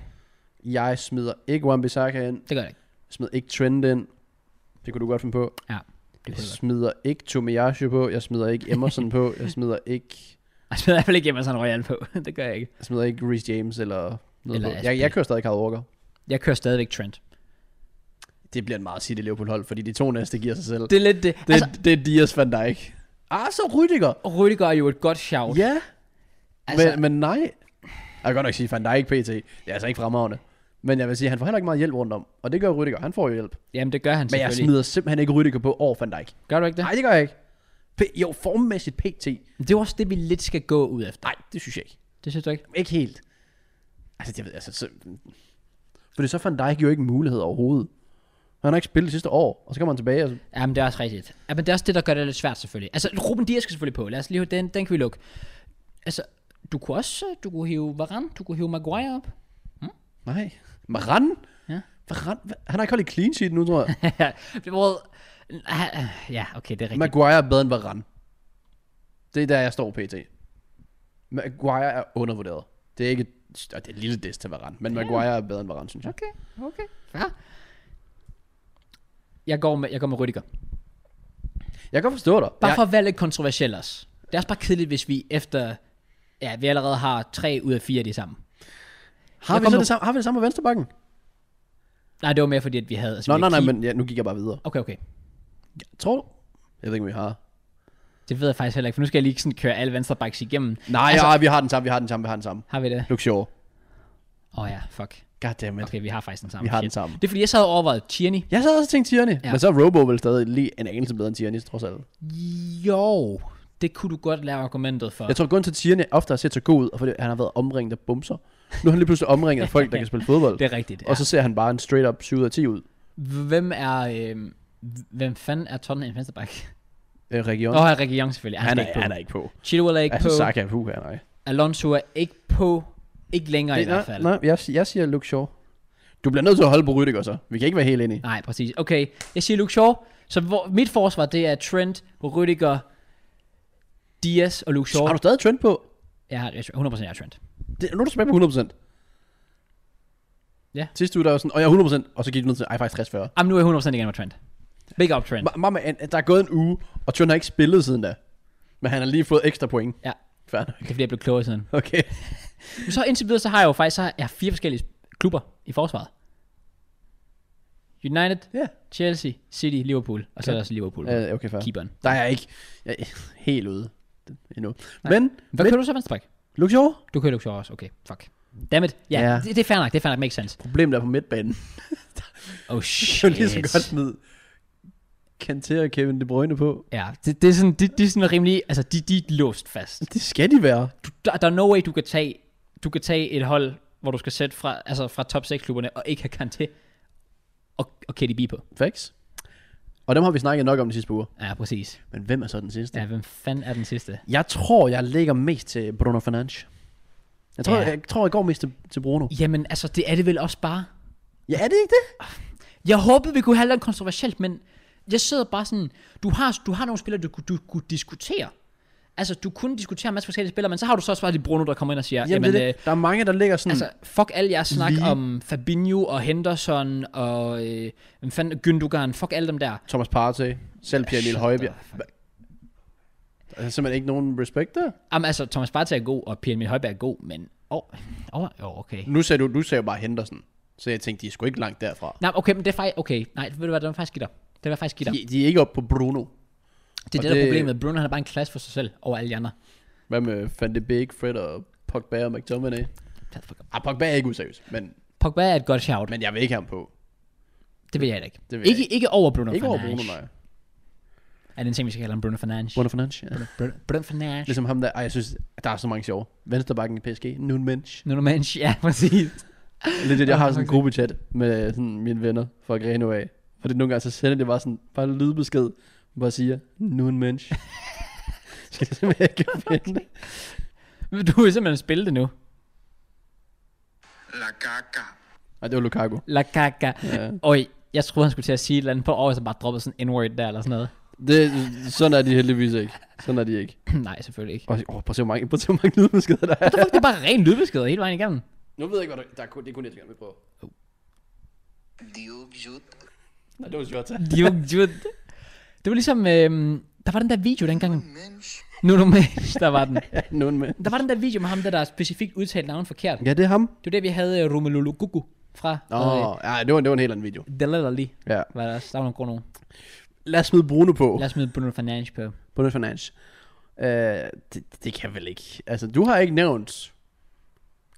Speaker 2: Jeg smider ikke Wan-Bissaka ind.
Speaker 1: det gør jeg ikke.
Speaker 2: Jeg smider ikke Trent ind. Det kunne du godt finde på.
Speaker 1: Det
Speaker 2: Jeg
Speaker 1: kunne jeg godt.
Speaker 2: smider ikke Tomiyasu på. Jeg smider ikke Emerson på. Jeg smider ikke,
Speaker 1: Altså, Jeg smider i hvert fald ikke Emerson Royal på. (laughs) det gør jeg ikke.
Speaker 2: jeg smider ikke Reece James eller noget
Speaker 1: Eller
Speaker 2: på.
Speaker 1: Aspi.
Speaker 2: Jeg, jeg kører stadig Kyle Walker.
Speaker 1: Jeg kører stadigvæk Trent.
Speaker 2: Det bliver en meget City Liverpool hold, fordi de to næste giver sig selv. Det,
Speaker 1: Det er lidt det.
Speaker 2: det,
Speaker 1: altså,
Speaker 2: altså, det er Dias van Dijk. Ah, så Rydiger.
Speaker 1: Rüdiger er jo et godt shout.
Speaker 2: Ja,
Speaker 1: altså,
Speaker 2: men, men nej. Jeg kan godt nok sige, van Dijk PT. Det er altså ikke fremragende. Men jeg vil sige, han får heller ikke meget hjælp rundt om. Og det gør Rydiger. Han får jo hjælp.
Speaker 1: jamen, det gør han
Speaker 2: Men jeg
Speaker 1: selvfølgelig.
Speaker 2: smider simpelthen ikke Rydiger på over Van Dijk.
Speaker 1: Gør du ikke det?
Speaker 2: Nej, det gør jeg ikke. P- jo, formmæssigt PT.
Speaker 1: Det er jo også det, vi lidt skal gå ud efter.
Speaker 2: Nej, det synes jeg ikke.
Speaker 1: Det synes du ikke?
Speaker 2: Ikke helt. Altså, jeg ved, altså... Så... Fordi så Van Dijk jo ikke en mulighed overhovedet. Han har ikke spillet det sidste år, og så kommer han tilbage. Altså.
Speaker 1: Jamen, det er også rigtigt. Ja, men det er også det, der gør det lidt svært selvfølgelig. Altså, Ruben Dias skal selvfølgelig på. Lad os lige den, den kan vi lukke. Altså, du kunne også, øh, du kunne hive Varane, du kunne hive Maguire (laughs) op.
Speaker 2: Nej. Maran?
Speaker 1: Ja.
Speaker 2: Maran? Han har ikke holdt et clean sheet nu, tror
Speaker 1: (laughs)
Speaker 2: jeg.
Speaker 1: well, ja, okay, det er rigtigt.
Speaker 2: Maguire er bedre end Varane. Det er der, jeg står pt. Maguire er undervurderet. Det er ikke et, og det er et lille diss til Varane, men Maguire er bedre end Varane, synes jeg.
Speaker 1: Okay, okay. Ja. Jeg går med, jeg går med Rüdiger.
Speaker 2: Jeg kan godt forstå dig.
Speaker 1: Bare
Speaker 2: jeg,
Speaker 1: for at være lidt kontroversiel også. Det er også bare kedeligt, hvis vi efter... Ja, vi allerede har tre ud af fire af de samme.
Speaker 2: har,
Speaker 1: jeg
Speaker 2: vi
Speaker 1: kom
Speaker 2: så
Speaker 1: nu-
Speaker 2: det samme, har vi det samme med venstrebakken?
Speaker 1: Nej, det var mere fordi, at vi havde... Altså,
Speaker 2: Nå,
Speaker 1: vi
Speaker 2: nej, nej,
Speaker 1: keep-
Speaker 2: men ja, nu gik jeg bare videre.
Speaker 1: Okay, okay.
Speaker 2: Tror du? Jeg ved ikke, om vi har.
Speaker 1: Altså- Det ved jeg faktisk heller ikke, for nu skal jeg lige sådan køre alle venstre backs igennem.
Speaker 2: Nej,
Speaker 1: Altså-
Speaker 2: altså, ja, vi har den samme, vi har den samme, vi har den samme.
Speaker 1: Har vi det?
Speaker 2: Luke Shaw.
Speaker 1: Åh oh, ja, fuck.
Speaker 2: Goddammit. Okay.
Speaker 1: Okay, vi har faktisk den samme.
Speaker 2: Vi har den
Speaker 1: Shit.
Speaker 2: samme.
Speaker 1: Det er fordi, jeg så havde overvejet Tierney.
Speaker 2: Jeg sad også og tænkte Tierney,
Speaker 1: Ja.
Speaker 2: ja. men så er Robo vel stadig lige en anelse bedre end Tierney, trods alt.
Speaker 1: Jo, det kunne du godt lave argumentet for.
Speaker 2: Jeg tror, grund til at Tierney ofte har set så god ud, og fordi han har været omringet af bumser. Nu er han lige pludselig omringet af folk, der kan spille fodbold.
Speaker 1: det er rigtigt. Ja.
Speaker 2: Og så ser han bare en straight up 7 ud af 10 ud.
Speaker 1: Hvem er... Øh, hvem fanden er Tottenham venstre back?
Speaker 2: Øh, region.
Speaker 1: Åh, oh, Rikke Young selvfølgelig.
Speaker 2: han, er,
Speaker 1: ikke på.
Speaker 2: han er ikke på.
Speaker 1: Chilwell er ikke
Speaker 2: Altså,
Speaker 1: på.
Speaker 2: Saka er puha, nej.
Speaker 1: Alonso er ikke på. Ikke længere i
Speaker 2: Det-
Speaker 1: hvert fald.
Speaker 2: nej, jeg, si- jeg siger Luke Shaw. Du bliver nødt til at holde på Rydiger så. Vi kan ikke være helt enige.
Speaker 1: Nej, præcis. Okay, jeg siger Luke Shaw. Så hvor, mit forsvar, det er Trent, Rüdiger, Dias og Luke Shaw.
Speaker 2: Har du stadig trend på?
Speaker 1: Jeg har, jeg, 100% jeg er Trent.
Speaker 2: Det, nu er du tilbage på 100%.
Speaker 1: Ja.
Speaker 2: Sidste uge, der var sådan, og jeg er 100%, og så gik du ned til, ej faktisk 60-40.
Speaker 1: Jamen, nu er jeg 100% igen med Trent. Big up, Trent.
Speaker 2: Ma- Mamma, en- der er gået en uge, og Trent har ikke spillet siden da. Men han har lige fået ekstra point.
Speaker 1: Ja.
Speaker 2: Fair nok.
Speaker 1: Det er fordi, jeg blev klogere siden.
Speaker 2: Okay.
Speaker 1: Men så indtil videre, så har jeg jo faktisk så har jeg fire forskellige klubber i forsvaret. United,
Speaker 2: Ja.
Speaker 1: Chelsea, City, Liverpool. Og så er der også Liverpool.
Speaker 2: Yeah. Øh, Okay, fair.
Speaker 1: Keeperen.
Speaker 2: Der er jeg ikke jeg er helt ude endnu. Men,
Speaker 1: Hvad
Speaker 2: men
Speaker 1: kører du så venstre bak?
Speaker 2: Luke Shaw?
Speaker 1: Du kører Luke Shaw også. Okay, fuck. Dammit. Ja,
Speaker 2: Ja.
Speaker 1: Det, det, er fair nok. Det er fair nok. Makes sense.
Speaker 2: Problemet er på midtbanen.
Speaker 1: (laughs) Oh
Speaker 2: Det
Speaker 1: shit.
Speaker 2: er jo lige så godt smid Kanté og Kevin De Bruyne på.
Speaker 1: Ja, det, det er sådan, de, de er sådan rimelig, altså de, de er låst fast.
Speaker 2: Det skal de være.
Speaker 1: Du, der, der er no way, du kan tage, du kan tage et hold, hvor du skal sætte fra, altså fra top 6 klubberne, og ikke have Kanté og, og KDB på.
Speaker 2: Facts. Og dem har vi snakket nok om de sidste par uger.
Speaker 1: Ja, præcis.
Speaker 2: Men hvem er så den sidste?
Speaker 1: Ja, hvem fanden er den sidste?
Speaker 2: Jeg tror, jeg lægger mest til Bruno Fernandes. Jeg tror,
Speaker 1: Ja.
Speaker 2: ja. jeg, tror, jeg går mest til, til Bruno.
Speaker 1: Jamen, altså, det er det vel også bare.
Speaker 2: Ja, er det ikke det?
Speaker 1: Jeg håbede, vi kunne have noget kontroversielt, men jeg sidder bare sådan, du har, du har nogle spillere, du, kunne- du kunne diskutere. Altså, du kunne diskutere en masse forskellige spillere, men så har du så også bare lige Bruno, der kommer ind og siger,
Speaker 2: Jamen, det, er
Speaker 1: øh,
Speaker 2: det. Der er mange, der ligger sådan...
Speaker 1: Altså, fuck al jeres snak
Speaker 2: Lige-
Speaker 1: om Fabinho og Henderson og øh, hvem fanden, Gündogan, fuck alle dem der.
Speaker 2: Thomas Partey, selv Pierre Emil
Speaker 1: Shut
Speaker 2: Højbjerg.
Speaker 1: the fuck.
Speaker 2: Der er simpelthen ikke nogen respekt der.
Speaker 1: Jamen, altså, Thomas Partey er god, og Pierre Emil Højberg er god, men... Åh, oh, oh, oh, okay.
Speaker 2: Nu sagde du, du sagde jo bare Henderson. Så jeg tænkte, de er sgu ikke langt derfra.
Speaker 1: Nej, okay, men det er faktisk... Okay, nej, ved du hvad, den er faktisk skidt op. Den er faktisk skidt op.
Speaker 2: De, de er ikke oppe på Bruno.
Speaker 1: Det er
Speaker 2: og
Speaker 1: det, der er
Speaker 2: det-
Speaker 1: problemet. Bruno, han er bare en klasse for sig selv over alle de andre.
Speaker 2: Hvad med Van de Beek, Fred og Pogba og McTominay?
Speaker 1: Shut the fuck up.
Speaker 2: Ah, Pogba er ikke useriøs, men,
Speaker 1: Pogba er et godt shout, men
Speaker 2: men jeg vil ikke have ham på.
Speaker 1: det vil jeg da ikke.
Speaker 2: Det vil jeg
Speaker 1: ikke, ikke. ikke over Bruno
Speaker 2: Ikke over
Speaker 1: Fernandes.
Speaker 2: Bruno, nej.
Speaker 1: Er det en ting, vi skal kalde ham Bruno Fernandes?
Speaker 2: Bruno Fernandes, ja.
Speaker 1: Bruno, Bruno Fernandes.
Speaker 2: Ligesom ham der, ej, jeg synes, der er så mange sjove. Venstrebakken i PSG, Nun (laughs) Mensch.
Speaker 1: Nu er Mensch, (laughs) ja, præcis.
Speaker 2: Lidt det, jeg har sådan en gruppechat med sådan, mine venner fra Greno af. Fordi nogle gange (laughs) så sender det bare sådan, bare en lydbesked, hvor jeg siger, Nun Mensch. skal jeg simpelthen ikke (laughs) finde.
Speaker 1: Men Du vil simpelthen spille det nu.
Speaker 4: La caca.
Speaker 2: Nej, det var Lukaku.
Speaker 1: La caca.
Speaker 2: Ja.
Speaker 1: Oj, jeg troede, han skulle til at sige et eller andet på år, så bare droppede sådan en word der eller sådan noget. (clears throat)
Speaker 2: Det, sådan er de heldigvis ikke. Sådan er de ikke.
Speaker 1: Nej, selvfølgelig ikke.
Speaker 2: Og, åh, prøv at se, hvor mange, prøv at se, hvor mange lydbeskeder der er.
Speaker 1: Fuck, det er bare ren lydbeskeder hele vejen
Speaker 2: (laughs)
Speaker 1: igennem.
Speaker 2: Nu ved jeg ikke, hvad der, der er kun, det er kun et, gang, vi prøver.
Speaker 4: Diuk jut.
Speaker 2: Nej, det var Jota.
Speaker 1: De er jo- de er jo- det var ligesom, øhm, der var den der video dengang.
Speaker 4: Mens.
Speaker 1: Nu er du
Speaker 2: (laughs)
Speaker 1: med, der var den.
Speaker 2: Nogen med.
Speaker 1: Der var den der video med ham, der, der specifikt udtalte navnet forkert.
Speaker 2: Ja, det er ham.
Speaker 1: Det var der, vi havde øh, Romelu Lukaku fra. øh,
Speaker 2: Åh, oh, ja, det var, det var en helt anden video.
Speaker 1: Delali.
Speaker 2: Ja.
Speaker 1: Var der også. Der var nogle gode nogen.
Speaker 2: Lad os smide Bruno på.
Speaker 1: Lad os smide Bruno Fernandes på.
Speaker 2: Bruno Fernandes. Øh, det, det, kan jeg vel ikke. Altså, du har ikke nævnt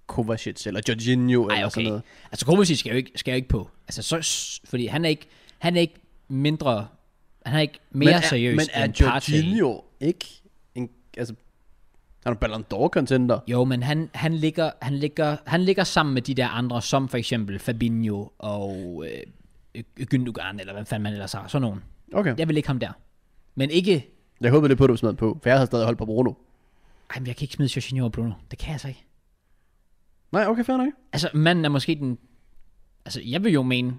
Speaker 2: Kovacic eller Jorginho
Speaker 1: Ej,
Speaker 2: eller
Speaker 1: okay.
Speaker 2: sådan noget.
Speaker 1: Altså, Kovacic skal jo ikke, skal jo ikke på. Altså, så, fordi han er ikke, han er ikke mindre, han er ikke mere
Speaker 2: men er,
Speaker 1: seriøs
Speaker 2: Men er
Speaker 1: end Partey.
Speaker 2: Jorginho ikke en, altså, han er en Ballon d'Or contender.
Speaker 1: Jo, men han, han, ligger, han, ligger, han ligger sammen med de der andre, som for eksempel Fabinho og øh, øh, Gündogan, eller hvad fanden man ellers har, sådan nogen.
Speaker 2: Okay.
Speaker 1: Jeg vil ikke ham der. Men ikke,
Speaker 2: Jeg håber det på, at du smed den på, for jeg havde stadig holdt på Bruno.
Speaker 1: ej, men jeg kan ikke smide Jorginho og Bruno. Det kan jeg så ikke.
Speaker 2: Nej, okay, fair nok.
Speaker 1: Altså, manden er måske den... Altså, jeg vil jo mene...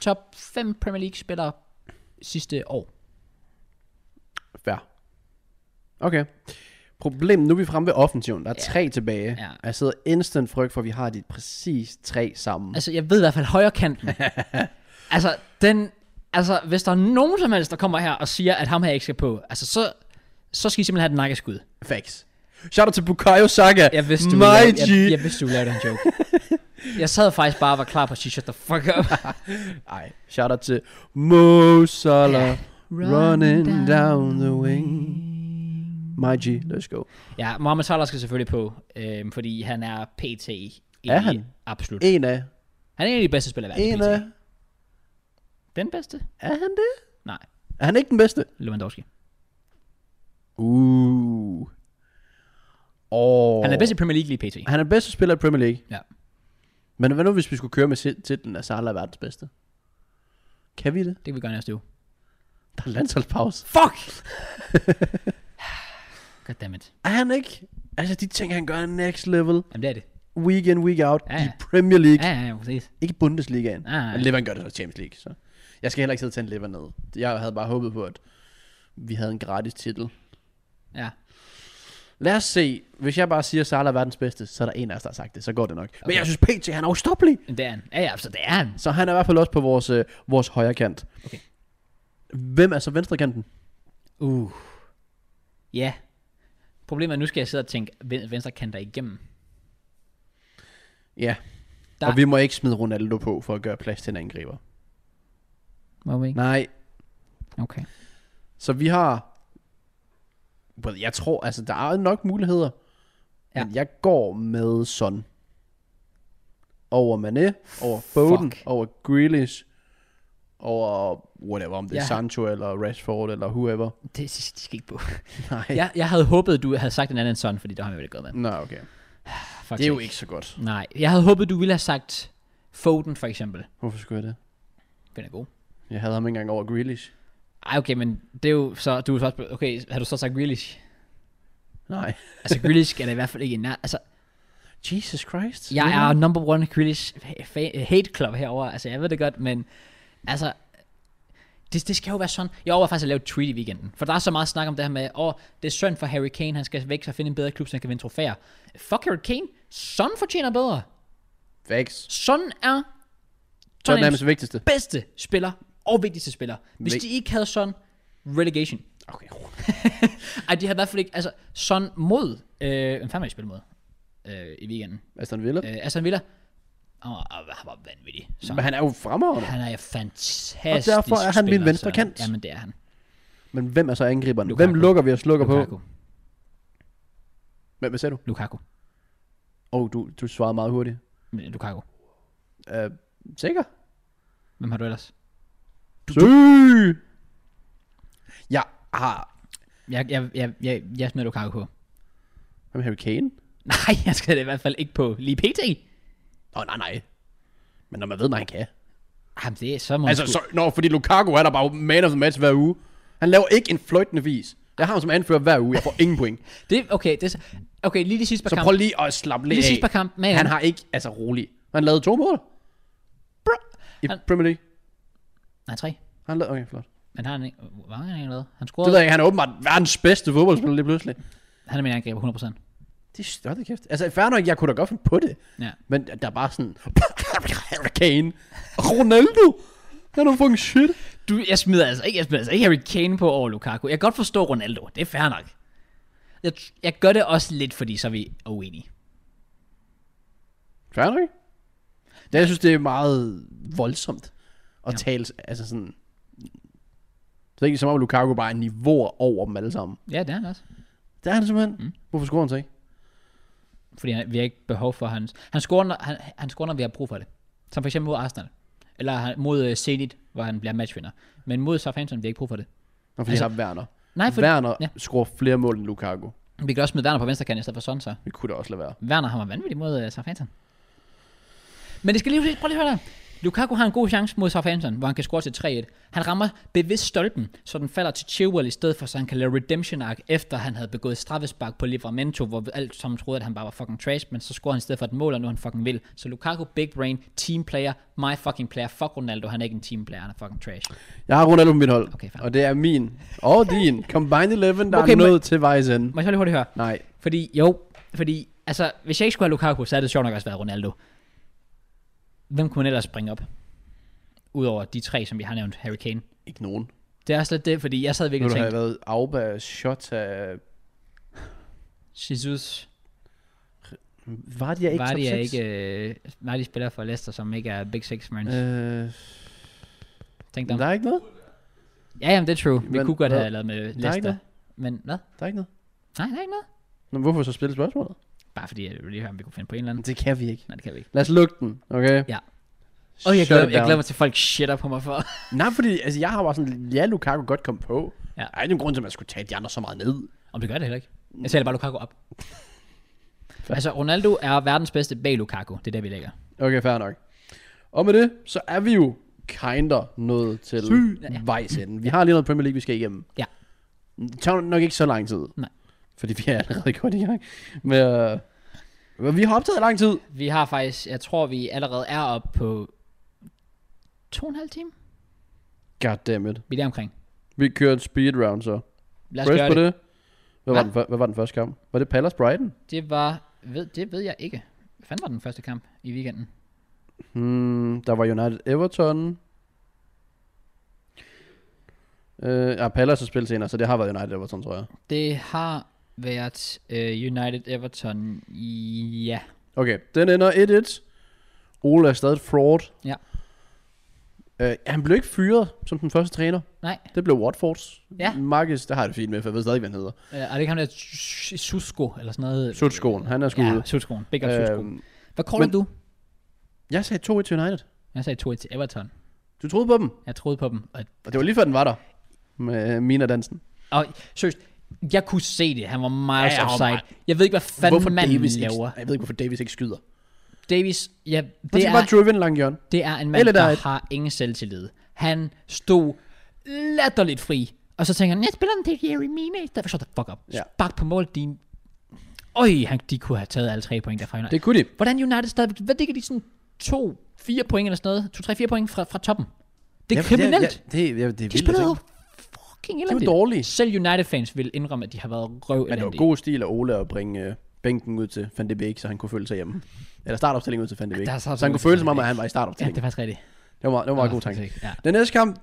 Speaker 1: Top 5 Premier League-spillere sidste år.
Speaker 2: Fair. Okay. Problemet, nu er vi fremme ved offensiven. Der er ja. tre tilbage.
Speaker 1: Ja.
Speaker 2: Og jeg sidder instant frygt for, at vi har de præcis tre sammen.
Speaker 1: Altså, jeg ved i hvert fald højre kanten. altså, den... Altså, hvis der er nogen som helst, der kommer her og siger, at ham her ikke skal på, altså, så, så skal I simpelthen have et nakkeskud.
Speaker 2: Facts. Shout out til Bukayo Saka.
Speaker 1: Altså- Jeg vidste, du
Speaker 2: My
Speaker 1: ville lave,
Speaker 2: G.
Speaker 1: jeg, jeg vidste, du ville lave den
Speaker 2: (laughs)
Speaker 1: joke. jeg sad faktisk bare og var klar på at sige, shut the fuck up.
Speaker 2: Ej, shout out til Mo Salah.
Speaker 1: Run
Speaker 2: Running
Speaker 1: down
Speaker 2: down, the wing. My G, let's go.
Speaker 1: ja, Mohamed Salah skal selvfølgelig på, øhm, fordi han er PT.
Speaker 2: Er han?
Speaker 1: Absolut.
Speaker 2: En af.
Speaker 1: Han er en af de bedste spillere i
Speaker 2: En
Speaker 1: verden.
Speaker 2: af.
Speaker 1: PT. Den bedste?
Speaker 2: Er han det?
Speaker 1: Nej,
Speaker 2: Er han ikke den bedste?
Speaker 1: Lewandowski.
Speaker 2: Uh. Oh.
Speaker 1: Han er bedst i Premier League lige pt.
Speaker 2: Han er den bedste spiller i Premier League.
Speaker 1: Ja.
Speaker 2: Men hvad nu, hvis vi skulle køre med sit- titlen af Salah er verdens bedste? Kan vi det?
Speaker 1: Det kan vi gøre næste uge.
Speaker 2: Der er landsholdspause. (laughs)
Speaker 1: Fuck! Goddammit.
Speaker 2: Er han ikke? Altså, de ting, han gør er next level.
Speaker 1: Jamen det er det.
Speaker 2: Week in, week out.
Speaker 1: Ja,
Speaker 2: Ja.
Speaker 1: ja.
Speaker 2: I Premier League.
Speaker 1: Ja,
Speaker 2: Ja.
Speaker 1: ja, ja, præcis.
Speaker 2: Ikke Bundesligaen.
Speaker 1: Ja, ja.
Speaker 2: Men Levan gør det så i Champions League. Så. Jeg skal heller ikke sidde og tænde Levan ned. Jeg havde bare håbet på, at vi havde en gratis titel.
Speaker 1: Ja.
Speaker 2: Lad os se. Hvis jeg bare siger, at Salah er verdens bedste, så er der en af os, der har sagt det. Så går det nok. Okay.
Speaker 1: Okay.
Speaker 2: Men jeg synes, PT han er ustoppelig.
Speaker 1: Men Det er han. Ja, ja, så det er han.
Speaker 2: Så han er i hvert fald også på vores, øh, vores højre kant.
Speaker 1: Okay.
Speaker 2: Hvem er så venstre kanten?
Speaker 1: Uh. Ja. Problemet er, nu skal jeg sidde og tænke, ven- venstre kan der igennem.
Speaker 2: Ja.
Speaker 1: Der-
Speaker 2: Der... Og vi må ikke smide Ronaldo på for at gøre plads til en angriber.
Speaker 1: Må vi ikke?
Speaker 2: Nej.
Speaker 1: Okay.
Speaker 2: Så vi har... Well, Jeg tror, altså, der er nok muligheder.
Speaker 1: Ja.
Speaker 2: Ja. Men jeg går med Son. Over Mané, over Foden,
Speaker 1: Fuck.
Speaker 2: over Grealish, over whatever, om det er
Speaker 1: Jeg-
Speaker 2: Sancho eller Rashford eller
Speaker 1: (laughs)
Speaker 2: whoever.
Speaker 1: Det, det skal ikke på.
Speaker 2: Nej.
Speaker 1: jeg, jeg havde håbet, du havde sagt en anden sådan, fordi der har vi vel ikke gået med.
Speaker 2: Nå, okay.
Speaker 1: Fuck
Speaker 2: Det er jo
Speaker 1: sake.
Speaker 2: ikke så godt.
Speaker 1: Nej, jeg havde håbet, du ville have sagt Foden for eksempel.
Speaker 2: Hvorfor skulle jeg det?
Speaker 1: Den er god.
Speaker 2: Jeg havde ham ikke engang over Grealish.
Speaker 1: Ej, okay, men det er jo så, du er så også, blevet- okay, har du så sagt Grealish?
Speaker 2: Nej.
Speaker 1: Altså, Grealish er da i hvert fald ikke en nær, altså,
Speaker 2: Jesus Christ.
Speaker 1: jeg er number one Grealish fa- hate club herover. altså, jeg ved det godt, men, altså, det, det skal jo være sådan, jeg overvejer faktisk at lave et tweet i weekenden, for der er så meget snak om det her med, åh, det er synd for Harry Kane, han skal væk og finde en bedre klub, så han kan vinde trofæer. Fuck Harry Kane, sådan fortjener bedre.
Speaker 2: Facts.
Speaker 1: Sådan er Tottenhams
Speaker 2: Tottenhams vigtigste.
Speaker 1: bedste spiller og vigtigste spiller. Hvis
Speaker 2: Vig-
Speaker 1: de ikke havde sådan, relegation. (laughs)
Speaker 2: Okay.
Speaker 1: Ej, de havde i hvert fald ikke, altså, sådan mod, øh, hvem fanden var de spillet mod øh, i weekenden?
Speaker 2: Aston Villa.
Speaker 1: Øh, Aston Villa, åh, oh, han var vanvittig. Så.
Speaker 2: Men han er jo fremragende.
Speaker 1: Han er fantastisk
Speaker 2: Og derfor er han min
Speaker 1: spiller,
Speaker 2: venstre
Speaker 1: så-
Speaker 2: kant.
Speaker 1: Jamen, det er han.
Speaker 2: Men hvem er så angriberen?
Speaker 1: Lukaku.
Speaker 2: Lukaku. Hvem lukker vi og slukker
Speaker 1: Lukaku.
Speaker 2: på? Hvem hvad sagde du?
Speaker 1: Lukaku.
Speaker 2: Åh, oh, du, du svarede meget hurtigt.
Speaker 1: Men, øh, Lukaku.
Speaker 2: Uh, sikker?
Speaker 1: Hvem har du ellers?
Speaker 2: Søg! Jeg har...
Speaker 1: Jeg, jeg, jeg, jeg, jeg smider Lukaku på. (laughs)
Speaker 2: Hvem er Harry Kane?
Speaker 1: Nej, jeg skal det i hvert fald ikke på lige pt.
Speaker 2: Åh, oh, nej, nej. Men når man ved, hvad han kan.
Speaker 1: Jamen, det er så må
Speaker 2: Altså, så, nå, fordi Lukaku han er der bare man of the match hver uge. Han laver ikke en fløjtende vis. Jeg har ham som anfører hver uge. Jeg får ingen
Speaker 1: (laughs)
Speaker 2: point.
Speaker 1: Det, okay, det, er så- okay, lige de sidste par
Speaker 2: Så
Speaker 1: kampe.
Speaker 2: prøv lige at slappe lidt
Speaker 1: Lige
Speaker 2: af.
Speaker 1: sidst på kamp, man.
Speaker 2: Han har ikke, altså rolig. Han lavede to mål. I
Speaker 1: Han-
Speaker 2: Premier League.
Speaker 1: Nej, tre.
Speaker 2: Han lavede, okay, flot.
Speaker 1: Men har han ikke... Hvor mange har han lavet? Han
Speaker 2: Det
Speaker 1: scorede...
Speaker 2: ved jeg ikke, han er åbenbart verdens bedste fodboldspiller lige pludselig.
Speaker 1: Han er min angriber, 100%.
Speaker 2: Det er større kæft. Altså, fair nok, jeg kunne da godt finde på det.
Speaker 1: Ja.
Speaker 2: Men der er bare sådan... (laughs) Kane. Ronaldo. Han er fucking shit.
Speaker 1: Du, jeg smider altså ikke, jeg smider altså ikke Harry Kane på over Lukaku. Jeg kan godt forstå Ronaldo. Det er fair nok. Jeg, jeg gør det også lidt, fordi så er vi uenige.
Speaker 2: Fair nok. Det, jeg synes, det er meget voldsomt at ja. tale, altså sådan... Det er ikke som om Lukaku bare er niveauer over dem alle sammen.
Speaker 1: Ja, det er han også.
Speaker 2: Det er han simpelthen. Mm. Hvorfor scorer han så ikke?
Speaker 1: Fordi han, vi har ikke behov for hans... Han scorer, når, han, han scorer, når vi har brug for det. Som for eksempel mod Arsenal. Eller han- mod øh, Zenit, hvor han bliver matchvinder. Men mod Southampton, vi har ikke brug for det.
Speaker 2: Nå, fordi
Speaker 1: Altså-
Speaker 2: altså, har Werner.
Speaker 1: Nej, for
Speaker 2: Werner
Speaker 1: ja.
Speaker 2: ja. scorer flere mål end Lukaku.
Speaker 1: vi kan også smide Werner på venstre kant i stedet for sådan så.
Speaker 2: Det kunne da også lade være.
Speaker 1: Werner, han var vanvittig mod uh, Southampton. Men det skal lige, prøv lige at høre dig. Lukaku har en god chance mod Southampton, hvor han kan score til 3-1. Han rammer bevidst stolpen, så den falder til Chilwell i stedet for, så han kan lave redemption arc, efter han havde begået straffespark på Livramento, hvor alt som troede, at han bare var fucking trash, men så scorer han i stedet for et mål, og nu er han fucking vil. Så Lukaku, big brain, team player, my fucking player, fuck Ronaldo, han er ikke en team player, han er fucking trash.
Speaker 2: Jeg har Ronaldo på mit hold.
Speaker 1: Okay, fair.
Speaker 2: og det er min og
Speaker 1: (laughs)
Speaker 2: din combined 11, der
Speaker 1: Okay,
Speaker 2: okay, er
Speaker 1: men-
Speaker 2: nået til vejs ende.
Speaker 1: Må jeg så lige hurtigt høre?
Speaker 2: Nej.
Speaker 1: Fordi, jo, fordi, altså, hvis jeg ikke skulle have Lukaku, så havde det sjovt nok også været Ronaldo. Hvem kunne man ellers bringe op? Udover de tre, som vi har nævnt, Harry Kane.
Speaker 2: Ikke nogen.
Speaker 1: Det er også lidt det, fordi jeg sad
Speaker 2: Nu
Speaker 1: virkelig og
Speaker 2: har jeg
Speaker 1: tænkte,
Speaker 2: været Auba, Shota,
Speaker 1: Jesus,
Speaker 2: var de jeg ikke
Speaker 1: var
Speaker 2: top
Speaker 1: det jeg
Speaker 2: 6?
Speaker 1: ikke, øh, var de spillere for Leicester, som ikke er Big Six Merns? Øh,
Speaker 2: Øh,
Speaker 1: Tænk
Speaker 2: men
Speaker 1: dig om.
Speaker 2: der er ikke noget.
Speaker 1: Ja, jamen det er true. Vi
Speaker 2: Men
Speaker 1: kunne godt
Speaker 2: hvad?
Speaker 1: have lavet med
Speaker 2: Der er ikke
Speaker 1: Leicester.
Speaker 2: noget.
Speaker 1: Men hvad?
Speaker 2: Der er ikke noget.
Speaker 1: Nej, der er ikke noget.
Speaker 2: Nå, men hvorfor så spille spørgsmålet?
Speaker 1: Bare fordi jeg ville lige høre, om vi kunne finde på en eller anden.
Speaker 2: Det kan vi ikke.
Speaker 1: Nej, det kan vi ikke.
Speaker 2: Lad os lukke den, okay?
Speaker 1: Ja. Og jeg glæder, jeg
Speaker 2: Shutdown.
Speaker 1: glæder mig til, at folk shitter på mig for.
Speaker 2: Nej, fordi altså, jeg har bare sådan, ja, Lukaku godt kom på.
Speaker 1: Ja.
Speaker 2: Ja. Ej, det er en grund til, at man skulle tage de andre så meget ned.
Speaker 1: Om det gør det heller ikke. Jeg sætter bare Lukaku (laughs) op. altså, Ronaldo er verdens bedste bag Lukaku. Det er der, vi lægger.
Speaker 2: Okay, fair nok. Og med det, så er vi jo kinder nået til
Speaker 1: Ja.
Speaker 2: vejs ende. Vi har lige noget Premier League, vi skal igennem.
Speaker 1: Ja.
Speaker 2: Det tager nok ikke så lang tid.
Speaker 1: Nej.
Speaker 2: Fordi vi er allerede godt i gang. Men, øh, men vi har optaget lang tid.
Speaker 1: Vi har faktisk, jeg tror, vi allerede er oppe på to og en halv time.
Speaker 2: Goddammit.
Speaker 1: Vi er der omkring.
Speaker 2: Vi kører en speed round så.
Speaker 1: Lad os
Speaker 2: Press
Speaker 1: gøre
Speaker 2: på
Speaker 1: det.
Speaker 2: det. Hvad
Speaker 1: Hva?
Speaker 2: var, den, før- hvad var den første kamp? Var det Palace Brighton?
Speaker 1: Det var, ved, det ved jeg ikke. Hvad fanden var den første kamp i weekenden?
Speaker 2: Hmm, der var United Everton. Øh, ja, Palace har spillet senere, så det har været United Everton, tror jeg.
Speaker 1: Det har været øh, United Everton i... Ja.
Speaker 2: Okay, den ender 1-1. Ole er stadig et fraud.
Speaker 1: Ja.
Speaker 2: Øh, han blev ikke fyret som den første træner.
Speaker 1: Nej,
Speaker 2: Det blev Watfords.
Speaker 1: Ja.
Speaker 2: Marcus, der har jeg det fint med, for jeg ved stadig, ikke, hvad han hedder.
Speaker 1: øh, er det ikke ham der Sus- Susko eller sådan noget?
Speaker 2: Sutskoen, han er sgu
Speaker 1: Ja,
Speaker 2: ude.
Speaker 1: Sutskoen. Big up Sutsko.
Speaker 2: Øhm,
Speaker 1: Hvad kalder
Speaker 2: men-
Speaker 1: du?
Speaker 2: jeg sagde 2-1 til United.
Speaker 1: Jeg sagde 2 til Everton.
Speaker 2: Du troede på dem,
Speaker 1: Jeg troede på dem, og
Speaker 2: og det var lige før den var der. Med øh, Mina Dansen.
Speaker 1: Og seriøst, jeg kunne se det. Han var miles
Speaker 2: Ja,
Speaker 1: ja,
Speaker 2: han var
Speaker 1: offside.
Speaker 2: meget-
Speaker 1: Jeg ved ikke, hvad fanden Hvorfor manden
Speaker 2: Davis ikke,
Speaker 1: laver.
Speaker 2: jeg ved ikke, hvorfor Davis ikke skyder.
Speaker 1: Davis, ja,
Speaker 2: Det
Speaker 1: det,
Speaker 2: er bare
Speaker 1: er,
Speaker 2: driven langt hjørne.
Speaker 1: det er en mand,
Speaker 2: Eller
Speaker 1: der,
Speaker 2: der er
Speaker 1: der
Speaker 2: et-
Speaker 1: har ingen selvtillid. Han stod latterligt fri. Og så tænker han, jeg spiller den til Jerry Mina. Der shut the fuck up. Ja.
Speaker 2: Ja.
Speaker 1: Spark på mål, din... Øj, han, de kunne have taget alle tre point derfra. United.
Speaker 2: Det kunne de.
Speaker 1: Hvordan United stadigvæk... Hvad ligger de sådan to, fire point eller sådan noget? To, tre, fire point fra, fra toppen. Det er ja, kriminelt. Ja,
Speaker 2: Ja, ja, det, ja, det er
Speaker 1: ja, de
Speaker 2: vildt at
Speaker 1: spillede jo
Speaker 2: tænke.
Speaker 1: fucking
Speaker 2: De
Speaker 1: elendigt.
Speaker 2: var dårlige.
Speaker 1: Selv United-fans vil indrømme, at de har været røv
Speaker 2: Men det var god stil af Ole at bringe øh, bænken ud til Van de Beek, så han kunne føle sig hjemme. Eller startopstillingen ud til Van de Beek.
Speaker 1: der er
Speaker 2: så han
Speaker 1: startopstillingen
Speaker 2: kunne
Speaker 1: til Van
Speaker 2: føle
Speaker 1: de
Speaker 2: som om,
Speaker 1: Beek.
Speaker 2: at han var i
Speaker 1: Ja, det
Speaker 2: startopstillingen.
Speaker 1: er faktisk rigtigt.
Speaker 2: det var, det var meget
Speaker 1: Åh,
Speaker 2: god tanke.
Speaker 1: faktisk, ja.
Speaker 2: Den næste kamp,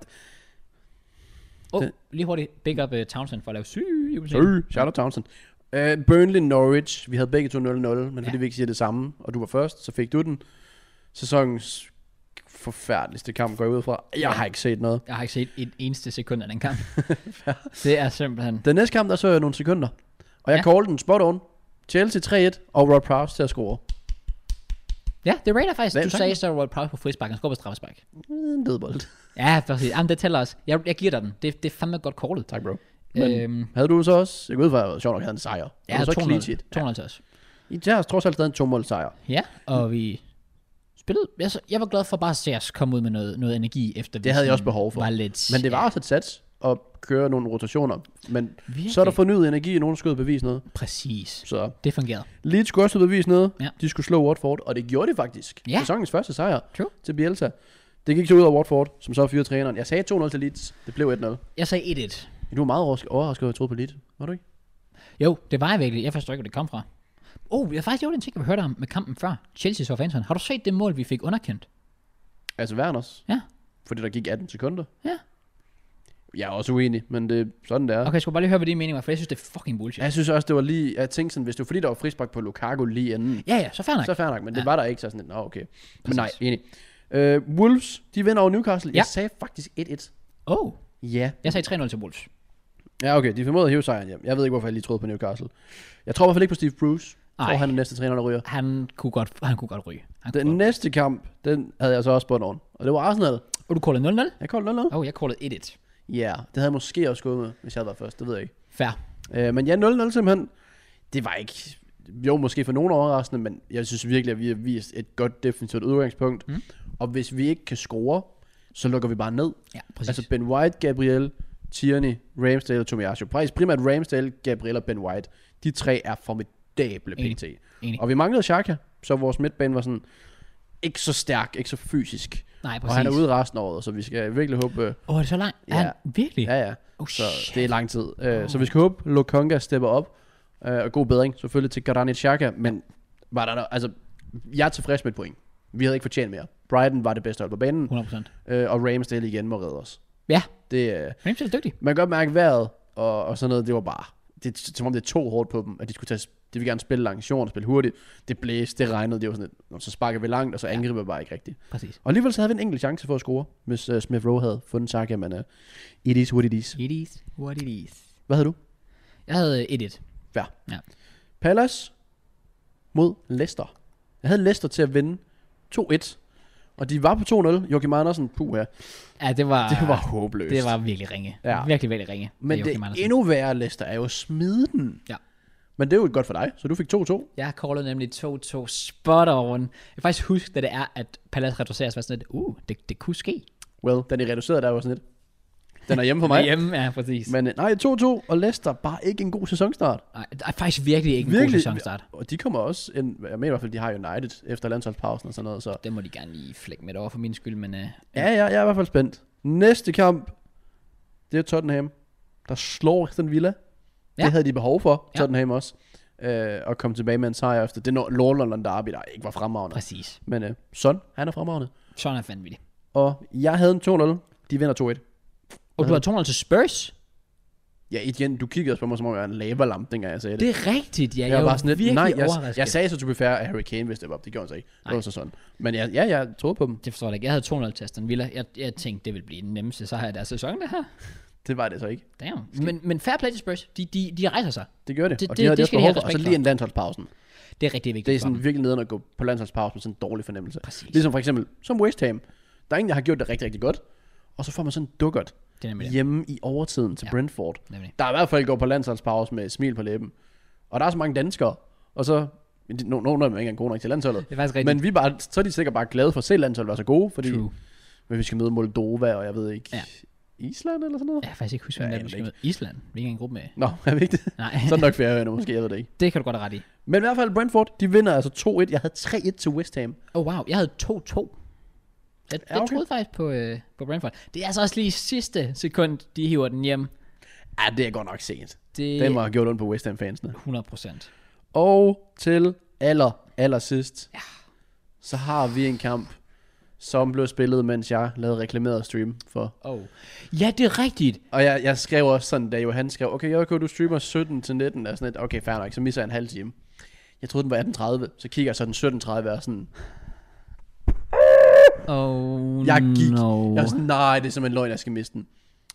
Speaker 1: Oh, lige hurtigt, big up uh, Townsend for at lave syge jubilæum.
Speaker 2: øh, Charlotte Townsend. Uh, Burnley Norwich, vi havde begge to 0-0, men fordi
Speaker 1: Ja.
Speaker 2: vi ikke siger det samme, og du var først, så fik du den. Sæsonens forfærdeligste kamp går jeg ud fra. Jeg har ikke set noget.
Speaker 1: Jeg har ikke set et eneste sekund af den
Speaker 2: (laughs)
Speaker 1: kamp. det er simpelthen...
Speaker 2: Den næste kamp, der så jeg nogle sekunder, og jeg
Speaker 1: Ja.
Speaker 2: ja. callede den spot on. Chelsea 3-1, og Rod Prowse til at score.
Speaker 1: Ja, det rater faktisk.
Speaker 2: Hvad er
Speaker 1: du
Speaker 2: tanken?
Speaker 1: sagde så World Prowse på frispark, han skubber straffespark.
Speaker 2: En dødbold.
Speaker 1: Ja, præcis. Jamen, det tæller også. Jeg, jeg giver dig den. Det, det er fandme godt kortet.
Speaker 2: Tak, bro. Men
Speaker 1: Øhm,
Speaker 2: havde du så også, jeg går ud fra, at sjovt nok havde en sejr.
Speaker 1: ja,
Speaker 2: Havde du så
Speaker 1: 200,
Speaker 2: clean sheet?
Speaker 1: 200 til os.
Speaker 2: I tager trods alt stadig en 2 sejr.
Speaker 1: Ja, og vi spillede... Jeg, så- jeg var glad for bare at se os komme ud med noget, noget energi, efter vi
Speaker 2: Det havde jeg
Speaker 1: sådan
Speaker 2: også behov for.
Speaker 1: Var lidt,
Speaker 2: Men det var også et sats, og køre nogle rotationer. Men Virkelig? så er der
Speaker 1: Virkelig.
Speaker 2: fornyet energi, og nogen skulle ud og bevise noget.
Speaker 1: Præcis.
Speaker 2: Så
Speaker 1: Det fungerede.
Speaker 2: Leeds skulle også ud og bevise noget.
Speaker 1: Ja.
Speaker 2: De skulle slå Watford, og det gjorde de faktisk.
Speaker 1: Ja.
Speaker 2: Sæsonens første sejr
Speaker 1: True.
Speaker 2: til Bielsa. Det gik så ud af Watford, som så fyrede træneren. Jeg sagde 2-0 til Leeds. Det blev 1-0.
Speaker 1: Jeg sagde 1-1.
Speaker 2: Du var meget overrasket overrasket over, at jeg troede på Leeds. Var du ikke?
Speaker 1: Jo, det var jeg virkelig. Jeg forstår ikke, hvor det kom fra. Oh, jeg har faktisk gjort en ting, vi hørte om med kampen før. Chelsea Southampton. Har du set det mål, vi fik underkendt?
Speaker 2: Altså Werners.
Speaker 1: Ja.
Speaker 2: Fordi der gik 18 sekunder.
Speaker 1: Ja.
Speaker 2: Jeg er også uenig, men det, sådan det er.
Speaker 1: Okay, jeg skulle bare lige høre, hvad dine meninger var, for jeg synes, det er fucking bullshit.
Speaker 2: Jeg synes også, det var lige... Jeg tænkte sådan, hvis det var fordi, der var frisbak på Lukaku lige inden,
Speaker 1: Ja, ja, så fair nok.
Speaker 2: så fair nok, men det
Speaker 1: Ja.
Speaker 2: var der ikke, så sådan lidt, nå okay. Men
Speaker 1: Præcis.
Speaker 2: nej, enig. Øh, Wolves, de vinder over Newcastle.
Speaker 1: Ja.
Speaker 2: Jeg sagde faktisk 1-1.
Speaker 1: Oh,
Speaker 2: Ja.
Speaker 1: jeg sagde 3-0 til Wolves.
Speaker 2: Ja, okay, de formåede at hive sejren hjem. Jeg ved ikke, hvorfor jeg lige troede på Newcastle. Jeg tror i hvert fald ikke på Steve Bruce. Jeg tror,
Speaker 1: Ej.
Speaker 2: han er næste træner, der ryger.
Speaker 1: Han kunne godt, han kunne godt ryge. Han kunne
Speaker 2: Den
Speaker 1: godt.
Speaker 2: næste kamp, den havde jeg så også spået nogen. Og det var Arsenal.
Speaker 1: Og du kaldte 0-0?
Speaker 2: Jeg kaldte 0
Speaker 1: Oh, jeg kaldte 1-1.
Speaker 2: Ja, yeah. det havde jeg måske også gået med, hvis jeg havde været først. Det ved jeg ikke.
Speaker 1: Fair.
Speaker 2: Øh, men ja, 0-0 simpelthen. Det var ikke... Jo, måske for nogen overraskende, men jeg synes virkelig, at vi har vist et godt defensivt udgangspunkt. Mm. Og hvis vi ikke kan score, så lukker vi bare ned.
Speaker 1: Ja, præcis.
Speaker 2: Altså Ben White, Gabriel, Tierney, Ramsdale og Tomiasio. Faktisk primært Ramsdale, Gabriel og Ben White. De tre er formidable
Speaker 1: Enig.
Speaker 2: pt.
Speaker 1: Enig.
Speaker 2: Og vi manglede Xhaka, så vores midtbane var sådan ikke så stærk, ikke så fysisk. Præcis.
Speaker 1: Nej,
Speaker 2: Og
Speaker 1: præcis.
Speaker 2: han er ude resten af året, så vi skal virkelig håbe... øh,
Speaker 1: Åh, oh, er det så langt? Ja.
Speaker 2: Ja.
Speaker 1: Han, virkelig?
Speaker 2: Ja, ja.
Speaker 1: Oh,
Speaker 2: Så
Speaker 1: shit.
Speaker 2: det er lang tid. Uh, så vi skal håbe, Lokonga stepper op. Uh, og god bedring selvfølgelig til Granit Xhaka. Men var der, no- altså, jeg er tilfreds med et point. Vi havde ikke fortjent mere. Brighton var det bedste hold på banen.
Speaker 1: 100%.
Speaker 2: Uh, og Ramsdale igen må redde os.
Speaker 1: Ja,
Speaker 2: Det, uh,
Speaker 1: Ramsey er dygtig.
Speaker 2: man kan godt mærke vejret og, og sådan noget. Det var bare... Det, er som om det tog hårdt på dem, at de skulle tage, de ville gerne spille langt, sjovt, spille hurtigt. Det blæste, det regnede, det var sådan lidt, "Nå, så sparker vi langt, og så angriber vi bare ikke rigtigt.
Speaker 1: Præcis.
Speaker 2: Og alligevel så havde vi en enkelt chance for at score, hvis uh, Smith Rowe havde fundet Saka, men uh, it is what it is.
Speaker 1: It is what it is.
Speaker 2: Hvad havde du?
Speaker 1: Jeg havde 1-1.
Speaker 2: Ja.
Speaker 1: Ja.
Speaker 2: Palace mod Leicester. Jeg havde Leicester til at vinde 2-1. Og de var på 2-0. Joachim Andersen, puh ja.
Speaker 1: Ja, det var...
Speaker 2: Det var håbløst.
Speaker 1: Ah, Det var virkelig ringe.
Speaker 2: Ja.
Speaker 1: Ja. Virkelig, virkelig ringe.
Speaker 2: Men
Speaker 1: af
Speaker 2: det
Speaker 1: Joachim Andersen.
Speaker 2: endnu værre Leicester er jo at smide den.
Speaker 1: Ja.
Speaker 2: Men det er jo godt for dig, så du fik 2-2.
Speaker 1: Jeg callede nemlig 2-2 spot on. Jeg kan faktisk huske, da det er, at Palace reduceres, var sådan lidt, uh, det, det kunne ske.
Speaker 2: Well, den er reduceret der var sådan lidt. Den er hjemme for mig.
Speaker 1: Hjemme, ja, præcis. Men,
Speaker 2: Men øh, nej, 2-2 og Leicester bare ikke en god sæsonstart.
Speaker 1: Ej, det er faktisk virkelig ikke en god sæsonstart.
Speaker 2: Og de kommer også ind, jeg mener i hvert fald, de har United efter landsholdspausen og sådan noget. Så.
Speaker 1: Det må de gerne lige flække med over for min skyld, men uh,
Speaker 2: Ja, ja, jeg er i hvert fald spændt. Næste kamp, det er Tottenham, der slår Aston Villa. Ja.
Speaker 1: Ja.
Speaker 2: Det havde de behov for,
Speaker 1: Ja.
Speaker 2: Tottenham også. Øh, og komme tilbage med en sejr efter. Det når London Derby, der ikke var fremragende.
Speaker 1: præcis.
Speaker 2: Men øh, Son, han er fremragende.
Speaker 1: Sådan er vanvittigt.
Speaker 2: Og jeg havde en 2-0. De vinder 2-1.
Speaker 1: Og du har 200 til Spurs?
Speaker 2: Ja, igen, du kiggede også på mig, som om jeg var en lavalamp, dengang jeg sagde det.
Speaker 1: Det er rigtigt, ja. Jeg,
Speaker 2: jeg
Speaker 1: jeg
Speaker 2: var bare sådan lidt, nej, jeg,
Speaker 1: overrasket.
Speaker 2: jeg sagde så til fair, at Harry Kane ville steppe op. Det gjorde han så ikke. Det
Speaker 1: Nej.
Speaker 2: var så sådan. Men jeg, ja, jeg troede på dem.
Speaker 1: Det forstår jeg ikke. Jeg havde 200 til Aston Villa. Jeg, jeg tænkte, det ville blive den nemmeste sejr af deres sæson, det her.
Speaker 2: Det var det så ikke.
Speaker 1: Damn. Men, men fair play til Spurs. De, de, de rejser sig.
Speaker 2: Det gjorde det.
Speaker 1: Det-
Speaker 2: og
Speaker 1: det-
Speaker 2: havde
Speaker 1: det
Speaker 2: også
Speaker 1: skal de have
Speaker 2: behov for. Og så
Speaker 1: respekt
Speaker 2: lige en landsholdspausen.
Speaker 1: Det er rigtig vigtigt.
Speaker 2: Det er
Speaker 1: for
Speaker 2: sådan
Speaker 1: dem.
Speaker 2: virkelig nederen at gå på landsholdspausen med sådan en dårlig fornemmelse.
Speaker 1: Præcis.
Speaker 2: Ligesom for eksempel, som West Ham. Der er ingen, der har gjort det rigtig, rigtig godt. Og så får man sådan en dukkert
Speaker 1: Det er nemlig det.
Speaker 2: hjemme i overtiden til
Speaker 1: Ja.
Speaker 2: Brentford.
Speaker 1: Nemlig.
Speaker 2: Der er i hvert fald går på landsholdspause med et smil på læben. Og der er så mange danskere. Og så men de- no- nogle af dem er ikke engang gode nok til landsholdet.
Speaker 1: Det er faktisk rigtigt.
Speaker 2: Men vi er bare, så er de sikkert bare glade for at se landsholdet være så gode, fordi
Speaker 1: True.
Speaker 2: men vi skal møde Moldova, og jeg ved ikke,
Speaker 1: Ja.
Speaker 2: ja. Island eller sådan noget?
Speaker 1: Jeg kan faktisk ikke huske,
Speaker 2: Jeg
Speaker 1: hvem
Speaker 2: aner
Speaker 1: der
Speaker 2: det
Speaker 1: er med Island. Vi er ikke en gruppe med.
Speaker 2: Nå, (laughs) er vi ikke det?
Speaker 1: Nej,
Speaker 2: Sådan nok færøerne måske, jeg ved det ikke.
Speaker 1: det kan du godt have ret i.
Speaker 2: Men i hvert fald Brentford, de vinder altså 2-1. Jeg havde 3-1 til West Ham.
Speaker 1: Oh wow, jeg havde 2-2. Jeg, jeg
Speaker 2: Ja, okay.
Speaker 1: troede faktisk på, øh, på Brentford. Det er altså også lige i sidste sekund, de hiver den hjem.
Speaker 2: Ja, det er godt nok sent.
Speaker 1: Det
Speaker 2: Det må
Speaker 1: er
Speaker 2: have gjort ondt på West Ham-fansene.
Speaker 1: 100 procent.
Speaker 2: Og til aller, aller sidst, ja. så har vi en kamp, som blev spillet, mens jeg lavede reklameret stream for.
Speaker 1: Oh. Ja, det er rigtigt.
Speaker 2: Og jeg, jeg skrev også sådan, da Johan skrev, okay, JK, du streamer 17 til 19, og sådan lidt, okay, fair nok, så misser jeg en halv time. Jeg troede, den var 18.30, så kigger jeg så den 17.30 og er sådan,
Speaker 1: Oh,
Speaker 2: jeg gik.
Speaker 1: No.
Speaker 2: Jeg var sådan, nej, det er simpelthen løgn, jeg skal miste den.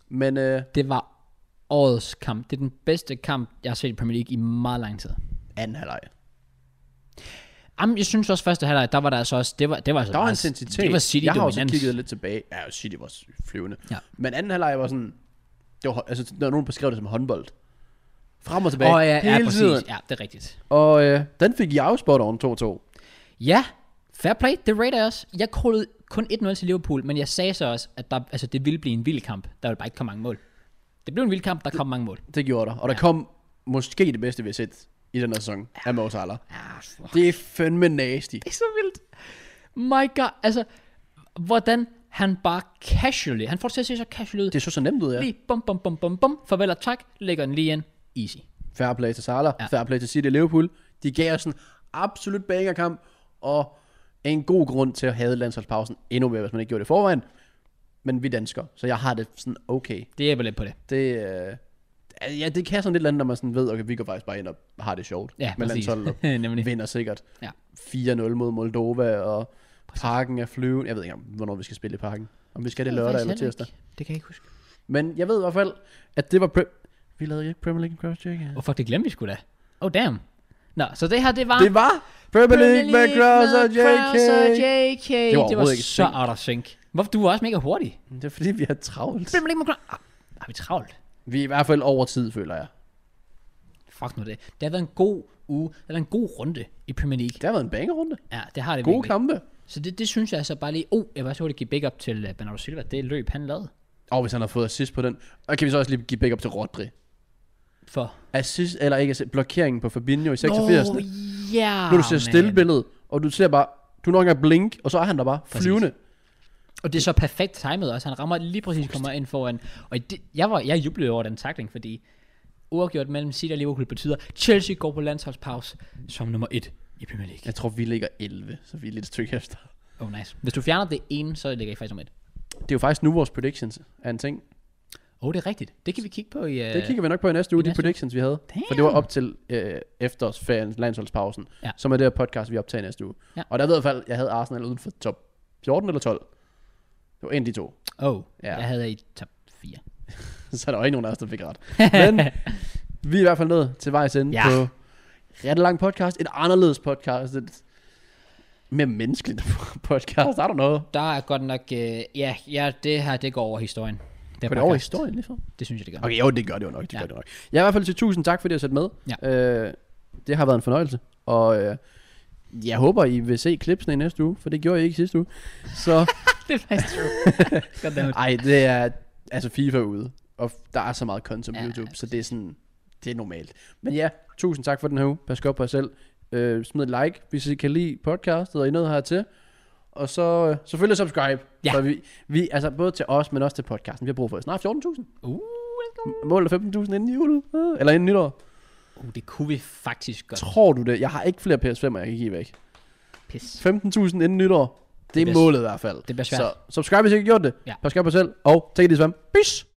Speaker 2: Men øh,
Speaker 1: Det var årets kamp. Det er den bedste kamp, jeg har set i Premier League i meget lang tid.
Speaker 2: anden halvleg.
Speaker 1: Jamen, jeg synes også første halvleg, der var der altså også, det var, det var altså
Speaker 2: Der var en
Speaker 1: altså-
Speaker 2: intensitet.
Speaker 1: Det var City
Speaker 2: jeg har også
Speaker 1: dominans.
Speaker 2: kigget lidt tilbage. Ja, City var flyvende.
Speaker 1: Ja.
Speaker 2: Men anden halvleg var sådan... Det var, hå- altså, der var nogen, der beskrev det som håndbold. Frem og tilbage.
Speaker 1: Åh, ja, ja,
Speaker 2: hele
Speaker 1: præcis.
Speaker 2: tiden.
Speaker 1: Ja, det er rigtigt.
Speaker 2: Og øh, den fik jeg jo spot on 2-2.
Speaker 1: Ja, fair play, det rater jeg også. Jeg kaldede kun 1-0 til Liverpool, men jeg sagde så også, at der, altså, det ville blive en vild kamp. Der ville bare ikke komme mange mål. Det blev en vild kamp, der kom mange mål.
Speaker 2: Det gjorde der. Og der kom måske det bedste, vi har set i den her sæson af Mo Salah.
Speaker 1: Ah, fuck.
Speaker 2: Det er fandme nasty.
Speaker 1: Det er så vildt. My god, altså, hvordan han bare casually, han får det til at se så casual ud.
Speaker 2: Det så så nemt ud, ja.
Speaker 1: Lige bum, bum, bum, bum, bum, farvel og tak, lægger den lige ind. Easy.
Speaker 2: Fair play til Salah, ja. fair play til City og Liverpool. De gav os en absolut bangerkamp, og en god grund til at have landsholdspausen endnu mere, hvis man ikke gjorde det i forvejen. Men vi danskere, så jeg har det sådan okay.
Speaker 1: Det hjælper lidt på det.
Speaker 2: Det, øh, ja, det kan sådan lidt andet, når man sådan ved, okay, vi går faktisk bare ind og har det sjovt
Speaker 1: Ja,
Speaker 2: med
Speaker 1: præcis. (laughs)
Speaker 2: landsholdet.
Speaker 1: Nemlig.
Speaker 2: vinder sikkert
Speaker 1: Ja.
Speaker 2: 4-0 mod Moldova, og parken er flyvende. Jeg ved ikke, om- hvornår vi skal spille i parken. Om vi skal det lørdag eller tirsdag.
Speaker 1: Det kan jeg ikke huske.
Speaker 2: Men jeg ved i hvert fald, at det var... Pre- vi lavede ikke Premier League Cross Check.
Speaker 1: Åh, oh, fuck, det glemte vi sgu da. Oh, damn. Nå, så det her, det var...
Speaker 2: Det var Premier League Ah, med Cross og JK.
Speaker 1: JK. Det var, det var
Speaker 2: overhovedet ikke
Speaker 1: så
Speaker 2: sync.
Speaker 1: out of sync. Hvorfor? Du var også mega hurtig.
Speaker 2: Det er fordi, vi har travlt.
Speaker 1: Premier League med Cross. Ah, Har vi travlt?
Speaker 2: Vi er i hvert fald over tid, føler jeg.
Speaker 1: Fuck nu det. Det har været en god uge. Det har været en god runde i Premier League.
Speaker 2: Det har været en bangerunde.
Speaker 1: Ja, det har det
Speaker 2: Gode
Speaker 1: virkelig.
Speaker 2: kampe.
Speaker 1: Så det, det synes jeg altså bare lige... Oh, jeg vil også hurtigt give big up til uh, Bernardo Silva. Det løb, han lavede.
Speaker 2: Og hvis han har fået assist på den. Og kan vi så også lige give backup til Rodri.
Speaker 1: For...
Speaker 2: Assist, eller ikke assist, blokeringen på Fabinho i
Speaker 1: Nå,
Speaker 2: 86. Oh,
Speaker 1: ja,
Speaker 2: nu du ser
Speaker 1: man.
Speaker 2: stille billedet, og du ser bare, du når engang blink, og så er han der bare flyvende.
Speaker 1: Og det er så perfekt timet også. Han rammer lige præcis, kommer ind foran. Og det, jeg, var, jeg jublede over den takling, fordi uafgjort mellem City og Liverpool betyder, Chelsea går på landsholdspause som nummer et i Premier League.
Speaker 2: Jeg tror, vi ligger 11, så vi er lidt et stykke efter.
Speaker 1: Oh, nice. Hvis du fjerner det ene, så ligger I faktisk nummer et.
Speaker 2: Det er jo faktisk nu vores predictions er en ting.
Speaker 1: Åh, oh, det er rigtigt. Det kan vi kigge på i... Uh...
Speaker 2: Det kigger vi nok på Øh, i næste uge, de
Speaker 1: næste uge.
Speaker 2: predictions, vi havde. Damn. For det var op til øh, efterårsferien, landsholdspausen,
Speaker 1: Ja.
Speaker 2: ja. som er det her podcast, vi optager i næste uge.
Speaker 1: Ja.
Speaker 2: Ja. Og der ved jeg i hvert fald, jeg havde Arsenal uden for top 14 eller 12. Det var en af de to. (laughs)
Speaker 1: Oh, ja.
Speaker 2: Ja.
Speaker 1: jeg havde i top 4.
Speaker 2: Så der var ikke nogen af os, der fik (laughs) ret. Men vi er i hvert fald nået til vejs ende
Speaker 1: Ja.
Speaker 2: ja. på ret lang podcast. En anderledes podcast. Et mere menneskeligt (laughs) podcast. Er der noget?
Speaker 1: Der er godt nok... Uh, ja, ja, det her, det går over historien. Det,
Speaker 2: Går det over i historien lige for?
Speaker 1: Det synes jeg, (laughs) det gør.
Speaker 2: Okay, jo, det gør det jo nok. Det
Speaker 1: Ja.
Speaker 2: ja. gør det nok. Jeg er i hvert fald til tusind tak, fordi I har sat med. Ja. Øh, det har været en fornøjelse. Og øh, jeg håber, I vil se klipsene i næste uge, for det gjorde I ikke sidste uge. Så,
Speaker 1: det er faktisk true. Goddammit.
Speaker 2: ej, det er, altså FIFA er ude, og f- der er så meget content på
Speaker 1: Ja, altså.
Speaker 2: ja, YouTube, så det er sådan, det er normalt. Men ja, tusind tak for den her uge. Pas godt på jer selv. Øh, smid et like, hvis I kan lide podcastet, og I er nået hertil. Og så øh, selvfølgelig subscribe.
Speaker 1: Ja.
Speaker 2: For vi, vi, altså både til os, men også til podcasten. Vi har brug for snart 14.000.
Speaker 1: Uh,
Speaker 2: Målet er 15.000 inden jul. Øh, Eller inden nytår.
Speaker 1: uh, det kunne vi faktisk godt.
Speaker 2: Tror du det? Jeg har ikke flere PS5'er, jeg kan give væk.
Speaker 1: Pis.
Speaker 2: 15.000 inden nytår. Det er
Speaker 1: bliver-
Speaker 2: målet i hvert fald.
Speaker 1: det bliver svært.
Speaker 2: Så subscribe, hvis I ikke har gjort det.
Speaker 1: Ja.
Speaker 2: Pas godt på jer selv. Og take it easy, fam. Peace.